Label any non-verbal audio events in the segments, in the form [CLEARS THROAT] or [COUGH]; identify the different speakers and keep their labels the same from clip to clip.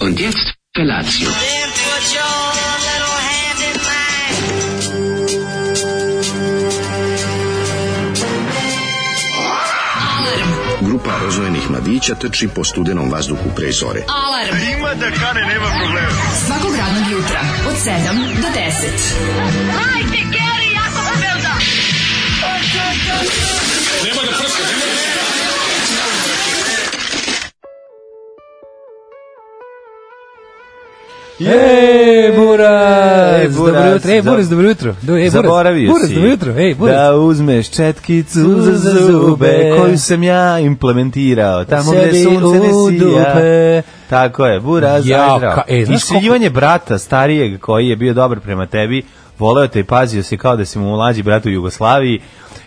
Speaker 1: Und jetzt Felatio.
Speaker 2: Then put your little hand in mine.
Speaker 3: Grupa rozvojenih mladića trči po studenom vazduhu pre zore.
Speaker 4: Alarm. Ima da kane, nema problema. Svakog radnog jutra, od 7 do 10.
Speaker 5: Ej, Buras!
Speaker 6: Ej, Buras,
Speaker 5: Dobro jutro, ej,
Speaker 6: za-
Speaker 5: Buras, dobro jutro. Do, ej, Buras.
Speaker 6: Zaboravio
Speaker 5: Buras,
Speaker 6: si
Speaker 5: dobro jutro, ej, Buras.
Speaker 6: da uzmeš četkicu
Speaker 5: Za
Speaker 6: za
Speaker 5: zube.
Speaker 6: zube koju sam ja implementirao tamo gde
Speaker 5: Sebi
Speaker 6: sunce ne
Speaker 5: u dupe.
Speaker 6: sija. Tako je, buraz,
Speaker 5: Jao,
Speaker 6: ja,
Speaker 5: ka- e, znaš
Speaker 6: Iskrivanje brata starijeg koji je bio dobar prema tebi, voleo te i pazio se kao da si mu mlađi brat u Jugoslaviji,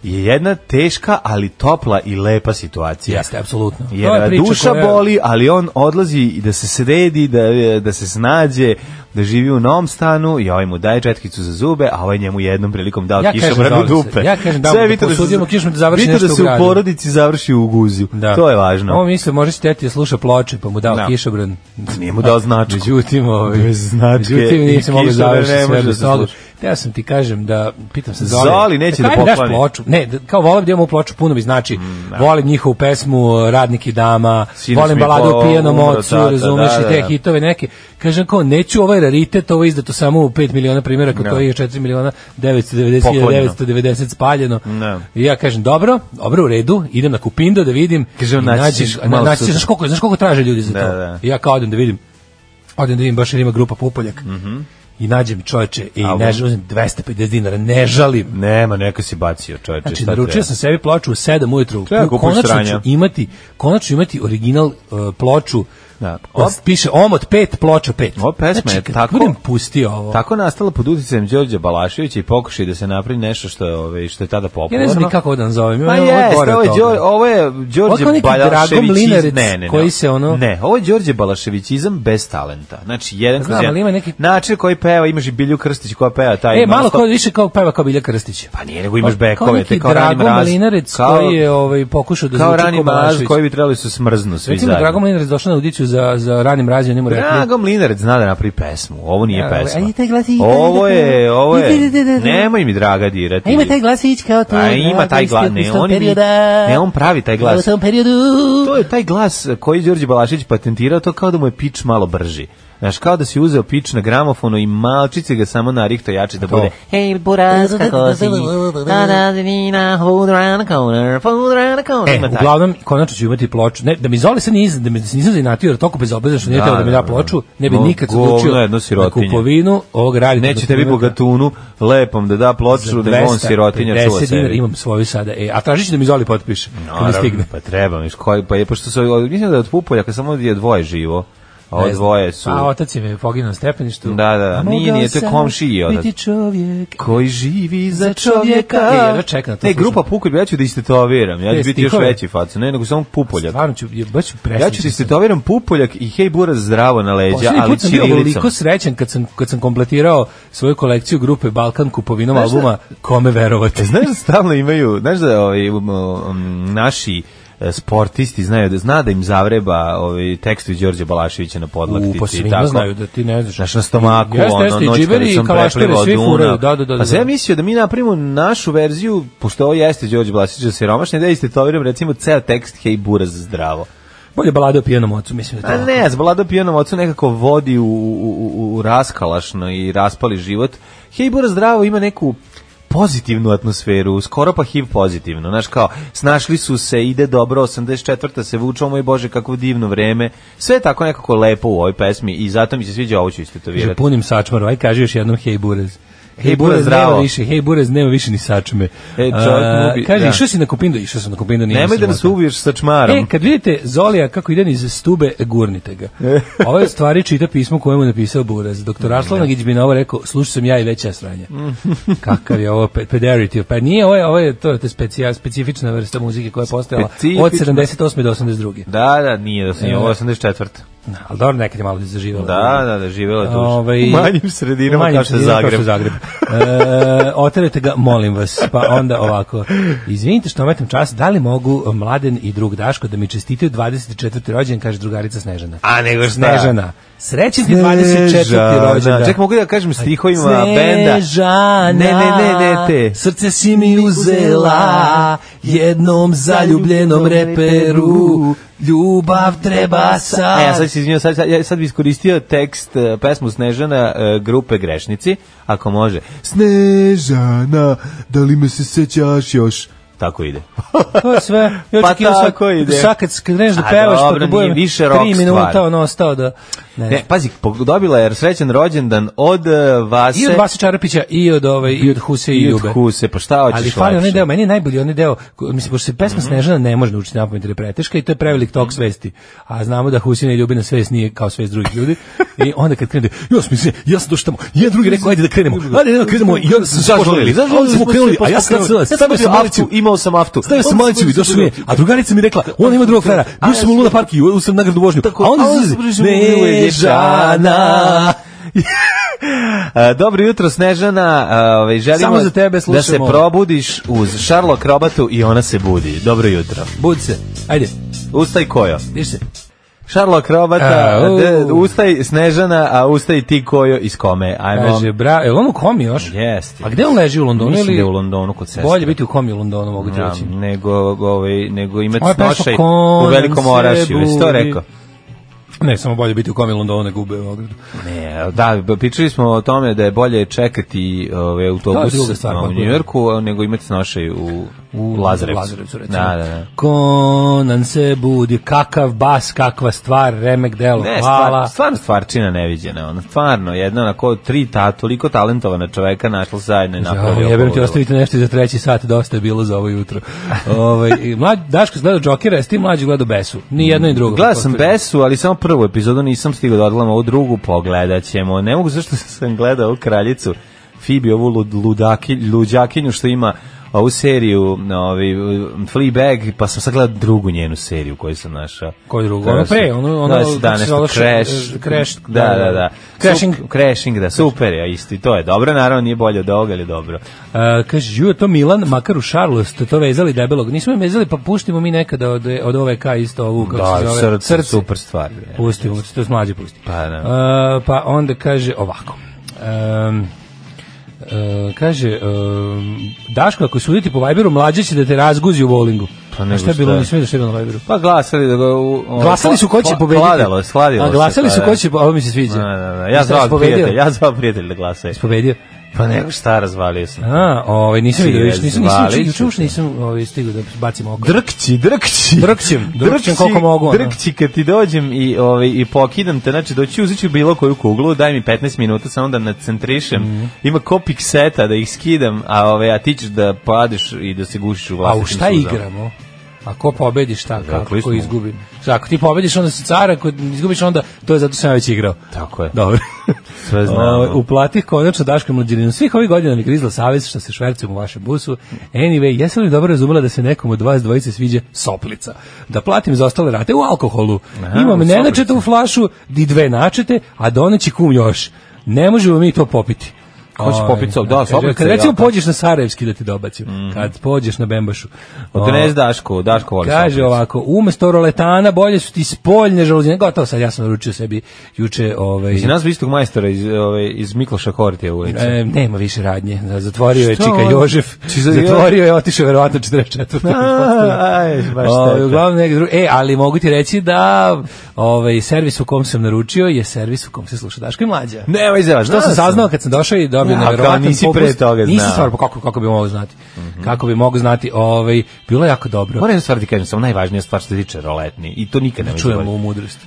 Speaker 6: je jedna teška, ali topla i lepa situacija.
Speaker 5: Jeste, apsolutno. To
Speaker 6: Jer
Speaker 5: priča
Speaker 6: duša
Speaker 5: koja-
Speaker 6: boli, ali on odlazi i da se sredi, da, da se snađe, da živi u novom stanu i ovaj mu daje četkicu za zube, a ovaj njemu jednom prilikom dao
Speaker 5: Ja
Speaker 6: ja
Speaker 5: kažem
Speaker 6: kišobranu
Speaker 5: da
Speaker 6: u
Speaker 5: li se-
Speaker 6: dupe.
Speaker 5: ja kažem da mu
Speaker 6: Sve
Speaker 5: da
Speaker 6: bitno se-
Speaker 5: posudimo kišobranu da završi
Speaker 6: bitno
Speaker 5: nešto u
Speaker 6: da se
Speaker 5: gradu.
Speaker 6: u porodici završi u guziju.
Speaker 5: Da.
Speaker 6: To je važno.
Speaker 5: Ovo misle, može se teti je sluša ploče, pa mu dao
Speaker 6: Da.
Speaker 5: kišobran.
Speaker 6: Nije mu
Speaker 5: Pa,
Speaker 6: dao značku.
Speaker 5: Međutim, ovaj,
Speaker 6: Bez značke
Speaker 5: međutim,
Speaker 6: i
Speaker 5: nisam mogao
Speaker 6: kišobran
Speaker 5: završiti
Speaker 6: ne
Speaker 5: sve
Speaker 6: može
Speaker 5: bez
Speaker 6: da se
Speaker 5: toga.
Speaker 6: sluša.
Speaker 5: Teo sam ti kažem da, pitam se Zoli.
Speaker 6: Zoli neće
Speaker 5: da
Speaker 6: da
Speaker 5: kaj mi daš
Speaker 6: pokloni. Mm,
Speaker 5: ploču? Ne, da- kao volim da imamo ploču, puno mi znači. volim njihovu pesmu e, Radnik i dama,
Speaker 6: Sinoć
Speaker 5: volim
Speaker 6: mi
Speaker 5: baladu o
Speaker 6: po-
Speaker 5: pijanom
Speaker 6: umro
Speaker 5: ocu,
Speaker 6: tata,
Speaker 5: razumeš
Speaker 6: da,
Speaker 5: i te
Speaker 6: da, da.
Speaker 5: hitove neke. Kažem kao, neću ovaj raritet, ovo je izdato samo u 5 miliona primjeraka, to je 4 miliona 990
Speaker 6: Poklonjeno.
Speaker 5: 990 spaljeno.
Speaker 6: Da.
Speaker 5: I ja kažem, dobro, dobro, u redu, idem na Kupindo da vidim.
Speaker 6: Kaže,
Speaker 5: I
Speaker 6: naći
Speaker 5: nađeš-
Speaker 6: ćeš malo
Speaker 5: naći ćeš,
Speaker 6: sutra.
Speaker 5: znaš koliko, znaš koliko traže ljudi za to?
Speaker 6: Da, da.
Speaker 5: I ja kao odem da vidim, odem da vidim baš jer ima grupa Pupoljak. I nađem čoveče i
Speaker 6: Mhm. Album.
Speaker 5: ne žalim 250 dinara, ne žalim.
Speaker 6: Nema, neka si bacio, čovječe.
Speaker 5: Znači,
Speaker 6: šta
Speaker 5: naručio
Speaker 6: treba?
Speaker 5: sam sebi ploču u 7 ujutru.
Speaker 6: Treba
Speaker 5: Koju
Speaker 6: kupiš
Speaker 5: konačno
Speaker 6: sranja.
Speaker 5: ću imati, konačno ću imati original uh, ploču.
Speaker 6: Da.
Speaker 5: Od,
Speaker 6: Op.
Speaker 5: piše omot 5, ploča 5.
Speaker 6: Ova pesma
Speaker 5: znači,
Speaker 6: je
Speaker 5: kad
Speaker 6: tako-
Speaker 5: budem pustio ovo.
Speaker 6: Tako je nastala pod uticajem Đorđa Balaševića i pokušaj da se napravi nešto što je, ovaj, što je tada
Speaker 5: Ja
Speaker 6: popularno.
Speaker 5: ne znam ni kako ovo da nazovem.
Speaker 6: Ma
Speaker 5: Ovo je
Speaker 6: jest,
Speaker 5: gore
Speaker 6: ovo je,
Speaker 5: od
Speaker 6: Đor,
Speaker 5: toga.
Speaker 6: ovo je
Speaker 5: Ovo je
Speaker 6: Đorđe
Speaker 5: kao neki Drago Mlinaric
Speaker 6: Balaševićizam. Ne, ne, ne.
Speaker 5: koji se ono-
Speaker 6: Ne, ovo je Đorđe Balaševićizam bez talenta. Znači, jedan
Speaker 5: Znam,
Speaker 6: kroz jedan.
Speaker 5: ali ima neki-
Speaker 6: Način koji peva, imaš i Bilju Krstić koja peva taj...
Speaker 5: E, malo
Speaker 6: non-stop.
Speaker 5: kao, više kao peva kao Bilja Krstić.
Speaker 6: Pa nije, nego imaš
Speaker 5: Kao
Speaker 6: bekove,
Speaker 5: neki
Speaker 6: te kao Rani
Speaker 5: Drago
Speaker 6: Mraz.
Speaker 5: Mlinarec
Speaker 6: Kao-
Speaker 5: koji je, ovaj, pokušao da
Speaker 6: Kao
Speaker 5: zvuči
Speaker 6: Rani
Speaker 5: kao
Speaker 6: Mraz
Speaker 5: Balašević.
Speaker 6: koji bi trebali su smrznu svi
Speaker 5: Recimo,
Speaker 6: zajedno.
Speaker 5: Drago Mlinarec došao na audiciju za, za ranim razio, njemu rekli...
Speaker 6: Drago Mlinarec zna da napravi pesmo. Ovo nije
Speaker 5: Ja,
Speaker 6: pesma.
Speaker 5: ali- a i taj glas- i-
Speaker 6: Ovo je, ovo je.
Speaker 5: Da, da, da, da.
Speaker 6: Nemoj mi draga dirati.
Speaker 5: A Pa ima taj glasić kao to.
Speaker 6: Pa ima taj glas, ne, on, mi- ne, on pravi taj glas.
Speaker 5: U tom periodu.
Speaker 6: To je taj glas koji je Đorđe Balašić patentirao, to kao da mu je pič malo brži. Znaš, kao da si uzeo pič na gramofonu i malčice ga samo narihto jače da bude
Speaker 7: Hey, Buras, kako si? Da, da, da, Nina, hold around the corner, hold around the corner.
Speaker 5: E,
Speaker 6: Ima taj.
Speaker 5: uglavnom, konačno ću imati ploču. Ne, da mi Zoli sad nije, da mi nisam zainatio, jer toliko bezobrazno što nije
Speaker 6: Da,
Speaker 5: teo da mi
Speaker 6: da,
Speaker 5: da
Speaker 6: da.
Speaker 5: ploču, ne bi
Speaker 6: No,
Speaker 5: nikad
Speaker 6: govno
Speaker 5: odlučio
Speaker 6: jedno
Speaker 5: na
Speaker 6: sirotinje.
Speaker 5: kupovinu ovog radita.
Speaker 6: Neće tebi bogatunu lepom da da ploču, nego on sirotinja čuva
Speaker 5: 10 dinara
Speaker 6: sebi.
Speaker 5: imam svoju sada. E, a tražit ću da mi Zoli potpiše. No, kad mi
Speaker 6: Naravno,
Speaker 5: stigne.
Speaker 6: Pa treba, viš, koji, pa je, pošto se, mislim da je od Pupoljaka samo je dvoje živo, a
Speaker 5: Ne
Speaker 6: od
Speaker 5: znam. Pa
Speaker 6: dvoje su...
Speaker 5: A otac je me poginuo na stepeništu.
Speaker 6: Da, da, da.
Speaker 5: A
Speaker 6: Nije,
Speaker 5: mogao
Speaker 6: nije, to je
Speaker 5: sam
Speaker 6: komšiji otac.
Speaker 5: Biti čovjek.
Speaker 6: koji živi
Speaker 5: Za
Speaker 6: za
Speaker 5: čovjeka.
Speaker 6: čovjeka.
Speaker 5: E, jedva čekam da to
Speaker 6: Ne,
Speaker 5: slušam.
Speaker 6: grupa Pukolj, ja ću da istetoviram. Ja
Speaker 5: E,
Speaker 6: ću biti još
Speaker 5: stihove.
Speaker 6: veći facu. Ne, nego samo Pupoljak.
Speaker 5: Stvarno ću, je, baš ću
Speaker 6: Ja ću
Speaker 5: presrećan
Speaker 6: ti
Speaker 5: sam.
Speaker 6: istetoviram Pupoljak i hej buraz zdravo na leđa,
Speaker 5: Poslednji
Speaker 6: ali
Speaker 5: put sam bio
Speaker 6: čirilicom.
Speaker 5: toliko srećan kad sam, kad sam kompletirao svoju kolekciju grupe Balkan kupovinom
Speaker 6: Znaš šta?
Speaker 5: albuma Kome verovati.
Speaker 6: Znaš da stalno imaju, znaš da ovaj, um, um, naši e, sportisti znaju da zna da im zavreba ovaj tekst iz Đorđe Balaševića na
Speaker 5: U,
Speaker 6: podlaktici
Speaker 5: pa
Speaker 6: i
Speaker 5: svima
Speaker 6: tako.
Speaker 5: znaju da ti ne znaš.
Speaker 6: Znaš, na stomaku,
Speaker 5: Jeste,
Speaker 6: ono,
Speaker 5: jeste, i
Speaker 6: noć
Speaker 5: džiberi
Speaker 6: kada
Speaker 5: i
Speaker 6: sam
Speaker 5: kalašteri,
Speaker 6: preplivao
Speaker 5: svi furaju,
Speaker 6: Dunav.
Speaker 5: da, da, da, da.
Speaker 6: Pa sam ja mislio da mi napravimo našu verziju, pošto ovo jeste Đorđe Balašić za siromašne, da istetoviram recimo ceo tekst Hej buraz zdravo.
Speaker 5: Bolje balade o pijanom ocu, mislim da
Speaker 6: A
Speaker 5: je to.
Speaker 6: Pa ne, s Vlado pijanom ocu nekako vodi u, u, u, u raskalašno i raspali život. Hejbora zdravo ima neku pozitivnu atmosferu, skoro pa HIV pozitivno, znaš kao, snašli su se, ide dobro, 84. se vuče, o moj Bože, kakvo divno vreme, sve je tako nekako lepo u ovoj pesmi i zato mi se sviđa, ovo ću
Speaker 5: Že
Speaker 6: istetovirati.
Speaker 5: punim sačmaru, aj kaži još jednom hej burez. Hej
Speaker 6: Hej,
Speaker 5: burez,
Speaker 6: Burez,
Speaker 5: nema
Speaker 6: zdravo.
Speaker 5: više, hej burez, nema više ni sačme.
Speaker 6: E, čovjek
Speaker 5: A,
Speaker 6: mu bi-
Speaker 5: Kaže,
Speaker 6: da.
Speaker 5: išao si na kupindo, išao sam na kupindo, nije
Speaker 6: Nemoj
Speaker 5: me
Speaker 6: da nas
Speaker 5: sramota.
Speaker 6: ubiješ sa čmarom.
Speaker 5: E, kad vidite Zolija kako ide iz stube, gurnite
Speaker 6: [LAUGHS]
Speaker 5: ga. Ovo je stvari čita pismo koje mu je napisao Buraz.
Speaker 6: Mm,
Speaker 5: Doktor Arslan bi na ovo rekao, slušao sam ja i veća sranja. [LAUGHS] Kakav je ovo pe- pederity. Pa nije, ovo je, ovo je to, je specija, specifična vrsta muzike koja je postojala od
Speaker 6: Specifična.
Speaker 5: 78. do 82.
Speaker 6: Da, da, nije da sam,
Speaker 5: E.
Speaker 6: ovo je 84.
Speaker 5: Ali dobro, nekad je malo zaživalo.
Speaker 6: Da, da, da, živela je duša.
Speaker 5: Ovaj,
Speaker 6: u manjim sredinama
Speaker 5: u manjim
Speaker 6: kao što je
Speaker 5: sredinama kao
Speaker 6: Zagreb. [LAUGHS]
Speaker 5: što je Zagreb. E, oterajte ga, molim vas. Pa onda ovako. Izvinite što ometam čas, da li mogu Mladen i drug Daško da mi čestitaju 24. rođendan, kaže drugarica Snežana.
Speaker 6: A nego šta?
Speaker 5: Snežana. Srećen ti 24. rođendan.
Speaker 6: Ček, mogu da kažem stihovima benda.
Speaker 5: Snežana,
Speaker 6: Ne, ne, ne, ne, te.
Speaker 5: Srce si mi uzela jednom zaljubljenom reperu. Ljubav treba
Speaker 6: E, ja
Speaker 5: sad.
Speaker 6: sad, se izvinjam, sad, sad, ja sad bi iskoristio tekst e, pesmu Snežana e, grupe Grešnici, ako može. Snežana, da li me se sećaš još? Tako ide. [LAUGHS]
Speaker 5: To je sve. Ja
Speaker 6: Pa
Speaker 5: očekivao
Speaker 6: tako
Speaker 5: sad,
Speaker 6: ide.
Speaker 5: Sad kad kreneš da
Speaker 6: A
Speaker 5: pevaš, pa
Speaker 6: dobro,
Speaker 5: kad
Speaker 6: nije
Speaker 5: budem
Speaker 6: više rock
Speaker 5: 3 minuta
Speaker 6: stvar.
Speaker 5: ono ostao da... Ne.
Speaker 6: Ne, pazi, pog- dobila je srećan rođendan od e, Vase
Speaker 5: I od Vasa Čarapića, i od, ove, i od Huse i,
Speaker 6: i od
Speaker 5: Ljube.
Speaker 6: Huse, pa šta hoćeš Mhm.
Speaker 5: Ali fali onaj
Speaker 6: lepše?
Speaker 5: deo, meni je najbolji onaj deo, ko- mislim, pošto se pesma Snežana ne može naučiti na pamet jer je preteška i to je prevelik
Speaker 6: Mhm.
Speaker 5: tok svesti. A znamo da Husina i Ljubina svest nije kao svest drugih ljudi. I onda kad krene, ja sam mislim, ja sam došao tamo, jedan drugi rekao, ajde da krenemo, ajde da krenemo, i onda smo se
Speaker 6: Zažalili,
Speaker 5: požalili.
Speaker 6: zažalili
Speaker 5: Onda smo
Speaker 6: smo
Speaker 5: krenuli,
Speaker 6: se,
Speaker 5: a ja sam
Speaker 6: požalili.
Speaker 5: stavio
Speaker 6: Sad
Speaker 5: sam
Speaker 6: sam bio
Speaker 5: malicu,
Speaker 6: aftu, imao sam aftu.
Speaker 5: Stavio sam
Speaker 6: Onda
Speaker 5: malicu
Speaker 6: smo
Speaker 5: i došao mi je,
Speaker 6: se
Speaker 5: a drugarica mi rekla, ona ima drugog frajera, bio sam u Luna Park i u sam nagradu vožnju.
Speaker 6: Tako,
Speaker 5: A onda
Speaker 6: a onda
Speaker 5: se
Speaker 6: se prišao u Lulu je
Speaker 5: Snežana,
Speaker 6: E, Dobro jutro Snežana, e, ovaj, želimo
Speaker 5: Samo za tebe
Speaker 6: da se
Speaker 5: slušamo.
Speaker 6: probudiš uz Šarlo Krobatu i ona se budi. Dobro jutro.
Speaker 5: budi se, ajde,
Speaker 6: Ustaj kojo.
Speaker 5: diš se.
Speaker 6: Šarlo Krobata,
Speaker 5: Au.
Speaker 6: d- ustaj Snežana, a ustaj ti kojo iz kome. Ajmo.
Speaker 5: Kaže, bra, je li on u komi još?
Speaker 6: Jeste.
Speaker 5: A gde on leži u Londonu?
Speaker 6: Mislim
Speaker 5: ili-
Speaker 6: da je u Londonu kod sestre.
Speaker 5: Bolje biti u komi u Londonu, mogu ti
Speaker 6: Ja,
Speaker 5: reći.
Speaker 6: nego, ovaj, nego imati
Speaker 5: Ovo je pesma
Speaker 6: snošaj u
Speaker 5: Conan
Speaker 6: velikom
Speaker 5: se
Speaker 6: orašju. Jesi to
Speaker 5: budi.
Speaker 6: rekao?
Speaker 5: Ne, samo bolje biti u komi u Londonu nego u Beogradu.
Speaker 6: Ne, da, b- pričali smo o tome da je bolje čekati ovaj autobus
Speaker 5: Da, druga stvar,
Speaker 6: a, u
Speaker 5: potpuno.
Speaker 6: New Yorku a, nego imati snošaj u, u Lazarevcu.
Speaker 5: Lazarevcu, recimo.
Speaker 6: Da, da, da.
Speaker 5: Konan se budi, kakav bas, kakva stvar, remek delo,
Speaker 6: Ne, stvar,
Speaker 5: hvala.
Speaker 6: stvarno stvarčina neviđena, ono, stvarno, jedna onako tri ta, toliko talentovana čoveka našla se zajedno i napravila.
Speaker 5: Ja, jebem ti,
Speaker 6: ovo.
Speaker 5: ostavite nešto i za treći sat, dosta je bilo za ovo
Speaker 6: [LAUGHS]
Speaker 5: jutro. Ovaj, i mlađ, Daško gledao Džokera, jesi ti mlađi gledao Besu? Ni jedno ni drugo.
Speaker 6: Gledao sam Besu, ali samo prvu epizodu nisam stigao da odgledam, ovu drugu pogledat ćemo. Ne mogu zašto [LAUGHS] sam gledao ovu kraljicu Fibi, ovu lud, ludaki, luđakinju što ima ovu seriju ovi, Fleabag, pa sam sad gledao drugu njenu seriju koju sam našao.
Speaker 5: Koju drugu?
Speaker 6: Koja
Speaker 5: Ono
Speaker 6: se-
Speaker 5: pre, ono- ono
Speaker 6: da, se- da,
Speaker 5: kako se
Speaker 6: nešto,
Speaker 5: zove,
Speaker 6: Crash.
Speaker 5: eh, Crash,
Speaker 6: Da, da, da.
Speaker 5: Crashing.
Speaker 6: Sup- crashing, da, super je, isti, to je dobro, naravno nije bolje od ovoga, ali dobro.
Speaker 5: Uh, kaže, ju je to Milan, makar u Šarlu ste to vezali debelog. Nismo je vezali, pa puštimo mi nekada od, od OVK isto ovu, kako se
Speaker 6: Da,
Speaker 5: zove,
Speaker 6: srce, super stvar. je.
Speaker 5: Pusti, pusti, to mlađe pusti.
Speaker 6: Pa, da.
Speaker 5: E, pa onda kaže ovako. Ehm, e, kaže um, Daško ako suditi po Viberu mlađe će da te razguzi u bowlingu
Speaker 6: Pa nego
Speaker 5: A šta je
Speaker 6: šta
Speaker 5: bilo
Speaker 6: je.
Speaker 5: nisam vidio šta je bilo na Viberu
Speaker 6: Pa glasali da ga u, o,
Speaker 5: Ovaj, glasali su ko će
Speaker 6: hla-
Speaker 5: pobediti
Speaker 6: Hladalo, je, sladilo
Speaker 5: a glasali
Speaker 6: se,
Speaker 5: su
Speaker 6: pa
Speaker 5: ko
Speaker 6: da.
Speaker 5: će ovo mi se sviđa
Speaker 6: Da, da, da. Ja
Speaker 5: Šta je
Speaker 6: zvao
Speaker 5: pobedio?
Speaker 6: prijatelj, ja zvao prijatelj da glasaju.
Speaker 5: pobedio
Speaker 6: Pa nego šta razvalio sam.
Speaker 5: a ovaj nisam
Speaker 6: Čije
Speaker 5: vidio više nisam nisam
Speaker 6: zvali
Speaker 5: juče
Speaker 6: ću
Speaker 5: uopšte nisam ovaj stigao da bacim oko
Speaker 6: Drkći, drkći.
Speaker 5: Drkćem, drkćem koliko mogu, ono.
Speaker 6: Drkći kad ti dođem i, ovaj, i pokidam te, znači doći uzet ću bilo koju kuglu, daj mi 15 minuta, samo da nacentrišem.
Speaker 5: Mhm.
Speaker 6: Ima ko pikseta da ih skidam, a, ovaj, a ti ćeš da padeš i da se gušiš u
Speaker 5: a u
Speaker 6: vlastitim
Speaker 5: šta
Speaker 6: suzama.
Speaker 5: igramo Ako pobedi šta, kako, ko
Speaker 6: Dakle, smo-
Speaker 5: izgubi. Šta, ako ti pobediš onda si car, ako izgubiš onda, to je zato što sam ja već igrao.
Speaker 6: Tako je.
Speaker 5: Dobro.
Speaker 6: [LAUGHS] Sve znamo.
Speaker 5: Ovaj, uplatih konačno Daško mlađaninu. Svih ovih godina mi grizla savez što se švercujem u vašem busu. Anyway, jesam li dobro razumela da se nekom od vas dvojice sviđa soplica? Da platim za ostale rate u alkoholu.
Speaker 6: Aha,
Speaker 5: Imam
Speaker 6: u
Speaker 5: nenačete u flašu i dve načete, a doneći kum još. Ne možemo mi to popiti.
Speaker 6: Ko će
Speaker 5: Oj,
Speaker 6: popiti sop? Da,
Speaker 5: kaže,
Speaker 6: soplica
Speaker 5: Kad
Speaker 6: je
Speaker 5: recimo
Speaker 6: jaka.
Speaker 5: pođeš na Sarajevski da ti dobacim,
Speaker 6: Mhm.
Speaker 5: kad pođeš na Bembašu.
Speaker 6: Odnes Daško, Daško voli
Speaker 5: Kaže
Speaker 6: soplice.
Speaker 5: ovako, umesto roletana bolje su ti spoljne žaluzine. Gotovo sad, ja sam naručio sebi juče... Ovaj,
Speaker 6: Mislim, nas istog majstora iz, ovaj, iz Mikloša Hortija ulice.
Speaker 5: E, nema više radnje. Da, Zatvorio je
Speaker 6: Šta
Speaker 5: Čika
Speaker 6: on?
Speaker 5: Jožef.
Speaker 6: Čiza-
Speaker 5: Zatvorio je, otišao verovatno 44. [LAUGHS]
Speaker 6: Aj, baš
Speaker 5: Ovaj,
Speaker 6: šteta.
Speaker 5: uglavnom neki drugi. E, ali mogu ti reći da ovaj servis u kom sam naručio je servis u kom se sluša Daško i Mlađa.
Speaker 6: Nemoj zeva,
Speaker 5: Što sam saznao kad sam došao i dobio
Speaker 6: Ja,
Speaker 5: neverovatan
Speaker 6: kao nisi pre
Speaker 5: popust.
Speaker 6: toga
Speaker 5: Nisam
Speaker 6: znao. Mhm.
Speaker 5: stvarno, pa kako, kako bi mogao znati. Kako bi mogao znati, ovaj, bilo je jako dobro.
Speaker 6: Moram jednu stvar ti kažem, samo najvažnija stvar što se tiče roletni i to nikad nemoj
Speaker 5: Čujemo u
Speaker 6: zaboraviti.
Speaker 5: mudrosti.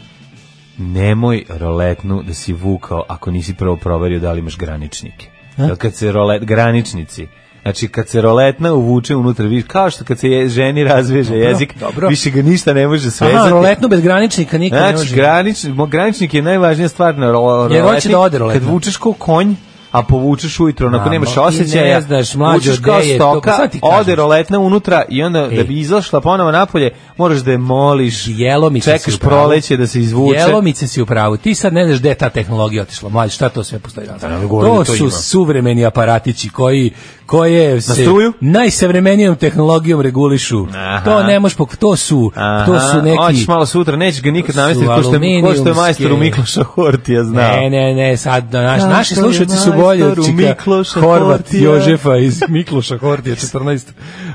Speaker 6: Nemoj roletnu da si vukao ako nisi prvo proverio da li imaš graničnike.
Speaker 5: E?
Speaker 6: Jer kad se rolet, graničnici, Znači, kad se roletna uvuče unutra, viš, kao što kad se je, ženi razveže jezik,
Speaker 5: dobro.
Speaker 6: više ga ništa ne može svezati.
Speaker 5: Aha, roletno bez graničnika nikad ne
Speaker 6: Znači,
Speaker 5: može.
Speaker 6: granič, mo- graničnik je najvažnija stvar na ro,
Speaker 5: Jer hoće
Speaker 6: roletni.
Speaker 5: da ode roletna.
Speaker 6: Kad vučeš ko konj, a povučeš ujutro, onako
Speaker 5: Znamo,
Speaker 6: nemaš
Speaker 5: i
Speaker 6: osjećaja,
Speaker 5: ne znaš, mlađo,
Speaker 6: uđeš kao
Speaker 5: gde je to, pa
Speaker 6: stoka,
Speaker 5: sad ti kažem. E.
Speaker 6: ode roletna unutra i onda da
Speaker 5: Ej.
Speaker 6: bi izašla ponovo napolje, moraš da je moliš,
Speaker 5: Jelomice si
Speaker 6: čekaš
Speaker 5: u pravu.
Speaker 6: proleće da se izvuče.
Speaker 5: Jelomice si u pravu. Ti sad ne znaš gde je ta tehnologija otišla. Mlađe, šta to sve postoji danas?
Speaker 6: ne govorim
Speaker 5: to
Speaker 6: da to
Speaker 5: su
Speaker 6: ima.
Speaker 5: suvremeni aparatići koji koje se
Speaker 6: struju?
Speaker 5: najsavremenijom tehnologijom regulišu.
Speaker 6: Aha.
Speaker 5: To ne možeš pok... To su,
Speaker 6: Aha,
Speaker 5: to su neki...
Speaker 6: Hoćeš malo sutra, nećeš ga nikad
Speaker 5: To su
Speaker 6: namestiti, ko što, je- ko što je
Speaker 5: aluminijumske-
Speaker 6: majstoru Mikloša Hortija znao.
Speaker 5: Ne, ne, ne, sad na, naš,
Speaker 6: Tako
Speaker 5: naši
Speaker 6: je,
Speaker 5: slušalci su bolji od
Speaker 6: majstoru
Speaker 5: čika
Speaker 6: Mikloša
Speaker 5: Horvat
Speaker 6: Hortija.
Speaker 5: Jožefa iz Mikloša Hortija 14.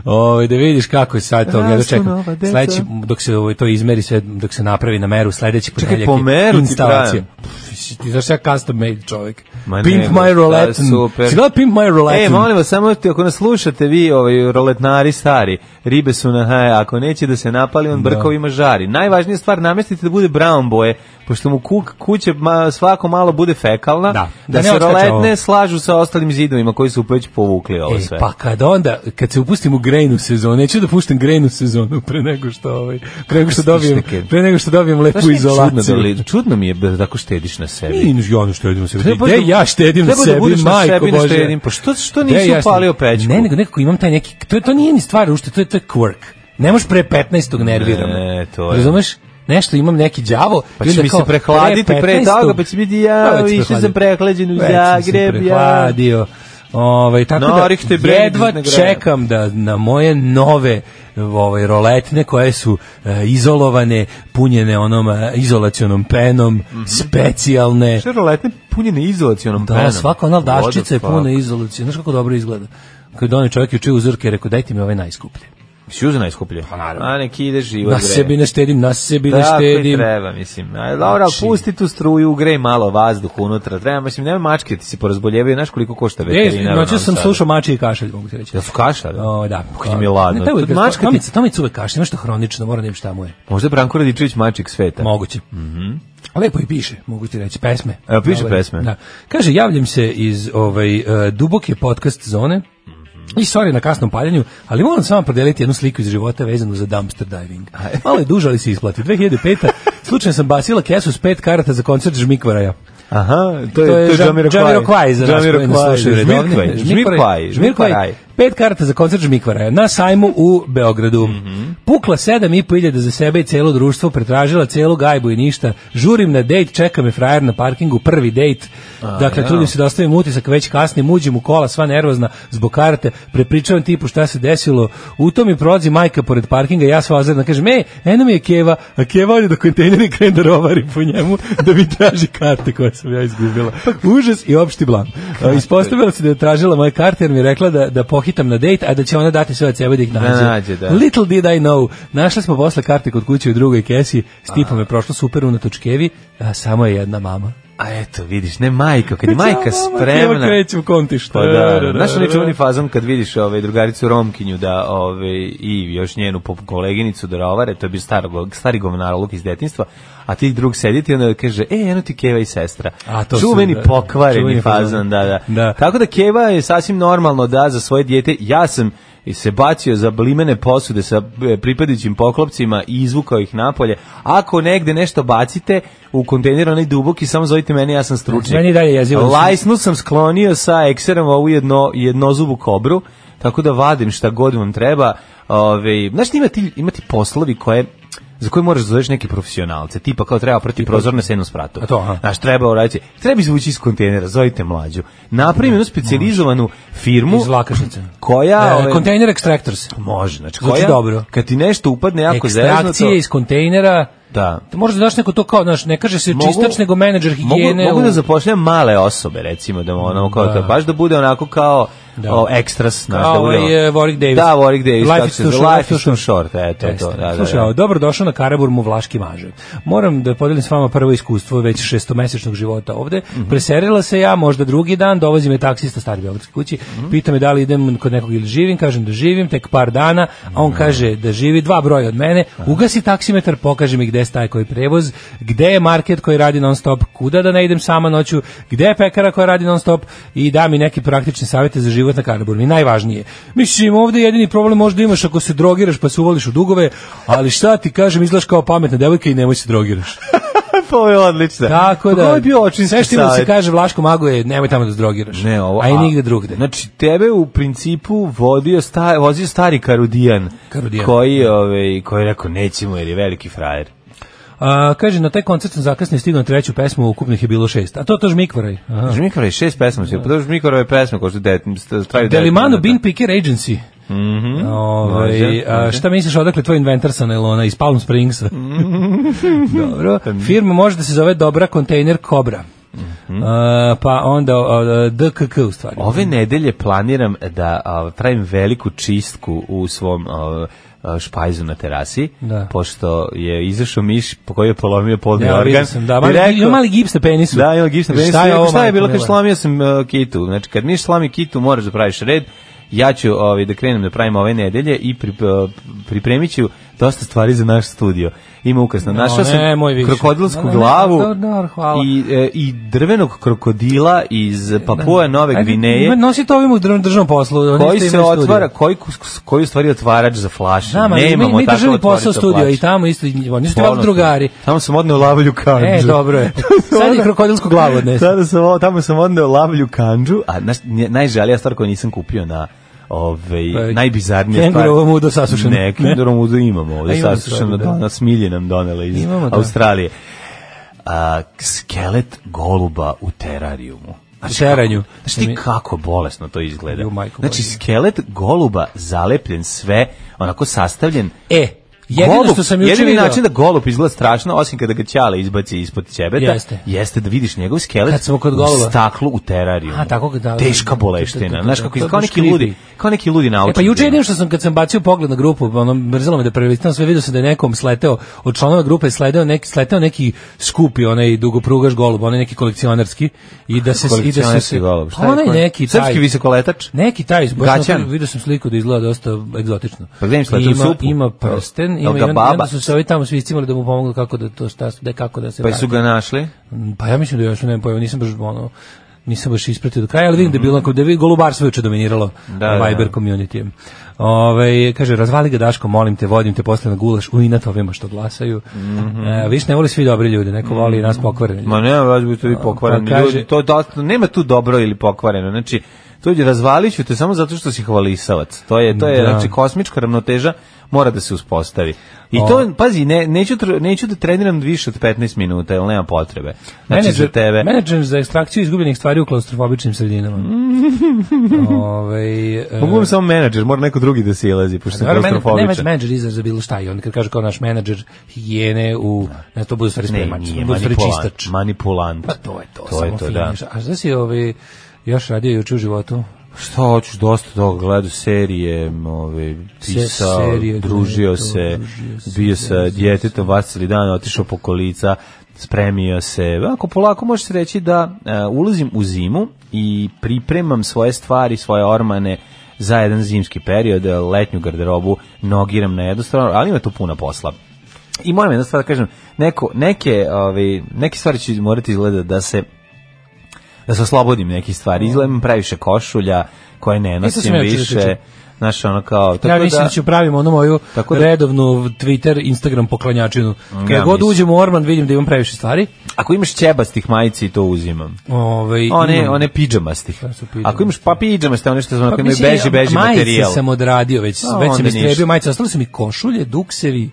Speaker 5: Ovaj da vidiš kako je sad to, ja da
Speaker 6: Rastu
Speaker 5: čekam.
Speaker 6: nova deca.
Speaker 5: Sledeći dok se ovaj to izmeri sve dok se napravi na meru sledeći
Speaker 6: Čekaj,
Speaker 5: ponedeljak.
Speaker 6: po
Speaker 5: je
Speaker 6: meru ti
Speaker 5: instalacija.
Speaker 6: traje?
Speaker 5: Pff, Ti znaš ja custom made čovjek.
Speaker 6: Ma
Speaker 5: Pimp
Speaker 6: ne,
Speaker 5: my
Speaker 6: šta,
Speaker 5: roulette.
Speaker 6: super.
Speaker 5: Si gledao Pimp my roulette?
Speaker 6: E, molim vas, samo ti, ako nas slušate vi, ovaj, roletnari stari, ribe su na haje, ako neće da se napali, on brkovima žari. Najvažnija stvar, namestite da bude brown boje, pošto mu kuk, kuće ma, svako malo bude fekalna,
Speaker 5: Da,
Speaker 6: da,
Speaker 5: da ne
Speaker 6: se
Speaker 5: odskače
Speaker 6: roletne
Speaker 5: ovo.
Speaker 6: slažu sa ostalim zidovima koji su već povukli ovo sve.
Speaker 5: E, pa kad onda, kad se upustim u grejnu sezonu, neću da puštam grejnu sezonu pre nego što, ovaj, pre nego što
Speaker 6: Stiš
Speaker 5: dobijem,
Speaker 6: neke-
Speaker 5: pre nego što dobijem
Speaker 6: Znaš,
Speaker 5: lepu
Speaker 6: nije čudno,
Speaker 5: izolaciju.
Speaker 6: da li- čudno mi je da tako štediš na sebi.
Speaker 5: Nije niš- ja ne štedim na sebi.
Speaker 6: Treba
Speaker 5: Gde
Speaker 6: da-
Speaker 5: ja štedim na
Speaker 6: treba da
Speaker 5: sebi,
Speaker 6: budeš na
Speaker 5: majko
Speaker 6: sebi na
Speaker 5: Bože?
Speaker 6: štedim. Pa što- što
Speaker 5: Gde
Speaker 6: nisi
Speaker 5: ja štedim?
Speaker 6: upalio pećku?
Speaker 5: Ne, nego nekako imam taj neki, to, to nije ni stvar ušte, to je, to je quirk. Ne možeš pre 15. nervira me.
Speaker 6: Ne, to je.
Speaker 5: Razumeš? Nešto imam neki đavo
Speaker 6: Pa će mi se prehladiti pre toga, pa će biti ja, išao sam prehlađen u Zagreb, ja.
Speaker 5: prehladio. Ovaj tako da
Speaker 6: Norih te bre,
Speaker 5: jedva
Speaker 6: ne grejem.
Speaker 5: čekam da na moje nove ovaj roletne koje su e, izolovane, punjene onom e, izolacionom penom,
Speaker 6: Mhm.
Speaker 5: specijalne.
Speaker 6: Što je roletne punjene izolacionom
Speaker 5: Da,
Speaker 6: penom?
Speaker 5: svaka ona daščica je
Speaker 6: What the
Speaker 5: puna
Speaker 6: fuck?
Speaker 5: izolacije. Znaš kako dobro izgleda? Kad onaj čovjek je učio uzorke, rekao dajte mi ovaj ove najskuplje.
Speaker 6: Mislim, uzeo najskuplje.
Speaker 5: Pa naravno.
Speaker 6: A neki ide život,
Speaker 5: Na
Speaker 6: bre.
Speaker 5: sebi ne štedim, na sebi ne
Speaker 6: Tako i
Speaker 5: štedim.
Speaker 6: treba, mislim. A, dobro, ali
Speaker 5: Znači-
Speaker 6: pusti tu struju, ugrej malo vazduh unutra. Treba, mislim, nema mačke, ti si porazboljevio, znaš koliko košta veterinar.
Speaker 5: E,
Speaker 6: u
Speaker 5: noću
Speaker 6: Novom
Speaker 5: sam
Speaker 6: Sadu.
Speaker 5: slušao Ovaj. mači i kašalj, mogu ti reći.
Speaker 6: Jel su kašljali?
Speaker 5: O, da.
Speaker 6: Kad im je ladno.
Speaker 5: Ne, to je uvijek,
Speaker 6: Mačka ti-
Speaker 5: Tomica, Tomica uvek kašlje, nešto hronično, moram da im šta mu je.
Speaker 6: Možda je Branko Radičević mačik sveta.
Speaker 5: Moguće. Mhm. Lepo i piše, mogu ti reći, pesme.
Speaker 6: Evo, piše
Speaker 5: Dobre.
Speaker 6: pesme.
Speaker 5: Da. Kaže, javljam se iz ovaj, e, duboke podcast zone
Speaker 6: Mhm.
Speaker 5: i sorry na kasnom paljenju, ali moram s vama podeliti jednu sliku iz života vezanu za dumpster diving. Malo je duža, ali se isplati. 2005. slučajno sam basila kesu s pet karata za koncert Žmikvaraja.
Speaker 6: Aha, to je,
Speaker 5: To je Jam-
Speaker 6: Jamiroquai.
Speaker 5: Jamiroquai za nas koji nas
Speaker 6: Jamiroquai,
Speaker 5: slušaju redovni.
Speaker 6: Žmirkvaj,
Speaker 5: Žmirkvaj,
Speaker 6: Žmirkvaj,
Speaker 5: Žmirkvaj.
Speaker 6: Žmirkvaj.
Speaker 5: Pet karata za koncert Žmikvaraja na sajmu u Beogradu. Pukla sedam i po iljada za sebe i celo društvo, pretražila celu gajbu i ništa. Žurim na dejt, čeka me frajer na parkingu, prvi dejt. Dakle, trudim se da ostavim utisak, već kasnim, uđem u kola, sva nervozna, zbog karate, prepričavam tipu šta se desilo. U to mi prolazi majka pored parkinga, ja sva ozredna, kažem, ej, eno mi je Keva, a Keva ovdje do kontejnera i krene da rovari po njemu da mi traži karte koje sam ja izgubila. Užas i opšti blam. A, Ispostavila se da je tražila moje karte jer mi je rekla da, da pohitam na dejt, a da će ona dati sve od sebe da ih nađe.
Speaker 6: nađe, da.
Speaker 5: Little did I know. Našli smo posle karte kod kuće u drugoj kesi, s tipom je prošlo super unatoč Kevi, a samo je jedna mama.
Speaker 6: A eto, vidiš, ne majka, kad je majka
Speaker 5: Mama,
Speaker 6: spremna.
Speaker 5: Keva kreće u kontišt.
Speaker 6: Pa da, znaš onaj čuveni fazon kad vidiš ovaj, drugaricu Romkinju da ovaj, i još njenu pop koleginicu da rovare, to je bio star, stari govnaroluk iz detinstva, a ti drug sediti i onda kaže, e, eno ti Keva i sestra.
Speaker 5: A, to su,
Speaker 6: čuveni
Speaker 5: da,
Speaker 6: pokvareni
Speaker 5: čuveni fazon.
Speaker 6: fazon, da, da,
Speaker 5: Da.
Speaker 6: Tako da Keva je sasvim normalno da za svoje dijete, ja sam i se bacio za blimene posude sa e, pripadajućim poklopcima i izvukao ih napolje. Ako negde nešto bacite u kontejner onaj duboki, samo zovite mene, ja sam stručnjak.
Speaker 5: Meni je dalje jezivo da sam-
Speaker 6: Laj Snu sam sklonio sa ekserom ovu jedno, jednozubu kobru, tako da vadim šta god vam treba. Ove, znaš, ima ti, ima ti poslovi koje za koje moraš da zoveš neke profesionalce, tipa kao treba protiv prozorne sa jednom spratu.
Speaker 5: A to, aha.
Speaker 6: Znaš, treba uraditi. Treba izvući iz kontejnera, zovite mlađu. Napravim jednu specijalizovanu firmu
Speaker 5: Iz lakašice.
Speaker 6: koja...
Speaker 5: E,
Speaker 6: ove,
Speaker 5: Kontejner Extractors.
Speaker 6: Može, znači
Speaker 5: Zvuči
Speaker 6: koja...
Speaker 5: dobro.
Speaker 6: Kad ti nešto upadne jako zezno, to...
Speaker 5: Ekstrakcije iz kontejnera.
Speaker 6: Da.
Speaker 5: To možda daš neko to kao, znaš, ne kaže se
Speaker 6: Mogu-
Speaker 5: čistač, nego menadžer higijene. u-
Speaker 6: Mogu, mogu da zapošljam male osobe, recimo, da ono kao
Speaker 5: Da.
Speaker 6: to, baš da bude onako kao
Speaker 5: Da.
Speaker 6: o, ekstras, znaš,
Speaker 5: Kao
Speaker 6: da bude.
Speaker 5: ovaj,
Speaker 6: ono-
Speaker 5: e, Warwick Davis.
Speaker 6: Da, Warwick Davis,
Speaker 5: Life
Speaker 6: tako
Speaker 5: is
Speaker 6: se
Speaker 5: too
Speaker 6: zove,
Speaker 5: short,
Speaker 6: Life is too short, eto
Speaker 5: Jeste.
Speaker 6: to, da, da.
Speaker 5: Slušaj,
Speaker 6: da.
Speaker 5: a, dobro došao na Karabur mu vlaški maže. Moram da podelim s vama prvo iskustvo već šestomesečnog života ovde.
Speaker 6: Mhm.
Speaker 5: Preserila se ja, možda drugi dan, dovozi me taksista stari Beogradske kući,
Speaker 6: Mhm.
Speaker 5: pita me da li idem kod nekog ili živim, kažem da živim, tek par dana, a
Speaker 6: Mhm.
Speaker 5: on kaže da živi dva broja od mene, ugasi taksimetar, pokaže mi gde staje koji prevoz, gde je market koji radi non stop, kuda da ne idem sama noću, gde je pekara koja radi non stop i da mi neke praktične savete za život na Karabur. Mi najvažnije. Mislim, ovde jedini problem možda imaš ako se
Speaker 6: [LAUGHS]
Speaker 5: drogiraš pa se uvališ u dugove, ali šta ti kažem, izgledaš kao pametna devojka i nemoj se drogiraš.
Speaker 6: [LAUGHS] ovo je odlično.
Speaker 5: Tako da,
Speaker 6: Ovo Pa je bio očinski
Speaker 5: sve što ima da se
Speaker 6: savjet.
Speaker 5: kaže Vlaško Mago je nemoj tamo da zdrogiraš.
Speaker 6: Ne, ovo,
Speaker 5: a i nigde drugde.
Speaker 6: Znači, tebe u principu vodio sta, vozio stari Karudijan,
Speaker 5: Karudijan.
Speaker 6: koji, ove, koji je rekao, nećemo jer je veliki frajer.
Speaker 5: A, kaže, na taj koncert sam zakasnije stigao na treću pesmu, ukupnih je bilo šest. A to to žmikvaraj. Aha.
Speaker 6: Žmikorove je šest pesma, sve, podrož Žmikorove pesme, ko što det, traju
Speaker 5: Delimano Bean Picker Agency. Mhm.
Speaker 6: može, Mhm.
Speaker 5: Ovaj a, šta misliš odakle tvoj inventar sa nailona iz Palm Springsa? Dobro. Firma može da se zove Dobra kontejner Kobra.
Speaker 6: Mhm.
Speaker 5: A, pa onda a, DKK u stvari.
Speaker 6: Ove nedelje planiram da a, pravim veliku čistku u svom a, a, špajzu na terasi,
Speaker 5: Da.
Speaker 6: pošto je izašao miš po kojoj je polomio polni
Speaker 5: Ja,
Speaker 6: organ.
Speaker 5: vidio sam, da,
Speaker 6: I
Speaker 5: mali,
Speaker 6: rekao-
Speaker 5: ima mali gips na penisu.
Speaker 6: Da, ima gipsna penis.
Speaker 5: Šta je, ovo,
Speaker 6: šta je
Speaker 5: majko
Speaker 6: bilo kad
Speaker 5: mila?
Speaker 6: slomio sam uh, kitu? Znači, kad miš slomi kitu, moraš da praviš red. Ja ću ovaj, da krenem da pravim ove nedelje i pri, uh, pripremit ću dosta stvari za naš studio. Ima ukrasno.
Speaker 5: No,
Speaker 6: Našao sam
Speaker 5: nemoj više.
Speaker 6: krokodilsku
Speaker 5: Da, da, ne,
Speaker 6: glavu
Speaker 5: da, da, hvala.
Speaker 6: i, e, i drvenog krokodila iz Papua Nove
Speaker 5: Ajde,
Speaker 6: Gvineje
Speaker 5: Ima, nosi to ovim u državnom državnom poslu. oni
Speaker 6: koji
Speaker 5: isto
Speaker 6: se
Speaker 5: imaju studiju.
Speaker 6: otvara, koji, kus- koji u stvari otvarač za flaše.
Speaker 5: Znam, ali mi,
Speaker 6: Nemamo
Speaker 5: mi
Speaker 6: tako
Speaker 5: državni
Speaker 6: otvorica
Speaker 5: posao studio
Speaker 6: flaše.
Speaker 5: i tamo isto, oni su ti
Speaker 6: Stvarno
Speaker 5: valjda
Speaker 6: sam-
Speaker 5: drugari.
Speaker 6: Tamo sam odneo lavlju kanđu.
Speaker 5: E,
Speaker 6: [LAUGHS]
Speaker 5: dobro je. Sad je krokodilsku glavu odnesu.
Speaker 6: Sada sam, o- tamo sam odneo lavlju kanđu, a naš, nje- najžalija stvar koju nisam kupio na ovaj,
Speaker 5: Pa,
Speaker 6: najbizarnija stvar.
Speaker 5: kengurovo mudo sasušeno.
Speaker 6: Ne, kengurovo mudo imamo
Speaker 5: A
Speaker 6: ovde
Speaker 5: imamo
Speaker 6: sasušeno,
Speaker 5: stvarno, da.
Speaker 6: da. na smilje nam donele iz
Speaker 5: Imamo, da.
Speaker 6: Australije. A, skelet goluba u terarijumu.
Speaker 5: U teranju.
Speaker 6: Znaš ti kako bolesno to izgleda.
Speaker 5: Ju, majko
Speaker 6: Znači,
Speaker 5: Božja.
Speaker 6: skelet goluba zalepljen sve, onako sastavljen.
Speaker 5: E, jedino što sam juče
Speaker 6: jedini
Speaker 5: video-
Speaker 6: način da golub izgleda strašno, osim kada ga ćale izbaci ispod ćebeta,
Speaker 5: Jeste.
Speaker 6: jeste da vidiš njegov skelet
Speaker 5: Kad smo kod
Speaker 6: u
Speaker 5: goluba.
Speaker 6: staklu u terarijumu.
Speaker 5: A, tako ga da-
Speaker 6: Teška
Speaker 5: da, da,
Speaker 6: boleština.
Speaker 5: da,
Speaker 6: Znaš
Speaker 5: da,
Speaker 6: kako
Speaker 5: da,
Speaker 6: izgleda, kao
Speaker 5: baš
Speaker 6: neki ludi,
Speaker 5: creepy.
Speaker 6: kao neki ludi naučnik. ono,
Speaker 5: E pa juče jedino što sam kad sam bacio pogled na grupu, ono mrzelo me da prelitam sve video sam da je nekom sleteo od članova grupe sleteo neki sleteo neki skupi onaj dugoprugaš golub, onaj neki kolekcionarski i da se i da se
Speaker 6: Kolekcionarski golub. Šta
Speaker 5: Pa
Speaker 6: je
Speaker 5: onaj
Speaker 6: to?
Speaker 5: neki taj
Speaker 6: Srpski visokoletač?
Speaker 5: Neki taj, baš
Speaker 6: Gaćan?
Speaker 5: onako, video sam sliku da izgleda dosta egzotično.
Speaker 6: Pa gledam sleteo u
Speaker 5: ima,
Speaker 6: supu.
Speaker 5: ima prsten,
Speaker 6: Jel
Speaker 5: ima
Speaker 6: ga
Speaker 5: i onda, i
Speaker 6: baba?
Speaker 5: onda su se ovi tamo svi cimali da mu pomognu kako da to šta da kako da se
Speaker 6: Pa
Speaker 5: vrati.
Speaker 6: su ga našli.
Speaker 5: Pa ja mislim da još nemam pojma, nisam baš ono nisam baš ispratio do kraja, ali vidim da je bilo onako- da je golubarstvo juče dominiralo
Speaker 6: Da, da.
Speaker 5: da, Viber community. Ove, kaže, razvali ga Daško, molim te, vodim te posle na gulaš u inat ovima što glasaju. e, viš, ne voli svi dobri ljudi, neko voli i nas pokvarene.
Speaker 6: Mhm. Ma nema, vas bi to i pokvareni
Speaker 5: Pa kaže-
Speaker 6: ljudi. To dosta, nema tu dobro ili pokvareno. Znači, to je razvaliću te samo zato što si hvalisavac. To je to je
Speaker 5: Da.
Speaker 6: znači kosmička ravnoteža mora da se uspostavi. I to pazi, ne, neću tr- neću da treniram više od 15 minuta, jer nema potrebe. Znači za tebe.
Speaker 5: menadžer za ekstrakciju izgubljenih stvari u klaustrofobičnim sredinama. Ove, e,
Speaker 6: Mhm. Mogu vam samo menadžer, mora neko drugi da se ilazi, pošto sam
Speaker 5: Dobro, men, ne, već
Speaker 6: klaustrofobičan.
Speaker 5: menadžer izraz za bilo šta i on kad kaže kao naš menadžer higijene u, ne, to bude u stvari
Speaker 6: Ne,
Speaker 5: spremač,
Speaker 6: nije
Speaker 5: bude u stvari
Speaker 6: manipulant.
Speaker 5: čistač.
Speaker 6: Manipulant.
Speaker 5: Pa to je to,
Speaker 6: To je
Speaker 5: samo
Speaker 6: to,
Speaker 5: fini
Speaker 6: da.
Speaker 5: niša. A šta si ovaj, još radio juče u životu?
Speaker 6: Šta hoćeš, dosta toga gledao serije, m, ove, pisao,
Speaker 5: serije,
Speaker 6: družio
Speaker 5: gledao,
Speaker 6: se,
Speaker 5: družio se,
Speaker 6: bio sa djetetom, vas celi dan, otišao po kolica, spremio se. Ako polako može se reći da e, ulazim u zimu i pripremam svoje stvari, svoje ormane za jedan zimski period, e, letnju garderobu nogiram na jednu stranu, ali ima tu puno posla. I moram jedna stvar da kažem, neko, neke, ove, neke stvari će morati izgleda da se da se oslobodim nekih
Speaker 5: Mm.
Speaker 6: stvari. Izgleda imam previše košulja koje ne
Speaker 5: Isto sam
Speaker 6: nosim
Speaker 5: ja juče
Speaker 6: više.
Speaker 5: zaključio.
Speaker 6: Znaš, ono kao... Tako
Speaker 5: ja mislim da,
Speaker 6: da,
Speaker 5: ću pravim onu moju
Speaker 6: Tako da-
Speaker 5: redovnu Twitter, Instagram poklanjačinu. Kad
Speaker 6: Ja
Speaker 5: god
Speaker 6: mislim.
Speaker 5: uđem u Orman vidim da imam previše stvari.
Speaker 6: ako imaš ćebastih majici, to uzimam.
Speaker 5: Ove,
Speaker 6: One, one pidžamastih.
Speaker 5: Šta su pidžamaste?
Speaker 6: Ako imaš pa pidžamaste, one što znam, ako imaju
Speaker 5: mislim,
Speaker 6: beži, beži materijal.
Speaker 5: Majice sam odradio, već,
Speaker 6: A,
Speaker 5: već sam
Speaker 6: onda ništa.
Speaker 5: istrebio majice. Ostalo su mi košulje, duksevi,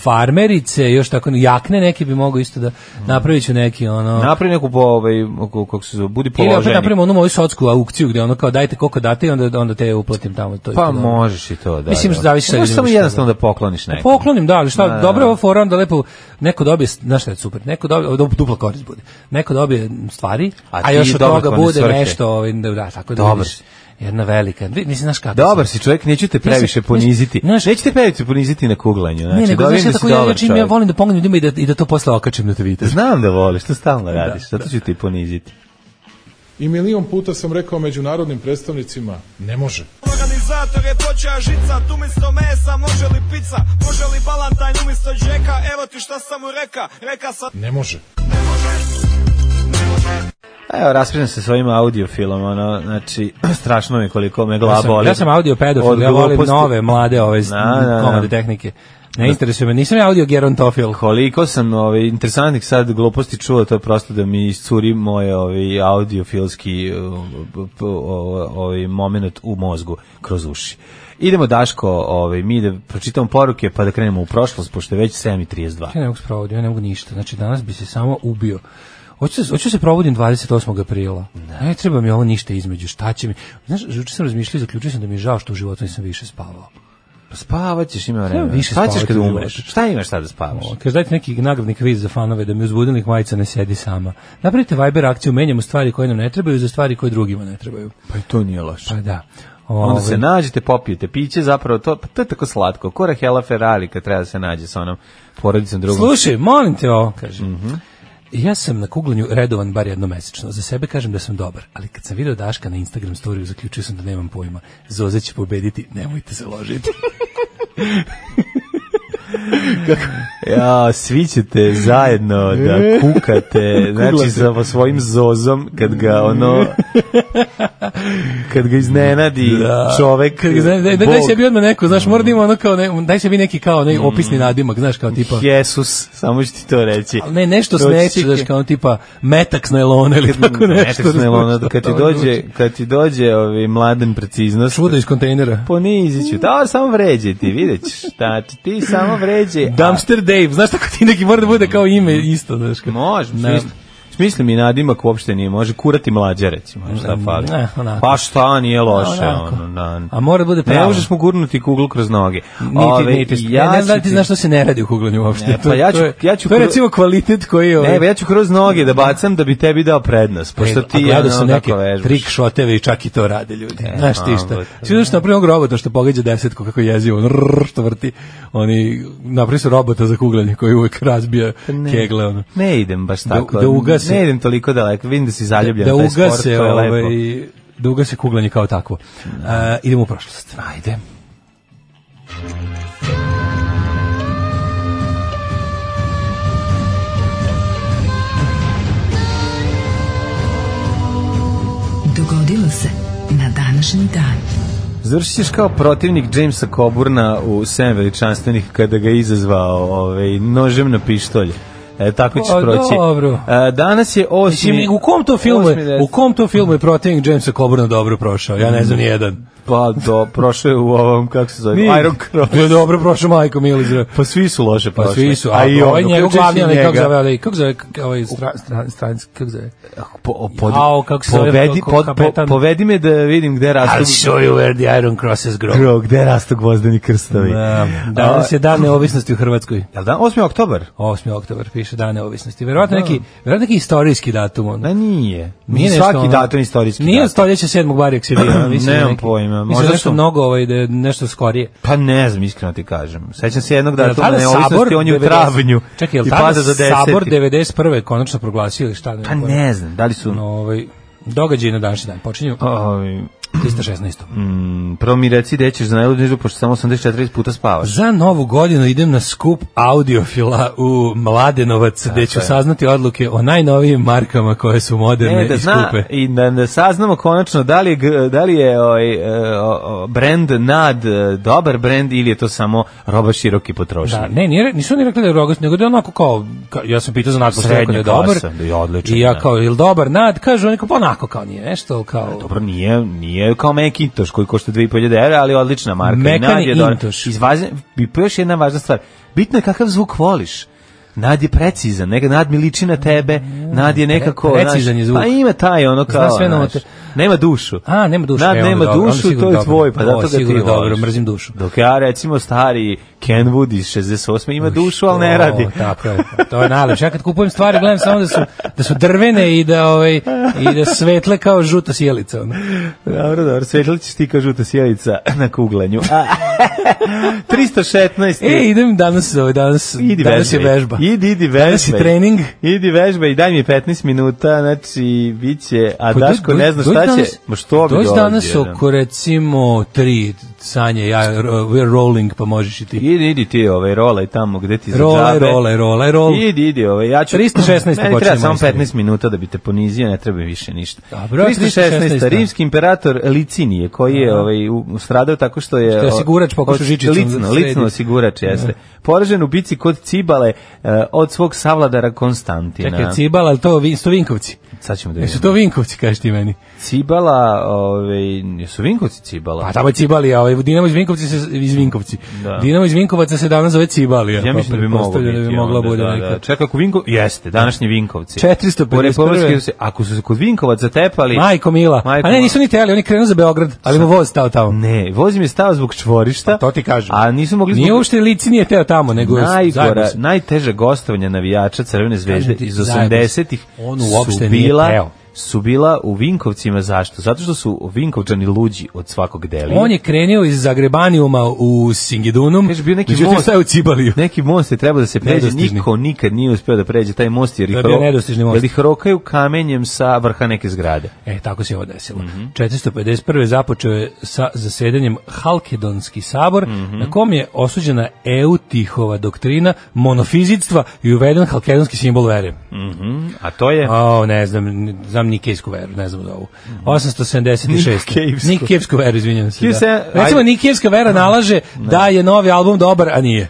Speaker 5: farmerice, još tako, jakne neke bi mogao isto da
Speaker 6: Mm.
Speaker 5: napravit ću neki ono...
Speaker 6: Napravi neku po, ovaj, ko- kako se zove, budi
Speaker 5: Ili opet
Speaker 6: položeni.
Speaker 5: napravimo onu moju sotsku aukciju gde ono kao dajte koliko date i onda, onda te uplatim tamo. To je
Speaker 6: Pa
Speaker 5: to dobro.
Speaker 6: možeš i to, da.
Speaker 5: Mislim,
Speaker 6: da.
Speaker 5: zavisi sad
Speaker 6: Možeš
Speaker 5: ljudima
Speaker 6: samo
Speaker 5: šta
Speaker 6: jednostavno da pokloniš nekom.
Speaker 5: Poklonim, da, ali šta,
Speaker 6: Da, da,
Speaker 5: dobro
Speaker 6: da.
Speaker 5: je ovo fora, onda lepo, neko dobije, znaš šta je super, neko dobije, du- dupla korist bude, neko dobije stvari,
Speaker 6: A
Speaker 5: a,
Speaker 6: ti
Speaker 5: još od
Speaker 6: dobro
Speaker 5: toga
Speaker 6: kloniš
Speaker 5: bude
Speaker 6: svrhe.
Speaker 5: nešto, ovaj, da, da, tako da
Speaker 6: Dobar
Speaker 5: vidiš,
Speaker 6: si.
Speaker 5: jedna velika, vi- mislim, znaš kako
Speaker 6: Dobar
Speaker 5: sam.
Speaker 6: si čovjek, neću te previše
Speaker 5: Mislim,
Speaker 6: poniziti.
Speaker 5: znaš-
Speaker 6: Neću te previše poniziti na kuglanju. Znači,
Speaker 5: ne, nego,
Speaker 6: dovoljno
Speaker 5: znaš, ja
Speaker 6: da si
Speaker 5: tako, ja, ja,
Speaker 6: dobar
Speaker 5: čim ja
Speaker 6: čovjek.
Speaker 5: volim da pomognem ljudima i da, i da to posle okačim na Twitter.
Speaker 6: Znam da voliš, to stalno radiš, zato ću ti poniziti.
Speaker 1: I milion puta sam rekao međunarodnim predstavnicima, ne može.
Speaker 8: Organizator je počeo žica, tu umjesto mesa, može li pizza, može li balantajn umjesto džeka, evo ti šta sam mu reka, reka sam...
Speaker 1: Ne može.
Speaker 6: Evo, raspiram se svojim audiofilom, ono, znači, [CLEARS THROAT] strašno mi je koliko me glava
Speaker 5: Ja sam,
Speaker 6: boli.
Speaker 5: ja sam audio pedofil,
Speaker 6: Od
Speaker 5: ja volim
Speaker 6: gluposti.
Speaker 5: nove, mlade ove s-
Speaker 6: Da, da, da.
Speaker 5: komade tehnike. Ne interesuje me, nisam ja audio gerontofil.
Speaker 6: Koliko sam ovaj, interesantnih sad gluposti čuo, to je prosto da mi iscuri moj ovaj, audiofilski ovaj, ovaj, moment u mozgu kroz uši. Idemo Daško, ovaj, mi da pročitamo poruke pa da krenemo u prošlost, pošto je već 7.32.
Speaker 5: Pa Ja ne mogu sprovoditi, ja ne mogu ništa. Znači, danas bi se samo ubio. Hoću se, hoću se probudim 28. aprila. Ne. treba mi ovo ništa između. Šta će mi? Znaš, juče sam razmišljao i zaključio sam da mi je žao što u životu nisam više spavao.
Speaker 6: Spavat ćeš, ima vremena.
Speaker 5: više
Speaker 6: Šta ćeš
Speaker 5: spavati
Speaker 6: kad
Speaker 5: u
Speaker 6: umreš?
Speaker 5: životu.
Speaker 6: Šta imaš sad da spavaš?
Speaker 5: O, Pa Kaže, dajte neki nagradni kviz za fanove da mi uz budilnih majica ne sedi sama. Napravite Viber akciju, menjamo stvari koje nam ne trebaju za stvari koje drugima ne trebaju.
Speaker 6: Pa i to nije loše.
Speaker 5: Pa da.
Speaker 6: Onda
Speaker 5: Ovaj,
Speaker 6: se nađete, popijete piće, zapravo to, pa to je tako slatko. Ko Rahela Ferrari kad treba da se nađe sa onom porodicom drugom.
Speaker 5: Slušaj, molim te ovo, kaže. Ja sam na kuglanju redovan bar jednom mesečno. Za sebe kažem da sam dobar, ali kad sam video Daška na Instagram storiju, zaključio sam da nemam pojma. Zoza će pobediti, nemojte se [LAUGHS] ložiti.
Speaker 6: Ja, svi ćete zajedno da kukate, znači sa svojim zozom, kad ga ono, kad ga iznenadi čovek,
Speaker 5: Kad ga zna- daj, daj,
Speaker 6: Bog,
Speaker 5: daj sebi odmah neko, znaš, mora da ima ono kao, ne, daj sebi neki kao ne, opisni nadimak, znaš, kao tipa...
Speaker 6: Jesus, samo ću ti to reći.
Speaker 5: Ali ne, nešto
Speaker 6: To će
Speaker 5: sneće,
Speaker 6: ti-
Speaker 5: znaš, kao tipa metak s nailona ili tako nešto.
Speaker 6: Eto, Snelona,
Speaker 5: znaš,
Speaker 6: kad ti
Speaker 5: to
Speaker 6: dođe,
Speaker 5: zvuči.
Speaker 6: kad ti dođe ovaj mladen preciznost,
Speaker 5: Čudo iz kontejnera.
Speaker 6: ponizit ću. Da, samo vređe ti, vidjet ćeš. Znači, ti samo vređe. a-
Speaker 5: Dumpster Dave, znaš tako ti neki mora da bude kao ime isto, znaš. kao.
Speaker 6: Može,
Speaker 5: Ne.
Speaker 6: smisli. Smisli mi nadimak uopšte nije, može kurati mlađe recimo, šta fali.
Speaker 5: Ne, onako.
Speaker 6: pa šta nije loše,
Speaker 5: Ne, onako.
Speaker 6: ono, na,
Speaker 5: A mora da bude pravo.
Speaker 6: Ne možeš mu gurnuti kuglu kroz noge. Ove,
Speaker 5: Niti, niti, ja ne, ne
Speaker 6: ću
Speaker 5: znam da ti
Speaker 6: ti-
Speaker 5: znaš što se ne radi u kuglanju uopšte.
Speaker 6: Ne, pa
Speaker 5: To je-
Speaker 6: ja ću-
Speaker 5: to je-
Speaker 6: ja ću
Speaker 5: To je
Speaker 6: kru-
Speaker 5: recimo kvalitet koji... je, ovaj,
Speaker 6: Ne, pa ja ću kroz noge da bacam da bi tebi dao prednost, pošto ti
Speaker 5: a gledao
Speaker 6: ono,
Speaker 5: sam
Speaker 6: tako
Speaker 5: neke
Speaker 6: vežbaš.
Speaker 5: trik šoteve i čak i to rade ljudi.
Speaker 6: E,
Speaker 5: Znaš ti
Speaker 6: a,
Speaker 5: šta.
Speaker 6: but-
Speaker 5: Svi znaš napravio onog robota što pogađa desetku kako jezi on rrrr, što vrti. Oni napravio su robota za kuglanje koji uvek razbija kegle. Ono.
Speaker 6: Pa Ne idem baš
Speaker 5: Da-
Speaker 6: tako.
Speaker 5: da ugase-
Speaker 6: Ne idem toliko daleko. Vidim da si zaljubljen.
Speaker 5: Da
Speaker 6: u taj sport,
Speaker 5: ugase,
Speaker 6: to je lepo.
Speaker 5: ovaj, da ugase kuglanje kao takvo. A, idemo u prošlost.
Speaker 6: Ajde.
Speaker 4: Dogodilo se na današnji dan.
Speaker 6: Završit ćeš kao protivnik Jamesa Coburna u 7 veličanstvenih kada ga je izazvao ovaj, nožem na pištolj. E, tako ćeš
Speaker 5: Pa,
Speaker 6: proći.
Speaker 5: dobro.
Speaker 6: E, danas je osmi...
Speaker 5: Mislim, u kom to filmu
Speaker 6: osmi
Speaker 5: je,
Speaker 6: deset-
Speaker 5: u kom to filmu je protivnik Jamesa Coburna dobro prošao? Ja ne znam ni jedan.
Speaker 6: Pa do, prošao je u ovom, kako se zove, Iron Cross.
Speaker 5: Je dobro prošao Majko Milić.
Speaker 6: Pa svi su loše
Speaker 5: Pa
Speaker 6: prošli.
Speaker 5: svi su, a,
Speaker 6: i
Speaker 5: ovaj
Speaker 6: on,
Speaker 5: njegov
Speaker 6: uključujući
Speaker 5: glavni, onaj, kako
Speaker 6: njega.
Speaker 5: zove, onaj, kako zove, k- ovaj stra, stra, stranski, kako zove?
Speaker 6: Po, pod,
Speaker 5: Jao, kako se zove,
Speaker 6: povedi,
Speaker 5: ko-
Speaker 6: pod, po,
Speaker 5: kapetan?
Speaker 6: povedi me da vidim gde rastu...
Speaker 5: you where the iron crosses
Speaker 6: Gro, gde rastu gvozdeni krstovi.
Speaker 5: Danas je dan neovisnosti u Hrvatskoj.
Speaker 6: Jel da? 8. oktobar?
Speaker 5: 8. oktober piše dan neovisnosti. Verovatno neki, verovatno neki istorijski datum. Ono.
Speaker 6: Da nije.
Speaker 5: Nije nešto
Speaker 6: Svaki
Speaker 5: ono-
Speaker 6: datum je istorijski
Speaker 5: Nije
Speaker 6: datum.
Speaker 5: od stoljeća 7. bar
Speaker 6: [CLEARS THROAT]
Speaker 5: Eksivira.
Speaker 6: Nemam pojma,
Speaker 5: ono, Mislim
Speaker 6: možda
Speaker 5: da nešto
Speaker 6: su-
Speaker 5: mnogo, ovaj, da je nešto skorije.
Speaker 6: Pa ne znam, iskreno ti kažem. Sećam se jednog
Speaker 5: Jel
Speaker 6: datuma
Speaker 5: tada
Speaker 6: neovisnosti, on je u
Speaker 5: 90
Speaker 6: travnju.
Speaker 5: Čekaj, je
Speaker 6: I
Speaker 5: li
Speaker 6: pada
Speaker 5: tada
Speaker 6: za
Speaker 5: Sabor
Speaker 6: 10.
Speaker 5: 91. konačno proglasio ili šta? nemam
Speaker 6: Pa
Speaker 5: pojma.
Speaker 6: ne znam, da li su...
Speaker 5: No, ovaj, događaj na današnji dan. Počinju
Speaker 6: Ovaj,
Speaker 5: 316.
Speaker 6: mm, prvo mi reci gde ćeš za najludnižu, pošto samo 84 puta spavaš.
Speaker 5: Za novu godinu idem na skup audiofila u Mladenovac, gde ću
Speaker 6: je.
Speaker 5: saznati odluke o najnovijim markama koje su moderne
Speaker 6: Ne, da
Speaker 5: i
Speaker 6: zna
Speaker 5: skupe.
Speaker 6: i da, da saznamo konačno da li je, gr- da li je ovaj, e, o- o, brand nad e, dobar brand ili je to samo roba široke potrošnje.
Speaker 5: Da, ne, nije, re- nisu oni rekli da je rogost, nego da je onako kao, ka- ja sam pitao za nad, pošto je rekao da je
Speaker 6: Srednja
Speaker 5: dobar,
Speaker 6: klasa, da je odličan,
Speaker 5: i ja
Speaker 6: da.
Speaker 5: kao, je li dobar nad, kažu oni kao, pa onako kao nije nešto, ali kao,
Speaker 6: Dobro, nije, nije kao Macintosh koji košta 2500 evra, ali odlična marka. I
Speaker 5: Mekani
Speaker 6: Nad je dobra.
Speaker 5: Intosh.
Speaker 6: Izvaze, I pa još jedna važna stvar. Bitno je kakav zvuk voliš. Nad je precizan, neka Nad mi liči na tebe, Nad je nekako...
Speaker 5: Pre- precizan
Speaker 6: znaš,
Speaker 5: je zvuk.
Speaker 6: Pa ima taj ono kao,
Speaker 5: sve na
Speaker 6: znaš,
Speaker 5: ote-
Speaker 6: nema dušu.
Speaker 5: a, nema duše.
Speaker 6: Nad
Speaker 5: e, onda
Speaker 6: nema
Speaker 5: dobro, onda
Speaker 6: dušu,
Speaker 5: sigurno
Speaker 6: to je
Speaker 5: dobro.
Speaker 6: tvoj, pa
Speaker 5: O,
Speaker 6: zato ga ti
Speaker 5: sigurno dobro,
Speaker 6: voliš.
Speaker 5: mrzim dušu.
Speaker 6: Dok ja recimo stari Kenwood iz 68. ima dušu, ali ne radi.
Speaker 5: O, tako je. To je najlepše. Ja kad kupujem stvari, gledam samo da su, da su drvene i da, ovaj, i da svetle kao žuta sjelica. Ono.
Speaker 6: Dobro, dobro, svetla ćeš ti kao žuta sjelica na kuglanju. A, [LAUGHS] 316.
Speaker 5: E, idem danas, ovaj, danas,
Speaker 6: Idi
Speaker 5: danas je
Speaker 6: vežbaj.
Speaker 5: vežba.
Speaker 6: Idi, idi vežbaj.
Speaker 5: Danas je trening.
Speaker 6: Idi vežbaj i daj mi 15 minuta, znači bit će, a
Speaker 5: Pa
Speaker 6: Daško
Speaker 5: doj-
Speaker 6: ne zna
Speaker 5: doj-
Speaker 6: šta
Speaker 5: doj
Speaker 6: će,
Speaker 5: danas-
Speaker 6: ma što bi
Speaker 5: doj
Speaker 6: dolazi.
Speaker 5: danas
Speaker 6: jedan?
Speaker 5: oko recimo 3, Sanje, ja, r- we're rolling, pa možeš i ti.
Speaker 6: Idi, idi ti ovaj, rolaj tamo gde ti za
Speaker 5: Rolaj,
Speaker 6: džabe.
Speaker 5: rolaj, rolaj, rolaj.
Speaker 6: Idi, idi, ovaj, ja ću...
Speaker 5: 316
Speaker 6: Meni
Speaker 5: počinje
Speaker 6: treba samo
Speaker 5: moja istorija.
Speaker 6: 15 minuta da bi te ponizio, ne treba mi više ništa.
Speaker 5: Dobro, 316,
Speaker 6: Rimski imperator Licinije, koji je ovaj, u- stradao tako što je...
Speaker 5: Što je osigurač pokušao
Speaker 6: od-
Speaker 5: žičicom da
Speaker 6: Licno,
Speaker 5: sredi.
Speaker 6: licno osigurač, jeste. Poražen u bici kod Cibale eh, od svog savladara Konstantina.
Speaker 5: Čekaj, Cibala, ali to, vi- su to Vinkovci?
Speaker 6: Sad ćemo da
Speaker 5: Jesu
Speaker 6: vidimo.
Speaker 5: to Vinkovci, kažeš ti meni?
Speaker 6: Cibala, ovaj, jesu Vinkovci Cibala?
Speaker 5: Pa tamo je Cibalija, ovaj, Dinamo iz Vinkovci se, iz Vinkovci.
Speaker 6: Da.
Speaker 5: Dinamo iz Vinkovaca se danas zove Cibalija.
Speaker 6: Ja
Speaker 5: pa
Speaker 6: mislim da bi moglo
Speaker 5: pretpostavljam
Speaker 6: biti.
Speaker 5: da bi mogla
Speaker 6: onda,
Speaker 5: bude
Speaker 6: da,
Speaker 5: neka.
Speaker 6: Da. Čekaj, ako Vinko... Jeste, današnji Vinkovci.
Speaker 5: 451.
Speaker 6: U Republički se- Ako su se kod Vinkovaca tepali...
Speaker 5: Majko Mila.
Speaker 6: Majko
Speaker 5: A ne,
Speaker 6: Mila.
Speaker 5: nisu ni teli, oni krenu za Beograd, ali mu voz stao tamo.
Speaker 6: Ne, voz im je stao zbog čvorišta.
Speaker 9: Pa to ti kažem.
Speaker 6: A nisu mogli
Speaker 5: Nije
Speaker 6: zbog...
Speaker 5: uopšte lici nije teo tamo, nego je
Speaker 6: Najgora,
Speaker 5: zajedno se.
Speaker 6: najteže gostovanje navijača Crvene zvezde
Speaker 5: Kažem ti,
Speaker 6: iz
Speaker 5: zajedno se.
Speaker 6: 80-ih
Speaker 5: On
Speaker 6: su
Speaker 5: uopšte nije
Speaker 6: bila
Speaker 5: teo.
Speaker 6: su bila u Vinkovcima zašto? Zato što su Vinkovčani luđi od svakog deli.
Speaker 5: On je krenuo iz Zagrebanijuma u Singidunum,
Speaker 6: Kaže, bio neki
Speaker 5: međutim
Speaker 6: most.
Speaker 5: staje u
Speaker 6: [LAUGHS]
Speaker 5: Cibaliju.
Speaker 6: Neki most je trebao da se pređe,
Speaker 5: Nedostižni.
Speaker 6: niko nikad nije uspeo da pređe taj most jer
Speaker 5: To je
Speaker 6: ih,
Speaker 5: bio
Speaker 6: ro-
Speaker 5: nedostižni most.
Speaker 6: jer ih rokaju kamenjem sa vrha neke zgrade.
Speaker 5: E, tako se ovo desilo.
Speaker 6: Mhm.
Speaker 5: 451. započeo je sa zasedanjem Halkedonski sabor,
Speaker 6: Mhm.
Speaker 5: na kom je osuđena Eutihova doktrina monofizitstva i uveden halkedonski simbol vere.
Speaker 6: Mhm, A to je...
Speaker 5: O, ne znam, n- znam Nikejsku veru, ne znam za ovu.
Speaker 6: Mhm.
Speaker 5: 876.
Speaker 6: Nikejevsku.
Speaker 5: Nikijevsku veru, izvinjam se.
Speaker 6: Kije se-
Speaker 5: Da. Recimo,
Speaker 6: ajde.
Speaker 5: Nikijevska vera nalaže da je novi album dobar, a nije.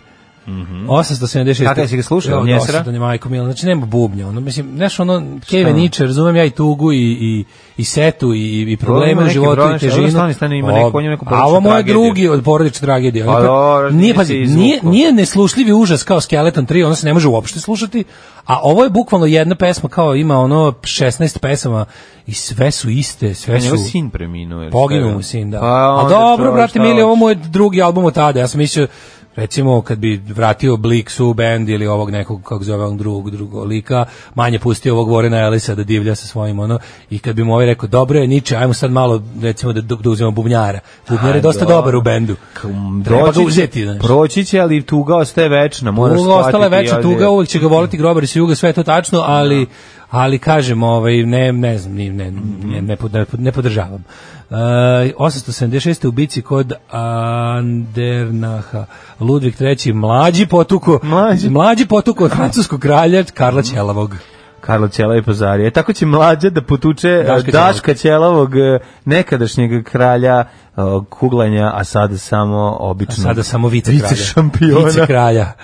Speaker 5: 876.
Speaker 6: Kako jesi Mhm. ga slušao,
Speaker 5: Ja,
Speaker 6: Njesera?
Speaker 5: dosadno je, majko mila. Znači, nema bubnja. Ono, mislim, znaš, ono, Keve Niče, razumem ja i tugu i, i, i setu i, i
Speaker 6: Ima
Speaker 5: probleme u
Speaker 6: neki
Speaker 5: životu
Speaker 6: problem,
Speaker 5: i
Speaker 6: šta je,
Speaker 5: težinu.
Speaker 6: stani, stani, ima neko, on ima neku
Speaker 5: A ovo
Speaker 6: porodičnu
Speaker 5: moj
Speaker 6: tragediju.
Speaker 5: drugi od porodične tragedije.
Speaker 6: Pa
Speaker 5: Ono,
Speaker 6: dobro,
Speaker 5: nije,
Speaker 6: nisi
Speaker 5: pazi,
Speaker 6: izvukao.
Speaker 5: nije, nije neslušljivi užas kao Skeleton 3, ono se ne može uopšte slušati, a ovo je bukvalno jedna pesma kao ima ono 16 pesama i sve su iste, sve
Speaker 6: A njegov
Speaker 5: su...
Speaker 6: sin preminuo. ili šta
Speaker 5: Poginuo
Speaker 6: je?
Speaker 5: mu sin, da.
Speaker 6: Pa
Speaker 5: a
Speaker 6: onda
Speaker 5: dobro,
Speaker 6: to,
Speaker 5: brate,
Speaker 6: šta
Speaker 5: mili, ovo
Speaker 6: hoćeš?
Speaker 5: mu je drugi album od tada. Ja sam mislio, recimo, kad bi vratio Blix u band ili ovog nekog, kako zove on drugog, drugog lika, manje pustio ovog Vorena Elisa da divlja sa svojim, ono, i kad bi mu ovaj rekao, dobro je, Niče, ajmo sad malo, recimo, da, da uzimamo bubnjara. Bubnjar je
Speaker 6: A,
Speaker 5: dosta
Speaker 6: dobro.
Speaker 5: dobar u bendu. Treba ga uzeti, znaš.
Speaker 6: Proći će, ali tuga ostaje večna. Moraš
Speaker 5: Tuga ostala je
Speaker 6: shvatiti,
Speaker 5: veća
Speaker 6: ovdje-
Speaker 5: tuga, uvijek će ga voliti grobari sa juga, sve je to tačno, ali ali kažem, ovaj ne ne znam, ni- ne ne ne, pod- ne, pod- ne podržavam. E, 876. u bici kod Andernaha. Ludvig III. mlađi potuko,
Speaker 6: Mlađi.
Speaker 5: potuko od francuskog kralja Karla Ćelavog.
Speaker 6: Karlo Ćela i Pazarija. Tako će mlađa da potuče eh,
Speaker 5: Daška
Speaker 6: Daška Ćelavog eh, nekadašnjeg kralja eh, kuglanja, a sada samo
Speaker 5: A
Speaker 6: obično.
Speaker 5: sada samo vice kralja.
Speaker 6: Vice šampiona.
Speaker 5: Vice kralja.
Speaker 6: [LAUGHS]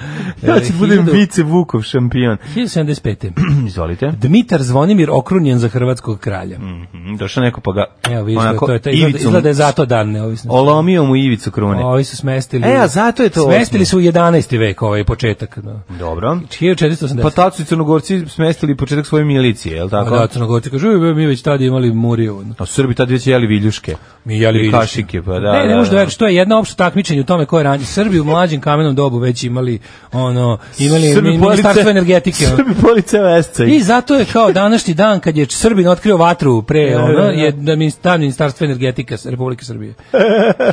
Speaker 5: E,
Speaker 6: Ja ću budem
Speaker 5: Hiljadu-
Speaker 6: vice Vukov šampion.
Speaker 5: 1075.
Speaker 6: Izvolite.
Speaker 5: Dmitar Zvonimir okrunjen za hrvatskog kralja.
Speaker 6: Mhm, Došao neko pa ga
Speaker 5: Evo vidiš,
Speaker 6: onako
Speaker 5: to je to. Izgleda,
Speaker 6: ivicom-
Speaker 5: izgleda je zato dan neovisnosti.
Speaker 6: Olomio mu ivicu krune.
Speaker 5: Ovi su smestili.
Speaker 6: E, a zato je to
Speaker 5: Smestili
Speaker 6: osmi.
Speaker 5: su u 11. vek ovaj početak. Da.
Speaker 6: Dobro.
Speaker 5: 1480.
Speaker 6: Pa tad su i Crnogorci smestili početak svoje milicije, je li tako?
Speaker 5: Da, Crnogorci kažu, "Uj, mi već tada imali Murijevo.
Speaker 6: A Srbi tad već jeli viljuške.
Speaker 5: Mi jeli
Speaker 6: I
Speaker 5: vidiš.
Speaker 6: kašike, pa da,
Speaker 5: Ne, ne
Speaker 6: da,
Speaker 5: možeš da
Speaker 6: da.
Speaker 5: veruješ, to je jedno opšte takmičenje u tome ko je ranije. Srbi u mlađem kamenom dobu već imali ono, imali
Speaker 6: Srbi
Speaker 5: mi-
Speaker 6: police-
Speaker 5: ministarstvo energetike. ono.
Speaker 6: Srbi police vesca.
Speaker 5: I zato je kao današnji dan kad je Srbin otkrio vatru pre ono
Speaker 6: da, da.
Speaker 5: je da mi dan Ministarstva energetike S- Republike Srbije.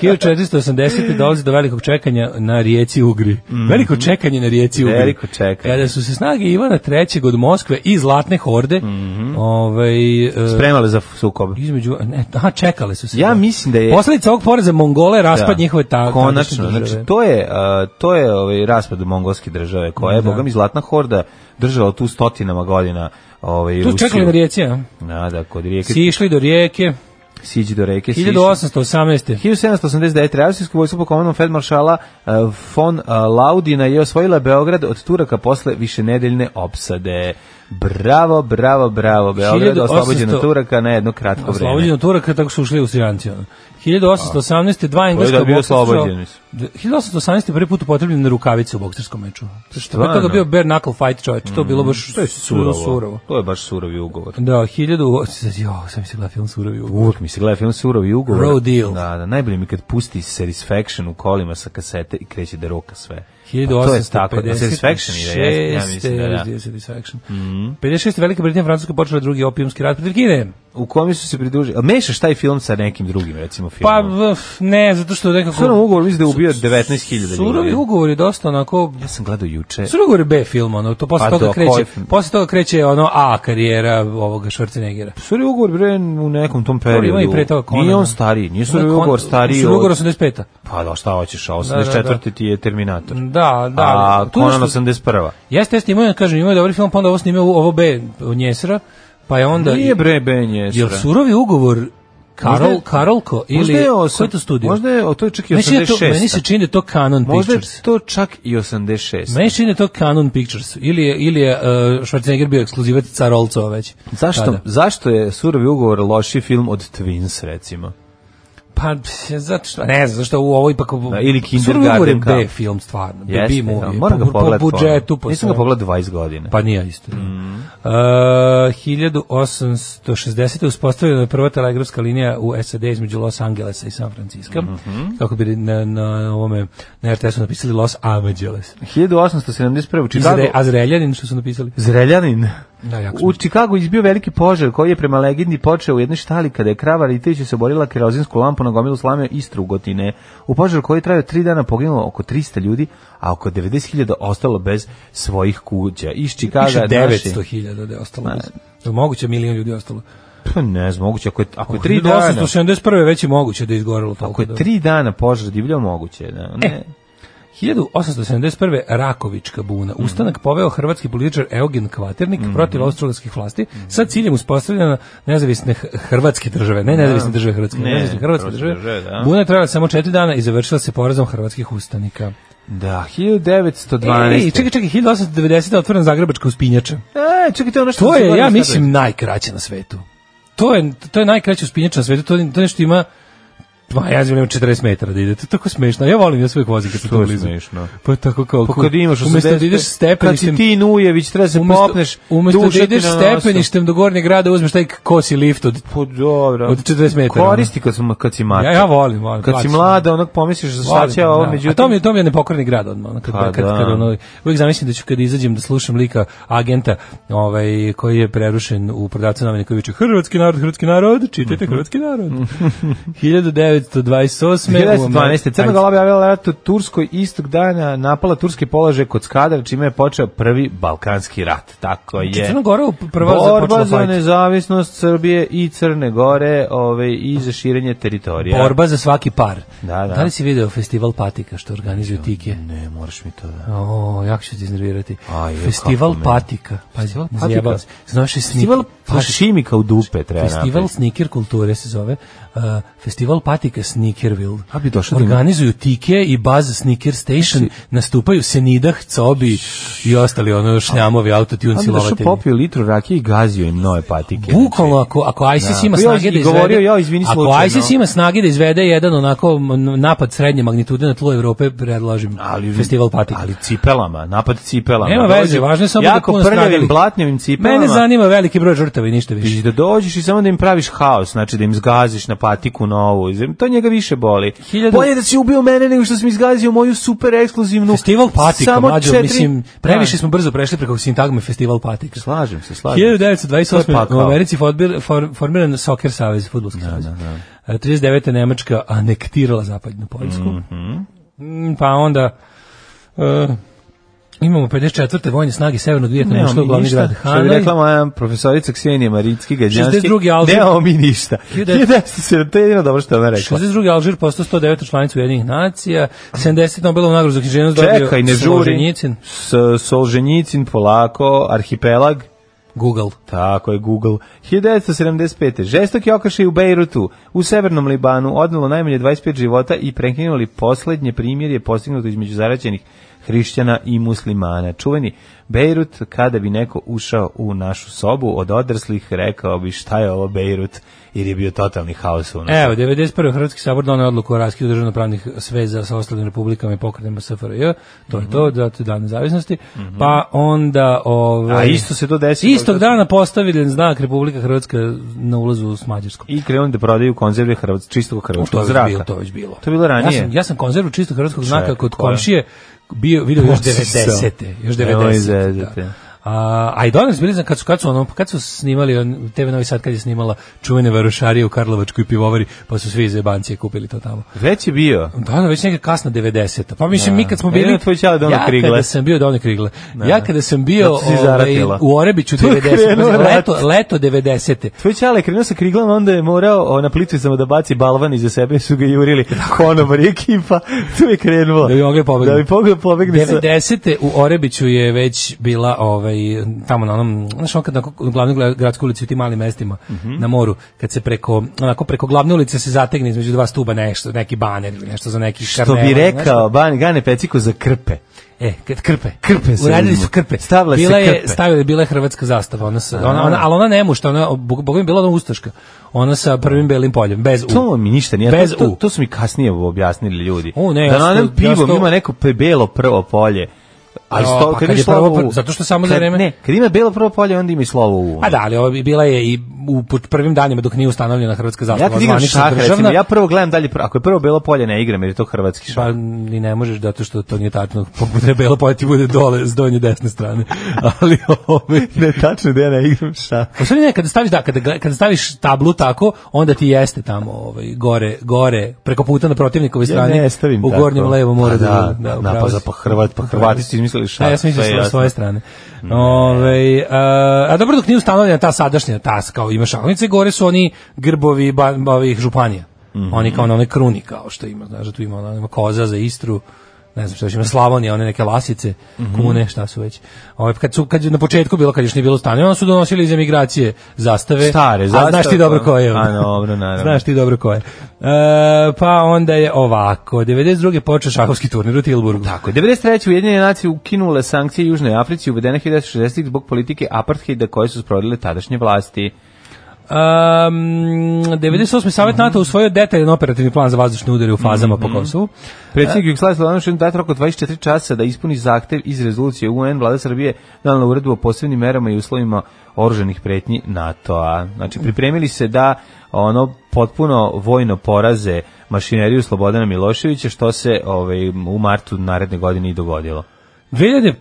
Speaker 5: 1480 dolazi do velikog čekanja na rijeci Ugri. Veliko čekanje na rijeci Ugri.
Speaker 6: Mhm. Veliko čekanje.
Speaker 5: Kada su se snage Ivana III od Moskve i Zlatne horde,
Speaker 6: Mhm.
Speaker 5: ovaj e,
Speaker 6: Spremale za f- sukob.
Speaker 5: između ne, aha, čekale su se.
Speaker 6: Ja
Speaker 5: da.
Speaker 6: mislim da je...
Speaker 5: Posledica ovog poreza Mongole je raspad
Speaker 6: Da.
Speaker 5: njihove ta tadašnje
Speaker 6: Konačno,
Speaker 5: države.
Speaker 6: znači to je a, to je ovaj raspad mongolske države koja je bogami zlatna horda držala tu stotinama godina ovaj
Speaker 5: tu su čekali na rijeci, a?
Speaker 6: Da, da, kod rijeke
Speaker 5: Si išli do rijeke,
Speaker 6: siđi do reke siđi.
Speaker 5: 1818.
Speaker 6: 1789. Austrijsko vojsko pod komandom feldmaršala eh, von eh, Laudina je osvojila Beograd od Turaka posle višenedeljne opsade. Bravo, bravo, bravo. Beograd
Speaker 5: 1800
Speaker 6: oslobođen od Turaka na jedno kratko Pa vreme. Pa.
Speaker 5: Oslobođen od Turaka, tako su ušli u Srijanci. ono. 1818. dva engleska
Speaker 6: bio
Speaker 5: boksera-
Speaker 6: oslobođen, mislim.
Speaker 5: D- 1818. prvi put upotrebljen na rukavice u bokserskom meču. Što
Speaker 6: Stvarno? Mm,
Speaker 5: pre toga bio bare knuckle fight čovječ, to je bilo baš
Speaker 6: To je surovo.
Speaker 5: surovo.
Speaker 6: To je baš surovi ugovor.
Speaker 5: Da, 1800... Jo, sam se gleda film surovi ugovor.
Speaker 6: Uvijek mi se gleda film Surovi ugovor.
Speaker 5: Raw deal.
Speaker 6: Da, da, najbolje mi kad pusti Satisfaction u kolima sa kasete i kreće da roka sve. Pa to je tako, da Satisfaction ide, jeste, ja mislim da Mhm. da.
Speaker 5: 1856. Satisfaction. 56. Velika Britanija i Francuska počela drugi opijumski rat protiv Kine.
Speaker 6: u kome su se pridružili. A mešaš taj film sa nekim drugim, recimo,
Speaker 5: Pa
Speaker 6: filmom?
Speaker 5: vf, ne, zato što nekako...
Speaker 6: Surovi ugovor mislim da je ubio 19.000
Speaker 5: Surovi
Speaker 6: ljudi.
Speaker 5: ugovor je dosta onako...
Speaker 6: Ja sam gledao juče.
Speaker 5: Surovi ugovor je B film, ono, to posle
Speaker 6: Pa
Speaker 5: toga
Speaker 6: do,
Speaker 5: kreće,
Speaker 6: koji film?
Speaker 5: posle toga kreće ono A karijera ovoga Schwarzeneggera.
Speaker 6: Surovi ugovor, bre, u nekom tom periodu.
Speaker 5: Ima i pre toga Conan.
Speaker 6: Nije on stariji, nije Surovi ugovor stariji
Speaker 5: Surovi ugovor
Speaker 6: od...
Speaker 5: 85
Speaker 6: Pa da, šta hoćeš, a
Speaker 5: da, da.
Speaker 6: 84. ti je Terminator.
Speaker 5: Da, da.
Speaker 6: A ono
Speaker 5: Tu
Speaker 6: Conan
Speaker 5: što-
Speaker 6: 81.
Speaker 5: Jeste, jeste, imao, je, kažem, imao je dobar film, pa onda ovo snimao u- ovo B od Njesera, pa je onda...
Speaker 6: Nije bre Ben
Speaker 5: Jel
Speaker 6: Jesra.
Speaker 5: surovi ugovor Karol,
Speaker 6: Možda je-
Speaker 5: Karolko ili...
Speaker 6: Možda je osam-
Speaker 5: koji je to studio?
Speaker 6: Možda je, o, to je čak i
Speaker 5: Meni se čini da to- Meni se
Speaker 6: 86.
Speaker 5: čini da je to Canon
Speaker 6: Možda je
Speaker 5: Pictures.
Speaker 6: to čak i 86.
Speaker 5: Meni se čini da je to Canon Pictures ili je, ili je uh, Schwarzenegger bio ekskluzivac Carolcova već.
Speaker 6: Zašto,
Speaker 5: Tada.
Speaker 6: zašto je Surovi ugovor loši film od Twins, recimo?
Speaker 5: Pa, pff, zato što, ne znam, zašto u ovo ipak...
Speaker 6: Da, ili
Speaker 5: Surovi ugovor je
Speaker 6: Kindergarten
Speaker 5: B
Speaker 6: Cup.
Speaker 5: film, stvarno. Jeste, B
Speaker 6: Jeste,
Speaker 5: movie.
Speaker 6: da, moram
Speaker 5: po,
Speaker 6: ga pogledati.
Speaker 5: Po budžetu,
Speaker 6: ponovo.
Speaker 5: po
Speaker 6: Nisam ga
Speaker 5: svemu.
Speaker 6: pogledao 20 godina.
Speaker 5: Pa nije isto. Mm. Uh, 1860. uspostavljena je prva telegrafska linija u SAD između Los Angelesa i San Francisco.
Speaker 6: Mhm.
Speaker 5: Kako bi na, na, ovome, na RTS-u napisali Los Angeles.
Speaker 6: 1871. u
Speaker 5: I
Speaker 6: Chicago...
Speaker 5: Zre- a Zreljanin što su napisali?
Speaker 6: Zreljanin.
Speaker 5: Da, jako
Speaker 6: U
Speaker 5: smiješno.
Speaker 6: Čikagu izbio veliki požar koji je prema legendi počeo u jednoj štali kada je krava Ritević se borila kerozinsku lampu na gomilu slame istru gotine. U požaru koji je trajao tri dana poginulo oko 300 ljudi, a oko 90.000 ostalo bez svojih kuća. Iz Čikaga...
Speaker 5: Piše
Speaker 6: naši-
Speaker 5: 900.000 da je ostalo.
Speaker 6: Ma.
Speaker 5: bez- Je li moguće milion ljudi je ostalo?
Speaker 6: Pa ne znam, moguće. Ako je, ako je tri dana...
Speaker 5: 1871. već je moguće da je izgorelo toliko.
Speaker 6: Ako je
Speaker 5: da-
Speaker 6: tri dana požar divljao, moguće je,
Speaker 5: E.
Speaker 6: da. Ne.
Speaker 5: 1871. Rakovička buna.
Speaker 6: Mhm.
Speaker 5: Ustanak poveo hrvatski političar Eugen Kvaternik protiv austrougarskih vlasti
Speaker 6: Mhm.
Speaker 5: sa ciljem uspostavljanja nezavisne h- hrvatske države. Ne nezavisne države Hrvatske,
Speaker 6: Ne,
Speaker 5: nezavisne hrvatske
Speaker 6: hrvatske
Speaker 5: države.
Speaker 6: države, da.
Speaker 5: Buna je trajala samo četiri dana i završila se porazom hrvatskih ustanika.
Speaker 6: Da,
Speaker 5: Ej,
Speaker 6: 1912.
Speaker 5: čekaj, čekaj, 1890. je otvorena Zagrebačka uspinjača.
Speaker 6: E, čekaj, to je ono što...
Speaker 5: To
Speaker 6: sam
Speaker 5: je,
Speaker 6: govorio,
Speaker 5: ja
Speaker 6: šta
Speaker 5: mislim, najkraće na svetu. To je, to je najkraće uspinjača na svetu. To, to nešto ima Ma, ja znam, nema 40 metara da ide. To je tako smešno. Ja volim, ja se uvijek vozim kad sam
Speaker 6: To
Speaker 5: tu
Speaker 6: je
Speaker 5: blizu.
Speaker 6: smešno.
Speaker 5: Pa je tako kao...
Speaker 6: Pa kad imaš 80...
Speaker 5: Umesto da ideš
Speaker 6: Kad si
Speaker 5: stepeništem...
Speaker 6: ti Nujević, treba se
Speaker 5: umesto-
Speaker 6: popneš,
Speaker 5: umesto da
Speaker 6: duša ti
Speaker 5: ideš
Speaker 6: na nosu.
Speaker 5: stepeništem do gornjeg grada, uzmeš taj kosi lift od...
Speaker 6: Pa dobro.
Speaker 5: Od 40 metara, ono.
Speaker 6: Koristi kad, sam, kad si mater.
Speaker 5: Ja, ja volim, volim.
Speaker 6: Kad si
Speaker 5: plaćam.
Speaker 6: mlada, onog pomisliš za šta
Speaker 5: Volim,
Speaker 6: će ovo,
Speaker 5: da.
Speaker 6: međutim...
Speaker 5: A to mi je, to mi je nepokorni grad odmah. Ono, kad,
Speaker 6: Pa
Speaker 5: kad, kad,
Speaker 6: da.
Speaker 5: ono, uvijek zamislim da ću kad izađem da slušam lika agenta ovaj, koji je prerušen u prodavcu novine koji viče Hrvatski narod, hrvatski narod, čitajte hrvatski
Speaker 6: [LAUGHS]
Speaker 5: narod. 1928. u Amer-
Speaker 6: 1912. Crna Gola objavila rat u Turskoj istog dana napala turske položaje kod Skadra, čime je počeo prvi Balkanski rat. Tako je.
Speaker 5: Ajde. Crna Gora u- prva
Speaker 6: Borba
Speaker 5: započela
Speaker 6: za
Speaker 5: fajt.
Speaker 6: nezavisnost Srbije i Crne Gore ove, i za širenje teritorija.
Speaker 5: Borba za svaki par.
Speaker 6: Da, da.
Speaker 5: da li si video festival patika što organizuju Tike?
Speaker 6: Ne, moraš mi to da.
Speaker 5: O, jako ću ti iznervirati.
Speaker 6: A, je,
Speaker 5: Festival
Speaker 6: kako me.
Speaker 5: patika. Festival
Speaker 6: Patika?
Speaker 5: Znaš je snik...
Speaker 6: Festival
Speaker 5: Paš-
Speaker 6: šimika u dupe treba
Speaker 5: Festival
Speaker 6: napraviti.
Speaker 5: sneaker kulture se zove. Uh, festival patika Sneakerville.
Speaker 6: A bi došao da ima-
Speaker 5: Organizuju Tike i Baz Sneaker Station. Nastupaju Senidah, Cobi i ostali ono šljamovi, autotune
Speaker 6: A mi došao
Speaker 5: silovatelji.
Speaker 6: popio litru rakije i gazio im nove patike.
Speaker 5: Bukvalno ako ako ISIS
Speaker 6: Da.
Speaker 5: ima
Speaker 6: Pa ja
Speaker 5: snage
Speaker 6: i
Speaker 5: da izvede
Speaker 6: govorio, ja, izvini,
Speaker 5: Ako
Speaker 6: slučajno.
Speaker 5: ISIS ima snage da izvede jedan onako m, napad srednje magnitude na tlo Evrope, predlažem
Speaker 6: Ali,
Speaker 5: festival patika.
Speaker 6: Ali cipelama, napad cipelama.
Speaker 5: Nema
Speaker 6: Dođi
Speaker 5: veze, važno je samo da
Speaker 6: jako
Speaker 5: puno
Speaker 6: prljavim,
Speaker 5: stradali.
Speaker 6: blatnjavim cipelama.
Speaker 5: Mene zanima veliki broj žrtava i ništa više.
Speaker 6: I da dođeš i samo da im praviš haos, znači da im zgaziš na patiku novu. To njega više boli.
Speaker 5: Hiljadu-
Speaker 6: Bolje da si ubio mene nego što si mi zgazio moju super ekskluzivnu...
Speaker 5: Festival patika,
Speaker 6: samo
Speaker 5: mlađo,
Speaker 6: četiri-
Speaker 5: mislim, previše
Speaker 6: Da.
Speaker 5: smo brzo prešli preko sintagme festival patika.
Speaker 6: Slažem se, slažem se. Pa, To je
Speaker 5: 1928. u
Speaker 6: pakao.
Speaker 5: Americi fotbil- for- formiran Soccer savez, fudbalski savez. E, 39. Nemačka anektirala zapadnu Poljsku.
Speaker 6: Mhm.
Speaker 5: Mm, Pa onda e, imamo 54. vojne snage severnog Vijetnama
Speaker 6: Nemamo
Speaker 5: što je
Speaker 6: mi
Speaker 5: glavni
Speaker 6: ništa,
Speaker 5: grad
Speaker 6: što bi
Speaker 5: Hanoj.
Speaker 6: rekla moja profesorica Ksenija Marinski Gađanski,
Speaker 5: 62. album.
Speaker 6: nemamo mi ništa.
Speaker 5: 1900.
Speaker 6: 1907, to je jedino dobro što je ona rekla.
Speaker 5: 62. Alžir postao 109. članica Ujedinjenih nacija, 70. Nobelovu nagradu za književnost dobio
Speaker 6: Čekaj, ne žuri.
Speaker 5: Solženjicin.
Speaker 6: S, Solženjicin, polako, arhipelag.
Speaker 5: Google.
Speaker 6: Tako je, Google. 1975. Žestoki okašaj u Bejrutu, u severnom Libanu, odnelo najmanje 25 života i prekinuli poslednje primjer je postignuto između zaraćenih hrišćana i muslimana. Čuveni Bejrut, kada bi neko ušao u našu sobu od odraslih, rekao bi šta je ovo Bejrut, jer je bio totalni haos u nas.
Speaker 5: Evo, 91. Hrvatski sabor donio odluku o raskidu državnopravnih sveza sa ostalim republikama i pokretima SFRJ, to je
Speaker 6: Mhm.
Speaker 5: to, zato je dan nezavisnosti, pa onda... Ovaj,
Speaker 6: A isto se to desilo.
Speaker 5: Istog dana postavljen znak Republika Hrvatska na ulazu s Mađarskom.
Speaker 6: I krenuli da prodaju konzerve hrvat, čistog
Speaker 5: To
Speaker 6: hrvatskog
Speaker 5: je
Speaker 6: zraka.
Speaker 5: već bilo, to je već bilo.
Speaker 6: To je bilo ranije.
Speaker 5: Ja sam, ja sam konzervu čistog hrvatskog znaka
Speaker 6: Čekaj,
Speaker 5: kod
Speaker 6: koja?
Speaker 5: komšije bio, vidio još
Speaker 6: Posisao.
Speaker 5: 90. Još 90.
Speaker 6: Nemoj zezati.
Speaker 5: Da. A, a i doneli su bili, znam, kad su, kad su, ono, kad su snimali, on, TV Novi Sad kad je snimala čuvene varošarije u Karlovačkoj pivovari, pa su svi iz jebancije kupili to tamo.
Speaker 6: Već je bio.
Speaker 5: Da, da, već neka kasna 90-ta. Pa mislim, mi kad smo bili...
Speaker 6: Ja, tvoj ćale Dona
Speaker 5: ja
Speaker 6: Krigle.
Speaker 5: kada sam bio Dona Krigle. Ja kada sam bio
Speaker 6: Zato si
Speaker 5: ovaj,
Speaker 6: zaratila.
Speaker 5: u Orebiću
Speaker 6: [LAUGHS] Tu je
Speaker 5: 90
Speaker 6: krenuo
Speaker 5: pazi,
Speaker 6: rat.
Speaker 5: leto, leto 90
Speaker 6: Tvoj ćale je krenuo sa kriglom, onda je morao o, na plitu samo da baci balvan iza sebe i su ga jurili konobar i ekipa. Tu je krenuo.
Speaker 5: Da bi mogli pobegne.
Speaker 6: Da bi mogli pobegne sa...
Speaker 5: 90. u Orebiću je već bila ovaj, tamo na onom, znaš on kad na glavnoj gra- gradskoj ulici u tim malim mestima
Speaker 6: Mhm.
Speaker 5: na moru, kad se preko, onako preko glavne ulice se zategne između dva stuba nešto, neki baner ili nešto za neki
Speaker 6: Što bi rekao, ban, Gane Peciko za krpe.
Speaker 5: E, kad krpe.
Speaker 6: Krpe se
Speaker 5: Uradili
Speaker 6: uzmu.
Speaker 5: su krpe.
Speaker 6: Stavile se
Speaker 5: bila je,
Speaker 6: krpe.
Speaker 5: stavila, bila je hrvatska zastava, ona sa, ona, ona, ali ona nemušta, ona, bog, bog mi je bila ona ustaška. Ona sa prvim belim poljem, bez u.
Speaker 6: To mi ništa nije.
Speaker 5: Bez
Speaker 6: to, to,
Speaker 5: U.
Speaker 6: to su mi kasnije objasnili ljudi.
Speaker 5: O, ne, ja
Speaker 6: da na
Speaker 5: sto-
Speaker 6: onom
Speaker 5: ja
Speaker 6: pivom
Speaker 5: sto-
Speaker 6: ima neko pe- belo prvo polje. Ali
Speaker 5: Jo,
Speaker 6: sto,
Speaker 5: pa
Speaker 6: kad,
Speaker 5: kad
Speaker 6: je
Speaker 5: je prvo
Speaker 6: slovo
Speaker 5: pr-
Speaker 6: U.
Speaker 5: zato što samo za
Speaker 6: kad,
Speaker 5: vreme-
Speaker 6: Ne, kad ima belo prvo polje, onda ima i slovo U.
Speaker 5: Pa da, ali ovo bi bila je i u po- prvim danima dok nije ustanovljena hrvatska zastava.
Speaker 6: Ja kad igram
Speaker 5: pa zvanična
Speaker 6: šah, recimo,
Speaker 5: državna.
Speaker 6: ja prvo gledam dalje, pro- ako je prvo belo polje, ne igram, jer je to hrvatski šah.
Speaker 5: Pa ni ne možeš zato što to nije tačno. Poput belo polje ti bude dole s donje desne strane. [LAUGHS] Ali ovaj
Speaker 6: ne, tačno da ja ne igram šah.
Speaker 5: U stvari Pa ne, kada staviš, da, kada, gle- kada staviš tablu tako, onda ti jeste tamo ovaj, gore, gore, preko puta na protivnikovoj
Speaker 6: Ja
Speaker 5: strani.
Speaker 6: ne stavim
Speaker 5: U
Speaker 6: tako.
Speaker 5: gornjem levom mora
Speaker 6: Pa
Speaker 5: da,
Speaker 6: da, da,
Speaker 5: upravo
Speaker 6: pa,
Speaker 5: si.
Speaker 6: za- pa Hrvat, pa Hrvati su izmislili šah.
Speaker 5: Ne, ja sam
Speaker 6: sve je
Speaker 5: mislio sa
Speaker 6: jasno.
Speaker 5: svoje strane. Ove, a, a dobro dok nije ustanovljena ta sadašnja, ta kao ima šalnice, gore su oni grbovi ba, ba- ovih županija.
Speaker 6: Mhm.
Speaker 5: Oni kao na one kruni kao što ima, znaš, da tu ima, ona, ima koza za Istru, ne znam šta još ima Slavonija, one neke lasice,
Speaker 6: Mhm.
Speaker 5: kune, šta su već. Ove, kad, su, kad je na početku bilo, kad još nije bilo stanje, onda su donosili iz emigracije zastave.
Speaker 6: Stare
Speaker 5: A
Speaker 6: zastave,
Speaker 5: znaš ti dobro
Speaker 6: pa-
Speaker 5: ko je.
Speaker 6: A,
Speaker 5: ono.
Speaker 6: dobro, naravno.
Speaker 5: Znaš ti dobro ko je. E, pa onda je ovako, 92. počeo šahovski turnir u Tilburgu.
Speaker 6: Tako, je. 93. Ujedinjene nacije ukinule sankcije Južnoj Africi uvedene 1960. zbog politike apartheida koje su sprovodile tadašnje vlasti.
Speaker 5: Um, 98. savjet
Speaker 6: Mhm.
Speaker 5: NATO usvojio detaljan operativni plan za vazdušne udare u fazama po Kosovu. E,
Speaker 6: Predsjednik Jugoslavije Slobodanović dati rok od 24 časa da ispuni zahtev iz rezolucije UN vlada Srbije donela uredbu o posebnim merama i uslovima oruženih pretnji NATO-a. Znači pripremili se da ono potpuno vojno poraze mašineriju Slobodana Miloševića što se ovaj u martu naredne godine i dogodilo.
Speaker 5: 2001. Uh,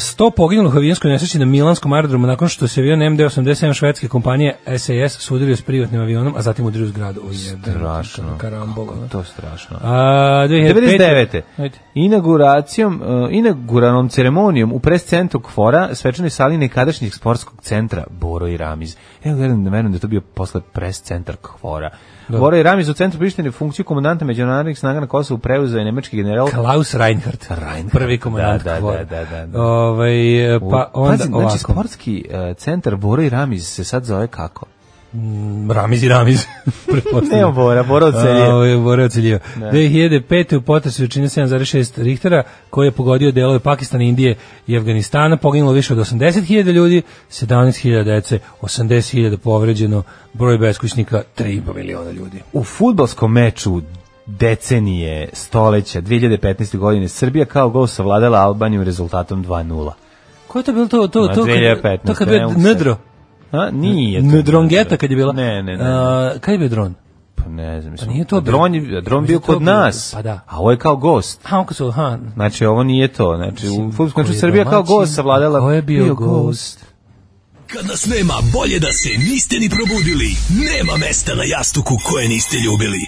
Speaker 5: 100 poginulih u avijanskoj nesreći na Milanskom aerodromu nakon što se avion MD-87 švedske kompanije SAS sudario s privatnim avionom, a zatim udario zgradu. O jebe,
Speaker 6: Strašno.
Speaker 5: Karambola.
Speaker 6: To je strašno.
Speaker 5: A,
Speaker 6: 99.
Speaker 5: 2005. Ajde.
Speaker 6: Inauguracijom, uh, inauguranom ceremonijom u pres centru Kfora, svečanoj sali nekadašnjeg sportskog centra Boro i Ramiz. Evo, verujem da verujem da je to bio posle pres centar Kfora. Boro i Ramiz u centru Prištine funkciju komandanta međunarodnih snaga na Kosovu preuzeo je nemački general
Speaker 5: Klaus Reinhardt,
Speaker 6: Reinhardt.
Speaker 5: prvi komandant
Speaker 6: Da, da,
Speaker 5: KFOR-a.
Speaker 6: da, da, da.
Speaker 5: Ovaj, pa
Speaker 6: U-
Speaker 5: onda
Speaker 6: Pazi, znači,
Speaker 5: ovako.
Speaker 6: sportski uh, centar Boro i Ramiz se sad zove kako?
Speaker 5: Ramiz i Ramiz. [LAUGHS]
Speaker 6: Nema
Speaker 5: Pretpostavljam.
Speaker 6: Bora, Bora ocelio.
Speaker 5: Pa A, ovo je Bora ocelio. 2005. u potresu veličine 7,6 Richtera koji je pogodio delove Pakistana, Indije i Afganistana. Poginulo više od 80.000 ljudi, 17.000 dece, 80.000 povređeno, broj beskućnika 3,5 miliona ljudi.
Speaker 6: U futbalskom meču decenije, stoleća, 2015. godine Srbija kao gol savladala Albanijom rezultatom 2:0.
Speaker 5: Ko je to bilo to? To,
Speaker 6: Ma,
Speaker 5: to, kad,
Speaker 6: 2015,
Speaker 5: to kad
Speaker 6: ne
Speaker 5: bio
Speaker 6: mogu se-
Speaker 5: Ndro.
Speaker 6: A, nije to.
Speaker 5: Ndrongeta kad je bila.
Speaker 6: Ne, ne, ne.
Speaker 5: A, kad je bio dron?
Speaker 6: pa ne znam, mislim.
Speaker 5: Pa nije to bio-
Speaker 6: dron, je, dron bio
Speaker 5: Mislim, to
Speaker 6: kod
Speaker 5: bio-
Speaker 6: nas.
Speaker 5: pa da.
Speaker 6: A ovo je kao gost.
Speaker 5: Ha, on kad su, ha,
Speaker 6: Znači, ovo nije to. Znači, u futbolskom
Speaker 5: ko
Speaker 6: meču
Speaker 5: je
Speaker 6: Srbija kao
Speaker 5: domaćin,
Speaker 6: gost savladala.
Speaker 5: a ko je bio gost?
Speaker 9: Kad nas nema, bolje da se niste ni probudili. Nema mesta na jastuku koje niste ljubili.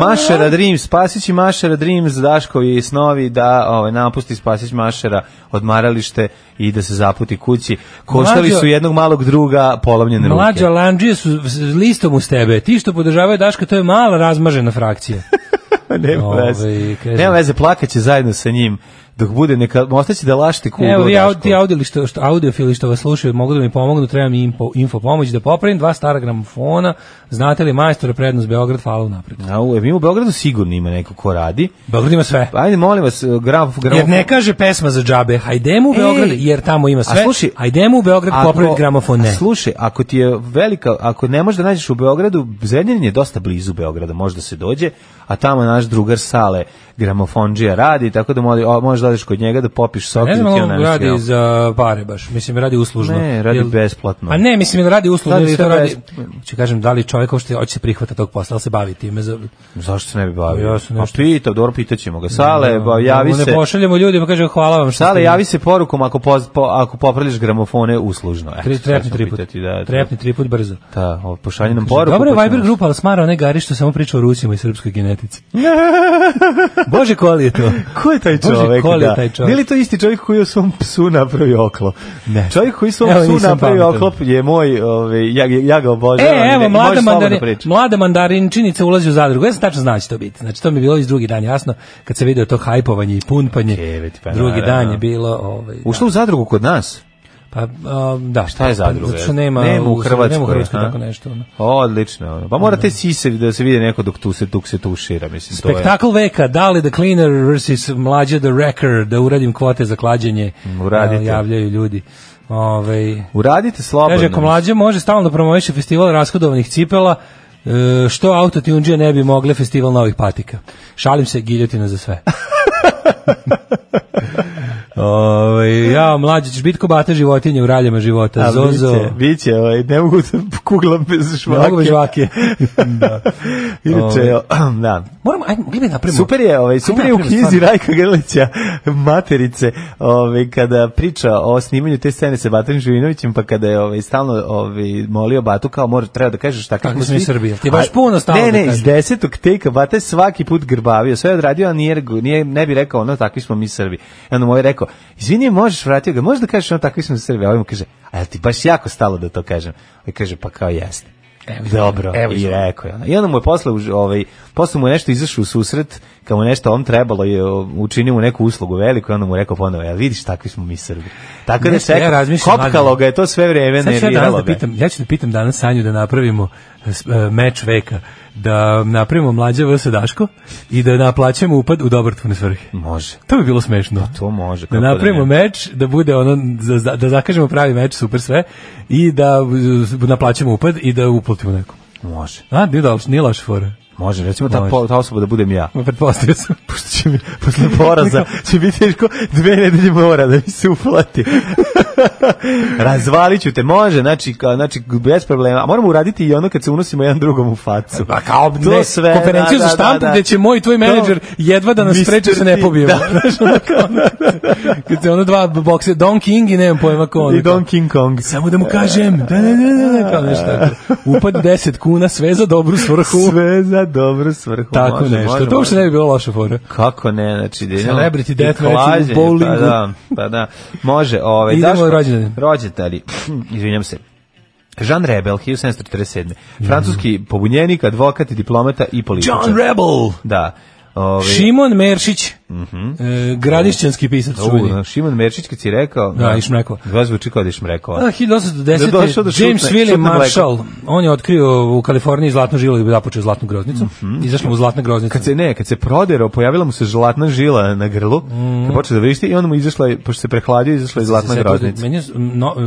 Speaker 6: Mašera Dreams, Spasić i Mašera Dreams, Daškovi i snovi da ovaj, napusti Spasić Mašera odmaralište i da se zaputi kući. Koštali
Speaker 5: Mlađo-
Speaker 6: su jednog malog druga polovljene ruke.
Speaker 5: Mlađa Landžije su s- s listom uz tebe. Ti što podržavaju Daška, to je mala razmažena frakcija.
Speaker 6: [LAUGHS] Nema
Speaker 5: Ovaj,
Speaker 6: veze.
Speaker 5: kažem-
Speaker 6: Nema veze, plakaće zajedno sa njim dok bude neka ostaće da lašti kuglu.
Speaker 5: Evo vi
Speaker 6: Daško.
Speaker 5: au- ti audiofili što, što, audiofili što vas slušaju mogu da mi pomognu, treba mi info, info pomoć da popravim dva stara gramofona. Znate li majstora prednost Beograd, hvala unapred.
Speaker 6: Au, e, mi u Beogradu sigurno ima neko ko radi.
Speaker 5: Beograd ima sve.
Speaker 6: Pa Ajde, molim vas, graf, graf.
Speaker 5: Jer ne kaže pesma za džabe, hajdemo u Beograd,
Speaker 6: Ej!
Speaker 5: jer tamo ima sve.
Speaker 6: A slušaj,
Speaker 5: hajdemo u Beograd, popraviti gramofon, ne.
Speaker 6: a Slušaj, ako ti je velika, ako ne možeš da nađeš u Beogradu, Zrenjanin je dosta blizu Beograda, možda se dođe, a tamo naš drugar Sale gramofonđija radi, tako da moli, o, možeš da odeš kod njega da popiš sok
Speaker 5: Ne
Speaker 6: i da
Speaker 5: znam,
Speaker 6: ti on
Speaker 5: on
Speaker 6: namesti
Speaker 5: radi
Speaker 6: jelo.
Speaker 5: za pare baš. Mislim, radi uslužno.
Speaker 6: Ne, radi
Speaker 5: Jel-
Speaker 6: besplatno.
Speaker 5: Pa ne, mislim, jel radi uslužno
Speaker 6: Radi
Speaker 5: ili
Speaker 6: sve
Speaker 5: to radi...
Speaker 6: besplatno.
Speaker 5: Ću kažem, da li čovjek uopšte hoće se prihvata tog posla, ali se bavi time za...
Speaker 6: Zašto se ne bi bavio?
Speaker 5: Ja sam
Speaker 6: Pa
Speaker 5: nešto-
Speaker 6: pita, dobro, pitaćemo ga. Sale, E, ba, javi
Speaker 5: Da mu
Speaker 6: se.
Speaker 5: Ne pošaljemo ljudima, kaže, hvala vam što
Speaker 6: Sale,
Speaker 5: ste-
Speaker 6: javi se porukom ako, poz, po, ako popriliš gramofone uslužno. Eto,
Speaker 5: Tri,
Speaker 6: sad
Speaker 5: trepni
Speaker 6: ćemo
Speaker 5: triput.
Speaker 6: pitati, Da, da.
Speaker 5: Trepni triput brzo.
Speaker 6: Da, o, pošalji nam poruku.
Speaker 5: Dobro je
Speaker 6: pa ćemo-
Speaker 5: Viber grupa, ali smara one gari što samo priča o Rusima i srpskoj
Speaker 6: [LAUGHS]
Speaker 5: genetici. Bože, koli je to?
Speaker 6: Ko je taj
Speaker 5: Bože,
Speaker 6: čovjek?
Speaker 5: ko li je
Speaker 6: da?
Speaker 5: taj čovjek?
Speaker 6: Nije li to isti čovjek koji je svom psu napravio oklo?
Speaker 5: Ne.
Speaker 6: Čovjek koji svom
Speaker 5: Evo,
Speaker 6: psu
Speaker 5: nisam
Speaker 6: napravio
Speaker 5: pametan.
Speaker 6: oklop je moj, ovaj, ja, ja ga obožavam.
Speaker 5: E, evo,
Speaker 6: i može
Speaker 5: mlada,
Speaker 6: slobodno
Speaker 5: mandarin,
Speaker 6: priča.
Speaker 5: mlada mandarinčinica ulazi u zadrugu. Ja sam tačno znao da će to biti. Znači, to mi je bilo iz drugi dan, jasno, kad se video to hajpovanje i punpanje.
Speaker 6: Jebeti, pa
Speaker 5: drugi
Speaker 6: naravno.
Speaker 5: dan je bilo... Ovaj, da.
Speaker 6: Ušla u zadrugu kod nas?
Speaker 5: Pa, um, da.
Speaker 6: Šta je zadruga?
Speaker 5: Zato što nema,
Speaker 6: Nema u
Speaker 5: nema u
Speaker 6: Hrvatskoj,
Speaker 5: Hrvatskoj
Speaker 6: aha.
Speaker 5: tako nešto. Ono.
Speaker 6: Odlično. ono. Pa mora te sise da se vidi neko dok tu se, dok se tušira. Mislim, to je.
Speaker 5: Spektakl veka, Dali the Cleaner versus Mlađe the Wrecker, da uradim kvote za klađenje,
Speaker 6: uradite.
Speaker 5: e, javljaju ljudi. Ove,
Speaker 6: Uradite slobodno.
Speaker 5: kaže, ako Mlađe može stalno da promoviše festival rashodovanih cipela, e, što auto Tijunđija ne bi mogle festival novih patika. Šalim se, giljotina za
Speaker 6: [LAUGHS]
Speaker 5: sve. Ove, ja, mlađe, ćeš biti ko bata životinje u raljama života.
Speaker 6: A,
Speaker 5: Zozo.
Speaker 6: Biće, biće ovaj, ne mogu da kuglam bez
Speaker 5: Ne
Speaker 6: švake.
Speaker 5: mogu bez žvake. Ovaj. da.
Speaker 6: Inače, [CLEARS THROAT] da.
Speaker 5: Moramo, ajde, mogli bi napravimo.
Speaker 6: Super je, ovaj,
Speaker 5: Ajde
Speaker 6: super je u
Speaker 5: napravimo
Speaker 6: knjizi
Speaker 5: stvarno.
Speaker 6: Rajka Grlića Materice, ovaj, kada priča o snimanju te scene sa Batan Živinovićem, pa kada je ovaj, stalno ovaj, molio Batu, kao mora, treba da kažeš tako
Speaker 5: Kako smo mi Srbi, ti baš puno stalno da
Speaker 6: Ne, ne, iz
Speaker 5: kažeš.
Speaker 6: desetog teka Bata je svaki put grbavio, sve je odradio, a nije, nije, ne bi rekao ono, takvi smo mi Srbi. I onda mu je rekao, izvini, možeš vratio ga, možeš da kažeš ono, takvi smo Srbi, a ovaj mu kaže, a jel ti baš jako stalo da to kažem? I kaže, pa kao jeste. Dobro,
Speaker 5: evo
Speaker 6: i
Speaker 5: izvoli.
Speaker 6: rekao je. ono. I onda mu je posle, už- ovaj, posle mu je nešto izašao u susret, kad mu nešto on trebalo, je, o, učinio mu neku uslugu veliku, i onda mu je rekao ponovo, ja vidiš, takvi smo mi Srbi. Tako da
Speaker 5: Nešto
Speaker 6: čeka,
Speaker 5: ja razmišljam,
Speaker 6: kopkalo
Speaker 5: mlađe.
Speaker 6: ga je to sve vreme,
Speaker 5: Sad ću ja danas
Speaker 6: nerviralo
Speaker 5: da
Speaker 6: ga. je.
Speaker 5: pitam, ja ću da pitam danas Sanju da napravimo e, s- e, meč veka, da napravimo mlađe vs. Daško i da naplaćemo upad u dobrotvorne svrhe.
Speaker 6: Može,
Speaker 5: To bi bilo smešno.
Speaker 6: Pa to može. kako
Speaker 5: Da napravimo
Speaker 6: ne.
Speaker 5: meč, da bude ono, za- za- da zakažemo pravi meč, super sve, i da e, naplaćemo upad i da uplatimo nekom.
Speaker 6: Može,
Speaker 5: A, nije, da, nije loša fora.
Speaker 6: može, recimo ta,
Speaker 5: Može.
Speaker 6: po- ta osoba da budem ja.
Speaker 5: Ma, Pretpostavio sam. [LAUGHS]
Speaker 6: Pošto će mi, [LAUGHS] posle poraza će biti teško dve nedelje mora da mi se
Speaker 5: [LAUGHS]
Speaker 6: uplati. Razvalit ću te, može, znači, ka- znači bez problema. A moramo uraditi i ono kad se unosimo jedan drugom u facu.
Speaker 5: Pa kao
Speaker 6: To
Speaker 5: ne,
Speaker 6: sve,
Speaker 5: konferenciju za
Speaker 6: da, da,
Speaker 5: štampu
Speaker 6: da.
Speaker 5: gde će moj i tvoj menadžer jedva da nas
Speaker 6: Mr.
Speaker 5: spreče da se ne
Speaker 6: T,
Speaker 5: pobijemo.
Speaker 6: da.
Speaker 5: [LAUGHS] Znaš, ono kao, ono, kad se ono dva bokse, Don King i nemam pojma ko ono.
Speaker 6: I
Speaker 5: kao,
Speaker 6: Don King Kong.
Speaker 5: Samo da mu kažem, da, da, da, da, da, kao nešto tako. Upad 10 kuna, sve za dobru svrhu.
Speaker 6: Sve za dobru svrhu.
Speaker 5: tako
Speaker 6: može,
Speaker 5: nešto.
Speaker 6: može,
Speaker 5: to uopšte
Speaker 6: može.
Speaker 5: ne bi bilo loša fora.
Speaker 6: Kako ne, znači... Da idemo-
Speaker 5: Celebrity
Speaker 6: i
Speaker 5: death match u
Speaker 6: klađenje, Pa
Speaker 5: bowlingu.
Speaker 6: da, pa da. Može, ovaj,
Speaker 5: Idemo
Speaker 6: Daško,
Speaker 5: rođendan.
Speaker 6: rođendani. [CLEARS THROAT] Izvinjam se. Jean Rebel, 1747.
Speaker 5: Mhm.
Speaker 6: Francuski pobunjenik, advokat, diplomata i političar.
Speaker 5: John Rebel!
Speaker 6: Da. ovaj, Ove,
Speaker 5: Šimon Meršić,
Speaker 6: Mhm.
Speaker 5: e, gradišćanski pisac čuveni.
Speaker 6: U, Šimon Merčić kad si rekao...
Speaker 5: Da, i Šmrekova. Ah.
Speaker 6: Da, zvuči kao da je Šmrekova.
Speaker 5: A,
Speaker 6: Da je došao da
Speaker 5: 1810.
Speaker 6: šutne-
Speaker 5: James
Speaker 6: šutne
Speaker 5: William
Speaker 6: mleko.
Speaker 5: Marshall, on je otkrio u Kaliforniji zlatnu žilu i započeo zlatnu groznicu. Izašla mu zlatna groznica.
Speaker 6: Mhm. Kad se ne, kad se proderao, pojavila mu se žlatna žila na grlu, kad počeo da vrišti i onda mu izašla, je, pošto se prehladio, izašla je zlatna
Speaker 5: Mhm. se
Speaker 6: groznica.
Speaker 5: Meni je, no, e,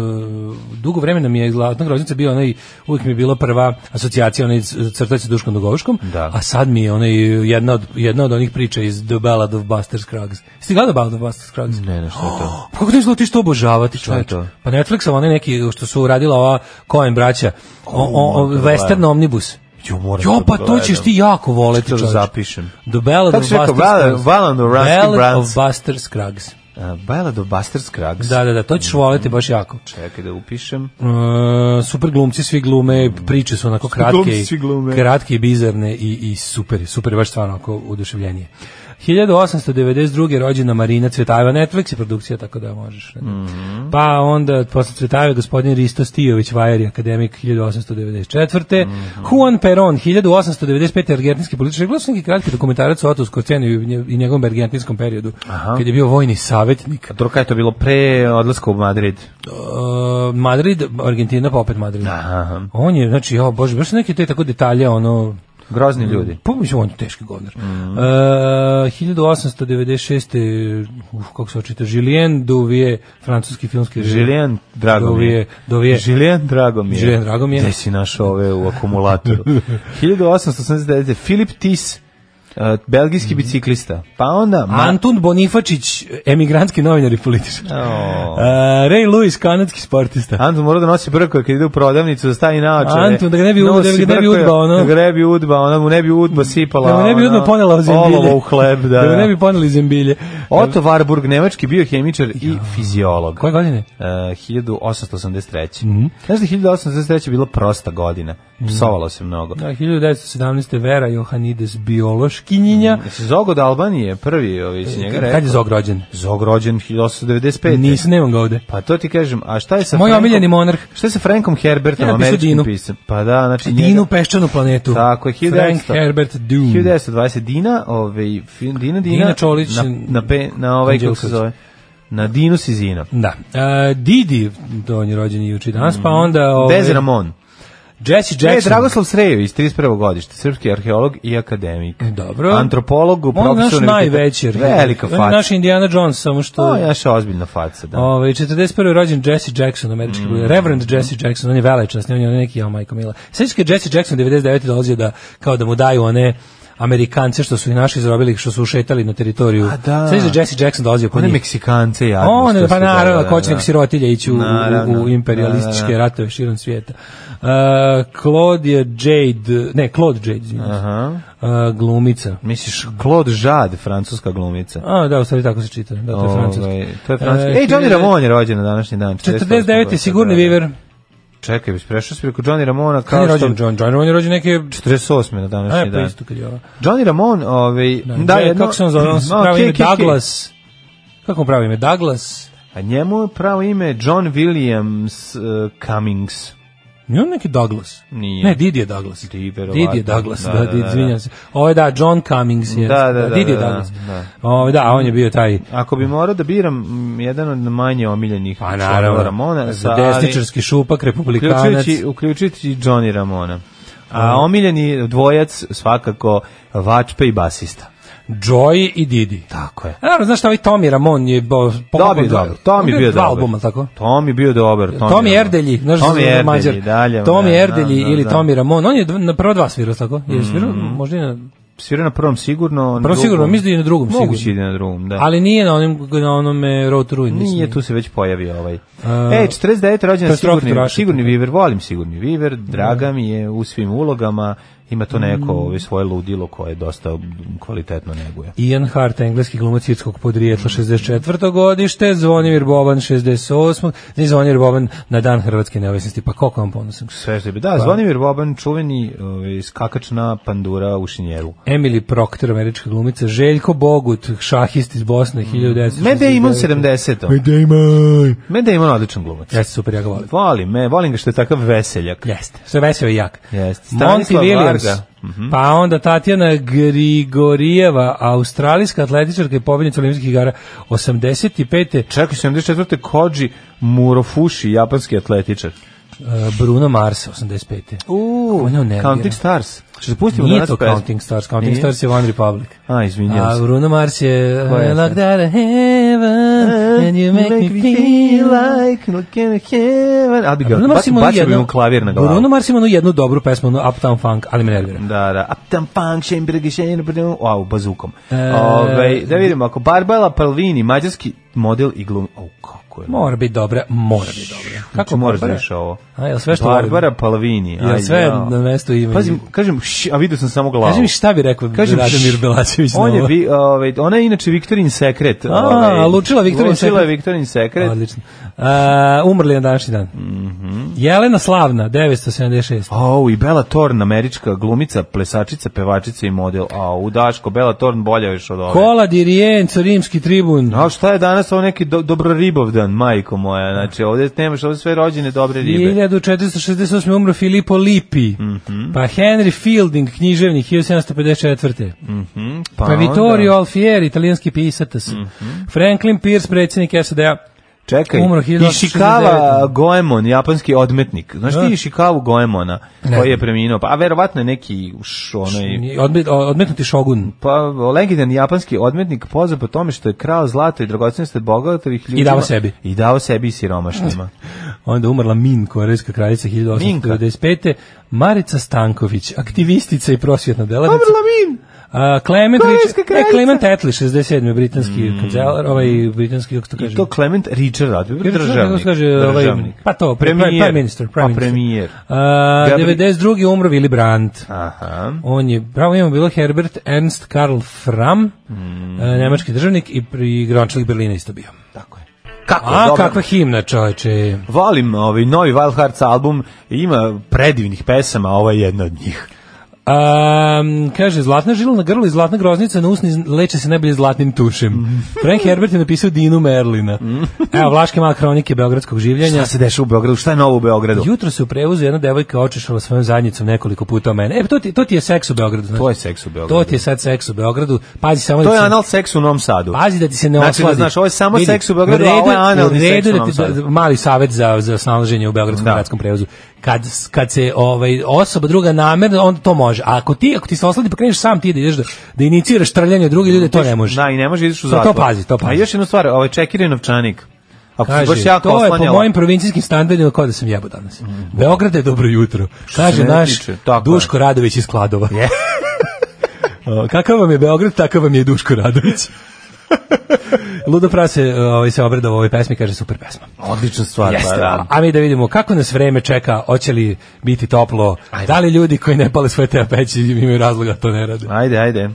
Speaker 5: dugo vremena mi je Zlatna groznica bio onaj, uvijek mi je bila prva asocijacija onaj c- crtač sa Duškom Dugovuškom,
Speaker 6: Da.
Speaker 5: a sad mi je onaj, jedna, od, jedna od onih priča iz The Ballad of Buster Scruggs. Ste gledali Ballad of Buster Scruggs?
Speaker 6: Ne, ne, što je to?
Speaker 5: Pa Kako ti izgleda ti što obožavati čovječ?
Speaker 6: to?
Speaker 5: Pa Netflixom onaj neki što su radila ova Coen braća, o, o, o,
Speaker 6: moram da
Speaker 5: Western
Speaker 6: gledam.
Speaker 5: Omnibus.
Speaker 6: Jo, moram
Speaker 5: [GASPS] Jo,
Speaker 6: da
Speaker 5: pa to
Speaker 6: pogledam.
Speaker 5: ćeš ti jako voleti
Speaker 6: Što da
Speaker 5: čovječ.
Speaker 6: zapišem?
Speaker 5: The Ballad
Speaker 6: Kako
Speaker 5: of
Speaker 6: si rekao,
Speaker 5: Buster
Speaker 6: Ballad-
Speaker 5: Scruggs.
Speaker 6: Ballad of Rusty
Speaker 5: Ballad
Speaker 6: Brands.
Speaker 5: of Buster Scruggs.
Speaker 6: A, Ballad of Buster Scruggs.
Speaker 5: Da, da, da, to ćeš voleti baš jako.
Speaker 6: Čekaj da upišem.
Speaker 5: E, super glumci svi glume, priče su onako kratke,
Speaker 6: Mm. glumci
Speaker 5: i-
Speaker 6: svi glume.
Speaker 5: kratke i bizarne i, i super, je, super, je, baš stvarno ako oduševljenije. 1892. rođena Marina Cvetajeva, Netflix je produkcija, tako da možeš. ne?
Speaker 6: Mhm.
Speaker 5: Pa onda, posle Cvetajeva, gospodin Risto Stijović, Vajeri, akademik 1894.
Speaker 6: Mhm.
Speaker 5: Juan Perón, 1895. argentinski političar, glasnik i kratki dokumentarac o Otu Skorcenu i nje- i njegovom argentinskom periodu, kad je bio vojni savjetnik.
Speaker 6: A to kada je to bilo pre odlaska u Madrid?
Speaker 5: Uh, Madrid, Argentina, pa opet Madrid.
Speaker 6: Aha.
Speaker 5: On je, znači, ja, bože, baš su neke te tako detalje, ono,
Speaker 6: Grozni ljudi.
Speaker 5: pa mislim, on je teški govnar.
Speaker 6: Mhm.
Speaker 5: E, 1896. Uf, kako se očita, Julien Duvije, francuski filmski režim.
Speaker 6: Žiljen, drago mi je.
Speaker 5: Dovije- dovije.
Speaker 6: Žiljen, drago mi je.
Speaker 5: Julien, drago mi je. [LAUGHS]
Speaker 6: Gde si našao ove u akumulatoru? 1889. Filip Tis, e,
Speaker 5: Mhm.
Speaker 6: belgijski biciklista. Pa onda Ma-
Speaker 5: Antun Bonifačić, emigrantski novinar i političar.
Speaker 6: O.
Speaker 5: E, Ray Lewis, kanadski sportista.
Speaker 6: Antun mora da nosi brkoje kad ide u prodavnicu da stavi naočare.
Speaker 5: Antun, da ga ne bi
Speaker 6: Nosi
Speaker 5: udba- da ga ne bi
Speaker 6: brkoje,
Speaker 5: udba, ono.
Speaker 6: Da ga ne bi udba, ona mu ne bi udba sipala.
Speaker 5: Da mu ne bi
Speaker 6: ono,
Speaker 5: odmah ponela zembilje.
Speaker 6: Olovo u
Speaker 5: [LAUGHS]
Speaker 6: hleb, da.
Speaker 5: da mu ne
Speaker 6: da.
Speaker 5: bi poneli zembilje.
Speaker 6: Otto Warburg, nemački biohemičar i fiziolog.
Speaker 5: Koje godine? Mhm.
Speaker 6: E, 1883. Znaš da je 1883 bila prosta godina. Psovalo se mnogo.
Speaker 5: Da, 1917. Vera Johanides, biološkinjinja.
Speaker 6: Zog od Albanije, prvi, ovi si Mm, njega rekao.
Speaker 5: E, Kad je Zog rođen?
Speaker 6: Zog rođen 1895.
Speaker 5: Nisam, nemam ga ovde.
Speaker 6: Pa to ti kažem, a šta je sa
Speaker 5: Moj
Speaker 6: Frankom-
Speaker 5: omiljeni monarh.
Speaker 6: Šta je sa Frankom Herbertom,
Speaker 5: Ja napisao
Speaker 6: američkim
Speaker 5: Dinu.
Speaker 6: piscem? Pa da, znači
Speaker 5: Dinu peščanu planetu.
Speaker 6: Tako je, 1900.
Speaker 5: Frank Herbert Dune.
Speaker 6: 1920 Dina, ovaj fi- Dina Dina,
Speaker 5: Dina Čolić,
Speaker 6: na, na, pe, na ovaj kako se
Speaker 5: Anđelković.
Speaker 6: zove. Na Dinu Sizina.
Speaker 5: Da. E, Didi, to on je rođen i juče i danas, pa onda... Ove,
Speaker 6: Bez Ramon.
Speaker 5: Jesse
Speaker 6: Mhm. E,
Speaker 5: Jackson.
Speaker 6: Dragoslav Srejović, 31. godište, srpski arheolog i akademik.
Speaker 5: E, Dobro.
Speaker 6: Antropolog, u
Speaker 5: On je naš
Speaker 6: profesor
Speaker 5: najveći. arhitekta.
Speaker 6: Velika
Speaker 5: On
Speaker 6: faca.
Speaker 5: je naš Indiana Jones, samo što...
Speaker 6: To je naša ozbiljna faca, da.
Speaker 5: Ove, 41. je rođen Jesse Jackson, američki
Speaker 6: Mhm.
Speaker 5: mm. Reverend Jesse Jackson, on je velečasni, on je neki, jao majko mila. Sveći kad je Jesse Jackson 99. dolazio da, kao da mu daju one Amerikance što su i naši zarobili, što su ušetali na teritoriju.
Speaker 6: A da.
Speaker 5: Sveći da je Jesse Jackson dolazio po
Speaker 6: One
Speaker 5: njih.
Speaker 6: Meksikance jadne.
Speaker 5: On
Speaker 6: što
Speaker 5: je, pa
Speaker 6: su, da,
Speaker 5: naravno,
Speaker 6: da,
Speaker 5: ako hoće
Speaker 6: da.
Speaker 5: nek sirotilja ići u, u-
Speaker 6: Naravno,
Speaker 5: u imperialističke
Speaker 6: da, da, da.
Speaker 5: ratove širom svijeta. Uh, Claudia Jade, ne, Claude Jade, izvinjam se.
Speaker 6: Aha.
Speaker 5: Uh, glumica.
Speaker 6: Misliš, Claude Jade, francuska glumica.
Speaker 5: A, da, u stvari tako se čita. Da, to je francuski.
Speaker 6: Ovaj, to je francuski.
Speaker 5: E,
Speaker 6: Ej,
Speaker 5: 49
Speaker 6: Johnny Ramon je rođen na današnji dan.
Speaker 5: 49. sigurni
Speaker 6: viver.
Speaker 5: Viver.
Speaker 6: Čekaj, biš prešao si preko Johnny Ramona
Speaker 5: Kad
Speaker 6: kao
Speaker 5: je
Speaker 6: što...
Speaker 5: rođen John? John Ramon je rođen neke...
Speaker 6: 48. na današnji
Speaker 5: E, pa
Speaker 6: dan.
Speaker 5: isto kad je ovo.
Speaker 6: Johnny Ramon, ovaj... Da,
Speaker 5: Da, je, kako se on zove? On se
Speaker 6: Ma,
Speaker 5: pravo
Speaker 6: okej,
Speaker 5: ime
Speaker 6: okej, okej.
Speaker 5: Douglas. Kako mu pravo ime? Douglas.
Speaker 6: A njemu je pravo ime John Williams uh, Cummings.
Speaker 5: Nije on neki Douglas?
Speaker 6: Nije.
Speaker 5: Ne, Didi je Douglas.
Speaker 6: Didi, verovatno.
Speaker 5: Didi je Douglas,
Speaker 6: Da,
Speaker 5: da,
Speaker 6: da,
Speaker 5: da,
Speaker 6: da, da.
Speaker 5: izvinjam se. Ovo je da, John Cummings je.
Speaker 6: Da, da, da,
Speaker 5: Didi je
Speaker 6: da, da,
Speaker 5: Douglas.
Speaker 6: da.
Speaker 5: Ovo, da, on je bio taj...
Speaker 6: Ako bi morao da biram mm, jedan od manje omiljenih
Speaker 5: Pa
Speaker 6: članova
Speaker 5: naravno,
Speaker 6: Ramona,
Speaker 5: za
Speaker 6: ali-
Speaker 5: desničarski šupak, republikanac.
Speaker 6: uključujući, uključujući i Johnny Ramona. A omiljeni dvojac svakako Vačpe i basista.
Speaker 5: Joy i Didi.
Speaker 6: Tako je.
Speaker 5: A naravno, znaš šta, ovaj Tommy Ramon je... Bo,
Speaker 6: Dobi je
Speaker 5: dva-
Speaker 6: dobro. Tom je
Speaker 5: on
Speaker 6: bio
Speaker 5: dva
Speaker 6: dobar.
Speaker 5: albuma, tako?
Speaker 6: Tom je bio dobar. Tom,
Speaker 5: Tomi Erdelji, znaš
Speaker 6: Tom
Speaker 5: za
Speaker 6: Erdelji,
Speaker 5: Mađar.
Speaker 6: dalje.
Speaker 5: Tomi
Speaker 6: da,
Speaker 5: Erdelji
Speaker 6: da, Mhm. da,
Speaker 5: ili
Speaker 6: da.
Speaker 5: Tomi Ramon, on je dv- na prva dva svirao, tako? Je svirao, možda i na...
Speaker 6: Svirao na prvom sigurno. na
Speaker 5: Prvo sigurno,
Speaker 6: drugom-
Speaker 5: mislim da i na drugom
Speaker 6: Moguće
Speaker 5: sigurno.
Speaker 6: ide na drugom, da.
Speaker 5: Ali nije na onim na onome Road to Ruin, mislim.
Speaker 6: Nije, tu se već pojavio ovaj. e, 49. rođena
Speaker 5: Katastrofa
Speaker 6: sigurni,
Speaker 5: Drašeta.
Speaker 6: sigurni viver, volim sigurni viver, draga mi je u svim ulogama, ima to neko ovaj, svoje ludilo koje dosta kvalitetno neguje.
Speaker 5: Ian Hart, engleski glumac irskog podrijetla 64. godište, Zvonimir Boban 68. Ne Zvonimir Boban na dan Hrvatske neovisnosti, pa koliko vam ponosim.
Speaker 6: Sve što bi. Da, Zvonimir Boban, čuveni ovaj, skakač na pandura u šinjeru.
Speaker 5: Emily Proctor, američka glumica, Željko Bogut, šahist iz
Speaker 6: Mm.
Speaker 5: Bosne, 1969.
Speaker 6: Matt Damon 70.
Speaker 5: Damon!
Speaker 6: Matt Damon odličan glumac.
Speaker 5: Jeste, super, ja ga volim.
Speaker 6: Volim, me, volim ga što je takav veseljak.
Speaker 5: Jeste, sve veseo i jak.
Speaker 6: Jeste.
Speaker 5: Monty
Speaker 6: Stanislav
Speaker 5: Williams,
Speaker 6: Varga. Mhm.
Speaker 5: pa onda Tatjana Grigorijeva, australijska atletičarka i pobjednica olimpijskih igara eh, 85.
Speaker 6: Čekaj, 74. Koji Murofushi, japanski atletičar.
Speaker 5: e, Bruno Mars 85.
Speaker 6: Uuu,
Speaker 5: Ono nervira.
Speaker 6: Counting Stars. Što da pustimo
Speaker 5: Nije
Speaker 6: danas
Speaker 5: to
Speaker 6: pesmu?
Speaker 5: Counting Stars, Counting
Speaker 6: Nije?
Speaker 5: Stars je One Republic.
Speaker 6: A, izvinjam
Speaker 5: A
Speaker 6: se.
Speaker 5: Bruno Mars je eh,
Speaker 6: Koja je
Speaker 5: I
Speaker 6: to?
Speaker 5: like that heaven and you make, me feel like
Speaker 6: Abi ga,
Speaker 5: Bruno Mars ima
Speaker 6: bacio
Speaker 5: onu
Speaker 6: bacio bi
Speaker 5: jednu-
Speaker 6: mu klavir na glavu.
Speaker 5: Bruno Mars ima onu jednu dobru pesmu, onu Uptown Funk, ali me nervira.
Speaker 6: Da, da. Uptown Funk, Schemberg, Schemberg, wow, bazukom.
Speaker 5: E.
Speaker 6: Ove, da vidimo, ako Barbara Palvini, mađarski model i glum... O, kako je?
Speaker 5: Mora biti dobra, mora biti dobra.
Speaker 6: Kako znači, moraš da
Speaker 5: Barbara?
Speaker 6: više ovo?
Speaker 5: A, jel sve što
Speaker 6: Barbara
Speaker 5: volim?
Speaker 6: Palvini.
Speaker 5: Jel
Speaker 6: aj,
Speaker 5: sve
Speaker 6: jao.
Speaker 5: na mesto ime?
Speaker 6: Pazim, kažem, š, a vidio sam samo glavu.
Speaker 5: Kaži mi šta bi rekao
Speaker 6: Kažem,
Speaker 5: Radomir
Speaker 6: šš.
Speaker 5: Belačević na
Speaker 6: On je,
Speaker 5: ovo?
Speaker 6: vi, ovaj, ona je inače Viktorin sekret. ovaj.
Speaker 5: A, lučila Viktorin
Speaker 6: Lučila je
Speaker 5: sekret.
Speaker 6: Viktorin sekret.
Speaker 5: Odlično. Uh, umrli na današnji dan.
Speaker 6: Mhm.
Speaker 5: Jelena Slavna, 976.
Speaker 6: O, i Bela Thorne, američka glumica, plesačica, pevačica i model. A, u Daško, Bela Thorne bolja još od ove.
Speaker 5: Kola Dirijenco, rimski tribun.
Speaker 6: A šta je danas ovo neki do, dobroribovdan, majko moja? Znači, ovdje nemaš ovdje sve rođene dobre ribe.
Speaker 5: 1468. umro Filippo Lippi,
Speaker 6: Mhm.
Speaker 5: pa Henry Fielding, književnik, 1754. Pa,
Speaker 6: Mhm, onda- Mhm.
Speaker 5: Vittorio Alfieri, italijanski pisatac. Franklin Pierce, predsjednik SAD-a.
Speaker 6: Čekaj,
Speaker 5: umro
Speaker 6: Ishikawa
Speaker 5: 1869.
Speaker 6: Goemon, japanski odmetnik. Znaš ti
Speaker 5: Da.
Speaker 6: Ishikawa Goemona,
Speaker 5: Ne
Speaker 6: koji je
Speaker 5: znam.
Speaker 6: preminuo? Pa, a verovatno je neki, ono, š, onaj,
Speaker 5: Odmet, odmetnuti šogun.
Speaker 6: pa, legendan japanski odmetnik poznat po tome što je krao zlato i dragocenosti od bogatih ljudi.
Speaker 5: davao sebi.
Speaker 6: I dao sebi i
Speaker 5: [LAUGHS]
Speaker 6: siromašnima.
Speaker 5: Onda umrla Min, korejska kraljica
Speaker 6: Znači,
Speaker 5: 1895. Marica Stanković, aktivistica i prosvjetna delatnica.
Speaker 6: Umrla Min!
Speaker 5: A, Clement,
Speaker 6: Korejska
Speaker 5: Rich- e,
Speaker 6: kraljica. Mhm.
Speaker 5: Clement Attlee, 67. britanski kancelar, ovaj britanski, kako se to kaže?
Speaker 6: I to Clement Richard Atwood,
Speaker 5: Jer, znaš kako
Speaker 6: državnik.
Speaker 5: se kaže, ovaj,
Speaker 6: državnik.
Speaker 5: pa to, pre-
Speaker 6: Premijer.
Speaker 5: prime minister, prime
Speaker 6: Pa
Speaker 5: minister.
Speaker 6: premijer.
Speaker 5: A,
Speaker 6: Gabriel-
Speaker 5: 92. umro Willy Brandt.
Speaker 6: Aha.
Speaker 5: On je, pravo imamo bilo Herbert Ernst Karl Fram,
Speaker 6: Hmm.
Speaker 5: e, nemački državnik i pri grančelik Berlina isto bio.
Speaker 6: Tako je. Kako je
Speaker 5: A
Speaker 6: dobro.
Speaker 5: kakva himna, čoveče.
Speaker 6: Volim ovaj novi Wild Hearts album, ima predivnih pesama, a ovo je jedna od njih.
Speaker 5: Um, kaže, zlatna žila na grlu i zlatna groznica na usni z- leče se najbolje zlatnim
Speaker 6: Hmm.
Speaker 5: tušem. Frank Herbert je napisao Dinu Merlina. Evo, Vlaške mala kronike beogradskog življenja.
Speaker 6: Šta se deša u Beogradu? Šta je novo u Beogradu?
Speaker 5: Jutro se u prevozu jedna devojka očešala svojom zadnjicom nekoliko puta o mene. E, pa to ti, to ti je seks u Beogradu. Znači.
Speaker 6: To je seks u Beogradu.
Speaker 5: To ti je sad seks u Beogradu. Pazi samo
Speaker 6: To
Speaker 5: da
Speaker 6: je
Speaker 5: ti se-
Speaker 6: anal seks u Novom Sadu.
Speaker 5: Pazi da ti se ne
Speaker 6: Znači,
Speaker 5: osladi.
Speaker 6: da znaš, ovo je samo
Speaker 5: Vidi,
Speaker 6: seks u Beogradu,
Speaker 5: u redu-
Speaker 6: a ovo je analni
Speaker 5: u redu
Speaker 6: seks u
Speaker 5: da
Speaker 6: Novom
Speaker 5: ti- da-
Speaker 6: Sadu.
Speaker 5: mali savet za, za snalaženje u Beogradskom
Speaker 6: Da.
Speaker 5: gradskom prevozu. Kad, kad se ovaj, osoba druga namerno, onda to može. A ako ti, ako ti se osladi pa kreneš sam ti da ideš da, da iniciraš trljanje druge ljude, to ne može.
Speaker 6: Da, i ne može ideš u
Speaker 5: To-
Speaker 6: zatvor.
Speaker 5: To pazi, to pazi.
Speaker 6: A još jednu stvar, ovaj čekiraj novčanik. Ako si
Speaker 5: Kaže,
Speaker 6: baš jako
Speaker 5: to je po
Speaker 6: oslanjala. Mm,
Speaker 5: mojim provincijskim standardima kao da sam jebo danas. Beograde, dobro jutro. Kaže
Speaker 6: se mene
Speaker 5: naš
Speaker 6: tiče, tako je.
Speaker 5: Duško Radović iz Kladova. [LAUGHS] O, Kakav vam je Beograd, takav vam je i Duško
Speaker 6: [LAUGHS]
Speaker 5: Radović. Ludo Prase ovaj, se obrada u ovoj pesmi, kaže super pesma.
Speaker 6: Odlična stvar,
Speaker 5: Jeste,
Speaker 6: pa da.
Speaker 5: a mi da vidimo kako nas vreme čeka, hoće li biti toplo, da li ljudi koji ne pale svoje te peći imaju razloga da to ne rade.
Speaker 6: Ajde, ajde.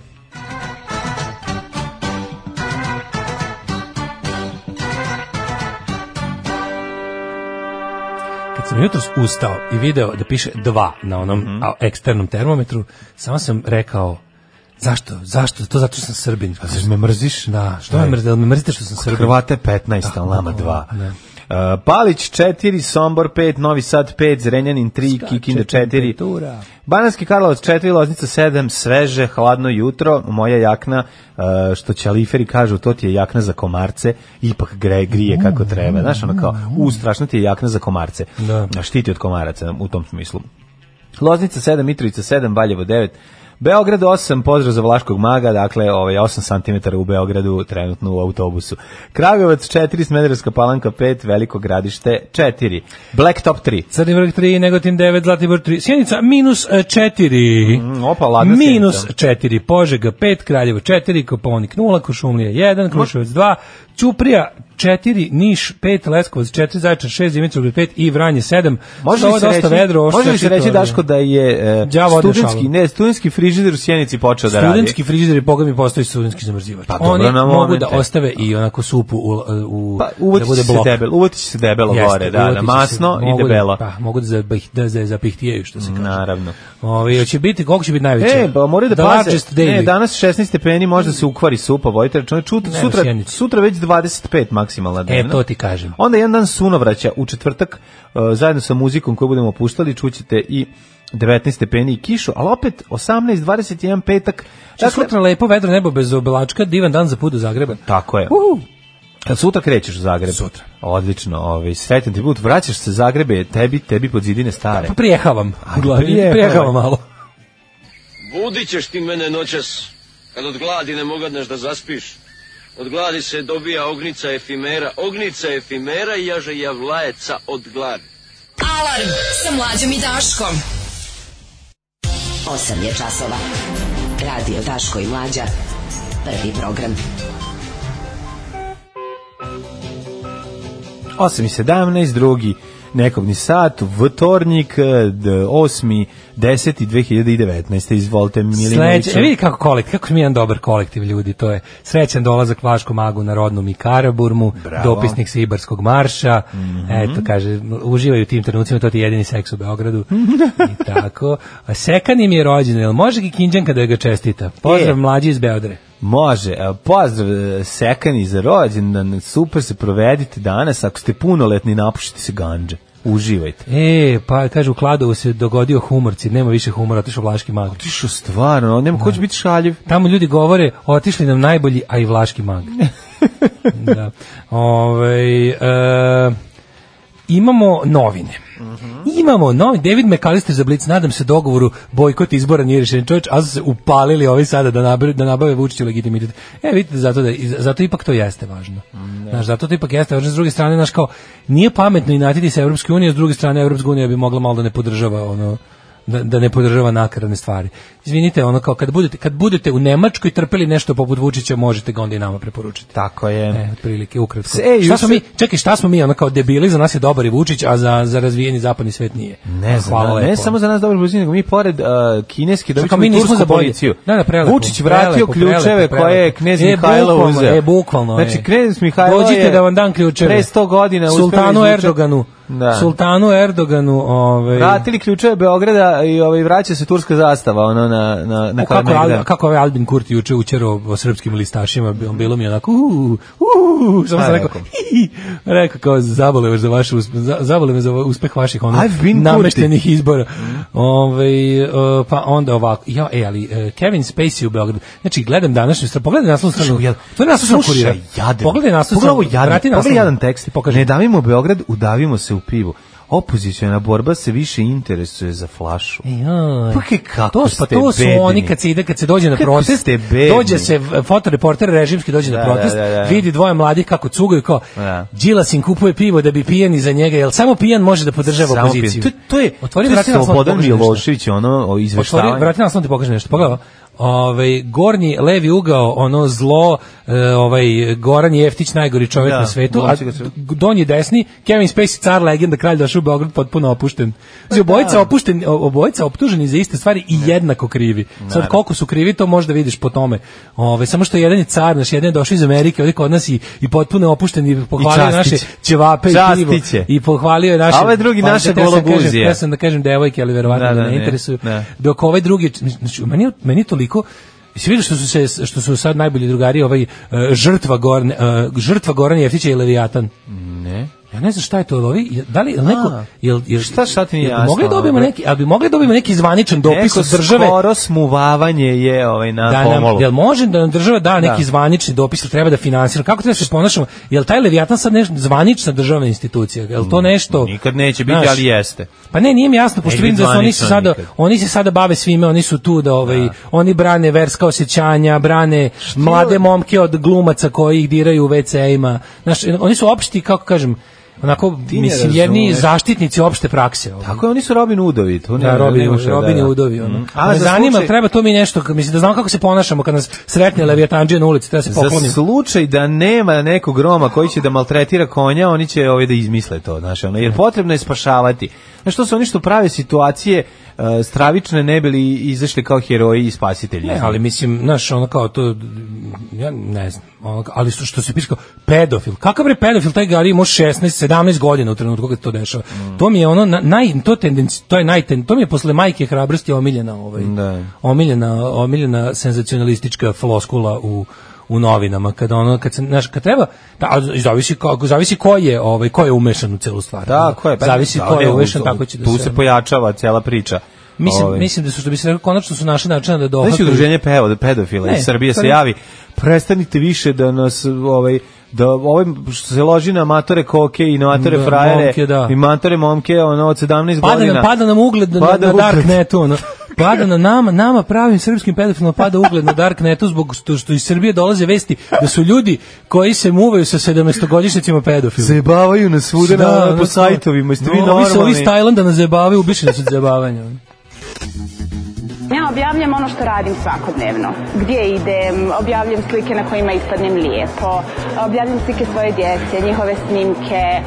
Speaker 5: Kad sam jutros ustao i video da piše dva na onom
Speaker 6: Mhm.
Speaker 5: a, eksternom termometru, samo sam rekao zašto, zašto, to zato što sam srbin. Pa
Speaker 6: Zar me mrziš?
Speaker 5: Da, što me mrzite, me mrzite što sam srbin?
Speaker 6: Hrvate 15, a Lama 2. Uh, Palić 4, Sombor 5, Novi Sad 5, Zrenjanin 3, Kikinda 4,
Speaker 5: Temperatura.
Speaker 6: Bananski Karlovac 4, Loznica 7, sveže, hladno jutro, moja jakna, uh, što ćaliferi kažu, to ti je jakna za komarce, ipak gre, grije kako treba. Znaš, ono kao, u, strašno ti je jakna za komarce.
Speaker 5: Da.
Speaker 6: Štiti od komaraca u tom smislu. Loznica 7, Mitrovica 7, Valjevo 9, Beograd 8, pozdrav za Vlaškog maga, dakle ovaj 8 cm u Beogradu trenutno u autobusu. Kragujevac 4, Smederevska palanka 5, Veliko gradište 4, Blacktop 3.
Speaker 5: Crni vrh 3, Negotin 9, Zlatibor 3, Sjenica minus 4,
Speaker 6: Mm, opa, ladna
Speaker 5: minus
Speaker 6: Sjenica.
Speaker 5: 4, Požega 5, Kraljevo 4, Koponik 0, Košumlija 1, Kruševac 2, Ćuprija 4, Niš 5, Leskovac 4, Zaječar 6, Dimitrovgrad 5 i Vranje 7.
Speaker 6: Može
Speaker 5: Što
Speaker 6: li
Speaker 5: ovo
Speaker 6: se
Speaker 5: dosta
Speaker 6: reći,
Speaker 5: vedro, ovo što
Speaker 6: može li se
Speaker 5: ja
Speaker 6: reći
Speaker 5: čitao,
Speaker 6: Daško da je e,
Speaker 5: Đavo odnešao.
Speaker 6: studentski, ne, studentski frižider u Sjenici počeo da radi?
Speaker 5: Studentski frižider i boga mi postoji studentski zamrzivač.
Speaker 6: Pa dobro,
Speaker 5: Oni
Speaker 6: na
Speaker 5: mogu
Speaker 6: momente.
Speaker 5: da ostave i onako supu u, u
Speaker 6: pa,
Speaker 5: da
Speaker 6: uvotići
Speaker 5: bude
Speaker 6: se
Speaker 5: blok.
Speaker 6: debelo, uvotići se debelo
Speaker 5: Jeste,
Speaker 6: gore, da, da,
Speaker 5: uvotit će se,
Speaker 6: masno i
Speaker 5: mogu da-
Speaker 6: debelo.
Speaker 5: Pa, mogu da, zapih, da, da zapihtijaju, što se kaže.
Speaker 6: Naravno.
Speaker 5: Ovi, hoće biti, koliko će biti najveće?
Speaker 6: E, pa moraju da
Speaker 5: The
Speaker 6: paze.
Speaker 5: largest daily.
Speaker 6: Ne, danas 16 stepeni, možda se ukvari supa, vojte računa. Čut,
Speaker 5: Ne, na
Speaker 6: sutra,
Speaker 5: Sjenici.
Speaker 6: sutra već 25 maksimalna dnevna.
Speaker 5: E, to ti kažem.
Speaker 6: Onda jedan dan sunovraća u četvrtak e, zajedno sa muzikom koju budemo puštali čućete i 19 stepeni i kišu, ali opet 18, 21 petak.
Speaker 5: Dakle,
Speaker 6: Dakle,
Speaker 5: sutra lepo vedro nebo bez oblačka, divan dan za put do Zagreba.
Speaker 6: tako je.
Speaker 5: Uhu.
Speaker 6: Kad sutra krećeš u Zagreb?
Speaker 5: Sutra.
Speaker 6: Odlično, ovaj, sretan ti put. Vraćaš se Zagrebe, tebi, tebi pod zidine stare.
Speaker 5: Pa prijehavam.
Speaker 6: Ajde,
Speaker 5: Glavni,
Speaker 6: prijehavaj.
Speaker 5: prijehavam malo.
Speaker 10: Budit ćeš ti mene noćas, kad od gladi ne mogadneš da zaspiš. Od gladi se dobija ognica efimera, ognica efimera i jaže javlajeca od gladi.
Speaker 4: Alarm sa mlađom i Daškom. 8 je časova. Radio Daško i Mlađa. Prvi program.
Speaker 6: 8 i 17, drugi nekobni sat, vtornik, eh, 8. 10. 2019. Izvolite, Milinoviću.
Speaker 5: Sledeće, e, vidi kako kolektiv, kako smo mi jedan dobar kolektiv ljudi, to je srećan dolazak Vlaško magu na rodnu Mikaraburmu,
Speaker 6: Bravo. Mhm.
Speaker 5: dopisnik Sibarskog marša, eto, kaže, uživaju u tim trenucima, to ti je jedini seks u Beogradu,
Speaker 6: [LAUGHS]
Speaker 5: i tako. A Sekan im je rođen, jel može i Kinđanka da ga čestita? Pozdrav
Speaker 6: E.
Speaker 5: mlađi iz Beodre.
Speaker 6: Može, e, pozdrav e, Sekani za rođendan, super se provedite danas, ako ste punoletni napušite se ganđe, uživajte.
Speaker 5: E, pa kaže, u Kladovu se dogodio humorci, nema više humora, otišao Vlaški mag.
Speaker 6: Tišo, stvarno, nema ko će biti šaljiv.
Speaker 5: Tamo ljudi govore, otišli nam najbolji, a i vlaški
Speaker 6: [LAUGHS]
Speaker 5: mag. da. Ovaj, e, imamo novine. Imamo novine. David McAllister za Blitz, nadam se dogovoru, bojkot izbora nije rešen čovječ, a su se upalili ovi sada da, nabave, da nabave Vučiću legitimitet. E, vidite, zato, da, zato ipak to jeste važno. Znaš, zato to ipak jeste važno. S druge strane, znaš, kao, nije pametno i natiti se Evropske unije, s druge strane, Evropska unija bi mogla malo da ne podržava ono da, da ne podržava nakaradne stvari. Izvinite, ono kao kad budete, kad budete u Nemačkoj trpeli nešto poput Vučića, možete ga onda i nama preporučiti.
Speaker 6: Tako je.
Speaker 5: E, otprilike, ukratko.
Speaker 6: Se, juče-
Speaker 5: šta smo mi, čekaj, šta smo mi, ono kao debili, za nas je dobar i Vučić, a za, za razvijeni zapadni svet nije.
Speaker 6: Ne znam,
Speaker 5: Hvala
Speaker 6: ne
Speaker 5: lepo.
Speaker 6: samo za nas dobro blizini, nego mi pored uh, kineski dobit
Speaker 5: Čekaj,
Speaker 6: ćemo
Speaker 5: mi
Speaker 6: i
Speaker 5: nismo
Speaker 6: tursku
Speaker 5: za bolje.
Speaker 6: policiju.
Speaker 5: Da, da, prelepo,
Speaker 6: Vučić vratio
Speaker 5: prelepo,
Speaker 6: ključeve
Speaker 5: prelepo, prelepo.
Speaker 6: koje je knjez
Speaker 5: E,
Speaker 6: Mihajlo
Speaker 5: bukvalno,
Speaker 6: uzeo.
Speaker 5: e, bukvalno,
Speaker 6: Znači,
Speaker 5: e.
Speaker 6: knjez Mihajlo
Speaker 5: Dođite
Speaker 6: je
Speaker 5: da vam dam ključeve.
Speaker 6: Pre 100 godina uspeo
Speaker 5: Sultanu
Speaker 6: izvuče-
Speaker 5: Erdoganu.
Speaker 6: Da.
Speaker 5: Sultanu Erdoganu, ovaj.
Speaker 6: Vratili ključeve Beograda i ovaj, vraća se turska zastava ono, na, na, na
Speaker 5: O, kako,
Speaker 6: Kalemegdanu.
Speaker 5: Al, kako ovaj Albin Kurti juče učero o srpskim listašima, bi- bilo mi je onako uuu, uuu, samo
Speaker 6: Šta
Speaker 5: sam
Speaker 6: je
Speaker 5: rekao,
Speaker 6: Pa, rekao?
Speaker 5: hi, hi, rekao kao zabole me za, vaš uspeh, zabole me za uspeh vaših ono,
Speaker 6: I've been
Speaker 5: nameštenih izbora. Ovaj, e, pa onda ovako, ja, e, ali e, Kevin Spacey u Beogradu, znači gledam današnju stranu, pogledaj naslov stranu,
Speaker 6: Jad-
Speaker 5: to je naslov stranu
Speaker 6: Slušaj,
Speaker 5: kurira,
Speaker 6: jadan.
Speaker 5: pogledaj naslov
Speaker 6: Pogledaj
Speaker 5: stranu,
Speaker 6: ovo jadan,
Speaker 5: vrati
Speaker 6: pogledaj
Speaker 5: naslov.
Speaker 6: jadan tekst.
Speaker 5: Ti pokaži.
Speaker 6: Ne davimo Beograd, udavimo se u pivu. Opozicijona borba se više interesuje za flašu.
Speaker 5: Joj.
Speaker 6: Pa ke- kako
Speaker 5: to, su- pa
Speaker 6: ste
Speaker 5: to su
Speaker 6: bedni.
Speaker 5: oni kad se ide, kad se dođe na
Speaker 6: Kako
Speaker 5: protest,
Speaker 6: ste bedni.
Speaker 5: dođe se v- fotoreporter režimski dođe na
Speaker 6: Da,
Speaker 5: protest,
Speaker 6: da, da, da.
Speaker 5: vidi dvoje mladih kako cugaju kao
Speaker 6: Da.
Speaker 5: Đilas im kupuje pivo da bi pijani za njega, jel samo pijan može da podržava
Speaker 6: Samo
Speaker 5: opoziciju.
Speaker 6: pijen. To, to je,
Speaker 5: Otvori
Speaker 6: to je
Speaker 5: vrati na
Speaker 6: Slobodan
Speaker 5: pokaži nešto.
Speaker 6: Milošević, ono, o
Speaker 5: Otvori,
Speaker 6: izveštavanje.
Speaker 5: vrati nas ti pokaže nešto. Pogledaj. ovo. Ovaj gornji levi ugao, ono zlo, e, ovaj Goran Jeftić najgori čovjek
Speaker 6: Da,
Speaker 5: na svetu, a
Speaker 6: glumci ga su-
Speaker 5: d- donji desni Kevin Spacey car legenda kralj došao u Beograd potpuno opušten. Znači, obojica opušten, o- obojica optuženi za iste stvari i jednako krivi. Sad koliko su krivi to možda vidiš po tome. Ovaj samo što jedan je car, naš jedan je došao iz Amerike, ovdje kod nas i, i potpuno je opušten i pohvalio je naše
Speaker 6: častiće.
Speaker 5: ćevape i pivo.
Speaker 6: Častiće.
Speaker 5: I pohvalio je naše
Speaker 6: A ovaj drugi
Speaker 5: Pa,
Speaker 6: naše
Speaker 5: hteo sam kažem-
Speaker 6: gologuzije.
Speaker 5: hteo sam da kažem devojke, ali verovatno
Speaker 6: Da,
Speaker 5: da,
Speaker 6: da,
Speaker 5: ne,
Speaker 6: ne,
Speaker 5: interesuju.
Speaker 6: ne.
Speaker 5: Dok ovaj drugi, znači, meni, meni je toliko Jesi vidio što su se što su sad najbolji drugari ovaj eh, žrtva Goran žrtva Goran Jeftića i Leviatan.
Speaker 6: Ne.
Speaker 5: Ja ne znam šta je to, ali ovi, da li jel neko
Speaker 6: A.
Speaker 5: jel jel
Speaker 6: Šta- šta ti nije
Speaker 5: jel bi Mogli
Speaker 6: jasno,
Speaker 5: dobijemo
Speaker 6: ono,
Speaker 5: neki, ali bi mogli dobijemo neki zvaničan dopis
Speaker 6: Neko
Speaker 5: od države
Speaker 6: skoro smuvavanje je ovaj, na
Speaker 5: da nam,
Speaker 6: pomolu.
Speaker 5: jel može da nam država da neki
Speaker 6: Da.
Speaker 5: zvanični dopis, jel treba da finansira, kako treba da se ponašamo, jel taj Leviatan sad nešto zvanična državna institucija, jel to nešto...
Speaker 6: Mm, Nikad neće biti,
Speaker 5: Znaš,
Speaker 6: ali jeste.
Speaker 5: pa ne, nije mi jasno, pošto
Speaker 6: Neće
Speaker 5: vidim
Speaker 6: biti
Speaker 5: da su oni se
Speaker 6: zvanično
Speaker 5: sada,
Speaker 6: nikad.
Speaker 5: oni se sada bave svime, oni su tu da ovaj, oni brane verska osjećanja, brane mlade momke od glumaca koji ih diraju u WC-ima. Znaš, oni su opšti, kako kažem, onako,
Speaker 6: Ti ne
Speaker 5: mislim, jedni
Speaker 6: razumeš.
Speaker 5: zaštitnici opšte prakse. Ovaj.
Speaker 6: Tako je, oni su Robin Udovi. Tu ne,
Speaker 5: Da, Robin,
Speaker 6: nemaš šta
Speaker 5: Robin
Speaker 6: da- Mhm. Mm.
Speaker 5: je udovi. Ono.
Speaker 6: A
Speaker 5: Me
Speaker 6: za
Speaker 5: zanima,
Speaker 6: slučaj-
Speaker 5: treba to mi nešto, k- mislim da znam kako se ponašamo kad nas sretne Leviatanđe na ulici, treba se
Speaker 6: Mhm. Za
Speaker 5: poklonim.
Speaker 6: slučaj da nema nekog Roma koji će da maltretira konja, oni će ovaj da izmisle to, znaš, ono, jer potrebno je spašavati. Znaš, to su oni što prave situacije e, stravične ne bili izašli kao heroji i spasitelji.
Speaker 5: Ne, ali mislim, znaš, ono kao to, ja ne znam, ono, kao- ali što, što se piše kao pedofil, kakav bre pedofil, taj Gari ima 16, 17 godina u trenutku kad se to dešava.
Speaker 6: Mm.
Speaker 5: To mi je ono, na- naj, to, tendenci, to je najten, to mi je posle majke hrabrosti omiljena, ovaj,
Speaker 6: Da.
Speaker 5: omiljena, omiljena senzacionalistička floskula u u novinama kad ono kad se znaš kad treba da a zavisi kako zavisi ko je ovaj ko je umešan u celu stvar
Speaker 6: Da, ko je? Pa,
Speaker 5: zavisi
Speaker 6: da,
Speaker 5: ko je
Speaker 6: ne,
Speaker 5: umešan
Speaker 6: u-
Speaker 5: tako će da
Speaker 6: Tu se pojačava cijela priča.
Speaker 5: mislim
Speaker 6: Ovaj.
Speaker 5: mislim da su što bi se reklo konačno su našli načina da
Speaker 6: Znači,
Speaker 5: dohvataju
Speaker 6: udruženje peo- pedofila
Speaker 5: Ne,
Speaker 6: iz Srbije
Speaker 5: to
Speaker 6: se
Speaker 5: ne-
Speaker 6: javi. Prestanite više da nas ovaj da ovaj što se loži na matore koke i na matore
Speaker 5: Da,
Speaker 6: frajere
Speaker 5: momke, da.
Speaker 6: i matore momke ono od 17
Speaker 5: pada
Speaker 6: godina.
Speaker 5: nam, pada nam ugled na,
Speaker 6: Pada
Speaker 5: na
Speaker 6: ugled.
Speaker 5: Darknetu. Ono. Pada nam, nama, nama pravim srpskim pedofilima pada ugled na Darknetu zbog što, što iz Srbije dolaze vesti da su ljudi koji se muvaju sa 17-godišnjacima pedofili.
Speaker 6: Zajebavaju nas svuda
Speaker 5: Da,
Speaker 6: na,
Speaker 5: ono,
Speaker 6: po sajtovima, jeste vi
Speaker 5: no, ovi se- Ovi
Speaker 6: normalni?
Speaker 5: iz Tajlanda nas zajebavaju, ubišeni su od zajebavanja. ono.
Speaker 11: Ja objavljam ono što radim svakodnevno. Gdje idem, objavljam slike na kojima ispadnem lijepo, objavljam slike svoje djece, njihove snimke, eh,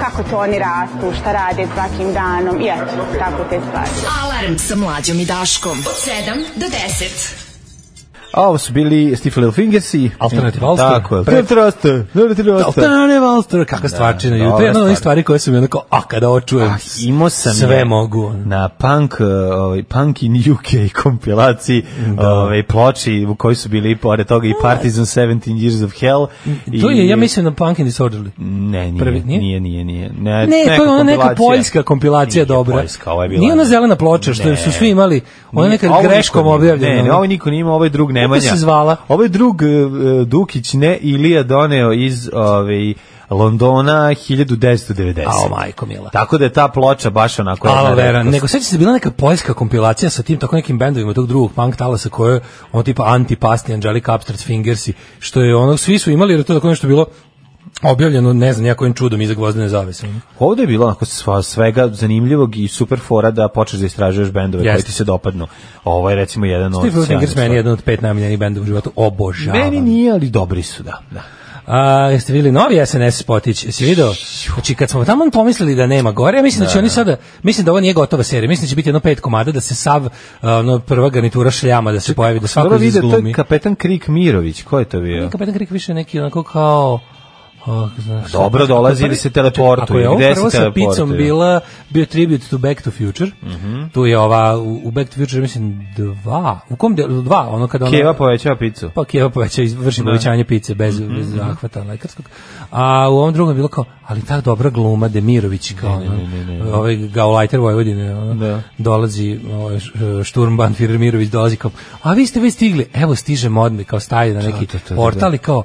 Speaker 11: kako to oni rastu, šta rade svakim danom i eto, tako te stvari.
Speaker 4: Alarm sa mlađom i Daškom. Od 7 do 10.
Speaker 6: A ovo su bili Stifle Fingers i...
Speaker 5: Alternative Ulster.
Speaker 6: Tako je.
Speaker 5: Pre-
Speaker 6: Alternative Ulster. Alternative Ulster.
Speaker 5: Alternative Ulster, kakva stvarčina. Da, to
Speaker 6: Pa dobra
Speaker 5: je jedna od onih
Speaker 6: stvar.
Speaker 5: stvari koje su mi onako, a kada očujem,
Speaker 6: Ah, imao sam
Speaker 5: sve
Speaker 6: je
Speaker 5: mogu. ono.
Speaker 6: na punk, uh, ovaj, punk in UK kompilaciji ovaj, ploči u kojoj su bili pored toga i Partizan 17 Years of Hell i, Mm,
Speaker 5: To je, ja mislim, na Punk and Disorderly.
Speaker 6: ne, nije,
Speaker 5: Prvi- nije?
Speaker 6: nije? nije, nije, Ne,
Speaker 5: Ne, to je ona neka
Speaker 6: kompilacija.
Speaker 5: poljska kompilacija
Speaker 6: Nije
Speaker 5: dobra.
Speaker 6: Poljska, ovo je bila.
Speaker 5: Nije ona zelena ploča što
Speaker 6: Ne.
Speaker 5: su svi imali, ona
Speaker 6: Nije,
Speaker 5: neka
Speaker 6: ovo niko
Speaker 5: greškom
Speaker 6: nije.
Speaker 5: objavljena.
Speaker 6: Ne, ne,
Speaker 5: ono.
Speaker 6: ovo niko nije imao, ovaj drug Nemanja.
Speaker 5: se zvala?
Speaker 6: Ovaj drug eh, eh, Dukić, ne, Ilija doneo iz ovaj, Londona 1990.
Speaker 5: Ao, majko mila.
Speaker 6: Pa. Tako da je ta ploča baš onako...
Speaker 5: Ala
Speaker 6: jedna
Speaker 5: vera,
Speaker 6: redkost.
Speaker 5: nego sećate se bila neka poljska kompilacija sa tim tako nekim bendovima tog drugog punk talasa koje on tipa antipasni Angelica Upstart Fingersi, što je ono svi su imali jer to je tako nešto bilo objavljeno, ne znam, nijakojim čudom iza gvozdene zavese.
Speaker 6: Ovde je bilo onako sva, svega zanimljivog i super fora da počneš da istražuješ bendove koji
Speaker 5: Jeste.
Speaker 6: ti se dopadnu. Ovo je recimo jedan od...
Speaker 5: Steve
Speaker 6: sjajnih
Speaker 5: Fingers meni
Speaker 6: stvari.
Speaker 5: je jedan od pet najmiljenih benda u životu. Obožavam.
Speaker 6: Meni nije, ali dobri su, da. da.
Speaker 5: A, jeste videli novi SNS spotić? Jesi video? Znači, kad smo tamo pomislili da nema gore, ja mislim da, će oni sada, mislim da ovo nije gotova serija, mislim da će biti jedno pet komada da se sav, a, ono, prva garnitura šljama da se pojavi, da svako
Speaker 6: Dobro vide, to
Speaker 5: izglumi.
Speaker 6: je kapetan Krik Mirović. Ko je to bio?
Speaker 5: Kapetan Krik više neki onako kao... a, znaš,
Speaker 6: Dobro, dolazi ili se teleportuje,
Speaker 5: Ako je ovo
Speaker 6: gde se
Speaker 5: prvo sa picom
Speaker 6: teleportuje?
Speaker 5: bila, bio tribute to Back to Future,
Speaker 6: Mhm.
Speaker 5: tu je ova, u, u Back to Future mislim dva, u kom delu, dva, ono kada ona...
Speaker 6: Keva povećava picu.
Speaker 5: Pa Keva poveća, vrši
Speaker 6: Da. Mhm,
Speaker 5: povećanje pice bez, bez zahvata lekarskog. A u ovom drugom je bilo kao, ali ta dobra gluma Demirović kao
Speaker 6: Ne, ne,
Speaker 5: ono,
Speaker 6: ne, ne, ne.
Speaker 5: ovaj Gaulajter Vojvodine ono,
Speaker 6: Da.
Speaker 5: dolazi ovaj, Šturmban Mirović dolazi kao, a vi ste već stigli, evo stižem odmi kao staje na neki
Speaker 6: to, to, da,
Speaker 5: portal i kao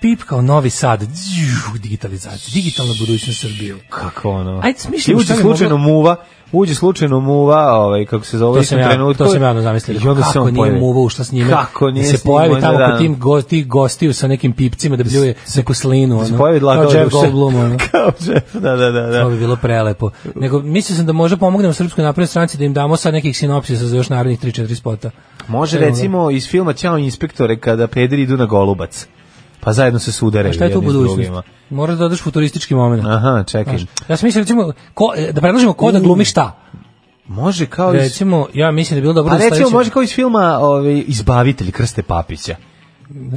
Speaker 5: pip kao Novi Sad, džiu, digitalizacija, digitalna budućnost Srbije.
Speaker 6: Kako ono?
Speaker 5: Ajde, smišljamo
Speaker 6: I uđe
Speaker 5: šta bi
Speaker 6: slučajno muva, uđe slučajno muva, ovaj, kako se zove,
Speaker 5: To sam,
Speaker 6: u
Speaker 5: ja,
Speaker 6: trenutku.
Speaker 5: to sam ja ono zamislio.
Speaker 6: I onda se
Speaker 5: kako
Speaker 6: on
Speaker 5: nije
Speaker 6: pojavi.
Speaker 5: muvao šta s njime?
Speaker 6: Kako nije
Speaker 5: da se
Speaker 6: s njim,
Speaker 5: pojavi
Speaker 6: onda
Speaker 5: tamo
Speaker 6: da.
Speaker 5: kod tim go, tih gostiju sa nekim pipcima da bljuje neku slinu.
Speaker 6: Da se
Speaker 5: ono,
Speaker 6: pojavi dlaka
Speaker 5: kao
Speaker 6: od
Speaker 5: Jeff
Speaker 6: uša.
Speaker 5: Goldblum. Ono. [LAUGHS]
Speaker 6: Kao Jeff, da, da, da.
Speaker 5: To
Speaker 6: da.
Speaker 5: bi bilo prelepo. Nego, mislio sam da možda pomognemo Srpskoj naprednoj stranci da im damo sad nekih sinopsisa za još narednih 3-4 spota.
Speaker 6: Može
Speaker 5: Evo ga.
Speaker 6: recimo iz filma Ćao inspektore kada pederi idu na golubac. Pa zajedno se sudare.
Speaker 5: A šta je tu
Speaker 6: jedni s
Speaker 5: budućnost?
Speaker 6: drugima.
Speaker 5: Moraš da dodaš futuristički moment.
Speaker 6: Aha, čekaj.
Speaker 5: Znaš, ja sam mislio, recimo, ko, e, da predložimo ko da glumi šta.
Speaker 6: Može kao iz...
Speaker 5: Recimo, ja mislim da bi bilo dobro
Speaker 6: Pa
Speaker 5: da
Speaker 6: recimo
Speaker 5: sledeće-
Speaker 6: može kao iz filma ovaj, Izbavitelj Krste Papića.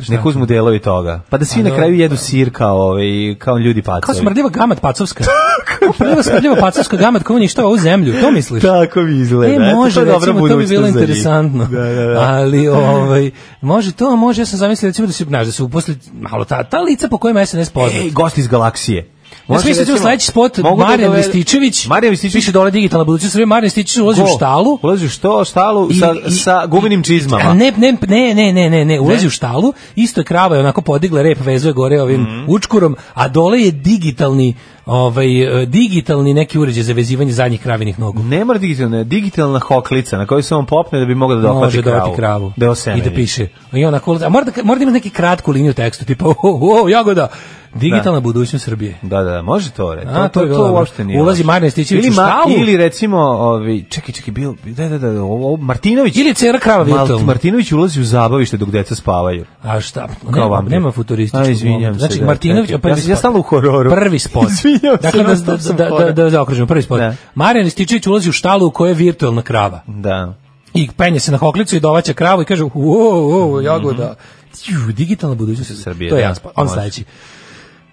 Speaker 5: Šta?
Speaker 6: Nek uzmu delovi toga. Pa da svi na kraju jedu sir kao, ovaj, kao ljudi pacovi.
Speaker 5: Kao smrdljiva gamat
Speaker 6: [LAUGHS]
Speaker 5: pacovska. Kao prva smrdljiva pacovska gamat koja uništava ovu zemlju, to misliš?
Speaker 6: [LAUGHS] Tako mi izgleda.
Speaker 5: E,
Speaker 6: Eto,
Speaker 5: može,
Speaker 6: je dobra
Speaker 5: recimo, to bi
Speaker 6: budućnost
Speaker 5: bilo
Speaker 6: za njih.
Speaker 5: interesantno.
Speaker 6: Da, da, da. [LAUGHS]
Speaker 5: Ali, ovaj, može to, a može, ja sam zamislio, recimo, da se, znaš, da se uposli malo ta, ta lica po kojima je
Speaker 6: E,
Speaker 5: SNS poznat.
Speaker 6: Ej, gost iz galaksije.
Speaker 5: Ja sam mislio, recimo, sledeći spot, Marijan Rističević,
Speaker 6: Marijan Rističević
Speaker 5: piše dole digitalna budućnost, Srbije, Marijan Rističević ulazi u
Speaker 6: Ko?
Speaker 5: štalu,
Speaker 6: Ulazi u što, štalu
Speaker 5: I-
Speaker 6: sa,
Speaker 5: i-
Speaker 6: sa gumenim čizmama.
Speaker 5: A ne, ne, ne, ne, ne, ne, ne, ulazi u štalu, isto je krava je onako podigla rep, vezuje gore ovim
Speaker 6: Mhm.
Speaker 5: učkurom, a dole je digitalni, ovaj, e, digitalni neki uređaj za vezivanje zadnjih kravinih nogu.
Speaker 6: Ne mora digitalna, digitalna hoklica na koju se on popne da bi mogao da dohvati
Speaker 5: Može da
Speaker 6: kravu.
Speaker 5: dati kravu.
Speaker 6: Da je osemeni.
Speaker 5: I da piše. I onako, ulazi- a mora da, mora da ima neki kratku liniju tekstu, tipa, [LAUGHS] o, o, o, jagoda, digitalna budućnost Srbije.
Speaker 6: Da, da, da, može to, re.
Speaker 5: A,
Speaker 6: to,
Speaker 5: to je
Speaker 6: to,
Speaker 5: bilo
Speaker 6: to
Speaker 5: dobro.
Speaker 6: uopšte nije.
Speaker 5: Ulazi
Speaker 6: loše.
Speaker 5: Marijan Rističević
Speaker 6: ili,
Speaker 5: u
Speaker 6: ma-
Speaker 5: štalu.
Speaker 6: Ili recimo, ovi, čekaj, čekaj, bil, da, da, da, da, ovo, ovo, Martinović.
Speaker 5: Ili je cera krava
Speaker 6: Mal-
Speaker 5: virtualna.
Speaker 6: Martinović ulazi u zabavište dok deca spavaju.
Speaker 5: A šta?
Speaker 6: Kao
Speaker 5: Nema,
Speaker 6: vampir.
Speaker 5: nema futurističkog.
Speaker 6: A, izvinjam
Speaker 5: momenta.
Speaker 6: se,
Speaker 5: Znači,
Speaker 6: da,
Speaker 5: Martinović,
Speaker 6: čekaj.
Speaker 5: prvi
Speaker 6: Ja- ja
Speaker 5: spot.
Speaker 6: stalno u hororu.
Speaker 5: Prvi
Speaker 6: [LAUGHS]
Speaker 5: spot.
Speaker 6: Izvinjam se,
Speaker 5: dakle, da,
Speaker 6: non-stop sam
Speaker 5: da, da,
Speaker 6: horor.
Speaker 5: da, da zaokružimo, prvi spot.
Speaker 6: Da.
Speaker 5: Marijan Rističević ulazi u štalu u kojoj je virtualna krava.
Speaker 6: Da.
Speaker 5: I penje se na hoklicu i dovaća kravu i kaže, "Uo, uo, jagoda." Tju, digitalna budućnost
Speaker 6: Mhm. Srbije,
Speaker 5: To je
Speaker 6: da,
Speaker 5: jedan spot. On
Speaker 6: može.
Speaker 5: sledeći.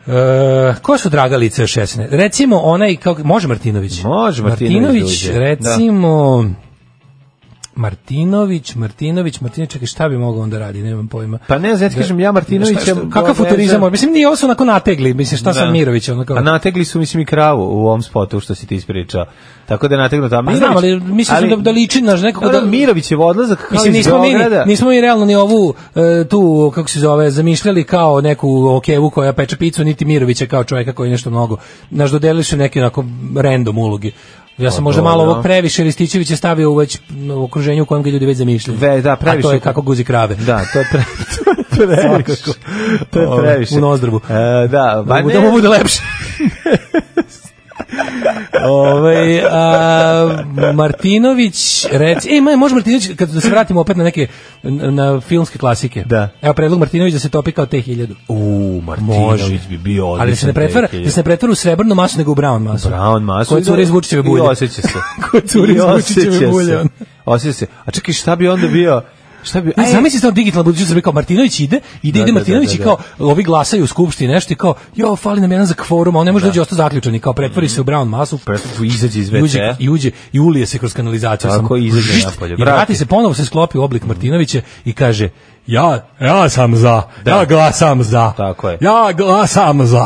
Speaker 5: E, ko su draga lica još jesene? Recimo onaj, kako, može Martinović?
Speaker 6: Može Martinović da
Speaker 5: Martinović,
Speaker 6: uđe, da.
Speaker 5: recimo... Martinović, Martinović, Martinović, čekaj, šta bi mogao onda radi, nemam pojma.
Speaker 6: Pa ne znam, ja ti kažem, ja Martinovića...
Speaker 5: Šta- šta- kakav futurizam,
Speaker 6: Da.
Speaker 5: mislim nije ovo su onako nategli, mislim šta sam Mirović ono kao.
Speaker 6: A nategli su mislim i kravu u ovom spotu što si ti ispričao. Tako da je nategnuto. tamo.
Speaker 5: Pa znam, ali mislim da da liči na nekako da
Speaker 6: Mirović je odlazak kao
Speaker 5: Mislim,
Speaker 6: iz
Speaker 5: nismo mi,
Speaker 6: Beograda.
Speaker 5: nismo mi realno ni ovu e, tu, kako se zove, zamišljali kao neku okevu koja peče picu, niti Mirovića kao čovjeka koji je nešto mnogo. Naš dodelili su neke onako random uloge. Ja sam možda malo
Speaker 6: Pa dobro.
Speaker 5: ovog previše, Ristićević je stavio u već m, u okruženju u kojem ga ljudi već zamišljaju.
Speaker 6: Ve- da, previše.
Speaker 5: A to je kako guzi krave.
Speaker 6: Da, to je
Speaker 5: [LAUGHS]
Speaker 6: pre... to je previše. to je previše.
Speaker 5: U nozdravu.
Speaker 6: E, da, ba
Speaker 5: Da mu-
Speaker 6: ne.
Speaker 5: da mu bude lepše. [LAUGHS] Ovaj a, Martinović reci, e, ma, može Martinović kad da se vratimo opet na neke na, na filmske klasike.
Speaker 6: Da.
Speaker 5: Evo predlog Martinović da se topi kao te 1000.
Speaker 6: U,
Speaker 5: Može.
Speaker 6: Martinović bi bio odličan.
Speaker 5: Ali da se ne pretvara,
Speaker 6: tek je.
Speaker 5: da se ne pretvara u srebrnu masu nego u brown masu.
Speaker 6: Brown masu.
Speaker 5: Koje curi iz Vučićeve bulje.
Speaker 6: I osjeća
Speaker 5: [LAUGHS]
Speaker 6: se.
Speaker 5: Koje curi
Speaker 6: I
Speaker 5: iz Vučićeve
Speaker 6: osjeća se.
Speaker 5: bulje, ono.
Speaker 6: Osjeća se. A čekaj, šta bi onda bio? Šta bi...
Speaker 5: Ne, zamisli sad digitalno budućnost Srbije kao Martinović ide, ide,
Speaker 6: E, Da,
Speaker 5: ide
Speaker 6: da,
Speaker 5: Martinović
Speaker 6: da, da,
Speaker 5: i kao ovi glasaju u skupštini nešto i kao jo, fali nam jedan za kvorum, a on ne može da. dođe ostao zaključan i kao pretvori se u brown masu,
Speaker 6: Pre- izađe iz
Speaker 5: I uđe,
Speaker 6: WC-a.
Speaker 5: i uđe i ulije se kroz kanalizaciju.
Speaker 6: Tako,
Speaker 5: samo
Speaker 6: izađe
Speaker 5: žšt,
Speaker 6: napolje,
Speaker 5: I vrati
Speaker 6: vrati.
Speaker 5: se ponovo se sklopi u oblik Martinovića i kaže ja, ja sam za, ja glasam za.
Speaker 6: Tako je.
Speaker 5: Ja glasam za.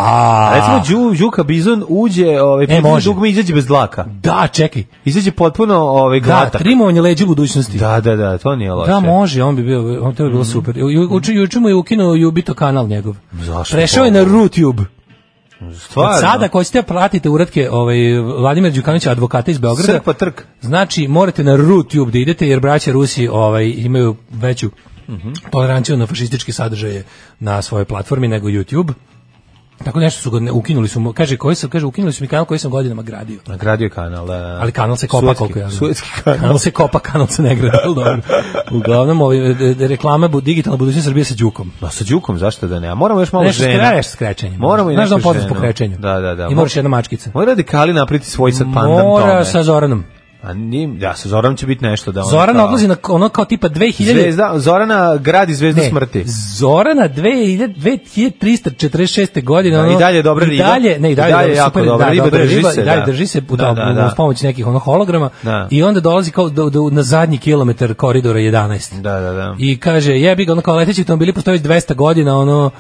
Speaker 6: Recimo, Đu, Đuka Bizon uđe, ovaj, e,
Speaker 5: može.
Speaker 6: dugme izađe bez dlaka.
Speaker 5: da, čekaj.
Speaker 6: Izađe potpuno ovaj,
Speaker 5: Da,
Speaker 6: glatak.
Speaker 5: trimovanje leđa budućnosti.
Speaker 6: Da, da, da, to nije loše.
Speaker 5: Da, Pa može, on bi bio, on to bi bilo
Speaker 6: Mhm.
Speaker 5: super. Ju, uči, juče mu je ukinuo Jubito kanal njegov.
Speaker 6: Zašto? Pa,
Speaker 5: Prešao je na RuTube.
Speaker 6: Stvarno.
Speaker 5: Od sada, ako hoćete da pratite uratke ovaj, Vladimir Đukanovića, advokata iz Beograda,
Speaker 6: Srk pa trk.
Speaker 5: Znači, morate na RuTube da idete, jer braća Rusi ovaj, imaju
Speaker 6: Mhm.
Speaker 5: veću toleranciju na fašističke sadržaje na svojoj platformi nego YouTube. Tako nešto su ga ne, ukinuli su mu, kaže koji sam, kaže ukinuli su mi kanal koji sam godinama gradio.
Speaker 6: Gradio je kanal, da, da.
Speaker 5: Ali kanal se kopa
Speaker 6: Suetski-
Speaker 5: koliko ja znam.
Speaker 6: Suetski
Speaker 5: [LAUGHS]
Speaker 6: kanal.
Speaker 5: Kanal se kopa, kanal se ne gradi, ali dobro. Uglavnom, ovaj, de- de- reklama bu, digitalna budućnost Srbije sa Đukom.
Speaker 6: Da, sa Đukom, zašto da ne? A moramo još malo
Speaker 5: Nešto
Speaker 6: žena.
Speaker 5: skre- nešto skrećenje.
Speaker 6: Moramo i
Speaker 5: Znaš da
Speaker 6: nešto
Speaker 5: on poznat
Speaker 6: žena.
Speaker 5: po krećenju.
Speaker 6: Da, da, da.
Speaker 5: I moraš jedna mačkica.
Speaker 6: Mora radikali napriti svoj sad pandam
Speaker 5: Mora
Speaker 6: tome.
Speaker 5: sa Zoranom.
Speaker 6: A njim, da, sa Zoranom će biti nešto da... ono
Speaker 5: Zoran
Speaker 6: kao-
Speaker 5: odlazi na ono kao tipa 2000...
Speaker 6: Zvezda, Zorana gradi zvezdu
Speaker 5: Ne,
Speaker 6: smrti.
Speaker 5: Zorana 2000 2346. godine.
Speaker 6: Da,
Speaker 5: ono,
Speaker 6: i dalje je dobra riba.
Speaker 5: I dalje, ne, i dalje,
Speaker 6: I dalje je
Speaker 5: super,
Speaker 6: jako dobra
Speaker 5: da,
Speaker 6: riba, drži
Speaker 5: riba,
Speaker 6: se,
Speaker 5: i dalje
Speaker 6: da.
Speaker 5: drži se u
Speaker 6: Da,
Speaker 5: tom-
Speaker 6: da, da.
Speaker 5: uz pomoć nekih ono holograma
Speaker 6: Da.
Speaker 5: i onda dolazi kao do, do, na zadnji kilometar koridora 11.
Speaker 6: Da, da, da.
Speaker 5: I kaže, jebi ga, ono kao leteći automobili postoje već 200 godina, ono,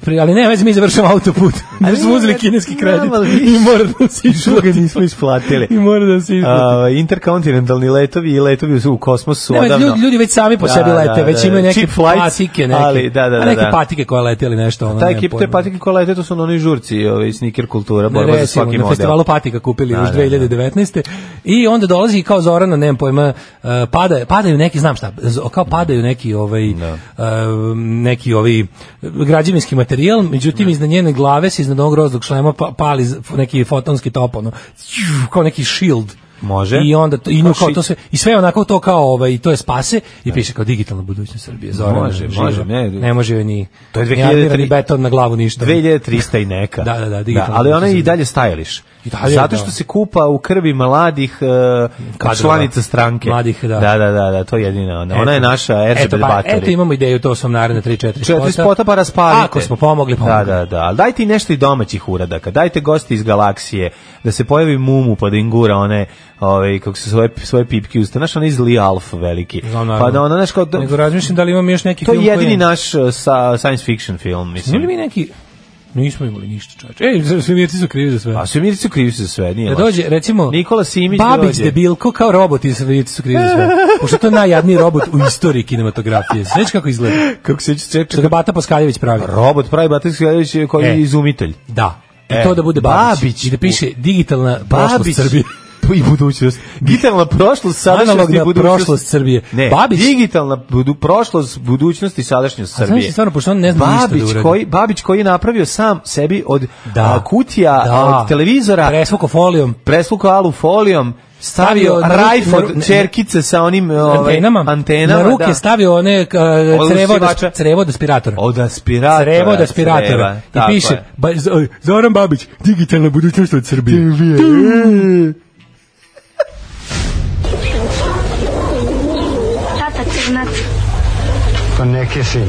Speaker 5: pri- ali ne, vezi, mi završamo
Speaker 6: [LAUGHS]
Speaker 5: autoput. Jer smo uzeli kineski kredit i mora da se
Speaker 6: Što
Speaker 5: isplati. [LAUGHS]
Speaker 6: nismo isplatili.
Speaker 5: I mora da se isplati.
Speaker 6: A, interkontinentalni letovi i letovi u kosmosu su
Speaker 5: Ne, već
Speaker 6: odavno.
Speaker 5: ljudi, ljudi već sami po
Speaker 6: Da,
Speaker 5: sebi
Speaker 6: da,
Speaker 5: lete, već
Speaker 6: da,
Speaker 5: imaju
Speaker 6: da.
Speaker 5: neke
Speaker 6: Cheap flights,
Speaker 5: patike, neke,
Speaker 6: ali, da, da,
Speaker 5: a
Speaker 6: da,
Speaker 5: neke
Speaker 6: da.
Speaker 5: patike koje lete ili nešto. Ono,
Speaker 6: Ta
Speaker 5: nemam
Speaker 6: ekipa, te
Speaker 5: pojma.
Speaker 6: patike koje lete, to pa su na onoj žurci, ovaj, sneaker kultura,
Speaker 5: Ne,
Speaker 6: borba za
Speaker 5: recimo,
Speaker 6: svaki
Speaker 5: na
Speaker 6: model.
Speaker 5: festivalu Patika kupili
Speaker 6: Da,
Speaker 5: još
Speaker 6: da, da.
Speaker 5: 2019. I onda dolazi kao Zorana, nemam pojma, uh, pada, padaju neki, znam šta, z- kao padaju neki ovaj, uh, neki ovi građevinski materijal, međutim iznad njene glave se iznad onog groznog šlema pa, pali z- neki fotonski top, ono, kao neki shield.
Speaker 6: Može.
Speaker 5: I onda to, i nju kao
Speaker 6: shi-
Speaker 5: to sve i sve je onako to kao ovaj to je spase i piše kao digitalna budućnost Srbije. Zorana
Speaker 6: Može,
Speaker 5: živa.
Speaker 6: može, ne.
Speaker 5: ne može joj ni.
Speaker 6: To je
Speaker 5: ni
Speaker 6: 2003
Speaker 5: armirani beton na glavu ništa.
Speaker 6: 2300 i neka.
Speaker 5: Da, da, da,
Speaker 6: da
Speaker 5: digitalno.
Speaker 6: ali ona je i dalje stajališ.
Speaker 5: I dalje,
Speaker 6: Zato što
Speaker 5: da.
Speaker 6: se kupa u krvi mladih e, članica stranke.
Speaker 5: Mladih, da.
Speaker 6: Da, da, da, da, to je jedina ona. Ona je naša RGB
Speaker 5: eto, pa,
Speaker 6: bateri.
Speaker 5: eto imamo ideju, to sam naredne 3-4 spota.
Speaker 6: Četiri spota pa raspalite.
Speaker 5: Ako smo pomogli, pomogli.
Speaker 6: Da, da, da. Ali dajte i nešto i domaćih uradaka. Dajte gosti iz galaksije. Da se pojavi Mumu pa da im gura one, ovaj, kako se svoje, svoje pipke usta. Znaš, onaj iz Lee Alf veliki.
Speaker 5: Znam, naravno.
Speaker 6: pa da ona, znaš, kao... da-
Speaker 5: Nego razmišljam da li imam još neki
Speaker 6: to je
Speaker 5: film
Speaker 6: jedini
Speaker 5: koji...
Speaker 6: naš e, sa, science fiction film,
Speaker 5: Imamo li
Speaker 6: mislim.
Speaker 5: mi neki... Nismo imali ništa, čoveče. Ej, svemirci su krivi za sve.
Speaker 6: A svemirci su krivi za sve, nije
Speaker 5: Da
Speaker 6: loše.
Speaker 5: dođe, recimo,
Speaker 6: Pa, Nikola Simić
Speaker 5: Babić
Speaker 6: dođe.
Speaker 5: debilko kao robot iz Svemirci su krivi za
Speaker 6: [LAUGHS]
Speaker 5: sve. Pošto to je najjadniji robot u istoriji kinematografije. Sveći [LAUGHS] kako izgleda.
Speaker 6: Kako se će
Speaker 5: Što ga Bata Paskaljević pravi.
Speaker 6: Robot pravi Batis Gledović je koji je
Speaker 5: E.
Speaker 6: izumitelj.
Speaker 5: Da. I
Speaker 6: E,
Speaker 5: to da bude Babić.
Speaker 6: Babić.
Speaker 5: I da piše digitalna prošlost
Speaker 6: Babić
Speaker 5: Srbije.
Speaker 6: [LAUGHS] i budućnost. Digitalna prošlost, sadašnjost i
Speaker 5: Analogna
Speaker 6: budućnost.
Speaker 5: prošlost Srbije.
Speaker 6: Ne,
Speaker 5: Babić
Speaker 6: digitalna budu, prošlost, budućnost i sadašnjost
Speaker 5: A znaš
Speaker 6: Srbije.
Speaker 5: li stvarno, pošto on ne zna ništa da
Speaker 6: Babić
Speaker 5: uradi.
Speaker 6: koji, Babić koji je napravio sam sebi od
Speaker 5: Da.
Speaker 6: a, kutija,
Speaker 5: Da.
Speaker 6: a, od televizora,
Speaker 5: presvuko folijom.
Speaker 6: presvukao alu folijom, stavio,
Speaker 5: Stavio na ruke-
Speaker 6: rajf
Speaker 5: na ru-
Speaker 6: od
Speaker 5: ne-
Speaker 6: čerkice sa onim ovaj,
Speaker 5: antenama,
Speaker 6: antenama,
Speaker 5: na ruke
Speaker 6: da.
Speaker 5: stavio one uh, crevo,
Speaker 6: Odlučivača.
Speaker 5: od, crevo od aspiratora.
Speaker 6: od aspiratora.
Speaker 5: crevo od
Speaker 6: creva,
Speaker 5: aspiratora. I
Speaker 6: tako
Speaker 5: piše,
Speaker 6: je.
Speaker 5: ba, Z- oj, Zoran Babić, digitalna budućnost od Srbije.
Speaker 2: Tata crnac.
Speaker 12: Pa neke sin.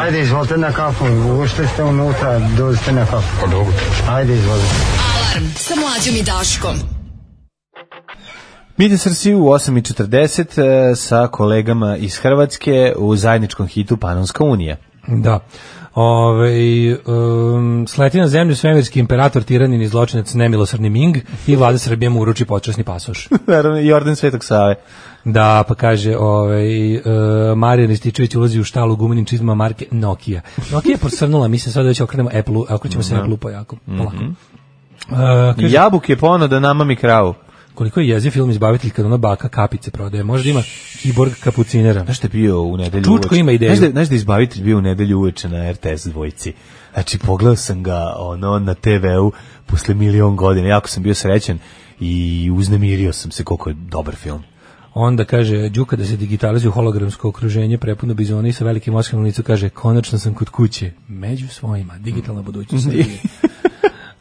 Speaker 12: Ajde, izvolite na kafu. Ušli ste unutra, dođite na kafu. Pa dobro. Ajde, izvolite.
Speaker 4: Alarm sa mlađom i Daškom.
Speaker 6: Mite Srsi u 8.40 e, sa kolegama iz Hrvatske u zajedničkom hitu Panonska unija.
Speaker 5: Da. Ove, um, sleti na zemlju svemirski imperator, tiranin i zločinac, nemilosrdni Ming i vlada Srbije mu uruči počasni pasoš.
Speaker 6: Naravno, i orden Svetog Save.
Speaker 5: Da, pa kaže, ovaj, e, Marijan Rističević ulazi u štalu gumenim čizmama marke Nokia. Nokia je posrnula, mi se sad već okrenemo Apple-u, okrećemo se Apple-u pojako,
Speaker 6: Mhm.
Speaker 5: polako. E, kaže,
Speaker 6: Jabuk je pono da namami kravu.
Speaker 5: koliko je jezi film Izbavitelj kad ona baka kapice prodaje. Možda ima kiborg kapucinera.
Speaker 6: Znaš da je bio u nedelju
Speaker 5: Čučko ima ideju.
Speaker 6: Znaš da, znaš da je izbavitelj bio u nedelju uveče na RTS dvojci. Znači, pogledao sam ga ono, na TV-u posle milion godina. Jako sam bio srećen i uznemirio sam se koliko je dobar film.
Speaker 5: Onda kaže, Đuka da se digitalizuje hologramsko okruženje, prepuno bizona i sa velikim oskrnom licu kaže, konačno sam kod kuće, među svojima, digitalna budućnost.
Speaker 6: [LAUGHS]
Speaker 5: Srbije."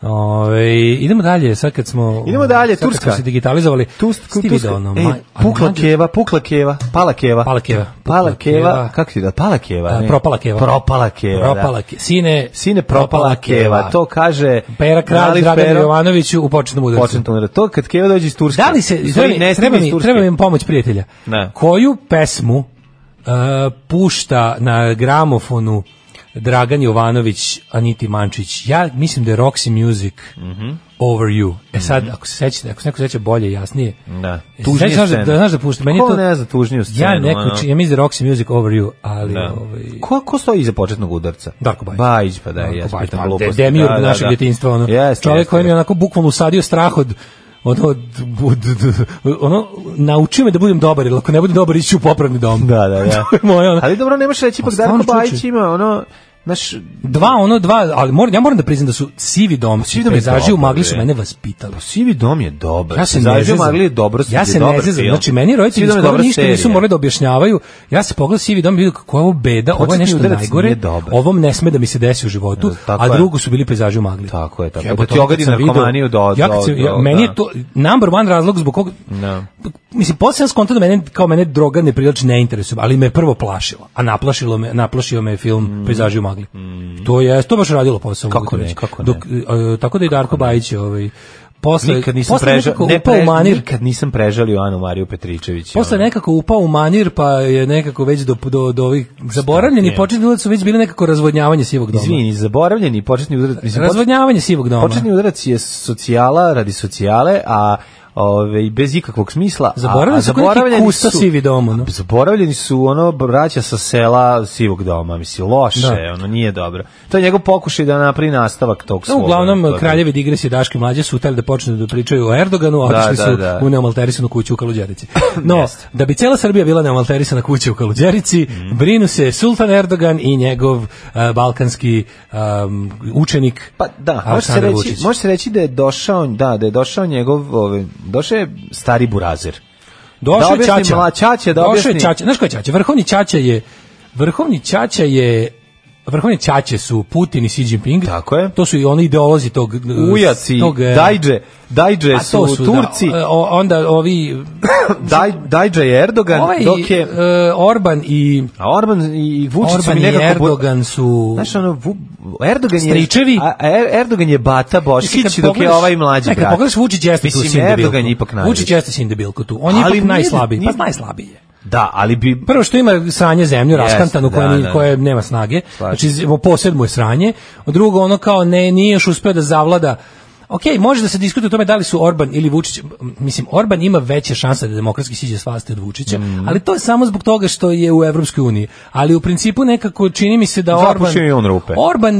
Speaker 5: Ove, idemo dalje, sad kad smo
Speaker 6: Idemo dalje,
Speaker 5: sad kad
Speaker 6: Turska.
Speaker 5: smo se digitalizovali
Speaker 6: Tust,
Speaker 5: Stivi da ono, ma-
Speaker 6: e, pukla
Speaker 5: mlađe-
Speaker 6: keva, pukla keva, pala keva.
Speaker 5: Pala keva.
Speaker 6: Pala
Speaker 5: Pukla keva.
Speaker 6: keva, kako ti da, pala keva.
Speaker 5: Da,
Speaker 6: ne?
Speaker 5: propala keva.
Speaker 6: Propala keva,
Speaker 5: Propala
Speaker 6: da.
Speaker 5: ke- sine,
Speaker 6: Sine propala keva, to kaže...
Speaker 5: Pera Kralj,
Speaker 6: Nalif
Speaker 5: Dragan
Speaker 6: Pero.
Speaker 5: Jovanović u početnom udarcu.
Speaker 6: Početno udara. To kad keva dođe iz Turske.
Speaker 5: Da li se
Speaker 6: Sorry,
Speaker 5: treba, mi, treba,
Speaker 6: ne stigne iz
Speaker 5: mi,
Speaker 6: Turske.
Speaker 5: treba mi pomoć prijatelja.
Speaker 6: Ne.
Speaker 5: Koju pesmu uh, pušta na gramofonu Dragan Jovanović, Aniti Mančić? Ja mislim da je Roxy Music
Speaker 6: Mhm.
Speaker 5: Over You. E sad, ako se sećate, ako se neko seća bolje, jasnije.
Speaker 6: Da.
Speaker 5: E,
Speaker 6: Tužnije
Speaker 5: sećaš da-
Speaker 6: scene.
Speaker 5: Da, znaš da pušta. Meni je
Speaker 6: Ko
Speaker 5: to,
Speaker 6: ne zna tužniju scenu?
Speaker 5: ja neku,
Speaker 6: ono?
Speaker 5: ja mislim da je Roxy Music Over You, ali...
Speaker 6: Da.
Speaker 5: Ovaj,
Speaker 6: Ko, ko stoji iza početnog udarca?
Speaker 5: Darko Bajić.
Speaker 6: Bajić, pa da,
Speaker 5: Darko
Speaker 6: ja
Speaker 5: Bajić,
Speaker 6: pitam
Speaker 5: pa,
Speaker 6: gluposti.
Speaker 5: de- Demiurg
Speaker 6: Da, da,
Speaker 5: našeg
Speaker 6: da.
Speaker 5: djetinjstva, ono.
Speaker 6: Jeste,
Speaker 5: čovjek
Speaker 6: jeste,
Speaker 5: koji mi je
Speaker 6: jeste.
Speaker 5: onako bukvalno usadio strah od ono, od, od, od- ono, naučio me da budem dobar, jer ako ne budem dobar, ići ću u popravni dom.
Speaker 6: Da, da, da.
Speaker 5: To je [LAUGHS] moje, ono.
Speaker 6: Ali dobro, nemaš reći, ipak
Speaker 5: A
Speaker 6: Darko
Speaker 5: stvarno, čoveče.
Speaker 6: Bajić ima ono... naš
Speaker 5: dva ono dva, ali moram ja moram da priznam da su sivi dom, sivi
Speaker 6: Dom je
Speaker 5: pejzaži u
Speaker 6: dobar,
Speaker 5: magli su
Speaker 6: bre.
Speaker 5: mene vaspitali.
Speaker 6: Sivi dom je dobar.
Speaker 5: Ja se
Speaker 6: Pejzaži
Speaker 5: ne
Speaker 6: u
Speaker 5: zezam.
Speaker 6: magli je dobro,
Speaker 5: ja se ne
Speaker 6: je dobar
Speaker 5: zezam.
Speaker 6: film.
Speaker 5: Znači meni roditelji
Speaker 6: Sivi dom je
Speaker 5: skoro
Speaker 6: dobra
Speaker 5: ništa nisu
Speaker 6: serija.
Speaker 5: morali da objašnjavaju. Ja se pogledao sivi dom i vidio kako je ovo beda, ovo je
Speaker 6: Početni
Speaker 5: nešto
Speaker 6: udarac nije
Speaker 5: najgore.
Speaker 6: dobar.
Speaker 5: Ovom ne sme da mi se desi u životu,
Speaker 6: tako
Speaker 5: a
Speaker 6: je.
Speaker 5: drugo su bili pejzaži u magli.
Speaker 6: Tako je, tako. je. Da
Speaker 5: Jebote,
Speaker 6: ti
Speaker 5: ono
Speaker 6: ogadi
Speaker 5: kad sam vidio-
Speaker 6: narkomaniju do...
Speaker 5: Ja kad sam-
Speaker 6: do-
Speaker 5: ja-
Speaker 6: do-
Speaker 5: meni
Speaker 6: da.
Speaker 5: je to number one razlog zbog kog
Speaker 6: Da.
Speaker 5: mislim posle sam skontao da mene kao mene droga ne priliči ne interesuje, ali me je prvo plašila, a naplašilo me, naplašio me je film Pejzaži u magli. To je to baš radilo posao.
Speaker 6: Mm. Kako
Speaker 5: mogu ti
Speaker 6: ne,
Speaker 5: reći.
Speaker 6: kako ne.
Speaker 5: Dok, e, tako da i Darko Bajić je ovaj posle
Speaker 6: Nikad nisam
Speaker 5: posle
Speaker 6: prežao,
Speaker 5: nekako
Speaker 6: ne
Speaker 5: upao u
Speaker 6: prežao,
Speaker 5: manir.
Speaker 6: nikad nisam prežalio Anu Mariju Petričević. ono.
Speaker 5: Posle je nekako upao u manir, pa je nekako već do, do, do ovih zaboravljeni
Speaker 6: je?
Speaker 5: početni udarac su već bili nekako razvodnjavanje sivog doma.
Speaker 6: Izvini, zaboravljeni početni udarac. Mislim,
Speaker 5: Razvodnjavanje sivog doma.
Speaker 6: Početni udarac je socijala radi socijale, a ove, bez ikakvog smisla. a-
Speaker 5: Zaboravljeni
Speaker 6: a
Speaker 5: su ko neki kusta sivi dom, ono.
Speaker 6: Zaboravljeni su ono braća sa sela sivog doma, mislim, loše,
Speaker 5: Da.
Speaker 6: ono, nije dobro. To je njegov pokušaj da napravi nastavak tog svog.
Speaker 5: No, uglavnom,
Speaker 6: ono, to je-
Speaker 5: kraljevi digresije Daške mlađe su hteli da počnu da pričaju o Erdoganu, a
Speaker 6: Da,
Speaker 5: otišli
Speaker 6: da,
Speaker 5: su
Speaker 6: da.
Speaker 5: u neomalterisanu kuću u Kaluđerici.
Speaker 6: [COUGHS]
Speaker 5: No, da bi cijela Srbija bila neomalterisana kuća u Kaluđerici,
Speaker 6: Mhm.
Speaker 5: brinu se Sultan Erdogan i njegov eh, balkanski em, učenik
Speaker 6: Pa da, može se
Speaker 5: Aleksandar
Speaker 6: reći,
Speaker 5: Vučić.
Speaker 6: može se reći da je došao, da, da je došao njegov, ovaj, došao je stari burazer.
Speaker 5: Došao
Speaker 6: Da
Speaker 5: je
Speaker 6: objasni
Speaker 5: Ćaća.
Speaker 6: mla- Ćaća, da
Speaker 5: Došao je
Speaker 6: objasni.
Speaker 5: Ćaća. Znaš ko je Ćaća? Vrhovni Ćaća je... Vrhovni Ćaća je Vrhovni Ćaće su Putin i Xi Jinping.
Speaker 6: Tako je.
Speaker 5: To su i oni ideolozi tog... eh,
Speaker 6: Ujaci,
Speaker 5: tog, eh,
Speaker 6: Dajđe, Dajđe
Speaker 5: a
Speaker 6: su,
Speaker 5: to su, da,
Speaker 6: Turci,
Speaker 5: eh, o- onda
Speaker 6: [COUGHS]
Speaker 5: ovi
Speaker 6: daj, Dajđe je Erdogan,
Speaker 5: ovaj,
Speaker 6: dok je
Speaker 5: e, Orban i
Speaker 6: a Orban i Vučić su
Speaker 5: Orban
Speaker 6: mi
Speaker 5: i
Speaker 6: nekako... bu-
Speaker 5: Erdogan su
Speaker 6: Znaš, ono, Vu- Erdogan je...
Speaker 5: Stričevi.
Speaker 6: A, Er- Erdogan je Bata
Speaker 5: Mislim, kad
Speaker 6: Bošić, dok je
Speaker 5: pogledaš-
Speaker 6: ovaj mlađi
Speaker 5: Ne, kad
Speaker 6: brat.
Speaker 5: pogledaš Vučić jeste tu
Speaker 6: Mislim,
Speaker 5: sindebilku.
Speaker 6: Erdogan je ipak najveći.
Speaker 5: Vučić jeste sindebilku tu. On je
Speaker 6: Ali
Speaker 5: ipak
Speaker 6: nije-
Speaker 5: najslabiji.
Speaker 6: nije-
Speaker 5: Pa najslabiji je.
Speaker 6: Da, ali bi...
Speaker 5: Prvo što ima sranje zemlju,
Speaker 6: Jeste,
Speaker 5: raskantanu, koja,
Speaker 6: da,
Speaker 5: ni-
Speaker 6: da.
Speaker 5: koja nema snage.
Speaker 6: Slažem
Speaker 5: Znači, z- posed mu je sranje. Drugo, ono kao ne, nije još uspeo da zavlada Ok, može da se diskutuje o tome da li su Orban ili Vučić, m, mislim, Orban ima veće šanse da demokratski siđe s vlasti od Vučića,
Speaker 6: Mhm.
Speaker 5: ali to je samo zbog toga što je u Evropskoj uniji. Ali u principu nekako čini mi se da
Speaker 6: Zapušio
Speaker 5: Orban...
Speaker 6: je i on rupe.
Speaker 5: Orban,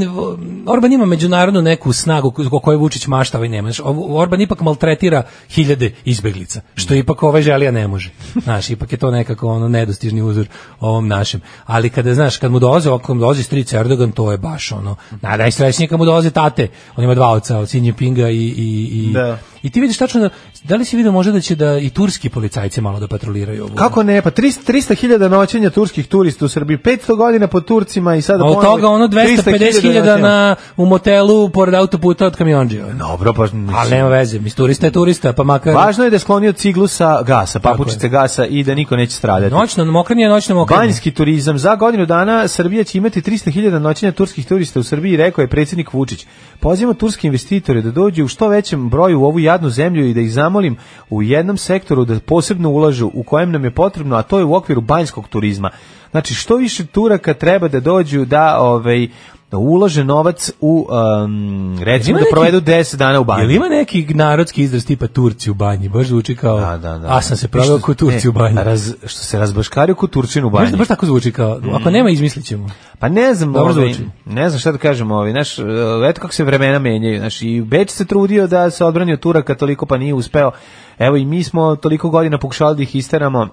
Speaker 5: Orban ima međunarodnu neku snagu ko- o kojoj Vučić maštava i nema. Znaš, ovo- Orban ipak maltretira hiljade izbeglica, što ipak ovaj želija ne može. Znaš, ipak je to nekako ono nedostižni uzor ovom našem. Ali kada, znaš, kad mu dolaze, ako mu dolazi stric Erdogan, to je baš ono, na, najsrećnije kad mu dolaze tate. On ima dva oca, od Xi Jinpinga i, i, i,
Speaker 6: Da.
Speaker 5: i ti vidiš tačno da, da li si vidio možda da će da i turski policajci malo da patroliraju ovo?
Speaker 6: Kako ne, pa 300 300.000 noćenja turskih turista u Srbiji, 500 godina po Turcima i sada
Speaker 5: A od
Speaker 6: ponovo
Speaker 5: toga ono 250.000
Speaker 6: 300.000
Speaker 5: na, u motelu pored autoputa od kamionđeva.
Speaker 6: Dobro, pa... mislim,
Speaker 5: Ali nema veze, mis turista je turista, pa makar...
Speaker 6: Važno je da je sklonio ciglu sa gasa,
Speaker 5: Tako
Speaker 6: papučice gasa i da niko neće stradati.
Speaker 5: Noćno mokrani je noćno mokrani.
Speaker 6: Banjski turizam. Za godinu dana Srbija će imati 300.000 noćenja turskih turista u Srbiji, rekao je predsjednik Vučić. Pozivamo turske investitore da dođu u što većem broju u ovu jadnu zemlju i da ih zamolim u jednom sektoru da posebno ulažu u kojem nam je potrebno, a to je u okviru banjskog turizma. Znači, što više Turaka treba da dođu da ovaj, da ulože novac u, em, recimo,
Speaker 5: Ima
Speaker 6: da
Speaker 5: neki-
Speaker 6: provedu 10 dana u banji.
Speaker 5: Jel ima neki narodski izraz tipa Turci u banji? Baš zvuči kao,
Speaker 6: Da, da, E, da.
Speaker 5: Pa, a sam se
Speaker 6: I
Speaker 5: pravio
Speaker 6: što-
Speaker 5: ko Turci
Speaker 6: ne,
Speaker 5: u banji.
Speaker 6: raz- što se razbaškario ko Turčin u
Speaker 5: Baš,
Speaker 6: banji.
Speaker 5: baš tako zvuči kao, ako nema izmislit ćemo.
Speaker 6: Pa ne znam,
Speaker 5: Dobro
Speaker 6: ovaj,
Speaker 5: zvuči.
Speaker 6: ne znam šta da kažem, ovaj, znaš, e, eto kako se vremena menjaju, znaš, i Beč se trudio da se odbrani od Turaka toliko pa nije uspeo, evo i mi smo toliko godina pokušali da ih isteramo,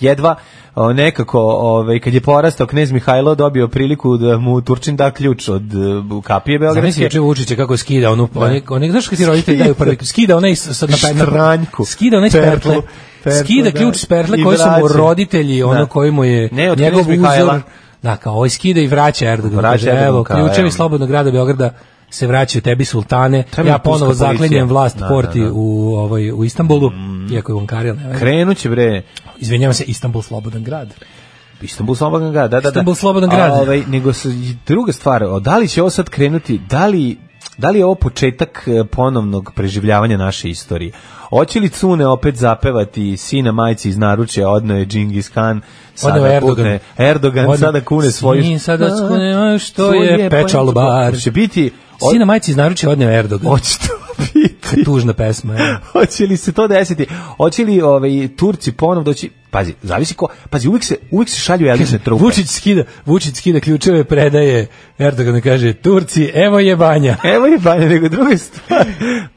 Speaker 6: jedva o, nekako ovaj kad je porastao knez Mihajlo dobio priliku da mu Turčin da ključ od e, kapije
Speaker 5: Zamisli
Speaker 6: Beogradske
Speaker 5: juče Vučića kako je skida onu, one, one, znaš kad ti roditelji daju prvi, skida onaj s- sad na perna.
Speaker 6: Štranjku.
Speaker 5: Skida onaj s
Speaker 6: Pertlu.
Speaker 5: pertle.
Speaker 6: Pertlu,
Speaker 5: Skida
Speaker 6: da.
Speaker 5: ključ s pertle
Speaker 6: I
Speaker 5: koji su mu
Speaker 6: vraća.
Speaker 5: roditelji, ono
Speaker 6: Da.
Speaker 5: koji mu je
Speaker 6: Ne, od
Speaker 5: njegov
Speaker 6: Knez Mihajla.
Speaker 5: uzor. Da, kao ovaj skida i vraća Erdogan.
Speaker 6: Vraća
Speaker 5: Kaže,
Speaker 6: Erdoganu,
Speaker 5: evo,
Speaker 6: kao,
Speaker 5: ključevi
Speaker 6: evo.
Speaker 5: slobodnog grada Beograda se vraćaju tebi sultane.
Speaker 6: Treba
Speaker 5: ja
Speaker 6: mi turska
Speaker 5: ponovo
Speaker 6: policija.
Speaker 5: zaklinjem vlast
Speaker 6: Da, da,
Speaker 5: porti
Speaker 6: da. Mhm.
Speaker 5: u ovaj u Istanbulu, iako je Vankarija, ne veze.
Speaker 6: krenuće bre
Speaker 5: Izvinjavam se, Istanbul slobodan grad.
Speaker 6: Istanbul slobodan grad, da, da, da.
Speaker 5: Istanbul slobodan grad.
Speaker 6: A, Ovaj, nego su, i druga stvar, o, da li će ovo sad krenuti, da li, da li je ovo početak e, ponovnog preživljavanja naše istorije? Hoće li Cune opet zapevati sina majci iz naručja, odno je Džingis Khan, sada
Speaker 5: Odneo je
Speaker 6: Erdogan,
Speaker 5: Erdogan.
Speaker 6: Erdogan
Speaker 5: Odneo-
Speaker 6: sada kune svoju...
Speaker 5: Sin sada kune što
Speaker 6: svoje
Speaker 5: je pečalbar.
Speaker 6: Će biti...
Speaker 5: Sina majci iz naručja odneo Erdogan.
Speaker 6: Hoće to biti
Speaker 5: Tužna pesma. evo.
Speaker 6: Hoće li se to desiti? Hoće li ovaj, Turci ponovno doći... Pazi, zavisi ko... Pazi, uvijek se, uvijek se šalju elitne trupe.
Speaker 5: Vučić skida, Vučić skida ključeve, predaje Erdogan kaže Turci, evo je banja.
Speaker 6: Evo E, je banja, nego druga stvar,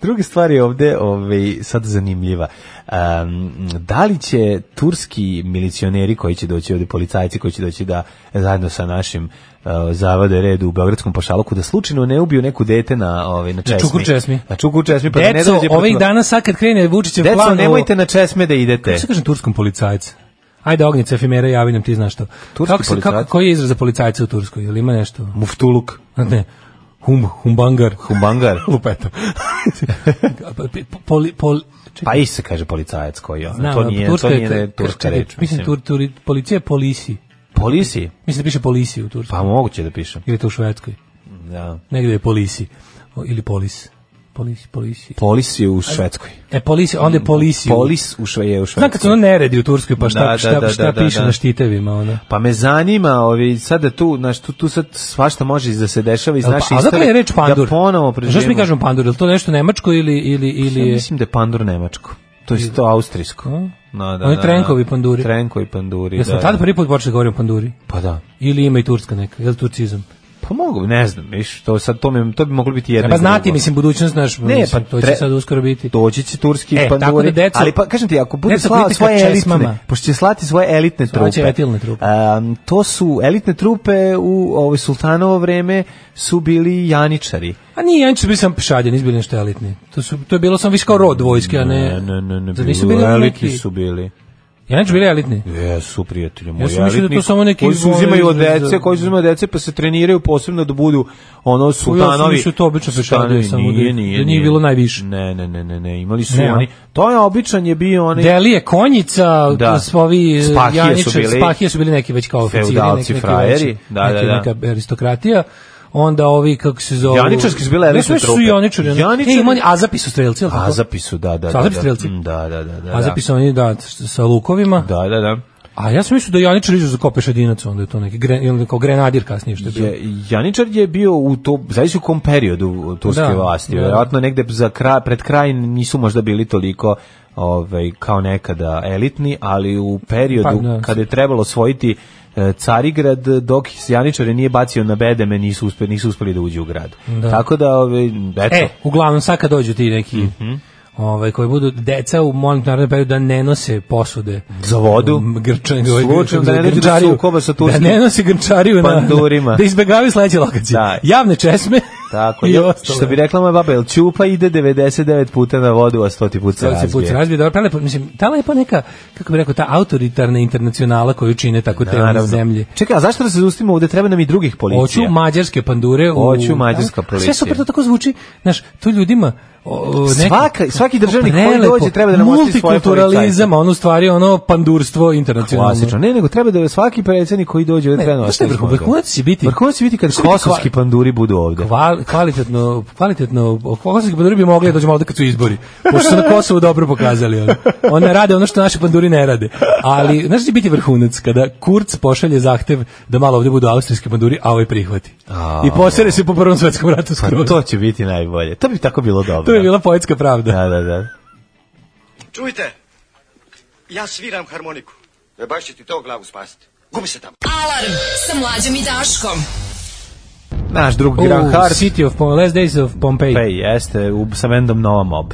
Speaker 6: druga stvar je ovde ovaj, sad zanimljiva. Um, da li će turski milicioneri koji će doći ovde, policajci koji će doći da zajedno sa našim uh, zavode redu u Beogradskom pašaluku, da slučajno ne ubiju neku dete na, ovaj, na česmi.
Speaker 5: čukur česmi.
Speaker 6: Na čukur česmi, pa da ne
Speaker 5: Deco,
Speaker 6: dođe
Speaker 5: ovih
Speaker 6: protiv-
Speaker 5: dana sad kad krene Vučićev
Speaker 6: Deco,
Speaker 5: plan... o-
Speaker 6: nemojte na česme da idete.
Speaker 5: Kako se kaže turskom policajcu? Ajde ognjice efimera, javi nam ti znaš što.
Speaker 6: Turski
Speaker 5: kako se, kako,
Speaker 6: policajac?
Speaker 5: koji je izraz za policajca u Turskoj? Jel ima nešto? [LAUGHS]
Speaker 6: Muftuluk.
Speaker 5: Ne, hum, humbangar.
Speaker 6: Humbangar.
Speaker 5: [LAUGHS] Lupetam. poli, poli,
Speaker 6: Pa i se kaže policajac koji je.
Speaker 5: Znam,
Speaker 6: to nije,
Speaker 5: turska
Speaker 6: to
Speaker 5: je-
Speaker 6: nije turska
Speaker 5: čekaj,
Speaker 6: reč.
Speaker 5: Mislim, tur, tur, policija je polisi.
Speaker 6: Polisi?
Speaker 5: Mislim da piše polisi u Turskoj.
Speaker 6: Pa moguće da pišem.
Speaker 5: Ili je to u Švedskoj.
Speaker 6: Da.
Speaker 5: Negde je polisi. O, ili polis. Polis, polisi.
Speaker 6: Polis je u Švedskoj.
Speaker 5: E, polisi, onda je polisi. u-
Speaker 6: Polis u Šve, je u Švedskoj.
Speaker 5: Znam kad su ono neredi u Turskoj, pa šta,
Speaker 6: Da, da,
Speaker 5: šta,
Speaker 6: da,
Speaker 5: šta
Speaker 6: da, da,
Speaker 5: piše
Speaker 6: da.
Speaker 5: na štitevima, ono.
Speaker 6: Pa me zanima, ovi, sada tu, znaš, tu, tu sad svašta može da se dešava iz
Speaker 5: Jel
Speaker 6: naše
Speaker 5: pa- a odakle
Speaker 6: istorije.
Speaker 5: je reč pandur?
Speaker 6: Da ponovo preživimo.
Speaker 5: Zašto mi kažemo pandur? Je li to nešto nemačko ili... ili, ili
Speaker 6: Ja
Speaker 5: je...
Speaker 6: mislim da je pandur nemačko. To je isto austrijsko. No, da,
Speaker 5: Oni
Speaker 6: da,
Speaker 5: trenkovi
Speaker 6: da.
Speaker 5: panduri.
Speaker 6: Trenkovi panduri,
Speaker 5: Jesmo
Speaker 6: da.
Speaker 5: tada prvi put počeli da govorimo o panduri?
Speaker 6: Pa da.
Speaker 5: Ili ima i turska neka? Je li turcizam?
Speaker 6: Pa mogu, ne znam, viš, to, sad, to, mi, to bi moglo biti jedno.
Speaker 5: Treba
Speaker 6: i drugo.
Speaker 5: Pa E, znati, mislim, budućnost naš,
Speaker 6: Ne,
Speaker 5: mislim,
Speaker 6: pa
Speaker 5: to će
Speaker 6: tre-
Speaker 5: sad uskoro biti.
Speaker 6: Doći će turski
Speaker 5: E,
Speaker 6: panduri.
Speaker 5: tako da, deco-
Speaker 6: ali pa kažem ti, ako bude
Speaker 5: deco,
Speaker 6: slao
Speaker 5: kritika
Speaker 6: svoje elitne,
Speaker 5: česmama.
Speaker 6: pošto će slati svoje elitne trupe.
Speaker 5: Slaće elitne trupe.
Speaker 6: em, to su elitne trupe u ovo sultanovo vreme su bili janičari.
Speaker 5: A nije, ja nisu bili sam pešadje, nisu bili nešto elitni. To, su, to je bilo sam više kao rod vojske, a ne...
Speaker 6: Ne, ne, ne, ne,
Speaker 5: Zar
Speaker 6: bili
Speaker 5: nisu bili
Speaker 6: elitni
Speaker 5: neki-
Speaker 6: su bili.
Speaker 5: Ja nisu bili elitni.
Speaker 6: Jesu, prijatelju moji.
Speaker 5: Ja sam mislio da
Speaker 6: elitni
Speaker 5: to samo neki
Speaker 6: koji se
Speaker 5: ovi
Speaker 6: uzimaju od
Speaker 5: iz-
Speaker 6: dece, koji se uzimaju od dece pa se treniraju posebno da budu ono sultanovi.
Speaker 5: Pa mislio to obično pešadije,
Speaker 6: Sultanovi,
Speaker 5: samo da-
Speaker 6: nije,
Speaker 5: da
Speaker 6: nije,
Speaker 5: njih
Speaker 6: nije.
Speaker 5: bilo najviše.
Speaker 6: Ne, ne, ne, ne, ne, imali su
Speaker 5: Ne, a?
Speaker 6: oni. To je običan je bio onaj
Speaker 5: Delije, konjica,
Speaker 6: Da.
Speaker 5: da. ovi e,
Speaker 6: Spahije su
Speaker 5: Janičar,
Speaker 6: bili-
Speaker 5: spahije su bili neki već kao oficiri,
Speaker 6: Feudalci,
Speaker 5: neki, neki
Speaker 6: frajeri.
Speaker 5: veći,
Speaker 6: Da, da,
Speaker 5: neki,
Speaker 6: da.
Speaker 5: neka aristokratija. Onda ovi, kako se zovu...
Speaker 6: Janičarski su bile elitne
Speaker 5: Ne, sve su
Speaker 6: trupe.
Speaker 5: janičari. ono.
Speaker 6: Janičari-
Speaker 5: E, ima oni Azapi su strelci, ali tako?
Speaker 6: Azapi su, Pa, da, da.
Speaker 5: Su
Speaker 6: da,
Speaker 5: Azapi
Speaker 6: da.
Speaker 5: strelci?
Speaker 6: Mm, Da, da, da. da
Speaker 5: Azapi su oni, da, s- sa lukovima.
Speaker 6: Da, da, da.
Speaker 5: A ja sam mislio da Janičar iđu za kopešadinac, onda je to neki, gre, ili kao grenadir kasnije što je bilo.
Speaker 6: Je, Janičar je bio u to, zavisi u kom periodu turske
Speaker 5: Da,
Speaker 6: vlasti.
Speaker 5: da.
Speaker 6: Vjerojatno negde za kraj, pred kraj nisu možda bili toliko ovaj, kao nekada elitni, ali u periodu
Speaker 5: Pa, da.
Speaker 6: kada je trebalo osvojiti e, Carigrad, dok Janičare nije bacio na bedeme, nisu uspeli, nisu uspeli da uđu u grad.
Speaker 5: Da.
Speaker 6: Tako da, ovaj, eto,
Speaker 5: E, uglavnom, sad kad dođu ti neki...
Speaker 6: Mhm.
Speaker 5: Ovaj koji budu deca u monetarnom periodu da ne nose posude
Speaker 6: za vodu,
Speaker 5: grčani ovaj
Speaker 6: Slučajno da ne dođe do
Speaker 5: grnčariju.
Speaker 6: sukoba sa turskim
Speaker 5: da ne nosi grčariju na,
Speaker 6: pandurima.
Speaker 5: na [LAUGHS] da izbegavaju sledeće lokacije
Speaker 6: Da.
Speaker 5: javne česme
Speaker 6: [LAUGHS] Tako,
Speaker 5: i
Speaker 6: je.
Speaker 5: ostalo
Speaker 6: što bi rekla moja baba, jel čupa ide 99 puta na vodu, a 100 puta se
Speaker 5: Sad
Speaker 6: razbije.
Speaker 5: se put se razbije, dobro, prelepo, mislim, ta lepa neka, kako bi rekao, ta autoritarna internacionala koju čine tako te
Speaker 6: Naravno.
Speaker 5: one zemlje.
Speaker 6: Čekaj, a zašto da se zustimo ovde? Treba nam i drugih policija.
Speaker 5: Hoću mađarske pandure. u-
Speaker 6: Hoću mađarska
Speaker 5: A,
Speaker 6: policija.
Speaker 5: Sve super to tako zvuči, znaš, to ljudima... O, o, neki-
Speaker 6: Svaka- svaki državnik koji
Speaker 5: prelepo,
Speaker 6: dođe treba da nam oštri svoje
Speaker 5: Multikulturalizam, ono u stvari, ono pandurstvo internacionalno.
Speaker 6: Klasično. Ne, nego treba da svaki predsjednik koji dođe ovde
Speaker 5: Ne,
Speaker 6: treba
Speaker 5: znaš šta je vrhu-
Speaker 6: ostaviti.
Speaker 5: vrhunac će biti-
Speaker 6: Vrhunac će biti kad
Speaker 5: Šta je biti
Speaker 6: kosovski
Speaker 5: kva-
Speaker 6: panduri budu ovde.
Speaker 5: Kval, kvalitetno, kvalitetno, kosovski panduri bi mogli da dođu malo da kad su izbori, pošto su na Kosovu dobro pokazali. Ono. One rade ono što naši panduri ne rade. Ali, znaš će biti vrhunac kada Kurz pošalje zahtev da malo ovde budu austrijski panduri, a ovaj prihvati.
Speaker 6: A.
Speaker 5: I posere se po prvom svetskom ratu
Speaker 6: Pa
Speaker 5: skroz.
Speaker 6: to će biti najbolje. To bi tako bilo dobro.
Speaker 5: To je bila poetska pravda.
Speaker 6: Da, da, da.
Speaker 13: Čujte, ja sviram harmoniku. E baš će ti to glavu spasiti. Gubi se tamo.
Speaker 4: Alarm sa mlađom i Daškom.
Speaker 6: Naš drug
Speaker 5: U,
Speaker 6: Graham Hart.
Speaker 5: City of Pom Last Days of Pompeii.
Speaker 6: Pej, jeste, u, sa vendom Nova Mob.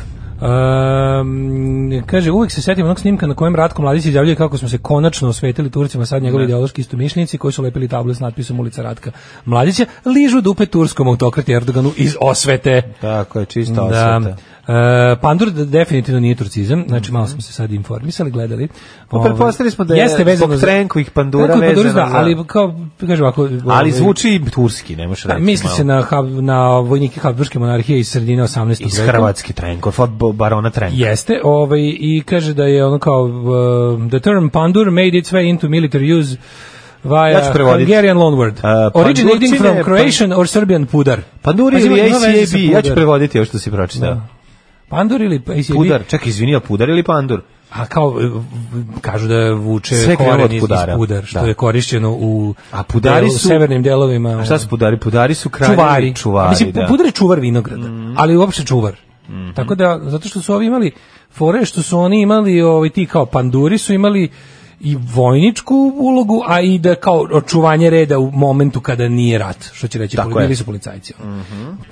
Speaker 5: Um, kaže, uvek se setim onog snimka na kojem Ratko Mladić izjavljuje kako smo se konačno osvetili Turcima, sad njegovi ideološki istomišljenici koji su lepili table s natpisom ulica Ratka Mladića, ližu dupe turskom autokrati Erdoganu iz osvete.
Speaker 6: Tako je, čista
Speaker 5: Da.
Speaker 6: osveta.
Speaker 5: E, pandur d- definitivno nije turcizam, znači malo smo se sad informisali, gledali. Ovaj,
Speaker 6: Pa pretpostavili smo da je
Speaker 5: Jeste vezano
Speaker 6: zbog
Speaker 5: za-
Speaker 6: Trenkovih pandura
Speaker 5: Trenkovih
Speaker 6: vezano za-
Speaker 5: da, ali kao, kažem ovako...
Speaker 6: Ali
Speaker 5: ovaj,
Speaker 6: zvuči i turski, ne možeš
Speaker 5: Da,
Speaker 6: reći.
Speaker 5: Pa misli
Speaker 6: malo.
Speaker 5: se na, hab- na vojnike Habsburgske monarhije iz sredine 18. veka.
Speaker 6: Iz Hrvatski Trenkov, od Bo- barona Trenka.
Speaker 5: Jeste, ovaj i kaže da je ono kao uh, the term pandur made its way into military use via
Speaker 6: Ja ću prevoditi.
Speaker 5: Hungarian loanword.
Speaker 6: Uh,
Speaker 5: originating
Speaker 6: pandurčine,
Speaker 5: from Croatian or Serbian pudar.
Speaker 6: Panduri
Speaker 5: Pazi,
Speaker 6: ili
Speaker 5: Pa ima- ima veze sa
Speaker 6: ACAB, ja ću
Speaker 5: pudar.
Speaker 6: prevoditi ovo što si pročitao.
Speaker 5: Pandur ili ACAB?
Speaker 6: Pudar, čak izvini, jel pudar ili pandur?
Speaker 5: A kao uh, v- kažu da vuče
Speaker 6: Sve krenulo od
Speaker 5: koren iz, iz
Speaker 6: pudara.
Speaker 5: pudar, što
Speaker 6: Da.
Speaker 5: je korišćeno u
Speaker 6: A pudari
Speaker 5: delu- u
Speaker 6: su-
Speaker 5: severnim delovima. ono?
Speaker 6: A šta su pudari? Pudari su kraljevi
Speaker 5: čuvari.
Speaker 6: čuvari,
Speaker 5: Mislim,
Speaker 6: da. Mm. Mm-hmm.
Speaker 5: pudar je čuvar vinograda, ali uopšte čuvar. Tako da, zato što su ovi imali fore, što su oni imali, ovaj, ti kao panduri su imali i vojničku ulogu, a i da kao očuvanje reda u momentu kada nije rat, što će reći,
Speaker 6: Tako
Speaker 5: poli-
Speaker 6: je. Mm-hmm.
Speaker 5: bili su policajci. ono.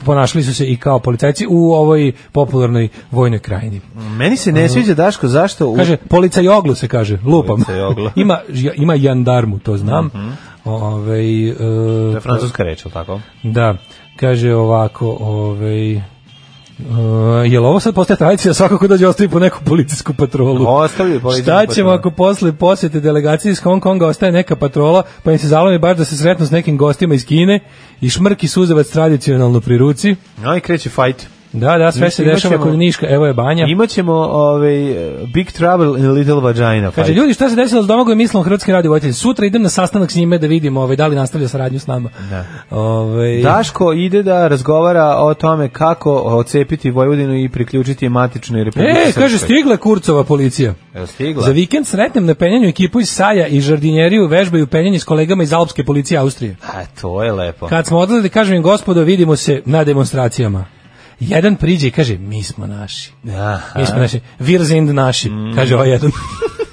Speaker 5: Ponašali su se i kao policajci u ovoj popularnoj vojnoj krajini.
Speaker 6: Meni se ne sviđa Daško zašto u-
Speaker 5: Ono- Kaže policajoglu se kaže, lupam. [LAUGHS]
Speaker 6: Policajoglu. Mm-hmm.
Speaker 5: ima ž- ima jandarmu, to znam. Ovaj e,
Speaker 6: To je francuska reč, ali tako?
Speaker 5: Da. Kaže ovako, ovaj Uh, jel ovo sad postaje tradicija svako ko dođe ostavi po neku policijsku patrolu
Speaker 6: Ostavi policijsku
Speaker 5: šta ćemo
Speaker 6: patrolu.
Speaker 5: ako posle posjete delegacije iz Hong Konga ostaje neka patrola pa im se zalomi baš da se sretnu s nekim gostima iz Kine i šmrki suzevac tradicionalno pri ruci
Speaker 6: No i kreće fight.
Speaker 5: da da sve se
Speaker 6: Imaćemo-
Speaker 5: dešava kod Niška evo je banja
Speaker 6: Imaćemo ovaj, Big Trouble in Little Vagina fight.
Speaker 5: Kaže, ljudi, šta se desilo s domagoj mislom Hrvatski radio voditelj? Sutra idem na sastanak s njime da vidimo ovaj, da li nastavlja saradnju s nama.
Speaker 6: Da.
Speaker 5: Ovaj,
Speaker 6: Daško ide da razgovara o tome kako ocepiti Vojvodinu i priključiti je matičnoj Republike
Speaker 5: E, kaže,
Speaker 6: Srpskoj.
Speaker 5: stigla je Kurcova policija.
Speaker 6: Evo stigla.
Speaker 5: Za vikend sretnem na penjanju ekipu iz Saja i žardinjeriju vežbaju penjanje s kolegama iz Alpske policije Austrije.
Speaker 6: A, to je lepo.
Speaker 5: Kad smo odlazili, kažem im, gospodo, vidimo se na demonstracijama. Jedan priđe i kaže, mi smo naši.
Speaker 6: Aha. Mm.
Speaker 5: Mi smo naši. Wir sind naši, kaže ovaj jedan.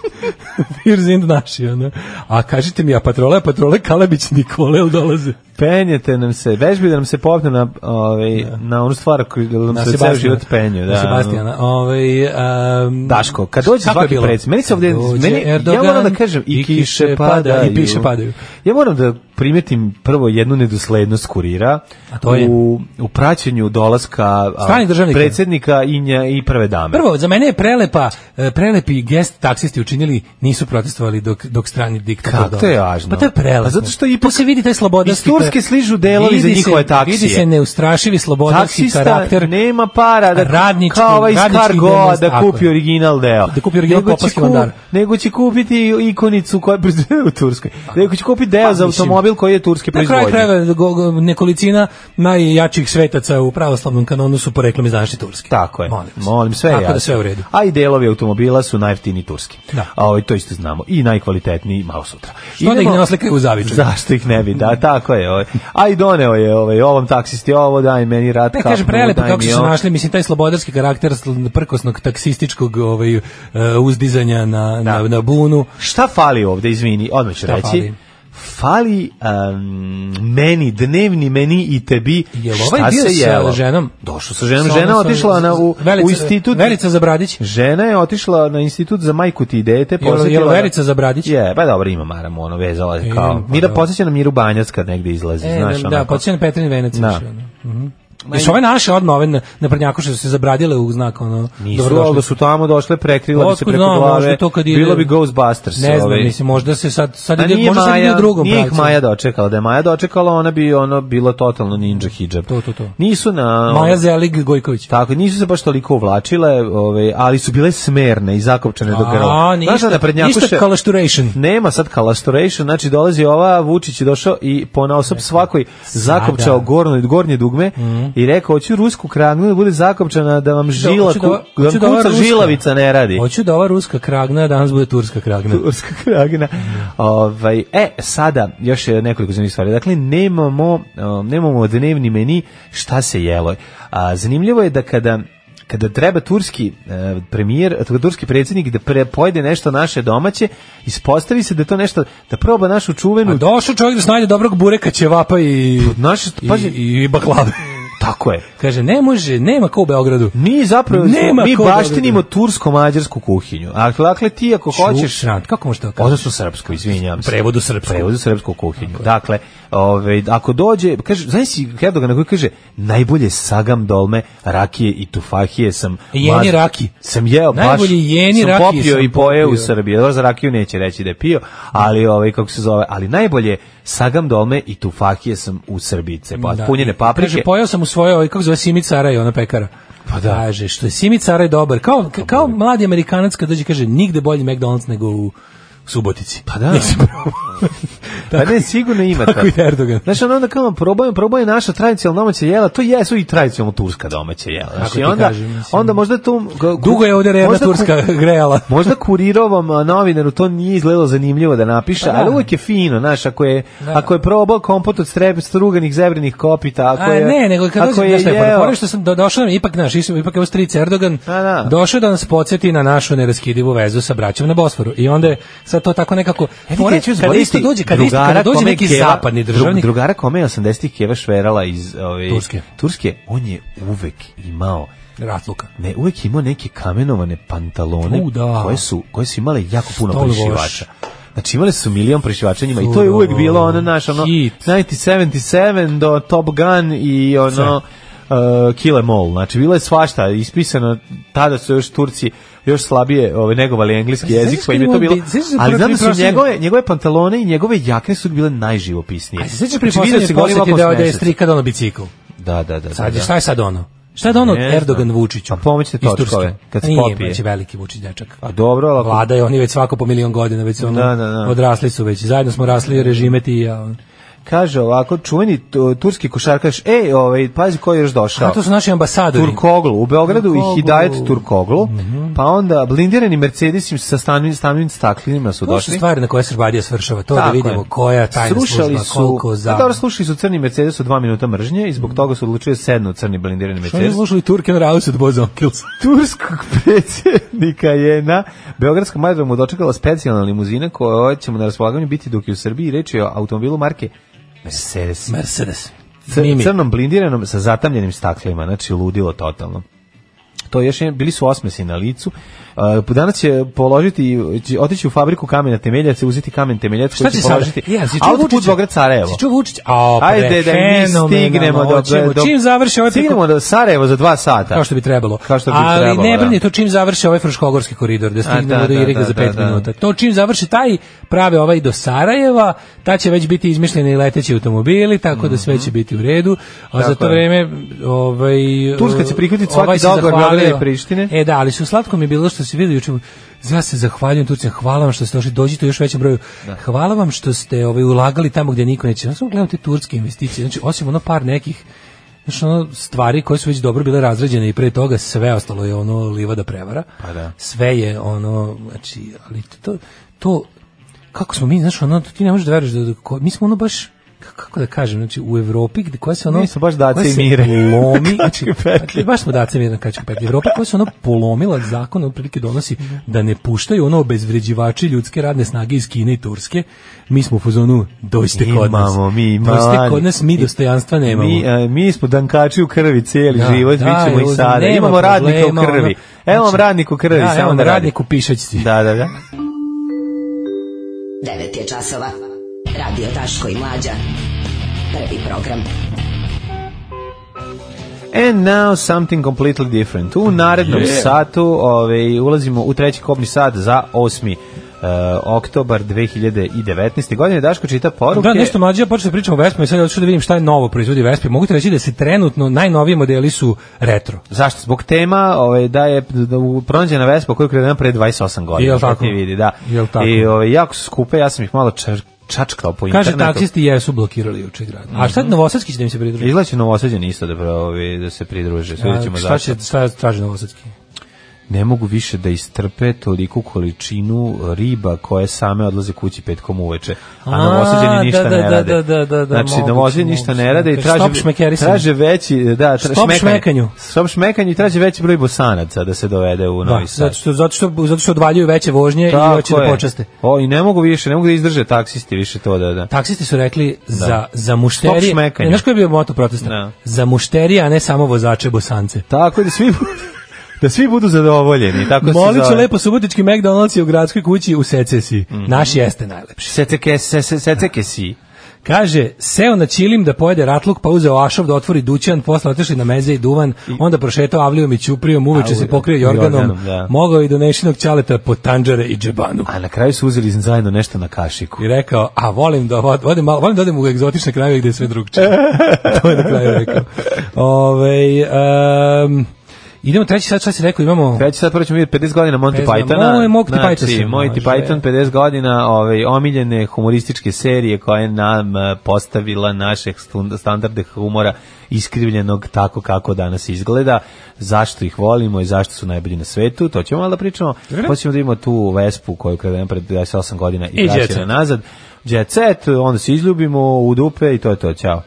Speaker 5: [LAUGHS] Wir sind naši, ono. A kažite mi, a patrole, patrole Kalabić Nikole, jel dolaze?
Speaker 6: Penjete nam se, vežbi da nam se popne na, ovaj, na onu stvar koju da nam
Speaker 5: Na
Speaker 6: se ceo
Speaker 5: Sebastijana.
Speaker 6: život penju. Da, ono.
Speaker 5: Na Sebastijana. Ovaj, um,
Speaker 6: Daško, kad dođe
Speaker 5: Kako je
Speaker 6: svaki
Speaker 5: bilo?
Speaker 6: preds, meni se ovdje,
Speaker 5: Dođe
Speaker 6: meni, ja
Speaker 5: Erdogan
Speaker 6: moram da kažem, i,
Speaker 5: i
Speaker 6: kiše
Speaker 5: kiše
Speaker 6: padaju.
Speaker 5: pada- i piše padaju.
Speaker 6: Ja moram da primetim prvo jednu nedoslednost kurira
Speaker 5: to je?
Speaker 6: u, u praćenju dolaska a,
Speaker 5: Strani državnika.
Speaker 6: predsjednika i, nja, i prve dame.
Speaker 5: Prvo, za mene je prelepa, e, prelepi gest taksisti učinili, nisu protestovali dok, dok strani diktator
Speaker 6: Kako
Speaker 5: dolazi.
Speaker 6: to je važno?
Speaker 5: Pa to je prelepo.
Speaker 6: A zato što
Speaker 5: i tu se vidi taj slobodarski...
Speaker 6: Iz Turske
Speaker 5: kar-
Speaker 6: sližu delovi
Speaker 5: Vidi
Speaker 6: za
Speaker 5: se-
Speaker 6: njihove taksije.
Speaker 5: Vidi se neustrašivi slobodarski
Speaker 6: Taksista
Speaker 5: karakter.
Speaker 6: nema para da
Speaker 5: radnički,
Speaker 6: kao ovaj iz
Speaker 5: radnički
Speaker 6: Cargoa
Speaker 5: demonst-
Speaker 6: da
Speaker 5: tako
Speaker 6: kupi
Speaker 5: je.
Speaker 6: original deo.
Speaker 5: Da kupi original
Speaker 6: Nego će
Speaker 5: Kopaski
Speaker 6: kup-
Speaker 5: Vandar.
Speaker 6: Nego će kupiti ikonicu koja je proizvedena u Turskoj. Nego će kupiti deo za
Speaker 5: Pa, mislim,
Speaker 6: automobil koji je turske
Speaker 5: Na kraju
Speaker 6: proizvodnje.
Speaker 5: krajeva go- go- nekolicina najjačih svetaca u pravoslavnom kanonu su poreklom iz današnje Turske.
Speaker 6: Tako je. Molim,
Speaker 5: Molim vas.
Speaker 6: sve je
Speaker 5: Tako da
Speaker 6: jasno.
Speaker 5: sve u redu.
Speaker 6: A i delovi automobila su najjeftiniji turski.
Speaker 5: Da.
Speaker 6: A ovaj to isto znamo. I najkvalitetniji malo sutra.
Speaker 5: Što da ih ne oslikaju u zavičaju?
Speaker 6: Zašto ih ne bi?
Speaker 5: [LAUGHS]
Speaker 6: Da, tako je. Ovaj. A i doneo je ovaj, ovom taksisti ovo, daj meni rat
Speaker 5: Ne
Speaker 6: kapnu,
Speaker 5: E, kaže prelepo
Speaker 6: daj
Speaker 5: kako
Speaker 6: mi
Speaker 5: su se
Speaker 6: ovo.
Speaker 5: našli, mislim taj slobodarski karakter sl- prkosnog taksističkog ovaj e, uzdizanja na, na, na bunu.
Speaker 6: Šta fali ovde, izvini, odmah ću
Speaker 5: Šta
Speaker 6: reći. Fali,
Speaker 5: fali?
Speaker 6: um, meni, dnevni meni i tebi,
Speaker 5: Jel
Speaker 6: šta
Speaker 5: ovaj bio
Speaker 6: se
Speaker 5: sa
Speaker 6: jelo?
Speaker 5: ženom?
Speaker 6: Došao sa ženom.
Speaker 5: Sa
Speaker 6: Žena
Speaker 5: onom-
Speaker 6: otišla
Speaker 5: sa-
Speaker 6: na, u,
Speaker 5: Verica-
Speaker 6: u institut.
Speaker 5: Verica Zabradić.
Speaker 6: Žena je otišla na institut za majku ti idete.
Speaker 5: Jel- jel
Speaker 6: posjetila-
Speaker 5: Verica Zabradić?
Speaker 6: Je, pa dobro, ima maramu, ono, vezala je
Speaker 5: Imam,
Speaker 6: kao.
Speaker 5: pa
Speaker 6: Mira
Speaker 5: da.
Speaker 6: podsjeća na Miru Banjac kad negde izlazi,
Speaker 5: E,
Speaker 6: znaš,
Speaker 5: da, da,
Speaker 6: onako.
Speaker 5: podsjeća na Petrin Venec.
Speaker 6: Da.
Speaker 5: više, ono. Mhm. Jesu ove naše odmah, ove na, na prnjaku što su se zabradile u znak, ono,
Speaker 6: Nisu,
Speaker 5: dobrodošli.
Speaker 6: ali da su tamo došle, prekrila bi se
Speaker 5: Otkud
Speaker 6: preko
Speaker 5: znam, možda
Speaker 6: glave.
Speaker 5: to kad ide-
Speaker 6: Bilo bi Ghostbusters.
Speaker 5: Ne znam,
Speaker 6: ovaj.
Speaker 5: mislim, možda se sad, sad
Speaker 6: A
Speaker 5: ide,
Speaker 6: nije
Speaker 5: možda sad ide u drugom
Speaker 6: nije ih
Speaker 5: pravcu.
Speaker 6: Maja dočekala. Da je Maja dočekala, ona bi ono bila totalno ninja hijab.
Speaker 5: To, to, to.
Speaker 6: Nisu na... ono,
Speaker 5: Maja Zelig Gojković.
Speaker 6: Tako, nisu se baš toliko uvlačile, ovaj, ali su bile smerne i zakopčane do grla.
Speaker 5: A,
Speaker 6: Znaš da
Speaker 5: ništa,
Speaker 6: prednjakuše...
Speaker 5: ništa kalašturation.
Speaker 6: Nema sad kalastoration, znači dolazi ova, Vučić je došao i ponaosob svakoj zakopčao gornje, gornje dugme i rekao, hoću rusku kragnu da bude zakopčana da vam žila,
Speaker 5: Mhm. hoću
Speaker 6: ku-
Speaker 5: da-
Speaker 6: da vam
Speaker 5: hoću da ova
Speaker 6: kuca
Speaker 5: ruska-
Speaker 6: žilavica ne radi.
Speaker 5: Hoću da ova ruska kragna danas bude turska kragna.
Speaker 6: Turska [LAUGHS] kragina. Ovaj, e, sada, još je nekoliko zanimljivih stvari. Dakle, nemamo, um, nemamo dnevni meni šta se jelo. A, zanimljivo je da kada kada treba turski e, premijer, kada turski predsjednik da pre, pojede nešto naše domaće, ispostavi se da je to nešto, da proba našu
Speaker 5: A
Speaker 6: čuvenu...
Speaker 5: došao čovjek da snajde dobrog bureka, ćevapa i,
Speaker 6: naš,
Speaker 5: i, i, i [LAUGHS] baklave.
Speaker 6: Tako je.
Speaker 5: Kaže, ne može, nema ko u Beogradu.
Speaker 6: Mi zapravo,
Speaker 5: Nema
Speaker 6: mi
Speaker 5: ko da
Speaker 6: baštinimo
Speaker 5: vidi.
Speaker 6: tursko-mađarsku kuhinju. A Dakle, ti ako hoćeš...
Speaker 5: Šušran, kako možeš to kažeš?
Speaker 6: Odnosno srpsko, izvinjavam se.
Speaker 5: Prevodu srpsko.
Speaker 6: Prevodu srpsku kuhinju. Dakle, ovaj ako dođe, kaže, znaš si Erdogan koji kaže najbolje sagam dolme, rakije i tufahije sam
Speaker 5: Jeni
Speaker 6: maz-
Speaker 5: raki.
Speaker 6: Sam jeo baš.
Speaker 5: Najbolje jeni
Speaker 6: sam
Speaker 5: rakije
Speaker 6: popio
Speaker 5: sam
Speaker 6: i pojeo u
Speaker 5: popio.
Speaker 6: Srbiji. Dobro, za rakiju neće reći da je pio, ali ovaj kako se zove, ali najbolje sagam dolme i tufahije sam u Srbice. Pa
Speaker 5: Da.
Speaker 6: punjene
Speaker 5: Kaže,
Speaker 6: paprike.
Speaker 5: pojeo sam u svojoj, ovaj, kako zove, Simi Caraj, ona pekara. Pa da. Kaže,
Speaker 6: Pa
Speaker 5: što je Simi Caraj dobar. Kao, ka- kao mladi amerikanac kad dođe, kaže, nigde bolji McDonald's nego u u Subotici.
Speaker 6: Pa da.
Speaker 5: Nisam probao.
Speaker 6: Pa ne, sigurno
Speaker 5: [LAUGHS]
Speaker 6: ima
Speaker 5: tako i
Speaker 6: to.
Speaker 5: Erdogan.
Speaker 6: Znaš, on onda kao ono, probaju, probaju naša tradicionalna domaća jela, to jesu i tradicionalna turska domaća jela. Znaš,
Speaker 5: Tako
Speaker 6: i
Speaker 5: ti
Speaker 6: onda,
Speaker 5: kažem, mislim.
Speaker 6: onda možda tu...
Speaker 5: Dugo je ovdje revna
Speaker 6: možda ku-
Speaker 5: turska grejala.
Speaker 6: [LAUGHS] Možda kuriravom a, novinaru to nije izgledalo zanimljivo da napiše,
Speaker 5: Pa da.
Speaker 6: ali uvijek je fino, znaš, ako je,
Speaker 5: Da.
Speaker 6: ako je probao kompot od streb, struganih zebrinih kopita, ako
Speaker 5: A,
Speaker 6: je...
Speaker 5: ne, nego kad
Speaker 6: ako
Speaker 5: dođe, znaš šta je fora?
Speaker 6: jeo-
Speaker 5: Fora je što sam do, došao, nam, ipak naš, išao- ipak je ovo stric Erdogan, došao da nas podsjeti na našu neraskidivu vezu sa braćom na Bosforu. I onda je sad to tako nekako...
Speaker 6: E,
Speaker 5: fora je
Speaker 6: vidite, ću
Speaker 5: kad
Speaker 6: zaboraviti
Speaker 5: isto dođe, kad isto,
Speaker 6: drugara
Speaker 5: kad dođe
Speaker 6: kome je
Speaker 5: neki
Speaker 6: Keva-
Speaker 5: zapadni državnik,
Speaker 6: Drug, drugara kome je 80-ih Keva šverala iz ove,
Speaker 5: Turske.
Speaker 6: Turske, on je uvek imao
Speaker 5: ratluka.
Speaker 6: Ne, uvek je imao neke kamenovane pantalone
Speaker 5: U, da.
Speaker 6: koje, su, koje su imale jako puno
Speaker 5: Stol wash.
Speaker 6: prišivača. Znači imali su milion prišivača njima i to je uvek bilo ono naš ono
Speaker 5: Hit.
Speaker 6: 1977 do Top Gun i ono uh, Kill Em All. Znači bilo je svašta ispisano, tada su još Turci još slabije ove, negovali engleski
Speaker 5: Pa,
Speaker 6: jezik,
Speaker 5: znaš
Speaker 6: pa im je
Speaker 5: kad
Speaker 6: to
Speaker 5: imamo
Speaker 6: bilo...
Speaker 5: bi- znaš za
Speaker 6: Ali
Speaker 5: prvo
Speaker 6: znam
Speaker 5: tri
Speaker 6: da su
Speaker 5: prošle-
Speaker 6: njegove, njegove pantalone i njegove jakne su bile najživopisnije.
Speaker 5: a se sjećaš pri
Speaker 6: Znači, vidio si
Speaker 5: poslednje
Speaker 6: ga ovako
Speaker 5: posjeti da, da je
Speaker 6: smešac.
Speaker 5: strikad ono bicikl.
Speaker 6: Da, da, da.
Speaker 5: Sad,
Speaker 6: Pa da,
Speaker 5: je-
Speaker 6: da.
Speaker 5: šta je sad ono? Šta je ono
Speaker 6: Ne znam.
Speaker 5: Erdogan Vučiću?
Speaker 6: A pomoći
Speaker 5: Iz Turske.
Speaker 6: točkove, kad se
Speaker 5: Nije,
Speaker 6: popije.
Speaker 5: već je veliki Vučić dečak.
Speaker 6: A dobro, ali ako
Speaker 5: Vlada je, oni već svako po milion godina, već su ono,
Speaker 6: Da, da, da.
Speaker 5: odrasli su već. Zajedno smo rasli režime ti i ja. ono.
Speaker 6: Kaže ovako, čuveni tu- turski košarkaš, ej, ovaj, pazi ko je još došao.
Speaker 5: A to su naši ambasadori.
Speaker 6: Turkoglu, u Beogradu
Speaker 5: Turkoglu. Mhm.
Speaker 6: i Hidajet Turkoglu, pa onda blindirani Mercedesim sa stanovim, stanovim staklinima su
Speaker 5: To su
Speaker 6: došli.
Speaker 5: stvari na koje Srbadija svršava. To da
Speaker 6: Tako
Speaker 5: vidimo
Speaker 6: je.
Speaker 5: koja tajna
Speaker 6: Slušali
Speaker 5: služba,
Speaker 6: su,
Speaker 5: koliko
Speaker 6: Pa
Speaker 5: za...
Speaker 6: dobro, slušali su crni Mercedes od dva minuta mržnje i zbog toga su odlučili sedno crni blindirani
Speaker 5: Što nisu
Speaker 6: Mercedes.
Speaker 5: slušali Turken Raus od Bozo Kills?
Speaker 6: Turskog [LAUGHS] predsjednika je na Beogradskom aerodromu dočekala specijalna limuzina koja će mu na raspolaganju biti dok je u Srbiji. Reč je o automobilu marke Mercedes.
Speaker 5: Mercedes.
Speaker 6: Cr-
Speaker 5: Mimi.
Speaker 6: crnom blindiranom sa zatamljenim staklima, znači ludilo totalno. To je još jedan, bili su osmesi na licu. Uh, danas će položiti, će otići u fabriku kamena temeljaca, uzeti kamen temeljac
Speaker 5: Šta
Speaker 6: koji
Speaker 5: će
Speaker 6: će
Speaker 5: sada?
Speaker 6: položiti.
Speaker 5: Ja, si čuo
Speaker 6: Autoput
Speaker 5: Vučića?
Speaker 6: Beograd Sarajevo.
Speaker 5: Si čuo Vučić? A, pre,
Speaker 6: Ajde da mi
Speaker 5: fenomenalno,
Speaker 6: stignemo do,
Speaker 5: hoćemo.
Speaker 6: do,
Speaker 5: Čim završi ovaj
Speaker 6: stignemo do Sarajevo za dva sata.
Speaker 5: Kao što bi trebalo.
Speaker 6: Kao što bi
Speaker 5: Ali
Speaker 6: trebalo,
Speaker 5: ne
Speaker 6: da.
Speaker 5: brini, to čim završi ovaj Fruškogorski koridor, da stignemo
Speaker 6: da,
Speaker 5: do
Speaker 6: da,
Speaker 5: Iriga
Speaker 6: da,
Speaker 5: za
Speaker 6: da,
Speaker 5: 5
Speaker 6: da.
Speaker 5: minuta. To čim završi taj prave ovaj do Sarajeva, ta će već biti izmišljeni leteći automobili, tako da sve će biti u redu. A za
Speaker 6: Tako
Speaker 5: to
Speaker 6: je.
Speaker 5: vreme ovaj
Speaker 6: Turska će prihvatiti svaki
Speaker 5: se
Speaker 6: dogovor
Speaker 5: zahvalio.
Speaker 6: Beograda i Prištine.
Speaker 5: E da, ali su slatko mi je bilo što se vidi juče. Ja se zahvaljujem Turcima, hvala vam što ste došli, dođite u još većem broju. Hvala vam što ste ovaj, ulagali tamo gdje niko neće. Ja samo gledam te turske investicije, znači osim ono par nekih Znači, ono, stvari koje su već dobro bile razređene i pre toga sve ostalo je ono livada prevara.
Speaker 6: Pa da.
Speaker 5: Sve je ono, znači, ali to, to kako smo mi, znaš, ono, ti ne možeš da veruješ da, da ko- mi smo ono baš, k- kako da kažem, znači, u Evropi, gde, koja se ono...
Speaker 6: Mi smo baš dace
Speaker 5: koja
Speaker 6: i
Speaker 5: se
Speaker 6: mire. [LAUGHS]
Speaker 5: Lomi, znači,
Speaker 6: Kačke petlje.
Speaker 5: pa, baš smo dace i mire na kačke petlje. Evropa koja se ono polomila zakon, otprilike donosi da ne puštaju ono obezvređivači ljudske radne snage iz Kine i Turske, mi smo u fuzonu, dojste kod nas.
Speaker 6: Imamo mi, ima
Speaker 5: Dojste
Speaker 6: vani.
Speaker 5: kod nas, mi dostojanstva nemamo.
Speaker 6: Mi, e, mi smo dankači u krvi cijeli
Speaker 5: Da,
Speaker 6: život,
Speaker 5: da,
Speaker 6: mi ćemo
Speaker 5: evo,
Speaker 6: i sada.
Speaker 5: nema
Speaker 6: Imamo radnika u
Speaker 5: problema, ono.
Speaker 6: krvi. Evo vam
Speaker 5: Znači,
Speaker 6: radnik u krvi,
Speaker 5: da, evo
Speaker 6: samo
Speaker 5: vam
Speaker 6: da radi.
Speaker 5: radnik u pišaćci.
Speaker 6: Da, da, da.
Speaker 4: 9 je časova. Radio Daško i Mlađa. Prvi program.
Speaker 6: And now something completely different. U narednom
Speaker 5: Yeah.
Speaker 6: satu ovaj, ulazimo u treći kopni sat za 8. Uh, oktobar 2019. godine. Daško čita poruke.
Speaker 5: Da, nešto mlađe, ja počeo da pričam o Vespama i sad ja odšao da vidim šta je novo proizvodi Vespe. Mogu ti reći da se trenutno najnoviji modeli su retro.
Speaker 6: Zašto? Zbog tema ovaj, da je da u- pronađena Vespa koju je ukradena pre 28 godina.
Speaker 5: Jel
Speaker 6: što
Speaker 5: tako?
Speaker 6: Ti vidi, da.
Speaker 5: Jel tako?
Speaker 6: I ovaj, jako su skupe, ja sam ih malo čar- čačkao po
Speaker 5: Kaže,
Speaker 6: internetu. Mhm.
Speaker 5: taksisti jesu blokirali juče grad. A šta je Novosadski će da im se pridruži?
Speaker 6: Izlaće Novosadđani isto da, provi, da se pridruže. Sve ćemo
Speaker 5: A, šta,
Speaker 6: zašto.
Speaker 5: će, šta traži Novosadski?
Speaker 6: Ne mogu više da istrpe toliku količinu riba koje same odlaze kući petkom uveče. A,
Speaker 5: A,
Speaker 6: Novosadđani ništa
Speaker 5: da, da,
Speaker 6: ne
Speaker 5: da,
Speaker 6: rade.
Speaker 5: da, da, da, da,
Speaker 6: znači,
Speaker 5: moguće,
Speaker 6: Novosadđani ništa ne rade i
Speaker 5: moguće.
Speaker 6: traže,
Speaker 5: Stop šmekerisanje.
Speaker 6: traže veći... Da, tra,
Speaker 5: Stop
Speaker 6: šmekanje.
Speaker 5: šmekanju.
Speaker 6: Stop šmekanju i traže veći broj bosanaca da se dovede u
Speaker 5: Da,
Speaker 6: Novi
Speaker 5: zato,
Speaker 6: Sad.
Speaker 5: što, zato, što, zato što odvaljuju veće vožnje i hoće
Speaker 6: Tako
Speaker 5: da
Speaker 6: je.
Speaker 5: počaste.
Speaker 6: O, i ne mogu više, ne mogu da izdrže taksisti više to da... da.
Speaker 5: Taksisti su rekli za, za mušterije.
Speaker 6: Stop šmekanju.
Speaker 5: Znaš koji je bio moto protesta?
Speaker 6: Da.
Speaker 5: Za mušterije, a ne samo vozače bosance.
Speaker 6: Tako je da svi... bu- [LAUGHS] Da svi budu zadovoljeni, tako se
Speaker 5: Molit ću
Speaker 6: zove. Mhm.
Speaker 5: lepo subotički McDonald's je u gradskoj kući u secesiji. Naš jeste najlepši.
Speaker 6: Seceke, se, se, seceke si.
Speaker 5: Kaže, seo na Čilim da pojede ratluk, pa uzeo ašov da otvori dućan, posle otišli na meze i duvan, onda prošetao avlijom i ćuprijom, uveče
Speaker 6: Au,
Speaker 5: se
Speaker 6: da,
Speaker 5: pokrio
Speaker 6: i
Speaker 5: jorganom,
Speaker 6: jorganom, da.
Speaker 5: mogao i do nešinog ćaleta po tanđare i džebanu.
Speaker 6: A na kraju su uzeli zajedno nešto na kašiku.
Speaker 5: I rekao, a volim da, od- odem, malo- volim da odem u egzotične krajeve
Speaker 6: [LAUGHS]
Speaker 5: gde je sve drugčije. to je na kraju rekao. Ove, Idemo treći sat, šta si rekao, imamo...
Speaker 6: Treći sat, prvo ćemo vidjeti 50 godina Monty
Speaker 5: 50
Speaker 6: Pythona.
Speaker 5: Moj- Monty
Speaker 6: Znači,
Speaker 5: Python se
Speaker 6: Monty
Speaker 5: može.
Speaker 6: Python 50 godina ovaj, omiljene humorističke serije koja je nam eh, postavila naše stund- standarde humora iskrivljenog tako kako danas izgleda, zašto ih volimo i zašto su najbolji na svetu, to ćemo malo da pričamo.
Speaker 5: Dobro.
Speaker 6: Hoćemo da imamo tu Vespu koju kradem pred 28 godina i,
Speaker 5: I
Speaker 6: vraćena
Speaker 5: Jet Set.
Speaker 6: nazad. Jet set, onda se izljubimo u dupe i to je to, ćao.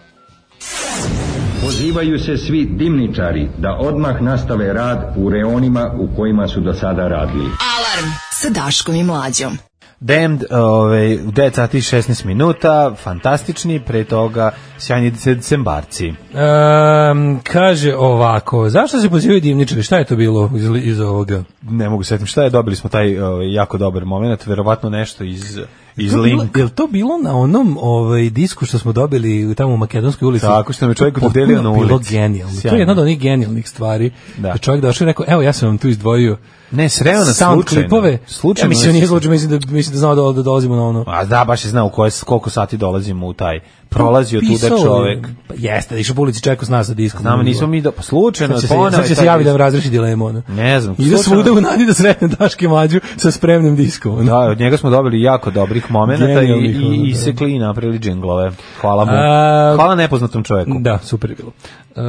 Speaker 14: Pozivaju se svi dimničari da odmah nastave rad u reonima u kojima su do sada radili.
Speaker 4: Alarm sa Daškom i Mlađom.
Speaker 6: Damned, ovaj, u 9 sati i 16 minuta, fantastični, pre toga sjajni decembarci.
Speaker 5: Ehm, kaže ovako, zašto se pozivaju divničari? Šta je to bilo iz, iz ovoga?
Speaker 6: Ne mogu setim šta je, dobili smo taj ovaj, jako dobar moment, verovatno nešto iz, iz
Speaker 5: To je bilo-
Speaker 6: link.
Speaker 5: Jel to bilo na onom ovaj, disku što smo dobili tamo u Makedonskoj ulici?
Speaker 6: Tako, što nam je čovjek
Speaker 5: To je
Speaker 6: dodelio na
Speaker 5: potpuno
Speaker 6: ulici.
Speaker 5: Bilo genijalno. To
Speaker 6: Sjajno.
Speaker 5: je jedna od onih genijalnih stvari. Da. je čovjek došao i rekao, evo ja sam vam tu izdvojio
Speaker 6: ne, sreo nas
Speaker 5: sound
Speaker 6: slučajno.
Speaker 5: klipove.
Speaker 6: Slučajno
Speaker 5: Ja mislim,
Speaker 6: nas-
Speaker 5: nije slučajno, mislim da, mislim da znao da, da dolazimo na ono.
Speaker 6: A da, baš je znao koje, koliko sati dolazimo u taj. Prolazio tuda
Speaker 5: Pisao je,
Speaker 6: čovjek.
Speaker 5: pa Jeste, da je išao po ulici čekao s nas sa diskom.
Speaker 6: Znamo, nismo mi do... Pa slučajno,
Speaker 5: Sad će se,
Speaker 6: poneo
Speaker 5: sad
Speaker 6: je
Speaker 5: će se
Speaker 6: taj
Speaker 5: javi da
Speaker 6: disk.
Speaker 5: vam razreši dilemu. ono.
Speaker 6: Ne znam.
Speaker 5: Ide
Speaker 6: slučajno-
Speaker 5: svuda u nadi da sretne Daške mlađu sa spremnim diskom. ono.
Speaker 6: Da, od njega smo dobili jako dobrih momenata i,
Speaker 5: Genijalnih, ono,
Speaker 6: i, i
Speaker 5: da.
Speaker 6: sekli i napravili džinglove. Hvala mu.
Speaker 5: A-
Speaker 6: Hvala nepoznatom čoveku.
Speaker 5: Da, super je bilo.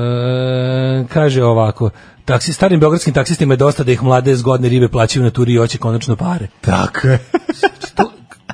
Speaker 5: E, kaže ovako, taksi, starim beogradskim taksistima je dosta da ih mlade zgodne ribe plaćaju na turi i hoće konačno pare.
Speaker 6: Tako
Speaker 5: [LAUGHS]
Speaker 6: je.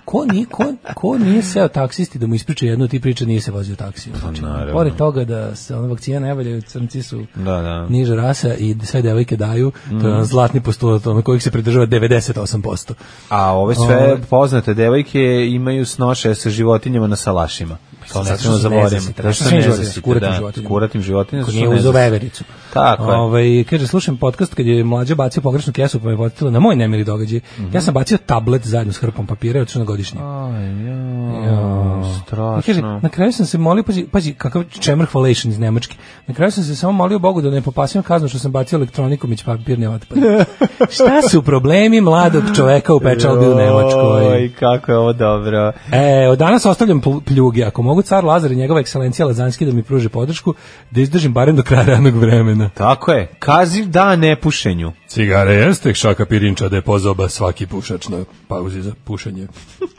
Speaker 5: ko, nije, ko, ko nije seo taksisti da mu ispriča jednu ti priča, nije se vozio taksijom. Znači,
Speaker 6: Pa naravno.
Speaker 5: pored toga da se ono vakcije ne valjaju, crnci su
Speaker 6: Da, da.
Speaker 5: niža rasa i sve devojke daju, to
Speaker 6: Mm.
Speaker 5: je on zlatni postulat ono kojih se pridržava 98%.
Speaker 6: A ove sve
Speaker 5: Ove.
Speaker 6: poznate devojke imaju snoše sa životinjama na salašima. To
Speaker 5: Pa
Speaker 6: ne
Speaker 5: zato
Speaker 6: smemo
Speaker 5: što se ne
Speaker 6: zaboraviti.
Speaker 5: zasite,
Speaker 6: Zato
Speaker 5: zato što
Speaker 6: što
Speaker 5: se
Speaker 6: ne
Speaker 5: ne
Speaker 6: zasite,
Speaker 5: zasite, kuratim
Speaker 6: da.
Speaker 5: životinjama.
Speaker 6: Kuratim životinjama.
Speaker 5: Ko
Speaker 6: zato
Speaker 5: nije
Speaker 6: što ne
Speaker 5: uzeo
Speaker 6: zasite.
Speaker 5: vevericu.
Speaker 6: Tako je.
Speaker 5: Ovaj, kaže, slušam podcast kad je mlađa bacio pogrešnu kesu pa me potilo na moj nemili događaj.
Speaker 6: Mhm.
Speaker 5: Ja sam bacio tablet zajedno s hrpom papira i otišao na godišnje.
Speaker 6: Aj, ja,
Speaker 5: I Kaže,
Speaker 6: strašno.
Speaker 5: na kraju sam se molio, pazi, pazi kakav čemr hvalation iz Nemačke. Na kraju sam se samo molio Bogu da ne popasim kaznu što sam bacio elektroniku među papirne
Speaker 6: [LAUGHS]
Speaker 5: otpade. Šta su problemi mladog čoveka u pečalbi u Nemačkoj?
Speaker 6: Oj, kako je ovo dobro.
Speaker 5: E, od danas ostavljam pl- pljuge. Ako mogu car Lazar i njegova ekscelencija Lazanski da mi pruže podršku, da izdržim barem do kraja radnog vremena.
Speaker 6: Tako je. Kaziv da ne pušenju.
Speaker 5: Cigare jeste šaka pirinča da je pozoba svaki pušač na pauzi za pušenje.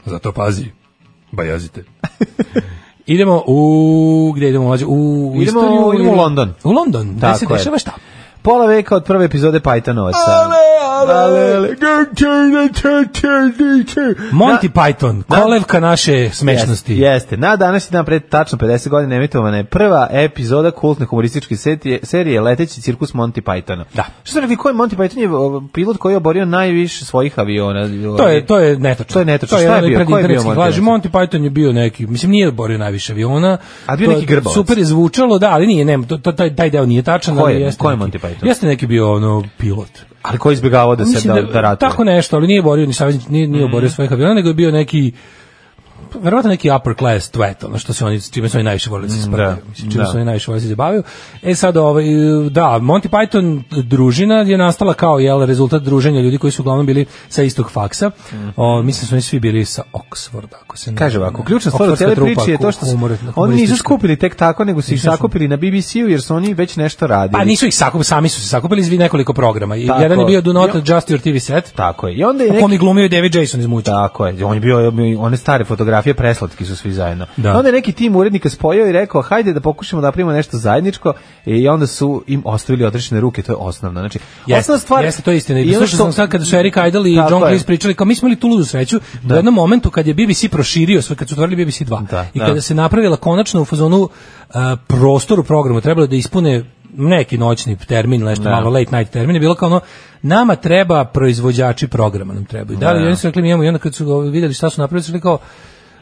Speaker 5: Zato pazi, bajazite. idemo u... Gde idemo? mlađe? U, u
Speaker 6: Idemo-
Speaker 5: istoriju
Speaker 6: idemo u
Speaker 5: ili-
Speaker 6: London.
Speaker 5: U London, gde
Speaker 6: Tako
Speaker 5: se
Speaker 6: je.
Speaker 5: dešava šta?
Speaker 6: Pola veka od prve epizode Pajtanovaca. Ale, ale, ale.
Speaker 5: Monty Python, kolevka naše smešnosti.
Speaker 6: Jeste, jeste. Na današnji dan pred tačno 50 godina emitovana je prva epizoda kultne humorističke serije, serije Leteći cirkus Monty Pythona. Da. Što ste rekli, ko je Monty Python je o, pilot koji je oborio najviše svojih aviona?
Speaker 5: To je to je netačno.
Speaker 6: To je netačno. Šta je
Speaker 5: jedan od
Speaker 6: bio? Ko je bio
Speaker 5: predinternetskih
Speaker 6: Monty
Speaker 5: laži.
Speaker 6: Python?
Speaker 5: Monty Python je bio neki, mislim nije borio najviše aviona.
Speaker 6: A bio
Speaker 5: To-
Speaker 6: neki grbavac.
Speaker 5: Super je zvučalo, da, ali nije, nema, to, to, taj, taj deo nije tačan,
Speaker 6: Ko
Speaker 5: ali
Speaker 6: je,
Speaker 5: jeste.
Speaker 6: ko je
Speaker 5: neki-
Speaker 6: Monty Python?
Speaker 5: Jeste neki bio ono pilot.
Speaker 6: Ali ko je izbjegavao da se
Speaker 5: Mislim
Speaker 6: da, Mm. da ratuje?
Speaker 5: Tako nešto, ali nije borio ni saveznik, nije, nije borio svojih aviona, nego je bio neki verovatno neki upper class twat, ono što se oni, s čime su oni najviše volili da se sprkaju.
Speaker 6: Mm, da,
Speaker 5: Mislim, čime
Speaker 6: da.
Speaker 5: su oni najviše volili da se zabavaju. E sad, ovaj, da, Monty Python družina je nastala kao jel, rezultat druženja ljudi koji su uglavnom bili sa istog faksa. O, mislim su oni svi bili sa Oxforda, ako se ne...
Speaker 6: Mhm. Kaže ovako, ključna stvar u
Speaker 5: Oxfordska
Speaker 6: cijele
Speaker 5: trupa
Speaker 6: priči je to što su,
Speaker 5: humor-
Speaker 6: oni nisu
Speaker 5: humoristička.
Speaker 6: skupili tek tako, nego su ih
Speaker 5: Nisu.
Speaker 6: sakupili na BBC-u jer su oni već nešto radili.
Speaker 5: Pa nisu ih sakupili, sami su se sakupili iz nekoliko programa. I
Speaker 6: Tako.
Speaker 5: Jedan je bio Do Not
Speaker 6: I-
Speaker 5: Adjust Your TV Set.
Speaker 6: Tako je. I onda je
Speaker 5: u
Speaker 6: neki...
Speaker 5: kom je glumio i David Jason iz Muća.
Speaker 6: Tako je. On je bio, one stare fotografije, preslatki su svi zajedno.
Speaker 5: Da.
Speaker 6: Onda je neki tim urednika spojio i rekao, hajde da pokušamo da napravimo nešto zajedničko i onda su im ostavili odrešene ruke, to je osnovno. Znači,
Speaker 5: Jeste,
Speaker 6: osnovna stvar...
Speaker 5: jeste, to je istina.
Speaker 6: I
Speaker 5: I
Speaker 6: ono
Speaker 5: slušao
Speaker 6: što-
Speaker 5: sam sad kada su Eric Idle i
Speaker 6: Tako
Speaker 5: John
Speaker 6: je.
Speaker 5: Cleese pričali, kao mi smo imali tu ludu sreću da. u jednom momentu kad je BBC proširio svoj, kad su otvorili BBC 2 i
Speaker 6: da.
Speaker 5: kada se napravila konačno u fazonu uh, prostor u programu, trebalo je da ispune neki noćni termin, nešto
Speaker 6: Da.
Speaker 5: malo late night termin, je bilo kao ono, nama treba proizvođači programa, nam trebaju. Da,
Speaker 6: Da.
Speaker 5: li, oni su rekli, mi imamo, i onda kad su ovaj, vidjeli šta su napravili, su rekli kao,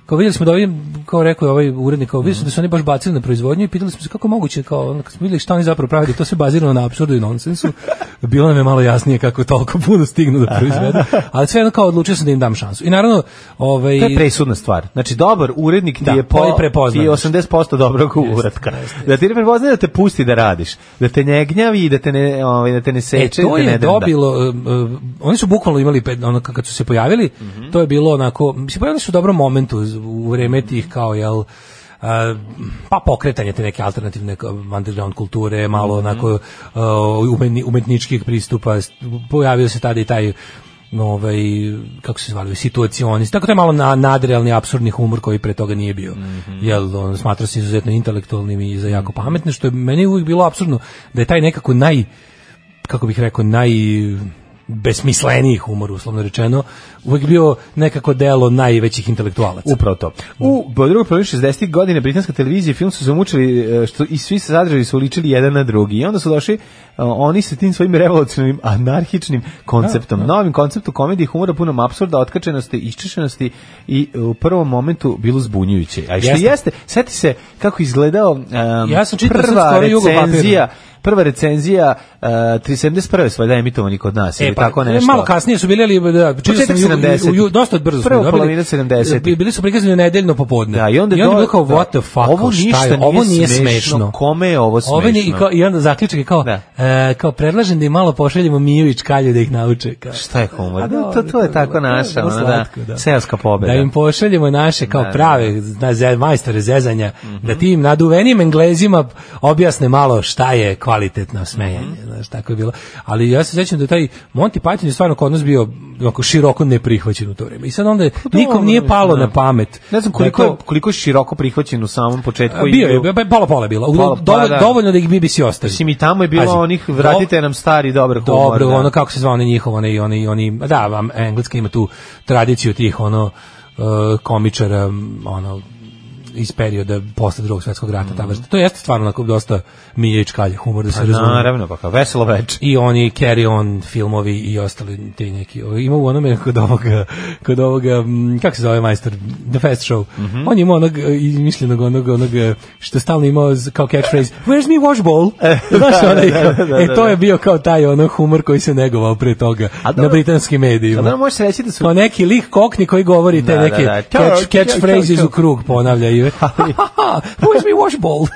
Speaker 5: kao vidjeli smo da ovaj, kao rekao je ovaj urednik, kao vidjeli smo da su oni baš bacili na proizvodnju i pitali smo se kako je moguće, kao ono, kad smo vidjeli šta oni zapravo pravi, da je to se bazirano na apsurdu i
Speaker 6: [LAUGHS]
Speaker 5: nonsensu, bilo nam je malo jasnije kako toliko puno stignu da proizvedu, ali sve jedno kao odlučio sam da im dam šansu. I naravno, ovaj,
Speaker 6: To je presudna stvar. Znači, dobar urednik ti
Speaker 5: Da,
Speaker 6: je,
Speaker 5: koji
Speaker 6: po, ti
Speaker 5: prepoznaš.
Speaker 6: je 80% dobrog uratka. Da ti ne prepoznaje da te pusti da radiš, da te njegnjavi i da te ne, ovaj, da te ne
Speaker 5: E,
Speaker 6: seče. i
Speaker 5: to
Speaker 6: da ne
Speaker 5: je
Speaker 6: drnda.
Speaker 5: dobilo, um, um, oni su bukvalno imali, pet, ono, kad su se
Speaker 6: Mhm.
Speaker 5: pojavili, to je bilo onako, mislim, pojavili su u dobrom momentu z- u vreme tih kao, jel, a, pa pokretanje te neke alternativne k- underground kulture, malo
Speaker 6: Mhm.
Speaker 5: onako a, umeni- umetničkih pristupa, s- pojavio se tada i taj ovaj, kako se zvali, situacionist, tako to je malo na, nadrealni, absurdni humor koji pre toga nije bio.
Speaker 6: Mhm.
Speaker 5: Jel, on smatra se izuzetno intelektualnim i za jako pametne, što je meni uvijek bilo absurdno, da je taj nekako naj, kako bih rekao, naj besmisleniji humor, uslovno rečeno, uvijek bio nekako delo najvećih intelektualaca.
Speaker 6: Upravo to. U po drugoj polovini 60-ih godina britanska televizija i film su zamučili e, što i svi se sadržaji su ličili jedan na drugi. I onda su došli e, oni sa tim svojim revolucionarnim anarhičnim konceptom, novim konceptom komedije i humora punom apsurda, otkačenosti, iščešenosti i e, u prvom momentu bilo zbunjujuće. A i što
Speaker 5: Jeste.
Speaker 6: jeste, seti se kako izgledao em,
Speaker 5: Ja sam čitao sad
Speaker 6: prva
Speaker 5: skoro Jugo
Speaker 6: recenzija prva recenzija uh, 371. svojda emitovani kod nas, ili pa tako nešto.
Speaker 5: E, pa, Malo kasnije su bili, ali da, čitao
Speaker 6: Početak
Speaker 5: sam ju-
Speaker 6: 70-ih.
Speaker 5: u ju- dosta brzo smo
Speaker 6: Prva
Speaker 5: ih dobili.
Speaker 6: polovina 70-ih.
Speaker 5: Bili su prikazani nedeljno popodne.
Speaker 6: Da, i onda,
Speaker 5: je
Speaker 6: do-
Speaker 5: bilo kao,
Speaker 6: da.
Speaker 5: what the fuck,
Speaker 6: ovo
Speaker 5: šta je,
Speaker 6: ništa
Speaker 5: ovo nije
Speaker 6: smešno. Kome je ovo smešno?
Speaker 5: Ovo nije, i, kao, I onda zaključak je kao, e, kao predlažem da im malo pošaljemo Miju i Čkalju da ih nauče. Kao.
Speaker 6: Šta je humor?
Speaker 5: A
Speaker 6: Da,
Speaker 5: dobro,
Speaker 6: to- to je tako
Speaker 5: je
Speaker 6: naša,
Speaker 5: vrlo
Speaker 6: ono, da.
Speaker 5: slatko,
Speaker 6: Seoska pobeda.
Speaker 5: Da im pošaljemo naše kao
Speaker 6: Da, da, Mhm.
Speaker 5: prave zna, ze- majstore zezanja, da tim naduvenim englezima objasne malo šta je kvalitetno smejanje.
Speaker 6: Mhm.
Speaker 5: Znaš, tako je bilo. Ali ja se sjećam da taj Monty Python je stvarno kod nas bio onako, široko neprihvaćen u to vrijeme. I sad onda je nikom nije palo na pamet.
Speaker 6: Pa Ne znam
Speaker 5: da
Speaker 6: koliko,
Speaker 5: to-
Speaker 6: je- koliko je široko prihvaćen u samom početku.
Speaker 5: A, bio je, pa je pola pola je bilo. U-
Speaker 6: Pola- pa
Speaker 5: dovolj-
Speaker 6: da.
Speaker 5: Dovoljno da ih BBC ostavi.
Speaker 6: Mislim i tamo je bilo
Speaker 5: Pazi,
Speaker 6: onih, vratite nam stari dobar humor.
Speaker 5: Dobro,
Speaker 6: da.
Speaker 5: ono kako se zvao onaj njihov, onaj, onaj, onaj, da, vam, Engleska ima tu tradiciju tih, ono, e, komičara, m, ono, iz perioda posle drugog svjetskog rata, ta vrsta. To jeste stvarno onako dosta milje i čkalje humor, da se
Speaker 6: Mhm. Pa
Speaker 5: razume.
Speaker 6: naravno, pa kao veselo veče.
Speaker 5: I oni carry on filmovi i ostali ti neki. o, Ima u onome kod ovoga, kod ovoga, m, kako se zove majstor, The Fast Show.
Speaker 6: Mhm.
Speaker 5: On ima onog e, izmišljenog onog, onog e, što je stalno imao z- kao catchphrase, where's me washbowl? Znaš
Speaker 6: [LAUGHS] da,
Speaker 5: onaj,
Speaker 6: da, da, da,
Speaker 5: e to
Speaker 6: da.
Speaker 5: je bio kao taj ono humor koji se negovao pre toga na britanskim medijima.
Speaker 6: A dobro, može se reći da su-
Speaker 5: Kao neki lik kokni koji govori te
Speaker 6: Da, da,
Speaker 5: neke
Speaker 6: da.
Speaker 5: catch,
Speaker 6: Čao, čao,
Speaker 5: catchphrases
Speaker 6: čao.
Speaker 5: u krug ponavlja i
Speaker 6: [LAUGHS]
Speaker 5: [LAUGHS] where's me washbowl?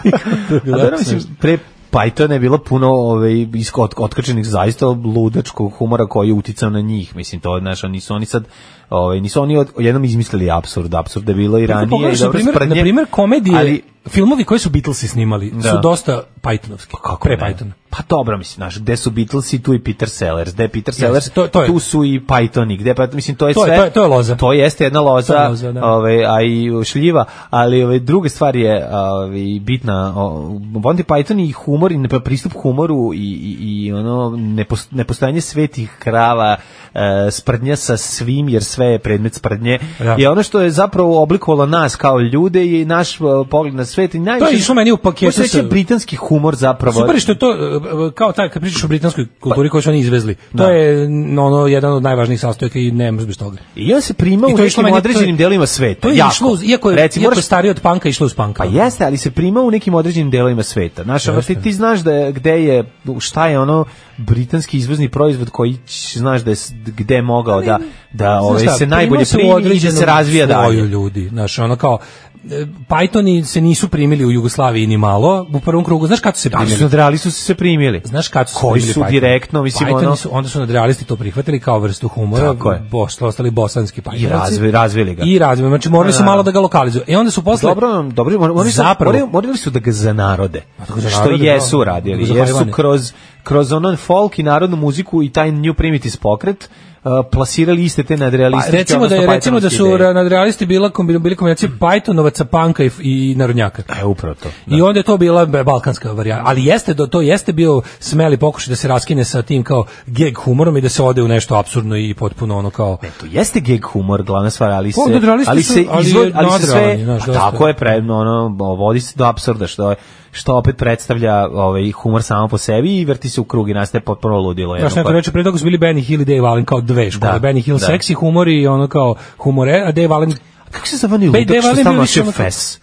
Speaker 6: A dobro, mislim, pre Python je bilo puno ovaj, isko- ot- otkačenih zaista ludačkog humora koji je uticao na njih. Mislim, to, znaš, nisu oni sad, ovaj, nisu oni od, jednom izmislili apsurd. Apsurd je bilo i ranije. i
Speaker 5: Pogledaš, na
Speaker 6: dobro
Speaker 5: primjer,
Speaker 6: sprdnje,
Speaker 5: na primjer, komedije,
Speaker 6: ali-
Speaker 5: filmovi koji su Beatlesi snimali
Speaker 6: Da.
Speaker 5: su dosta Pythonovski. pre
Speaker 6: ne?
Speaker 5: Pythona.
Speaker 6: Pa dobro, mislim, znaš, gde su Beatlesi, tu i Peter Sellers, gde je Peter Sellers,
Speaker 5: to- to je-
Speaker 6: tu su i Pythoni, gde pa, mislim, to je
Speaker 5: To je-
Speaker 6: sve...
Speaker 5: to je- to je loza.
Speaker 6: To jeste jedna loza,
Speaker 5: To je loza, da.
Speaker 6: ovaj, a i šljiva, ali ovaj, druga stvar je ovaj, bitna, o, Monty Python i humor, i pa pristup humoru i, i, i ono, nepos- nepostojanje svetih krava, e, sprdnja sa svim, jer sve je predmet sprdnje,
Speaker 5: Da.
Speaker 6: je ono što je zapravo oblikovalo nas kao ljude i naš e, pogled na svet. I najviše,
Speaker 5: To je išlo meni u paketu
Speaker 6: Može se reći
Speaker 5: sa-
Speaker 6: britanski humor zapravo.
Speaker 5: Super je što je to e, e, kao taj kad pričaš o britanskoj
Speaker 6: Pa-
Speaker 5: kulturi koju su oni izvezli. To je n- ono jedan od najvažnijih sastojaka i ne možeš bez toga.
Speaker 6: I on se prima
Speaker 5: I
Speaker 6: u
Speaker 5: to je išlo
Speaker 6: nekim
Speaker 5: meni-
Speaker 6: određenim
Speaker 5: to je-
Speaker 6: delima sveta.
Speaker 5: To je
Speaker 6: Pa jako.
Speaker 5: išlo uz, iako je,
Speaker 6: Reci,
Speaker 5: iako je
Speaker 6: moraš-
Speaker 5: starije od panka išlo uz panka.
Speaker 6: Pa jeste, ali se prima u nekim određenim delovima sveta. Znaš, ono, ti, ti znaš da je, gde je, šta je ono britanski izvozni proizvod koji ć- znaš da je, s- gde je mogao da, da
Speaker 5: Znaš
Speaker 6: ovaj,
Speaker 5: šta,
Speaker 6: se najbolje
Speaker 5: primilo se u
Speaker 6: primi i da se
Speaker 5: određenom
Speaker 6: razvija
Speaker 5: sloju
Speaker 6: dalje.
Speaker 5: ljudi, znaš, ono kao e, Pythoni se nisu primili u Jugoslaviji ni malo u prvom krugu. Znaš kad su se
Speaker 6: Da, ali
Speaker 5: primili?
Speaker 6: su nadrali su se primili.
Speaker 5: Znaš kad su
Speaker 6: Koji
Speaker 5: snimili
Speaker 6: su
Speaker 5: Python?
Speaker 6: direktno, mislim,
Speaker 5: Pythoni
Speaker 6: ono-
Speaker 5: su, onda su nadrealisti to prihvatili kao vrstu humora,
Speaker 6: Tako je.
Speaker 5: bos, ostali bosanski Pythonci.
Speaker 6: I razvi- razvili ga.
Speaker 5: I razvili, znači morali su
Speaker 6: Da.
Speaker 5: malo da ga lokalizuju. E onda su posle...
Speaker 6: Dobro, dobro, mor- morali su,
Speaker 5: Zapravo. Pa
Speaker 6: morali- morali su da ga zanarode.
Speaker 5: tako za
Speaker 6: što
Speaker 5: narode,
Speaker 6: jesu
Speaker 5: da.
Speaker 6: radili.
Speaker 5: Tako za
Speaker 6: Jer su
Speaker 5: Hajvane.
Speaker 6: kroz, kroz onan folk i narodnu muziku i taj New Primitives pokret uh, plasirali iste te
Speaker 5: Pa,
Speaker 6: nadrealističke,
Speaker 5: recimo da je,
Speaker 6: odnosno
Speaker 5: recimo da
Speaker 6: pajtonovske
Speaker 5: su
Speaker 6: ideje. Mm.
Speaker 5: ra- nadrealisti bila kombi- bili kombinacija Pythonovaca, panka i, f- i narodnjaka.
Speaker 6: E, upravo to.
Speaker 5: I onda je to bila b- balkanska varijanta. Ali jeste do- to jeste bio smeli pokušaj da se raskine sa tim kao geg humorom i da se ode u nešto apsurdno i potpuno ono kao
Speaker 6: E, To jeste geg humor, glavna stvar, ali se
Speaker 5: Pa, nadrealisti
Speaker 6: ali se
Speaker 5: su, ali
Speaker 6: izvod-
Speaker 5: je
Speaker 6: ali se sve
Speaker 5: nadrealni, znaš,
Speaker 6: a
Speaker 5: dosta.
Speaker 6: tako je predno ono vodi se do apsurda što je što opet predstavlja ovaj humor samo po sebi i vrti se u krug i nastaje potpuno ludilo jedno pa
Speaker 5: Znaš, neko
Speaker 6: koje-
Speaker 5: reče, pre toga su bili Benny Hill i Dave Allen kao dve škole.
Speaker 6: Da,
Speaker 5: Benny Hill
Speaker 6: da.
Speaker 5: seksi humor i ono kao humore, a Dave Allen...
Speaker 6: Kako se zove ni
Speaker 5: Pa i
Speaker 6: ludak
Speaker 5: Dave
Speaker 6: što
Speaker 5: Allen
Speaker 6: stalno
Speaker 5: bio više
Speaker 6: nosi
Speaker 5: ono kao-
Speaker 6: fes?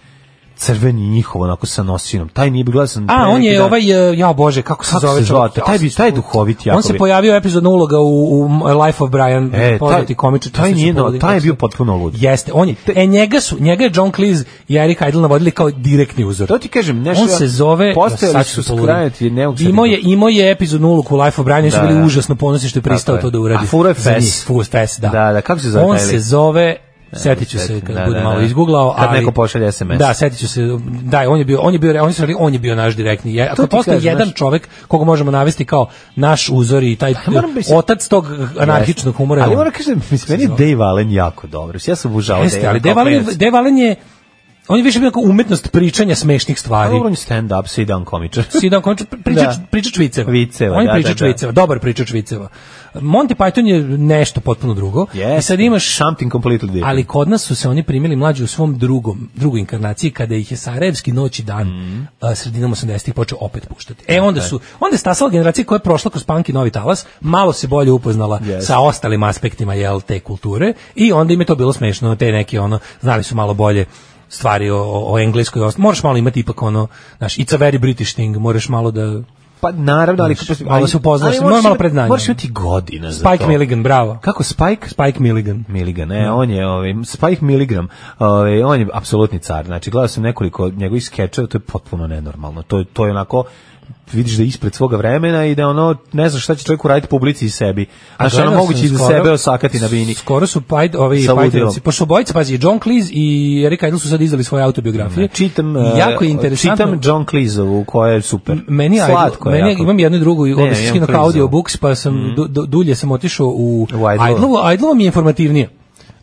Speaker 6: Crveni njihov, onako sa nosinom. Taj nije bi glasan.
Speaker 5: A, on je ovaj, e, ja bože, kako se
Speaker 6: Kako
Speaker 5: zove
Speaker 6: se zvao?
Speaker 5: čovjek?
Speaker 6: Taj, bi, taj duhovit jako
Speaker 5: On se
Speaker 6: bi-
Speaker 5: pojavio epizodna uloga u, u Life of Brian,
Speaker 6: E, taj,
Speaker 5: poznati komičar.
Speaker 6: taj,
Speaker 5: često su
Speaker 6: nije, no,
Speaker 5: povodili-
Speaker 6: taj je bio potpuno lud.
Speaker 5: Jeste, on je, e, njega su, njega je John Cleese i Eric Idle navodili kao direktni uzor.
Speaker 6: To ti kažem, nešto
Speaker 5: on
Speaker 6: ja-
Speaker 5: se zove
Speaker 6: postojali
Speaker 5: sad
Speaker 6: su
Speaker 5: ću poludim.
Speaker 6: skrajati neukusni.
Speaker 5: Imao je imao je epizodnu ulogu u Life of Brian, i su
Speaker 6: Da,
Speaker 5: bili
Speaker 6: da.
Speaker 5: užasno ponosni što je pristao
Speaker 6: Tako je.
Speaker 5: to da uradi.
Speaker 6: A furo je
Speaker 5: Za
Speaker 6: fes.
Speaker 5: njih, Furo je fes, da.
Speaker 6: Da, da, kako se zove
Speaker 5: On
Speaker 6: taj lik?
Speaker 5: se zove Setit ću se
Speaker 6: setim,
Speaker 5: kad
Speaker 6: da,
Speaker 5: budem
Speaker 6: da,
Speaker 5: malo
Speaker 6: da.
Speaker 5: izguglao,
Speaker 6: Kad
Speaker 5: ali
Speaker 6: neko pošalje SMS.
Speaker 5: Da, setit ću se. Da, on je bio on je bio on je, stvari- on je bio naš direktni. Ja,
Speaker 6: To
Speaker 5: ako
Speaker 6: ti
Speaker 5: postoji
Speaker 6: kažem,
Speaker 5: jedan
Speaker 6: znaš.
Speaker 5: čovjek koga možemo navesti kao naš uzor i taj
Speaker 6: moram bi se-
Speaker 5: otac tog anarhičnog humora. je
Speaker 6: Ali
Speaker 5: on.
Speaker 6: moram kažem, mislim, meni je Dave Allen jako dobro. Ja sam obožao
Speaker 5: Jeste, ali Dave Allen je- Dave Allen je on je više bio kao umetnost pričanja smešnih stvari.
Speaker 6: Dobro, on je stand-up,
Speaker 5: [LAUGHS]
Speaker 6: sedan komičar.
Speaker 5: Sidan Končar priča, priča čviceva.
Speaker 6: Viceva,
Speaker 5: On je
Speaker 6: da,
Speaker 5: priča
Speaker 6: da, da.
Speaker 5: čviceva, dobar priča čviceva. Monty Python je nešto potpuno drugo. I sad imaš
Speaker 6: something completely different.
Speaker 5: Ali kod nas su se oni primili mlađi u svom drugom, drugoj inkarnaciji kada ih je Sarajevski noć i dan
Speaker 6: Mhm.
Speaker 5: a, sredinom 80-ih počeo opet puštati. E onda su onda je stasala generacija koja je prošla kroz punk i novi talas, malo se bolje upoznala
Speaker 6: Yes.
Speaker 5: sa ostalim aspektima jel te kulture i onda im je to bilo smešno, te neke ono, znali su malo bolje stvari o, o, o engleskoj ost- moraš malo imati ipak ono znaš it's a very british thing moraš malo da
Speaker 6: Pa naravno, ali...
Speaker 5: Znaš, malo se upoznaš,
Speaker 6: ali
Speaker 5: moraš
Speaker 6: moraš
Speaker 5: malo
Speaker 6: imati-
Speaker 5: predznanja.
Speaker 6: Moraš imati godina za to.
Speaker 5: Spike Milligan, bravo.
Speaker 6: Kako Spike?
Speaker 5: Spike Milligan.
Speaker 6: Milligan, ne, on je, ovaj, Spike Milligram, ovaj, on je apsolutni car. Znači, gledao sam nekoliko njegovih skečeva, to je potpuno nenormalno. To, je- to je onako, vidiš da je ispred svoga vremena i da ono, ne znaš šta će čovjek uraditi publici i sebi. Znači, ono
Speaker 5: gledao
Speaker 6: moguće
Speaker 5: sam
Speaker 6: i za
Speaker 5: skoro-
Speaker 6: sebe osakati na bini.
Speaker 5: Skoro su Pajd, ovi
Speaker 6: Sa
Speaker 5: Pajdovci,
Speaker 6: ludilom.
Speaker 5: pošto obojica, pazi, John Cleese i Eric Idle su sad izdali svoje autobiografije.
Speaker 6: Čitam,
Speaker 5: I
Speaker 6: eh,
Speaker 5: jako je interesantno.
Speaker 6: čitam John Cleese-ovu, koja je super.
Speaker 5: meni je
Speaker 6: Slatko
Speaker 5: Idol,
Speaker 6: je
Speaker 5: meni je-
Speaker 6: jako.
Speaker 5: imam jednu i drugu i
Speaker 6: Ne,
Speaker 5: odnosno
Speaker 6: imam
Speaker 5: skinu kao
Speaker 6: Cleese-ovu.
Speaker 5: audiobooks, pa sam
Speaker 6: Mhm.
Speaker 5: du- du- dulje sam otišao u,
Speaker 6: Idlovo.
Speaker 5: Idlovo, a Idlovo mi je informativnije.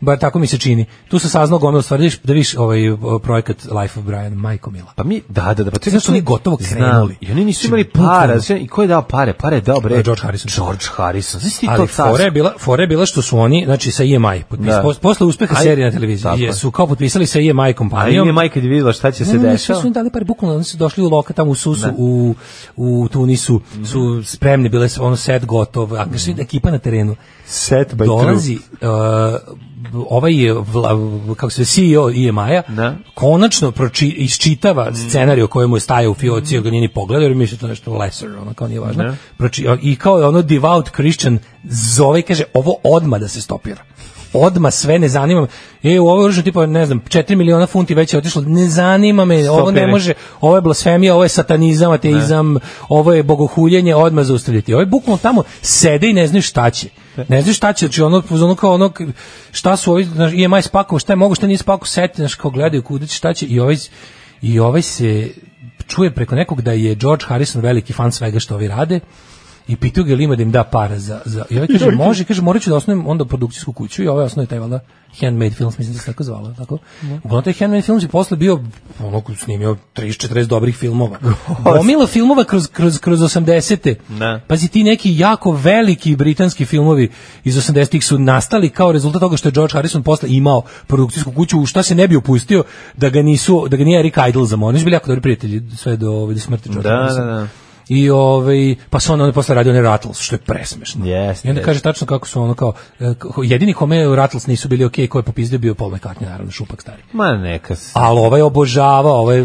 Speaker 5: Bar tako mi se čini. Tu sam saznao gomil stvari, da viš- da viš ovaj o, projekat Life of Brian, majko mila.
Speaker 6: Pa mi, da, da, da, pa to je
Speaker 5: Znaš,
Speaker 6: nešto-
Speaker 5: oni gotovo
Speaker 6: Znam,
Speaker 5: krenuli.
Speaker 6: I oni nisu
Speaker 5: Znači,
Speaker 6: imali
Speaker 5: bukvalno.
Speaker 6: para, sve- i ko je dao pare? Pare je dao, bre.
Speaker 5: George Harrison.
Speaker 6: E, George Harrison. Znaš ti to
Speaker 5: Ali
Speaker 6: carstvo?
Speaker 5: fora je bila, fora je bila što su oni, znači sa EMI, potpis,
Speaker 6: Da.
Speaker 5: pos- posle uspeha
Speaker 6: Aj,
Speaker 5: serije na televiziji,
Speaker 6: tako je.
Speaker 5: je, su kao potpisali sa EMI
Speaker 6: A
Speaker 5: kompanijom.
Speaker 6: im je majka je vidjela šta će se
Speaker 5: Ne, ne, ne, svi
Speaker 6: dešava.
Speaker 5: su im dali par bukvalno, oni su došli u loka tamo u Susu, u, u Tunisu, su spremni, bile su ono set gotov, a mm. ekipa na terenu.
Speaker 6: Set by
Speaker 5: Dolazi uh, ovaj je vla- kako se zove, E CEO EMI-a, konačno proči, isčitava scenarij o kojemu je stajao u fioci, mm. ga nije ni pogledao, jer misli to nešto lesser, ono kao nije važno.
Speaker 6: Da.
Speaker 5: Proči, I kao je ono devout Christian zove i kaže, ovo odma da se stopira odma sve ne zanima me. E, u ovo je oružje tipa, ne znam, 4 miliona funti već je otišlo, ne zanima me, ovo ne
Speaker 6: Stopiraj.
Speaker 5: može, ovo je blasfemija, ovo je satanizam, ateizam, ovo je bogohuljenje, odmah zaustavljati. Ovo je bukvalno tamo sede i ne znaju šta će. Ne znaju šta će, znači ono, ono kao ono, k- šta su ovi, znaš, E IMI spakovo, šta je mogu, šta nije spakovo, seti, znaš, kao gledaju kuda će, šta će, i ovaj, i ovaj se čuje preko nekog da je George Harrison veliki fan svega što ovi rade, i pitao ga je li ima da im da para za... za I ovaj kaže, može, kaže, morat ću da osnovim onda produkcijsku kuću i ovaj osnovio taj, valjda, Handmade Films, mislim da se tako zvala, tako? Uglavnom, taj Handmade Films je posle bio, ono, snimio 30-40 dobrih filmova. Gomila filmova kroz, kroz, kroz 80-te.
Speaker 6: Da.
Speaker 5: Pazi, ti neki jako veliki britanski filmovi iz 80-ih su nastali kao rezultat toga što je George Harrison posle imao produkcijsku kuću, u šta se ne bi upustio da ga nisu, da ga nije Rick Idle zamolio. Oni su bili jako dobri prijatelji sve do, ovaj, do smrti George
Speaker 6: Da,
Speaker 5: Harrisona.
Speaker 6: da, da.
Speaker 5: I ovaj pa se on onda posle radio one Rattles, što je presmešno.
Speaker 6: Jeste,
Speaker 5: I onda
Speaker 6: jeste.
Speaker 5: kaže tačno kako su ono kao e, ko- jedini kome Rattles nisu bili okej, ko je popizdio bio Paul McCartney, naravno šupak stari.
Speaker 6: Ma neka. s-
Speaker 5: Ali ovaj obožava, ovaj e,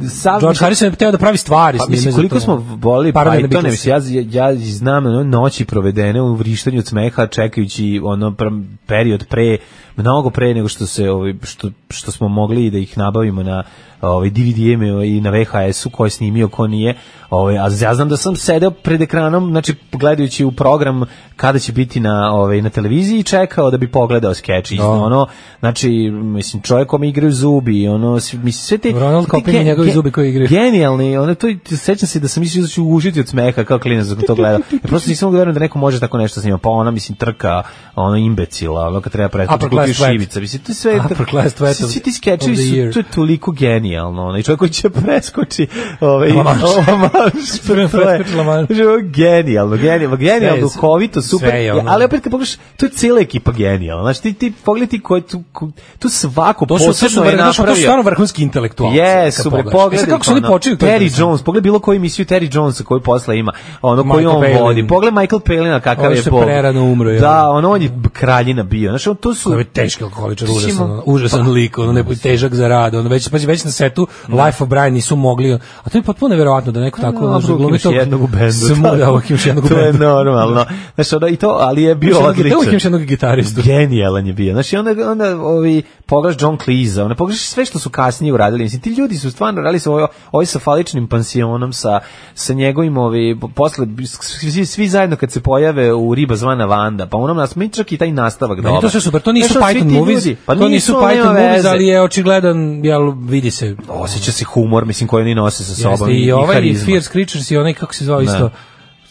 Speaker 6: Sav-
Speaker 5: George Harrison je teo da pravi stvari
Speaker 6: Pa
Speaker 5: s njime.
Speaker 6: mislim,
Speaker 5: za
Speaker 6: koliko
Speaker 5: to. ono,
Speaker 6: smo volili
Speaker 5: Paralelne
Speaker 6: Python,
Speaker 5: Beatlesi.
Speaker 6: mislim, ja, ja znam ono, noći provedene u vrištanju od smeha, čekajući ono pr- period pre, mnogo pre nego što se ovaj, što, što smo mogli da ih nabavimo na ovaj DVD-eme i na VHS-u, ko je snimio, ko nije. Ovaj, a ja znam da sam sedeo pred ekranom, znači gledajući u program kada će biti na ovaj na televiziji i čekao da bi pogledao skeč. Da. Ono, znači, mislim, čovjek kome igraju zubi, ono, svi- mislim, sve te...
Speaker 5: Ronald
Speaker 6: sve te
Speaker 5: Koprivni,
Speaker 6: gen-
Speaker 5: njegovi
Speaker 6: gen-
Speaker 5: zubi koji igraju.
Speaker 6: genijalni, ono to sećam se da sam mislio da ću užiti od smeha kao klinac dok to gledam. Ja prosto nisam mogu da verujem da neko može tako nešto s njima. Pa ona mislim trka, ono imbecila, ono kad treba prestati
Speaker 5: Upper
Speaker 6: kupi
Speaker 5: class wet.
Speaker 6: šivica. Mislim to je sve
Speaker 5: Upper class wet
Speaker 6: Svi-
Speaker 5: of-
Speaker 6: svi ti skečevi
Speaker 5: of the
Speaker 6: su
Speaker 5: year.
Speaker 6: to je toliko genijalno. Ono i čovjek koji će preskoči ovaj [LAUGHS]
Speaker 5: Lamanš.
Speaker 6: Lamanš, to je-
Speaker 5: Preskoči Lamanš.
Speaker 6: Znači, ovo je Genijalno, genijalno, genijalno,
Speaker 5: Sve je-
Speaker 6: duhovito, super.
Speaker 5: sve je ono-
Speaker 6: Ali opet kad pogledaš, to je cijela ekipa genijalna. Znači ti ti pogledaj ko je tu ko- tu svako
Speaker 5: To su, to su,
Speaker 6: posebno je
Speaker 5: vrh- znaš, to su
Speaker 6: napravio.
Speaker 5: stvarno vrhunski intelektualci.
Speaker 6: Jesu,
Speaker 5: kad
Speaker 6: bre,
Speaker 5: pogledaš. E
Speaker 6: pogledaj.
Speaker 5: sad kako su oni
Speaker 6: ono,
Speaker 5: počeli? to je
Speaker 6: Terry
Speaker 5: interesantno.
Speaker 6: Jones, pogledaj bilo koju emisiju Terry Jonesa koju posle ima, ono koju
Speaker 5: Michael
Speaker 6: on
Speaker 5: Palin.
Speaker 6: vodi. Pogledaj Michael Palina kakav
Speaker 5: Ovo
Speaker 6: je
Speaker 5: što je
Speaker 6: bog.
Speaker 5: prerano umro, je
Speaker 6: Da, ono on je kraljina bio. Znači, on, to su...
Speaker 5: Koji je teški alkoholičar,
Speaker 6: Mislim,
Speaker 5: užasan, ono, užasan
Speaker 6: Pa.
Speaker 5: lik, ono ne težak za rad, ono već, pazi, već na setu Life of Brian nisu mogli, a to je potpuno neverovatno da neko tako ono,
Speaker 6: Ono,
Speaker 5: zaglumi
Speaker 6: uvijek imaš
Speaker 5: tog-
Speaker 6: jednog u bendu.
Speaker 5: Samo da uvijek imaš jednog u
Speaker 6: To je
Speaker 5: bendu.
Speaker 6: normalno. Znači, ono, i to, ali je bio
Speaker 5: Imaš jednog-
Speaker 6: odličan.
Speaker 5: uvijek imaš jednog gitaristu.
Speaker 6: Genijalan je bio. Znači, onda, onda ovi, pogledaš John Cleese, ne pogledaš sve što su kasnije uradili. Mislim, ti ljudi su stvarno radili sa ovo, ovo sa faličnim pansionom, sa, sa njegovim, ovi, posle, svi, svi zajedno kad se pojave u Riba zvana Vanda, pa onom nas, mi čak i taj nastavak
Speaker 5: Meni to sve super, to nisu
Speaker 6: Znaš, ono, svi
Speaker 5: Python
Speaker 6: ti
Speaker 5: movies,
Speaker 6: ljudi,
Speaker 5: to nisu
Speaker 6: ali nema
Speaker 5: Python movies,
Speaker 6: veze.
Speaker 5: ali je očigledan, jel, vidi se.
Speaker 6: Osjeća se humor, mislim, koji oni nose sa sobom.
Speaker 5: Jeste, I ovaj i
Speaker 6: karizma.
Speaker 5: Fierce Creatures i onaj, kako se zvao
Speaker 6: Da.
Speaker 5: isto.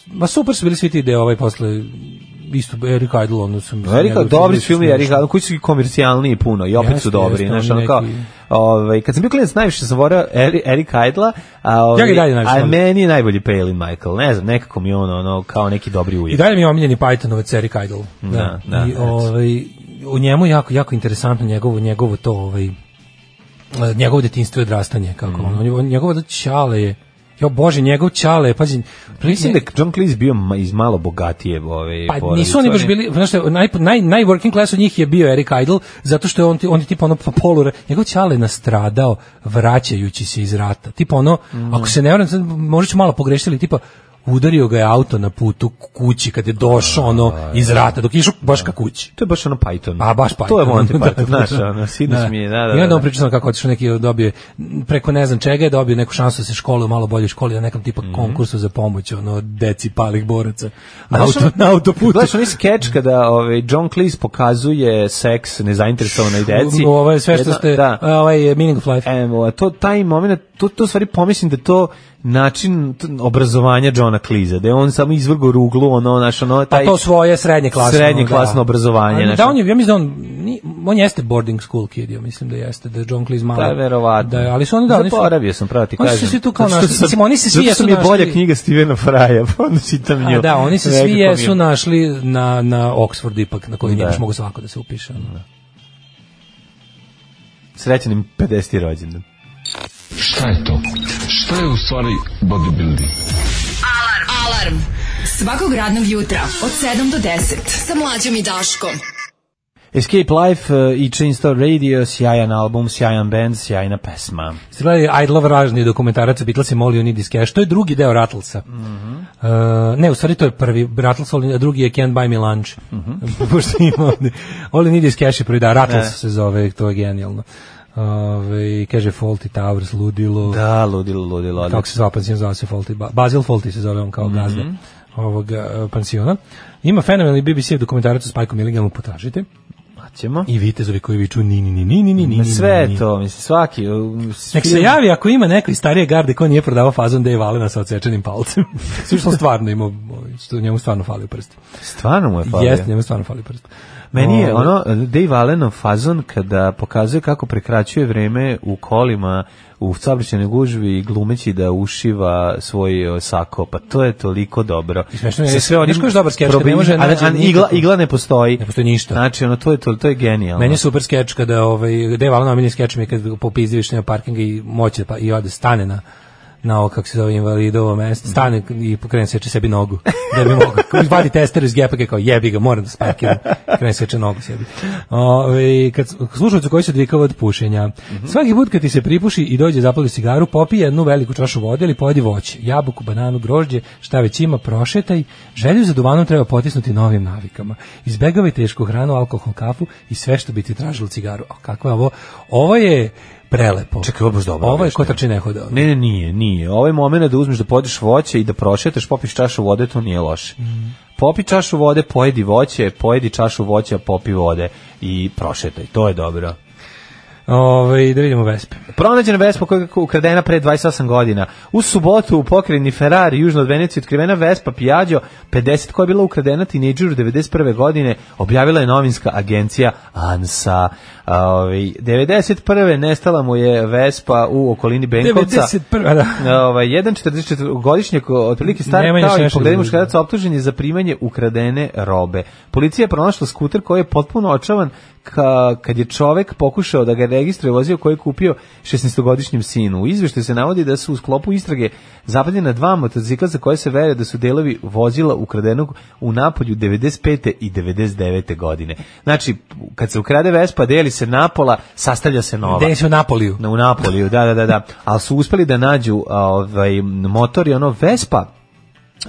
Speaker 5: Ma super su bili svi ti ide ovaj posle isto Eric Idle, ono sam...
Speaker 6: Erika,
Speaker 5: njegov
Speaker 6: Pa dobri
Speaker 5: film,
Speaker 6: film je Erika, ali koji su i komercijalniji puno i opet
Speaker 5: Jeste,
Speaker 6: su dobri,
Speaker 5: jeste,
Speaker 6: znaš,
Speaker 5: oni
Speaker 6: ono kao,
Speaker 5: neki-
Speaker 6: ovaj, kad sam bio klinac najviše sam volao Eri, Erika Idla, a, ovaj,
Speaker 5: Ja ga i dalje najviše
Speaker 6: a
Speaker 5: volim.
Speaker 6: meni je najbolji Palin Michael, ne znam, nekako mi je on ono, kao neki dobri
Speaker 5: I
Speaker 6: ujek.
Speaker 5: dalje mi je omiljeni Pythonovac Eric Idle.
Speaker 6: Da, da,
Speaker 5: I,
Speaker 6: da.
Speaker 5: ovaj, u njemu je jako, jako interesantno njegovo, njegovo to, ovaj, eh, njegovo detinstvo i odrastanje, kako mm. on, on- njegovo da ćale je, jo bože, njegov ćale je, pazi,
Speaker 6: Mislim da je John Cleese bio ma- iz malo bogatije ovaj, ove
Speaker 5: Pa nisu oni baš bili, znaš šta, naj, naj, naj working class od njih je bio Eric Idle, zato što je on, ti- on je tipa ono polure, njegov ćale je nastradao vraćajući se iz rata. Tipa ono, ako se ne varam, sad možda ću malo pogrešiti, ali tipa udario ga je auto na putu k- kući kad je došao ono
Speaker 6: Pa,
Speaker 5: iz rata, dok je išao baš ka kući.
Speaker 6: To je baš ono Python.
Speaker 5: A baš Python.
Speaker 6: To je Monty Python,
Speaker 5: Da,
Speaker 6: znaš, ono, sinoć mi je, da, da,
Speaker 5: I onda
Speaker 6: da.
Speaker 5: on priča samo kako otišao neki dobio, je, m, preko ne znam čega je dobio neku šansu da se školuje u malo bolje školi na nekom tipa
Speaker 6: Mhm.
Speaker 5: konkursu za pomoć, ono, deci palih boraca. Na,
Speaker 6: Znaš, ono,
Speaker 5: auto, na autoputu.
Speaker 6: Gledaš onaj skeč kada ovaj, John Cleese pokazuje seks nezainteresovanoj deci.
Speaker 5: Ovo je sve što ste- ovaj je meaning of life.
Speaker 6: Evo, a to taj moment, to, to u stvari pomislim da je to način t- obrazovanja Johna Cleese, da je on samo izvrgo ruglu, ono, naš, ono, taj...
Speaker 5: Pa to svoje srednje klasno.
Speaker 6: Srednje klasno
Speaker 5: da.
Speaker 6: obrazovanje.
Speaker 5: Ali
Speaker 6: znaš,
Speaker 5: Da, on je, ja mislim da on, ni- on jeste boarding school kid, ja mislim da jeste, da je John Cleese malo.
Speaker 6: Pa je verovatno.
Speaker 5: Da, je, ali su oni da, oni su-
Speaker 6: Zaboravio sam, pravo ti
Speaker 5: Oni
Speaker 6: kažem.
Speaker 5: su svi tu kao
Speaker 6: Zato što
Speaker 5: našli,
Speaker 6: sam-
Speaker 5: mislim, oni se svi
Speaker 6: Zato što
Speaker 5: jesu
Speaker 6: mi je bolja
Speaker 5: našli-
Speaker 6: knjiga Stevena Fraja, [LAUGHS] pa onda čitam nju.
Speaker 5: A da, oni se svi
Speaker 6: Nekako mi
Speaker 5: jesu našli na, na Oxford ipak, na koji nije baš mogu svako da se upiše. ono.
Speaker 6: Srećanim 50. rođendan.
Speaker 15: Šta je to? Šta je u stvari bodybuilding?
Speaker 4: Alarm. Alarm. Svakog radnog jutra od 7 do 10 sa mlađom i Daškom.
Speaker 6: Escape Life uh, i Chainstore Radio, sjajan album, sjajan band, sjajna pesma.
Speaker 5: Ste gledali Idlov ražni dokumentarac o Beatlesima Molly on Need Cash, to je drugi deo Rattlesa.
Speaker 6: Mhm.
Speaker 5: E, ne, u stvari to je prvi Rattles, All You- a drugi je Can't Buy Me Lunch.
Speaker 6: Mhm.
Speaker 5: [LAUGHS] Pošto ima ovde. All You Need Is Cash je prvi, da, Rattles
Speaker 6: E.
Speaker 5: se zove, to je genijalno. Ove, kaže Faulty Towers, ludilo.
Speaker 6: Da, ludilo, ludilo.
Speaker 5: Kako se zove pansion, zove se Faulty, Ba- Basil Faulty se zove on kao
Speaker 6: Mhm.
Speaker 5: gazda ovog e, pansiona. Ima fenomenalni BBC dokumentarac o Spike'u Milligamu, potražite.
Speaker 6: Ćemo.
Speaker 5: I vitezovi koji viču ni, ni, ni, ni, ni, ni, ni,
Speaker 6: Ma
Speaker 5: ni,
Speaker 6: Sve
Speaker 5: ni,
Speaker 6: je
Speaker 5: ni.
Speaker 6: to, mislim, svaki... um,
Speaker 5: Nek se
Speaker 6: film-
Speaker 5: javi ako ima neko iz starije garde ko nije prodavao fazon Dave Allena sa odsečenim palcem. Svi što on stvarno imao, što njemu stvarno falio prst.
Speaker 6: Stvarno mu je falio?
Speaker 5: Jeste, njemu stvarno falio prst.
Speaker 6: Meni je
Speaker 5: Ovo-
Speaker 6: ono Dave Allenov fazon kada pokazuje kako prekraćuje vreme u kolima u saobraćajnoj gužvi i glumeći da ušiva svoj e, sako, pa to je toliko dobro. I
Speaker 5: smešno je, znaš koji je još dobar skeč kad ne može
Speaker 6: a,
Speaker 5: naći
Speaker 6: a, igla,
Speaker 5: nikako.
Speaker 6: igla ne postoji. Ne
Speaker 5: postoji ništa.
Speaker 6: Znači, ono, to je, to, to je genijalno.
Speaker 5: Meni je super skeč kada ovaj Dave Allen omiljen skeč mi je kad popizdi više na parkinga i moće pa i ode stane na na ovo kako se zove invalidovo mesto, stane i pokrene seče sebi nogu, da bi mogao. Vadi tester iz gepaka i kao jebi ga, moram da sparkiram, krene seče nogu sebi. Ove, kad slušalcu koji se odvikava od pušenja, svaki put kad ti se pripuši i dođe zapali cigaru, popije jednu veliku čašu vode ili pojedi voće, jabuku, bananu, grožđe, šta već ima, prošetaj, želju za duvanom treba potisnuti novim navikama. Izbegavaj tešku hranu, alkohol, kafu i sve što bi ti tražilo cigaru. A kako je ovo? Ovo je prelepo. Čekaj, ovo je dobro. Ovo je ko trči ne hoda.
Speaker 6: Ne, ne, nije, nije. Ovaj moment da uzmeš da podiš voće i da prošetaš, popiš čašu vode, to nije loše. Popi čašu vode, pojedi voće, pojedi čašu voća, popi vode i prošetaj. To je dobro.
Speaker 5: Ove, Ovaj, da vidimo Vespe.
Speaker 6: Pronađena Vespa koja je ukradena pre 28 godina. U subotu u pokrajini Ferrari, južno od Venecije, otkrivena Vespa Piaggio 50 koja je bila ukradena tinejdžeru 91. godine, objavila je novinska agencija ANSA. A, ovaj, 91. nestala mu je Vespa u okolini Benkovca.
Speaker 5: 91., da.
Speaker 6: [LAUGHS] Ovaj, jedan 44-godišnjak, otprilike star,
Speaker 5: Nemanja
Speaker 6: kao i
Speaker 5: Šešelj,
Speaker 6: pogledaj
Speaker 5: da.
Speaker 6: muškarac, optužen je za primanje ukradene robe. Policija je pronašla skuter koji je potpuno očavan ka, kad je čovek pokušao da ga registruje vozio koji je kupio 16-godišnjem sinu. U izveštaju se navodi da su u sklopu istrage zapadljena dva motocikla za koje se veruje da su delovi vozila ukradenog u napolju 95. i 99. godine. Znači, kad se ukrade Vespa, deli se napola, sastavlja se nova.
Speaker 5: Desi u Napoliju.
Speaker 6: Na- U Napoliju, da, da, da, da. Ali su uspeli da nađu a, ovaj, motor i ono Vespa,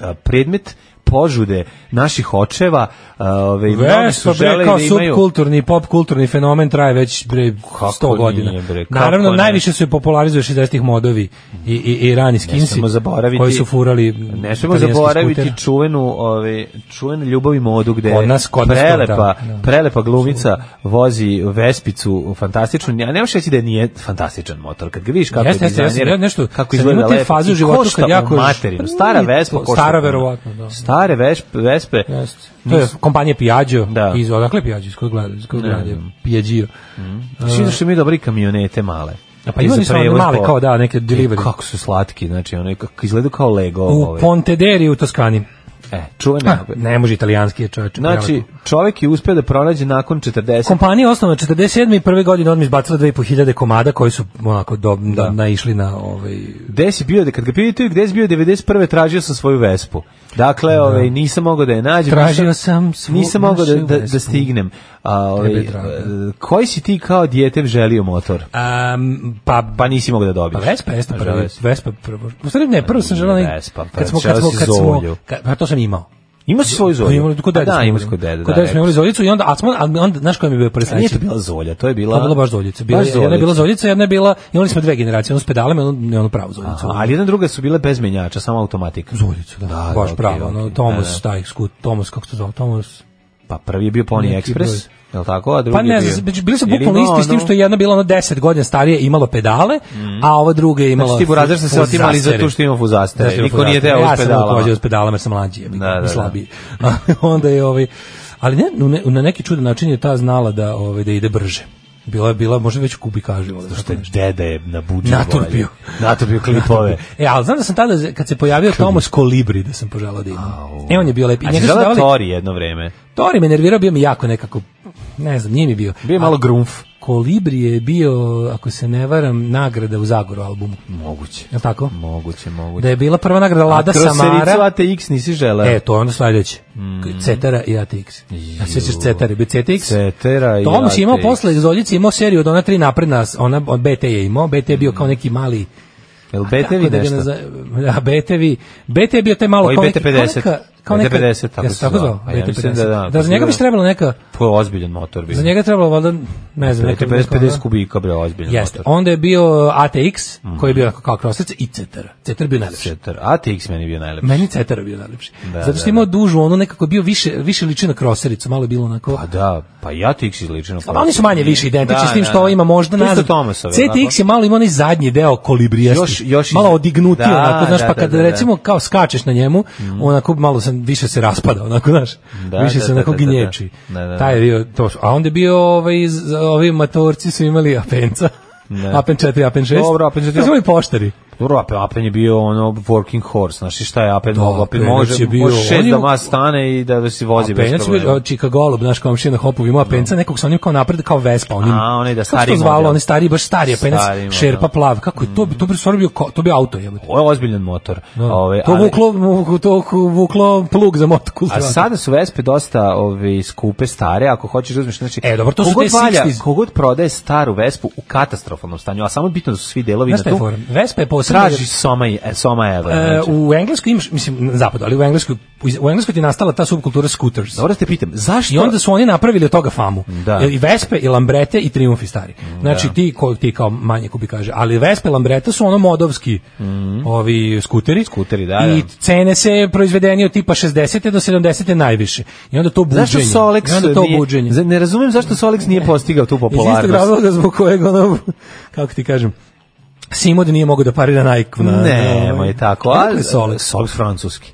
Speaker 6: a, predmet požude naših očeva, ove, mnogi
Speaker 5: Vespa,
Speaker 6: su
Speaker 5: pa bre,
Speaker 6: želeli
Speaker 5: kao
Speaker 6: da imaju...
Speaker 5: subkulturni, popkulturni fenomen traje već bre, 100 godina.
Speaker 6: nije, bre, kako
Speaker 5: Naravno,
Speaker 6: ne?
Speaker 5: najviše su je popularizuje 60-ih modovi i, i, i rani skinsi,
Speaker 6: smemo zaboraviti-
Speaker 5: koji su furali
Speaker 6: Ne smemo
Speaker 5: italijanski
Speaker 6: zaboraviti
Speaker 5: skuter.
Speaker 6: čuvenu, ove, čuvenu ljubav i modu gde
Speaker 5: Kod nas- kod nas to,
Speaker 6: prelepa,
Speaker 5: da, da.
Speaker 6: prelepa glumica vozi vespicu fantastičnu. Ja ne možeš reći da nije fantastičan motor. Kad ga vidiš kako
Speaker 5: Jeste,
Speaker 6: je
Speaker 5: jeste, jeste,
Speaker 6: dizajniran,
Speaker 5: ne, nešto,
Speaker 6: kako
Speaker 5: sad
Speaker 6: izgleda
Speaker 5: imate
Speaker 6: lepo.
Speaker 5: fazu
Speaker 6: I
Speaker 5: u životu
Speaker 6: košta
Speaker 5: kad
Speaker 6: mu
Speaker 5: jako-
Speaker 6: materinu.
Speaker 5: Pa
Speaker 6: Stara
Speaker 5: nije
Speaker 6: vespa
Speaker 5: to,
Speaker 6: košta
Speaker 5: stara
Speaker 6: puno.
Speaker 5: verovatno, da.
Speaker 6: Stare vespe, vespe.
Speaker 5: Jeste. To je
Speaker 6: nisu-
Speaker 5: kompanija Piaggio,
Speaker 6: Da.
Speaker 5: iz odakle je Piaggio, iz kojeg grada, iz kojeg
Speaker 6: Ne
Speaker 5: grada je
Speaker 6: znam.
Speaker 5: Piaggio.
Speaker 6: Znači,
Speaker 5: E,
Speaker 6: imaš mi dobri kamionete male.
Speaker 5: A pa
Speaker 6: I
Speaker 5: imali
Speaker 6: za
Speaker 5: su one
Speaker 6: prevoz
Speaker 5: male,
Speaker 6: po-
Speaker 5: kao da, neke delivery.
Speaker 6: I Kako su slatki, znači, one kako izgledaju kao Lego.
Speaker 5: u
Speaker 6: ove.
Speaker 5: Pontederi u Toskani.
Speaker 6: E, čuvene.
Speaker 5: Ah, ne može italijanski je čovječ.
Speaker 6: Znači,
Speaker 5: prelepo.
Speaker 6: čovjek je uspeo da pronađe nakon 40
Speaker 5: Kompanija je osnovana 47. i prve godine odmah izbacila 2500 komada koji su onako do, da. naišli na ovaj
Speaker 6: Gde si bio, kad ga pitaju gde si bio 91. tražio sam svoju Vespu. Dakle, ovaj, nisam mogao da je nađem.
Speaker 5: Tražio
Speaker 6: nisam-
Speaker 5: sam svu
Speaker 6: Nisam mogao da,
Speaker 5: našu
Speaker 6: da, da
Speaker 5: Vespu.
Speaker 6: stignem. A, ovaj,
Speaker 5: Tebe, draga.
Speaker 6: e, koji si ti kao dijete želio motor?
Speaker 5: Um, pa,
Speaker 6: pa nisi mogao da dobiješ.
Speaker 5: Pa Vespa jeste
Speaker 6: Želeo
Speaker 5: prvi,
Speaker 6: si.
Speaker 5: Vespa prvo. U stvari ne, prvo sam želeo neki-
Speaker 6: Vespa, pa
Speaker 5: kad smo
Speaker 6: želeo
Speaker 5: kad smo
Speaker 6: si
Speaker 5: kad smo
Speaker 6: Zolju.
Speaker 5: kad, pa to sam imao.
Speaker 6: Imao si svoju Zolju?
Speaker 5: Imao, kod
Speaker 6: Pa
Speaker 5: dede
Speaker 6: da,
Speaker 5: smo
Speaker 6: imao
Speaker 5: imali.
Speaker 6: si kod dede, da,
Speaker 5: Kod dede smo
Speaker 6: rekao
Speaker 5: imali
Speaker 6: si.
Speaker 5: Zoljicu i onda, a smo, ali onda, znaš koja mi je bio presrećen?
Speaker 6: Nije to bila Zolja, to je bila...
Speaker 5: To je bila baš Zoljica. Bila,
Speaker 6: Baš
Speaker 5: je- jedna je bila
Speaker 6: Zoljica.
Speaker 5: Zoljica, jedna je bila, imali smo dve generacije, onu s pedalima i onu, i onu pravu Zoljicu.
Speaker 6: Aha, ali jedna i druga su bile bez menjača, samo automatika. Zoljicu, da. da
Speaker 5: baš
Speaker 6: okej,
Speaker 5: pravo,
Speaker 6: okej.
Speaker 5: ono,
Speaker 6: Da,
Speaker 5: Tomas,
Speaker 6: da.
Speaker 5: taj skut, Tomas, kako se zvao, Tomas,
Speaker 6: Pa prvi je bio Pony
Speaker 5: Neki
Speaker 6: Express, je li tako? A drugi
Speaker 5: Pa ne
Speaker 6: je bio-
Speaker 5: znam, znači, bili su
Speaker 6: Ili
Speaker 5: bukvalno
Speaker 6: imao
Speaker 5: isti s tim
Speaker 6: ono- Mhm.
Speaker 5: što je jedna bila ono 10 godina starije imala pedale, a ova druga je imala
Speaker 6: Znači, ti burazer ste se
Speaker 5: fuzastere.
Speaker 6: otimali zato što ima fuzastere.
Speaker 5: Zato što ima
Speaker 6: Niko nije ono.
Speaker 5: fuzastere.
Speaker 6: teo
Speaker 5: ja
Speaker 6: s pedalama.
Speaker 5: Ja sam dođe s pedalama jer sam mlađi, je,
Speaker 6: Da, da, da.
Speaker 5: slabiji. [LAUGHS] A onda je ovaj ali ne, u ne- na neki čudan način je ta znala da ovaj da ide brže. Bila je bila možda već u kubikaži,
Speaker 6: Zato što je deda je na buđu
Speaker 5: Naturbio.
Speaker 6: Naturbio klipove.
Speaker 5: E, ali znam da sam tada, kad se pojavio Tomos Kolibri, da sam poželao da imam. E, on je bio lepi.
Speaker 6: A si
Speaker 5: Njega su
Speaker 6: želeo
Speaker 5: davali-
Speaker 6: Tori jedno vreme.
Speaker 5: Tori me nervirao, bio mi jako nekako, ne znam, nije mi bio.
Speaker 6: Bio je malo grunf.
Speaker 5: Kolibri je bio, ako se ne varam, nagrada u Zagoru albumu.
Speaker 6: Moguće.
Speaker 5: Je li tako?
Speaker 6: Moguće, moguće.
Speaker 5: Da je bila prva nagrada Lada
Speaker 6: A kroz
Speaker 5: Samara.
Speaker 6: Sericu Mm. ATX nisi želeo.
Speaker 5: E, to je ono sledeće. Cetera i ATX. Ja se sjećaš Cetera, bi CTX.
Speaker 6: Cetera i
Speaker 5: Tomus je imao
Speaker 6: ATX.
Speaker 5: posle Zoljici, je imao seriju od ona tri napredna, ona od BT je imao, BT je bio kao neki mali
Speaker 6: Jel
Speaker 5: kako
Speaker 6: Betevi
Speaker 5: da ga
Speaker 6: Mm. nešto?
Speaker 5: naza- Da, BTV. BT je bio taj malo
Speaker 6: Koji
Speaker 5: kao neki- kao
Speaker 6: BT50?
Speaker 5: neka- kao neka-
Speaker 6: BT50, tako
Speaker 5: Jesi
Speaker 6: se
Speaker 5: tako
Speaker 6: zvao?
Speaker 5: zvao?
Speaker 6: A ja mislim
Speaker 5: BT50.
Speaker 6: da da.
Speaker 5: Da, za njega bi se trebalo neka,
Speaker 6: To je ozbiljan motor bio.
Speaker 5: za njega je trebalo valjda, ne znam, neka...
Speaker 6: 50,
Speaker 5: neka
Speaker 6: 50
Speaker 5: ona-
Speaker 6: kubika, bre, ozbiljan
Speaker 5: Jeste.
Speaker 6: motor. Mhm.
Speaker 5: Onda je bio uh, ATX, koji je bio onako kao krosec, i Cetar. Cetar je bio najlepši.
Speaker 6: Cetar. ATX meni je bio najlepši.
Speaker 5: Meni Cetar je bio najlepši.
Speaker 6: Da,
Speaker 5: Zato
Speaker 6: da,
Speaker 5: što je imao dužu, ono nekako je bio više, više liči na krosericu, malo je bilo onako...
Speaker 6: Pa da, pa i ATX je lično.
Speaker 5: A oni su manje više identični
Speaker 6: Da,
Speaker 5: s tim
Speaker 6: da,
Speaker 5: što ovo
Speaker 6: da.
Speaker 5: ima možda
Speaker 6: To isto
Speaker 5: nazad.
Speaker 6: Thomasovi,
Speaker 5: CTX je malo ima onaj zadnji deo kolibrijasti.
Speaker 6: Još- još iz-
Speaker 5: malo odignuti
Speaker 6: Da,
Speaker 5: onako, znaš,
Speaker 6: da,
Speaker 5: pa
Speaker 6: da,
Speaker 5: kad
Speaker 6: da, da.
Speaker 5: recimo kao skačeš na njemu, onako malo sam više se raspada, onako, znaš.
Speaker 6: Da,
Speaker 5: više
Speaker 6: da,
Speaker 5: se
Speaker 6: da,
Speaker 5: onako
Speaker 6: da, da, da.
Speaker 5: gnječi.
Speaker 6: Da, da, da.
Speaker 5: Taj je bio to. A onda je bio ovaj z- ovi matorci su imali Apenca.
Speaker 6: Da.
Speaker 5: Apen 4, Apen 6.
Speaker 6: Dobro, Apen 4.
Speaker 5: To su imali poštari.
Speaker 6: Dobro, Apen, Apen je bio ono working horse, znaš i šta je Apen mogo, Apen
Speaker 5: Apenac
Speaker 6: može,
Speaker 5: je bio-
Speaker 6: može šest
Speaker 5: on je-
Speaker 6: da vas stane i da vas si vozi bez
Speaker 5: Apenac je
Speaker 6: problema.
Speaker 5: bio Chicago Golub, naš komšija na Hopovi, imao Apenca, nekog sa onim kao napred, kao Vespa. Onim,
Speaker 6: A, onaj da
Speaker 5: Kako
Speaker 6: stariji
Speaker 5: se to zvalo,
Speaker 6: model.
Speaker 5: onaj stariji, baš stariji Apenac,
Speaker 6: Stariji model. Mm.
Speaker 5: šerpa plav. Kako je to, bi- to bi stvarno bio, ko- to bi auto jebote.
Speaker 6: Ovo je ozbiljan motor. Ove,
Speaker 5: To vuklo, mu- to vuklo plug za motoku.
Speaker 6: A sada su Vespe dosta ove, skupe, stare, ako hoćeš da uzmeš, znači,
Speaker 5: E, dobro, to su
Speaker 6: kogod
Speaker 5: te
Speaker 6: valja,
Speaker 5: 60s.
Speaker 6: kogod prodaje staru Vespu u katastrofalnom stanju, a samo je bitno da su svi delovi
Speaker 5: Znaš
Speaker 6: na
Speaker 5: šta je
Speaker 6: tu,
Speaker 5: fora? Vespa je posebno...
Speaker 6: traži Soma, i- e, Soma Evo.
Speaker 5: E,
Speaker 6: znači.
Speaker 5: u Engleskoj imaš, mislim, na zapadu, ali u Engleskoj, u Engleskoj ti je nastala ta subkultura scooters.
Speaker 6: Dobro ste pitam, zašto...
Speaker 5: I onda su oni napravili od toga famu.
Speaker 6: Da.
Speaker 5: I Vespe, i Lambrete, i Triumfi stari. Znači
Speaker 6: Da.
Speaker 5: ti, ko, ti kao manje kubi kaže, ali Vespe, Lambrete su ono modovski ovi skuteri.
Speaker 6: Mhm. Skuteri, da,
Speaker 5: I
Speaker 6: da.
Speaker 5: cene se proizvedeni od tipa 60. do 70. najviše. I onda to buđenje.
Speaker 6: Zašto
Speaker 5: I onda
Speaker 6: Solex
Speaker 5: to
Speaker 6: nije-
Speaker 5: buđenje.
Speaker 6: za- Ne razumijem zašto Solex nije postigao tu
Speaker 5: Iz istog
Speaker 6: popularnost.
Speaker 5: razloga zbog kojeg ono, [LAUGHS] kako ti kažem, Simod nije mogao da parira Nike. Na,
Speaker 6: Ne,
Speaker 5: na-
Speaker 6: moj tako.
Speaker 5: Kako
Speaker 6: A,
Speaker 5: je Solex?
Speaker 6: Solex francuski.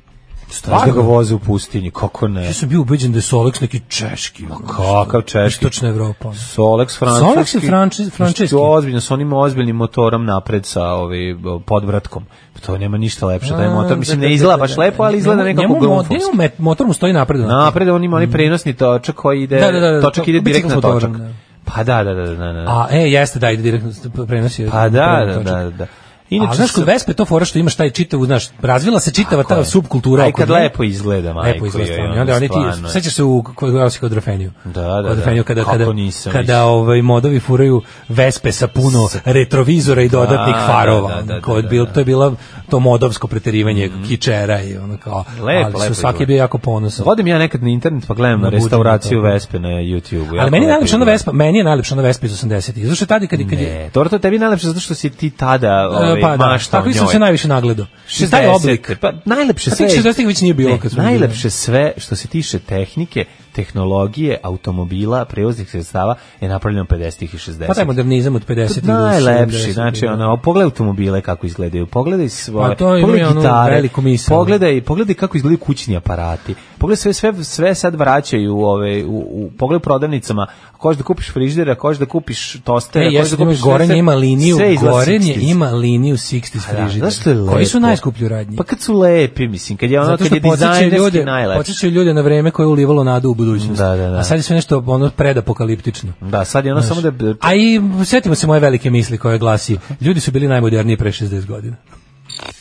Speaker 6: Znaš da
Speaker 5: Stvarno?
Speaker 6: ga voze u pustinji, kako ne?
Speaker 5: Ja sam bio ubeđen da je Solex neki češki. Ma
Speaker 6: Kakav češki.
Speaker 5: Istočna Evropa. ono.
Speaker 6: Solex francuski.
Speaker 5: Solex je franči- francuski.
Speaker 6: Znači, Ozbiljno, s onim ozbiljnim motorom napred sa ovaj, podvratkom. Pa To nema ništa lepše, taj motor. Mislim, ne izgleda baš lepo, ali izgleda nekako grunfovski.
Speaker 5: Njemu met- motor mu stoji napred. onako.
Speaker 6: Napred on ima onaj prenosni točak koji ide,
Speaker 5: Da, da, da, da,
Speaker 6: točak
Speaker 5: to-
Speaker 6: ide direktno
Speaker 5: bicikl
Speaker 6: na
Speaker 5: s motorom,
Speaker 6: točak.
Speaker 5: da.
Speaker 6: Pa da, da, da, da, da. da.
Speaker 5: A, e, jeste, da, ide direktno, prenosi.
Speaker 6: Pa da,
Speaker 5: prenosi
Speaker 6: da,
Speaker 5: točak.
Speaker 6: da, da.
Speaker 5: Inače, znaš, kod Vespe je to fora što imaš taj čitavu, znaš, razvila se čitava ta subkultura.
Speaker 6: Aj kad
Speaker 5: oko nje.
Speaker 6: lepo izgleda, majko.
Speaker 5: Lepo izgleda,
Speaker 6: joj,
Speaker 5: stvarno. I
Speaker 6: ono,
Speaker 5: onda oni
Speaker 6: stvarno
Speaker 5: ti,
Speaker 6: je.
Speaker 5: sećaš se u kod Gorosih kod Rafeniju.
Speaker 6: Da, da, da.
Speaker 5: Kod Rafeniju kada,
Speaker 6: Kako
Speaker 5: kada,
Speaker 6: nisam,
Speaker 5: kada
Speaker 6: mislim.
Speaker 5: ovaj, modovi furaju Vespe sa puno retrovizora i dodatnih
Speaker 6: Da,
Speaker 5: farova. ono,
Speaker 6: da, da, da,
Speaker 5: Kod
Speaker 6: da, Mhm.
Speaker 5: bil, to je bilo to modovsko preterivanje kičera i ono kao.
Speaker 6: Lepo,
Speaker 5: ali su svaki
Speaker 6: lepo izgleda.
Speaker 5: je bio jako ponosan.
Speaker 6: Vodim ja nekad na internet pa gledam
Speaker 5: Na
Speaker 6: na
Speaker 5: budžet,
Speaker 6: restauraciju
Speaker 5: da.
Speaker 6: Vespe na YouTube-u.
Speaker 5: Ali
Speaker 6: Jako
Speaker 5: meni je
Speaker 6: lepo
Speaker 5: najlepša ona
Speaker 6: izgleda.
Speaker 5: Vespa, meni je najlepša ona Vespa iz 80-ih. Zašto je tada kad, kad je, e,
Speaker 6: Ne, Dobro, to je tebi najlepše zato što si ti tada ovaj,
Speaker 5: pa da,
Speaker 6: maštao
Speaker 5: tako
Speaker 6: njoj.
Speaker 5: sam se najviše nagledao. I taj
Speaker 6: 60-te,
Speaker 5: oblik.
Speaker 6: Pa najlepše
Speaker 5: A
Speaker 6: sve.
Speaker 5: tih 60-ih već nije bilo
Speaker 6: Ne,
Speaker 5: kad smo bili.
Speaker 6: najlepše sve što se tiše tehnike, tehnologije, automobila, prevoznih sredstava je napravljeno 50-ih i 60-ih.
Speaker 5: Pa taj modernizam od 50-ih. do
Speaker 6: Najlepši,
Speaker 5: 70-ih,
Speaker 6: znači
Speaker 5: da.
Speaker 6: ono, pogledaj automobile kako izgledaju, pogledaj svoje,
Speaker 5: Pa to imaju
Speaker 6: pogledaj
Speaker 5: onu
Speaker 6: gitare,
Speaker 5: veliku misao.
Speaker 6: pogledaj, pogledaj kako izgledaju kućni aparati, pogledaj sve, sve, sve sad vraćaju u, ove, u, u pogledaj u prodavnicama, ako hoćeš da kupiš frižidera, ako hoćeš da kupiš
Speaker 5: E,
Speaker 6: tostera, ako hoćeš
Speaker 5: jesu
Speaker 6: da
Speaker 5: da
Speaker 6: kupiš... sve,
Speaker 5: Gorenje
Speaker 6: sve-
Speaker 5: ima liniju,
Speaker 6: sve izlazi
Speaker 5: Gorenje
Speaker 6: 60s.
Speaker 5: ima liniju 60s
Speaker 6: A da,
Speaker 5: frižidera.
Speaker 6: znaš što je lepo?
Speaker 5: Koji su najskuplji u radnji?
Speaker 6: Pa kad su lepi, mislim, kad je ono,
Speaker 5: Zato
Speaker 6: kad
Speaker 5: što
Speaker 6: je
Speaker 5: podsjećaju
Speaker 6: dizajnerski
Speaker 5: ljude,
Speaker 6: najlepši.
Speaker 5: podsjećaju ljude na vreme koje je ulivalo nadu u budućnost.
Speaker 6: Da, da, da.
Speaker 5: A sad je sve nešto ono predapokaliptično.
Speaker 6: Da, sad je ono
Speaker 5: Znaš.
Speaker 6: samo da...
Speaker 5: A i setimo se moje velike misli koje glasi, ljudi su bili najmoderniji pre 60 godina.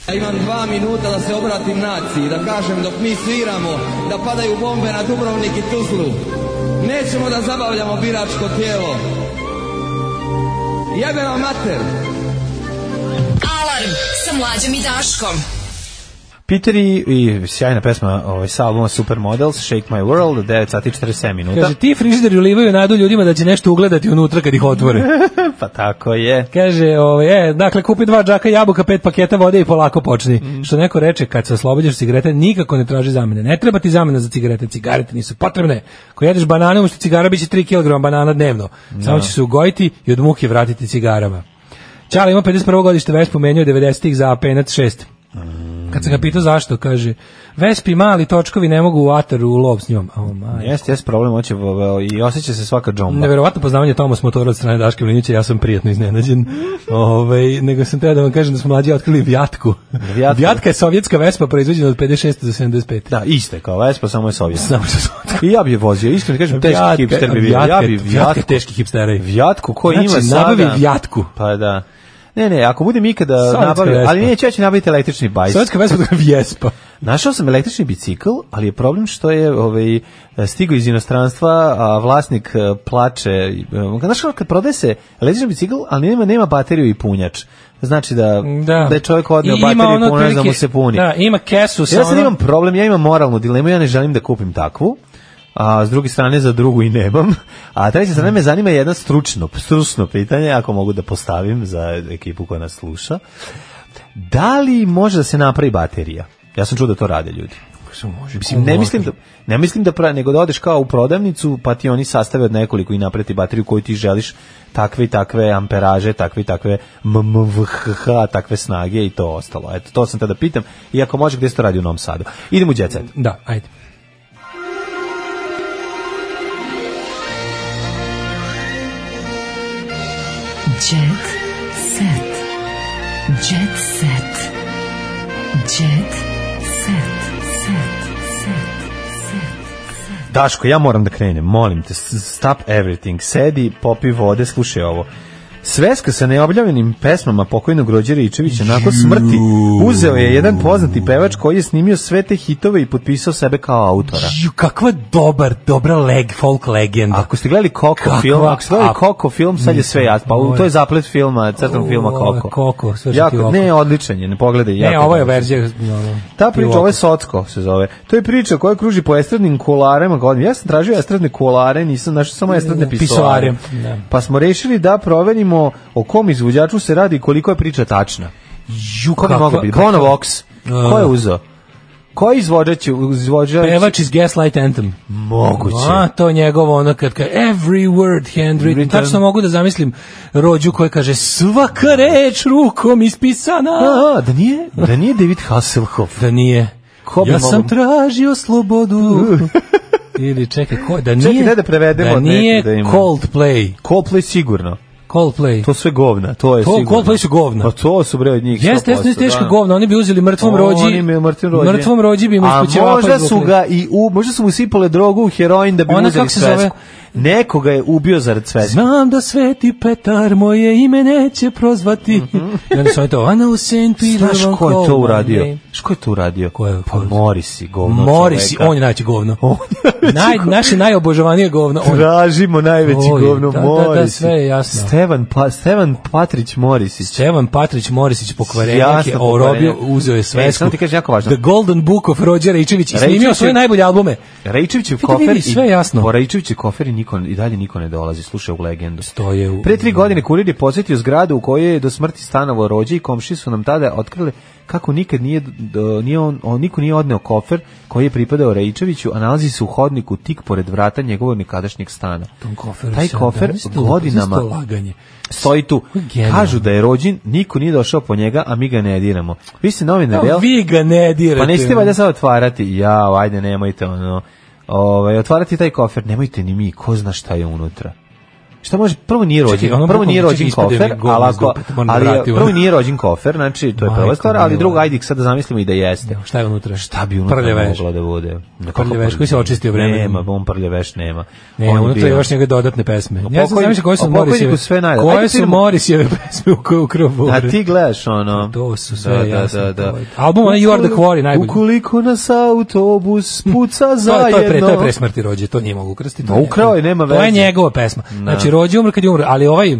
Speaker 16: Ja imam dva minuta da se obratim naciji, da kažem dok mi sviramo, da padaju bombe na Dubrovnik i Tuzlu. Nećemo da zabavljamo biračko tijelo. Jebe vam mater!
Speaker 4: Alarm sa mlađom i Daškom.
Speaker 6: Peter i, i sjajna pesma ovaj, sa albuma Supermodels, Shake My World, 9 sati i 47 minuta.
Speaker 5: Kaže, ti frižideri ulivaju nadu ljudima da će nešto ugledati unutra kad ih otvore.
Speaker 6: pa tako je.
Speaker 5: Kaže, ovaj, e, dakle, kupi dva džaka jabuka, pet paketa vode i polako počni. Što neko reče, kad se oslobođaš cigarete, nikako ne traži zamene. Ne treba ti zamena za cigarete, cigarete nisu potrebne. Ko jedeš banane, umjesto cigara biće 3 kg banana dnevno. Samo
Speaker 6: Da.
Speaker 5: će se ugojiti i od muke vratiti cigarama. Čala ima 51. godište, već pomenio 90-ih za Apenac 6. Kad sam ga pitao zašto, kaže, Vespi mali točkovi ne mogu u ataru u lov s njom. Oh,
Speaker 6: Jeste, jeste problem, hoće v- v- i osjeća se svaka džomba.
Speaker 5: Neverovatno poznavanje Tomas motora od strane Daške Mlinića, ja sam prijatno
Speaker 6: [LAUGHS]
Speaker 5: iznenađen. Ovaj nego sam teo da vam kažem da smo mlađi otkrili Vjatku. Vjatka, je sovjetska Vespa proizvođena od 56 do 75.
Speaker 6: Da, isto je kao Vespa, samo je sovjetska.
Speaker 5: Samo što
Speaker 6: [LAUGHS] I ja bi je vozio, isto mi kažem, teški
Speaker 5: Vjatka-
Speaker 6: hipster bi bio.
Speaker 5: Vjatka
Speaker 6: Ja
Speaker 5: je-
Speaker 6: bi
Speaker 5: Vjatka je
Speaker 6: vjatku.
Speaker 5: teški hipsteri.
Speaker 6: Vjatku, ko
Speaker 5: Znači,
Speaker 6: ima sada?
Speaker 5: nabavi vjatku.
Speaker 6: Pa da. Ne, ne, ako budem ikada
Speaker 5: Sovjetska
Speaker 6: nabavio,
Speaker 5: Vespa.
Speaker 6: ali neću, ja ću nabaviti električni bajs.
Speaker 5: Sovjetska Vespa to je Vjespa.
Speaker 6: Našao sam električni bicikl, ali je problem što je ovaj, stigo iz inostranstva, a vlasnik eh, plače. e, Znaš kako, kad prodaje se električni bicikl, ali nema, nema bateriju i punjač. Znači da, da. je čovjek odneo
Speaker 5: I ima
Speaker 6: bateriju
Speaker 5: ono
Speaker 6: i punjač da
Speaker 5: otprilike-
Speaker 6: mu se puni.
Speaker 5: Da, ima kesu sa
Speaker 6: Ja sad
Speaker 5: ono-
Speaker 6: imam problem, ja imam moralnu dilemu, ja ne želim da kupim takvu. A s druge strane za drugu i nemam. A treća strana me zanima jedno stručno, stručno pitanje ako mogu da postavim za ekipu koja nas sluša. Da li može da se napravi baterija? Ja sam čuo da to rade ljudi. Mislim, Znači, ne mislim da ne mislim da pra, nego da odeš kao u prodavnicu, pa ti oni sastave od nekoliko i napreti bateriju koju ti želiš, takve i takve amperaže, takve i takve mmvhh, takve snage i to ostalo. Eto, to sam tada pitam. I ako može, gde se to radi u Novom Sadu? Idemo u Jet Set.
Speaker 5: Da, ajde.
Speaker 4: Jet set. Jet set. Jet set. Set. Set.
Speaker 6: Daško, ja moram da krenem, molim te, s- stop everything, sedi, popi vode, slušaj ovo. Sveska sa neobljavljenim pesmama pokojnog Rođe Ričevića nakon smrti uzeo je jedan poznati pevač koji je snimio sve te hitove i potpisao sebe kao autora.
Speaker 5: Ju, kakva dobar, dobra leg, folk legenda.
Speaker 6: Ako ste gledali Koko
Speaker 5: Kakva
Speaker 6: film, ako ste gledali
Speaker 5: ap-
Speaker 6: Koko film, sad je sve jasno. Pa u- to je zaplet filma, crtom
Speaker 5: O,
Speaker 6: filma Koko.
Speaker 5: Koko, sve što ti
Speaker 6: jako,
Speaker 5: oko.
Speaker 6: ne, odličan je, ne pogledaj.
Speaker 5: Ne,
Speaker 6: jako
Speaker 5: ovo je
Speaker 6: dobar.
Speaker 5: verzija. ono,
Speaker 6: Ta
Speaker 5: i
Speaker 6: priča,
Speaker 5: oko.
Speaker 6: ovo je Socko se zove. To je priča koja kruži po estradnim kolarima godinama. Ja sam tražio estradne kolare, nisam našao samo estradne pisoare.
Speaker 5: Mm, Pisoare, da.
Speaker 6: Pa smo rešili da proverimo o kom izvođaču se radi i koliko je priča tačna.
Speaker 5: Ju,
Speaker 6: Ko bi
Speaker 5: kakva-
Speaker 6: mogao biti?
Speaker 5: kakva-
Speaker 6: Bono Vox. Ko je uzeo? Koji izvođač je izvođač?
Speaker 5: Pevač iz Gaslight Anthem.
Speaker 6: Moguće.
Speaker 5: A, to je njegovo ono kad kaže every word handwritten. Tačno mogu da zamislim rođu koja kaže svaka reč rukom ispisana.
Speaker 6: A, da nije, da nije David Hasselhoff.
Speaker 5: Da nije.
Speaker 6: Ko bi
Speaker 5: ja
Speaker 6: mogao-
Speaker 5: sam tražio
Speaker 6: [LAUGHS]
Speaker 5: slobodu. Ili čekaj, ko, da nije,
Speaker 6: Čekaj, daj da prevedemo
Speaker 5: da
Speaker 6: od nekog
Speaker 5: nije
Speaker 6: da ima.
Speaker 5: Coldplay.
Speaker 6: Coldplay sigurno.
Speaker 5: Coldplay.
Speaker 6: To sve govna, to je
Speaker 5: To-
Speaker 6: sigurno.
Speaker 5: Coldplay su govna.
Speaker 6: Pa to su bre od njih.
Speaker 5: Jeste,
Speaker 6: 100%,
Speaker 5: jeste teško
Speaker 6: da.
Speaker 5: govno, oni bi uzeli mrtvom
Speaker 6: Oni
Speaker 5: rođi.
Speaker 6: mi- mrtvom rođi.
Speaker 5: Mrtvom rođi bi mu
Speaker 6: A
Speaker 5: ispućevao.
Speaker 6: možda su ga i u, možda su mu sipale drogu u heroin da bi
Speaker 5: Ona
Speaker 6: uzeli
Speaker 5: kako se zove?
Speaker 6: svesku. Nekoga je ubio zarad sveta.
Speaker 5: Znam da sveti Petar moje ime neće prozvati. I onda su oni to, Ana u sentu i
Speaker 6: Mhm. Znaš
Speaker 5: drvom
Speaker 6: ko je to
Speaker 5: kolom,
Speaker 6: uradio?
Speaker 5: ej.
Speaker 6: Znaš ko je to uradio? Ko je? Pa Morisi, govno
Speaker 5: Morisi,
Speaker 6: čoveka.
Speaker 5: on je najveće
Speaker 6: [LAUGHS]
Speaker 5: govno. Naj, naše najobožavanije govno. On.
Speaker 6: Tražimo najveći
Speaker 5: Oj,
Speaker 6: govno
Speaker 5: da, da, da,
Speaker 6: Morisi.
Speaker 5: sve je jasno.
Speaker 6: Stevan, pa, Stevan Patrić Morisić.
Speaker 5: Stevan Patrić Morisić pokvarenjak je orobio, uzeo je
Speaker 6: E,
Speaker 5: svesku.
Speaker 6: samo ti kažem jako važno.
Speaker 5: The Golden Book of Rođe Rejčević i snimio
Speaker 6: Rejčević
Speaker 5: svoje
Speaker 6: je-
Speaker 5: najbolje albume.
Speaker 6: Rejčević je u
Speaker 5: Vidi,
Speaker 6: kofer
Speaker 5: vidi, sve je jasno.
Speaker 6: Po Rejčeviću kofer i, niko, i dalje niko ne dolazi, slušaj u legendu.
Speaker 5: Stoje u...
Speaker 6: Pre tri godine kurir je posjetio zgradu u kojoj je do smrti stanovao rođe i komši su nam tada otkrili kako nikad nije, do- nije on, on, niko nije odneo kofer koji je pripadao Rejčeviću, a nalazi se u hodniku tik pored vrata njegovog nekadašnjeg stana.
Speaker 5: Tom koferu
Speaker 6: Taj
Speaker 5: sada,
Speaker 6: kofer
Speaker 5: mislim,
Speaker 6: godinama
Speaker 5: mislim, laganje.
Speaker 6: stoji tu.
Speaker 5: genijalno.
Speaker 6: Kažu da je rođen, niko nije došao po njega, a mi ga ne diramo. Vi ste novinar,
Speaker 5: A
Speaker 6: jel?
Speaker 5: vi ga ne dirate.
Speaker 6: Pa nećete valjda sad otvarati. Ja, ajde, nemojte ono. Ovaj otvarati taj kofer, nemojte ni mi, ko zna šta je unutra. Šta može prvo nije
Speaker 5: Čekaj,
Speaker 6: rođen,
Speaker 5: ono
Speaker 6: prvo
Speaker 5: bukvalno
Speaker 6: nije
Speaker 5: čekaj,
Speaker 6: rođen
Speaker 5: ispade mi
Speaker 6: kofer,
Speaker 5: govno
Speaker 6: ali
Speaker 5: iz
Speaker 6: ako,
Speaker 5: dupe, moram da
Speaker 6: ali
Speaker 5: vratim,
Speaker 6: prvo
Speaker 5: ono.
Speaker 6: nije rođen kofer, znači to je prva
Speaker 5: Majko
Speaker 6: stvar, ali
Speaker 5: mila.
Speaker 6: drugo ajde sad da zamislimo i da jeste.
Speaker 5: Šta je unutra?
Speaker 6: Šta bi unutra
Speaker 5: Prljaveš.
Speaker 6: moglo da bude? Na
Speaker 5: Prljaveš, koji se očistio vremenom.
Speaker 6: Nema, on prljaveš nema.
Speaker 5: Ne,
Speaker 6: On je
Speaker 5: unutra
Speaker 6: bio-
Speaker 5: je još njega dodatne pesme.
Speaker 6: O
Speaker 5: Ja sam
Speaker 6: pokoj-
Speaker 5: zamišljao koje
Speaker 6: o
Speaker 5: su
Speaker 6: pokojniku
Speaker 5: Morisijeve.
Speaker 6: sve najbolje.
Speaker 5: Koje
Speaker 6: Ajde,
Speaker 5: su
Speaker 6: idemo.
Speaker 5: Morisijeve [LAUGHS] pesme u kojoj ukrao
Speaker 6: A
Speaker 5: Bore?
Speaker 6: ti gledaš ono. To
Speaker 5: Pa su sve jasno, to je- Album, onaj You Are The Quarry, najbolji.
Speaker 6: Ukoliko nas autobus puca
Speaker 5: [LAUGHS] To je,
Speaker 6: zajedno.
Speaker 5: to je pre, to je pre smrti rođe, to nije mogu ukrstiti. to
Speaker 6: Ma,
Speaker 5: je-
Speaker 6: ukrao je, nema
Speaker 5: To je
Speaker 6: veze.
Speaker 5: njegova pesma. Znači, rođe umre kad je umre, ali ovaj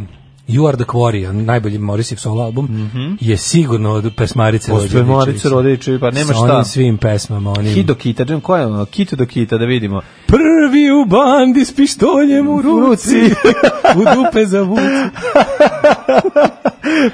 Speaker 5: You Are The Quarry, najbolji Morisijev solo album,
Speaker 6: Mhm.
Speaker 5: je sigurno od pesmarice rođe.
Speaker 6: Posle Marice Rodelićevi, pa nema
Speaker 5: Sa
Speaker 6: šta.
Speaker 5: onim svim pesmama, onim...
Speaker 6: Hit do kita, Džem, ko je ono? Kito do kita, da vidimo. [LAUGHS]
Speaker 5: Prvi u bandi s pištoljem u ruci, [LAUGHS] u dupe za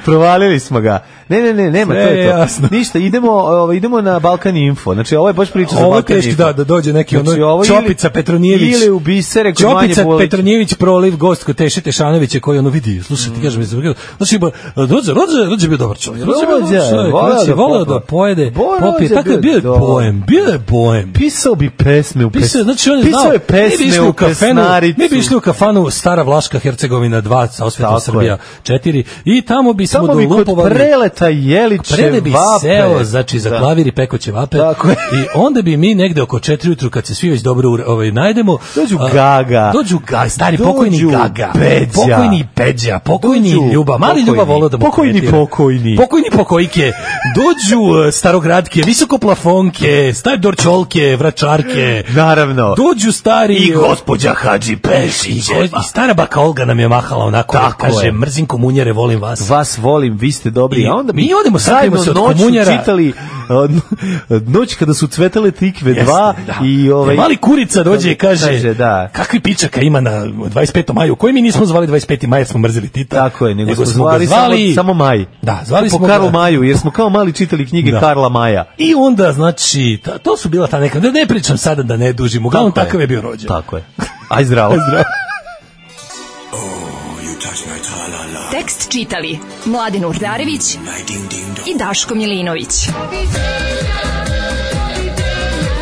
Speaker 6: Provalili smo ga. Ne, ne, ne, nema, to
Speaker 5: Sve je
Speaker 6: je to.
Speaker 5: jasno.
Speaker 6: Ništa, idemo, ovaj, idemo na Balkan Info. Znači, ovo je baš priča za
Speaker 5: Ovo je
Speaker 6: Balkan
Speaker 5: teški,
Speaker 6: Info.
Speaker 5: da, da dođe neki
Speaker 6: Znači,
Speaker 5: ono
Speaker 6: ovo ili-
Speaker 5: Čopica Petronijević.
Speaker 6: Ili u bisere kod manje
Speaker 5: Čopica
Speaker 6: bolić.
Speaker 5: Petronijević proliv gost kod Teše Tešanovića koji ono vidi, slušaj ti kažem iz Beograda. Znači ba, rođe, rođe, rođe je bio dobar čovjek. Rođe je bio
Speaker 6: Rođe,
Speaker 5: dobar čovjek.
Speaker 6: voleo
Speaker 5: Znači,
Speaker 6: da
Speaker 5: voleo
Speaker 6: popa.
Speaker 5: da pojede,
Speaker 6: Bo,
Speaker 5: popije,
Speaker 6: rođe
Speaker 5: tako je
Speaker 6: bio
Speaker 5: bio je
Speaker 6: dobar.
Speaker 5: poem, bio je poem.
Speaker 6: Pisao bi pesme u pes...
Speaker 5: Pisao, je, znači on je
Speaker 6: Pisao
Speaker 5: znao, mi
Speaker 6: je
Speaker 5: bi
Speaker 6: pesme
Speaker 5: išli
Speaker 6: u
Speaker 5: kafenu,
Speaker 6: pesnaricu.
Speaker 5: mi bi išli u kafanu Stara Vlaška Hercegovina 2 sa osvetom
Speaker 6: Tako
Speaker 5: Srbija
Speaker 6: je.
Speaker 5: 4 i tamo bi smo
Speaker 6: Samo bi kod
Speaker 5: dolupovali.
Speaker 6: preleta Jeliće
Speaker 5: Prele bi
Speaker 6: vape.
Speaker 5: seo, znači, za
Speaker 6: Da.
Speaker 5: klavir i pekoće vape.
Speaker 6: Tako je.
Speaker 5: I onda bi mi negde oko četiri ujutru, kad se svi već dobro ure- ovaj, najdemo...
Speaker 6: Dođu
Speaker 5: a,
Speaker 6: Gaga.
Speaker 5: Dođu Gaga, stari
Speaker 6: Dođu
Speaker 5: pokojni Gaga.
Speaker 6: Peđa.
Speaker 5: Pokojni Peđa, pokojni
Speaker 6: Dođu
Speaker 5: Ljuba. Mali
Speaker 6: pokojni.
Speaker 5: Ljuba volao da mu
Speaker 6: Pokojni
Speaker 5: komentira.
Speaker 6: pokojni.
Speaker 5: Pokojni pokojke. Dođu e, starogradke, visokoplafonke, stari dorčolke, vračarke.
Speaker 6: Naravno.
Speaker 5: Dođu stari...
Speaker 6: I gospođa Hadži Pešićeva.
Speaker 5: I go- I stara baka Olga nam je mahala onako,
Speaker 6: Tako
Speaker 5: kaže,
Speaker 6: je.
Speaker 5: mrzim komunjere, volim vas.
Speaker 6: Vas volim, vi ste dobri.
Speaker 5: I
Speaker 6: a onda bi
Speaker 5: mi odemo, sakrijemo se od
Speaker 6: zajedno noću
Speaker 5: komunjara.
Speaker 6: čitali uh, n- noć kada su cvetale tikve 2 i ovaj
Speaker 5: E, Mali kurica dođe i kaže,
Speaker 6: kaže da.
Speaker 5: kakvi pičaka ima na 25. maju, koji mi nismo zvali 25. maja, jer smo mrzili Tita.
Speaker 6: Tako je, nego, smo
Speaker 5: ga
Speaker 6: zvali, samo, samo Maj.
Speaker 5: Da, zvali
Speaker 6: po
Speaker 5: smo
Speaker 6: Karlu
Speaker 5: ga-
Speaker 6: Maju, jer smo kao mali čitali knjige
Speaker 5: Da.
Speaker 6: Karla Maja.
Speaker 5: I onda, znači, ta, to su bila ta neka, da ne pričam sada da ne dužim, uglavnom
Speaker 6: Tako je.
Speaker 5: takav je bio rođen.
Speaker 6: Tako je. Aj
Speaker 5: [LAUGHS]
Speaker 6: zdravo.
Speaker 4: Tekst čitali Mladin Urdarević i Daško Milinović.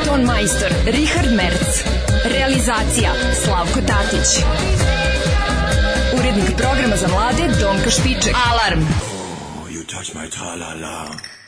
Speaker 4: Ton majstor Richard Merc. Realizacija Slavko Tatić. Urednik programa za mlade Donka Špiček. Alarm!
Speaker 9: You touch my ta-la-la.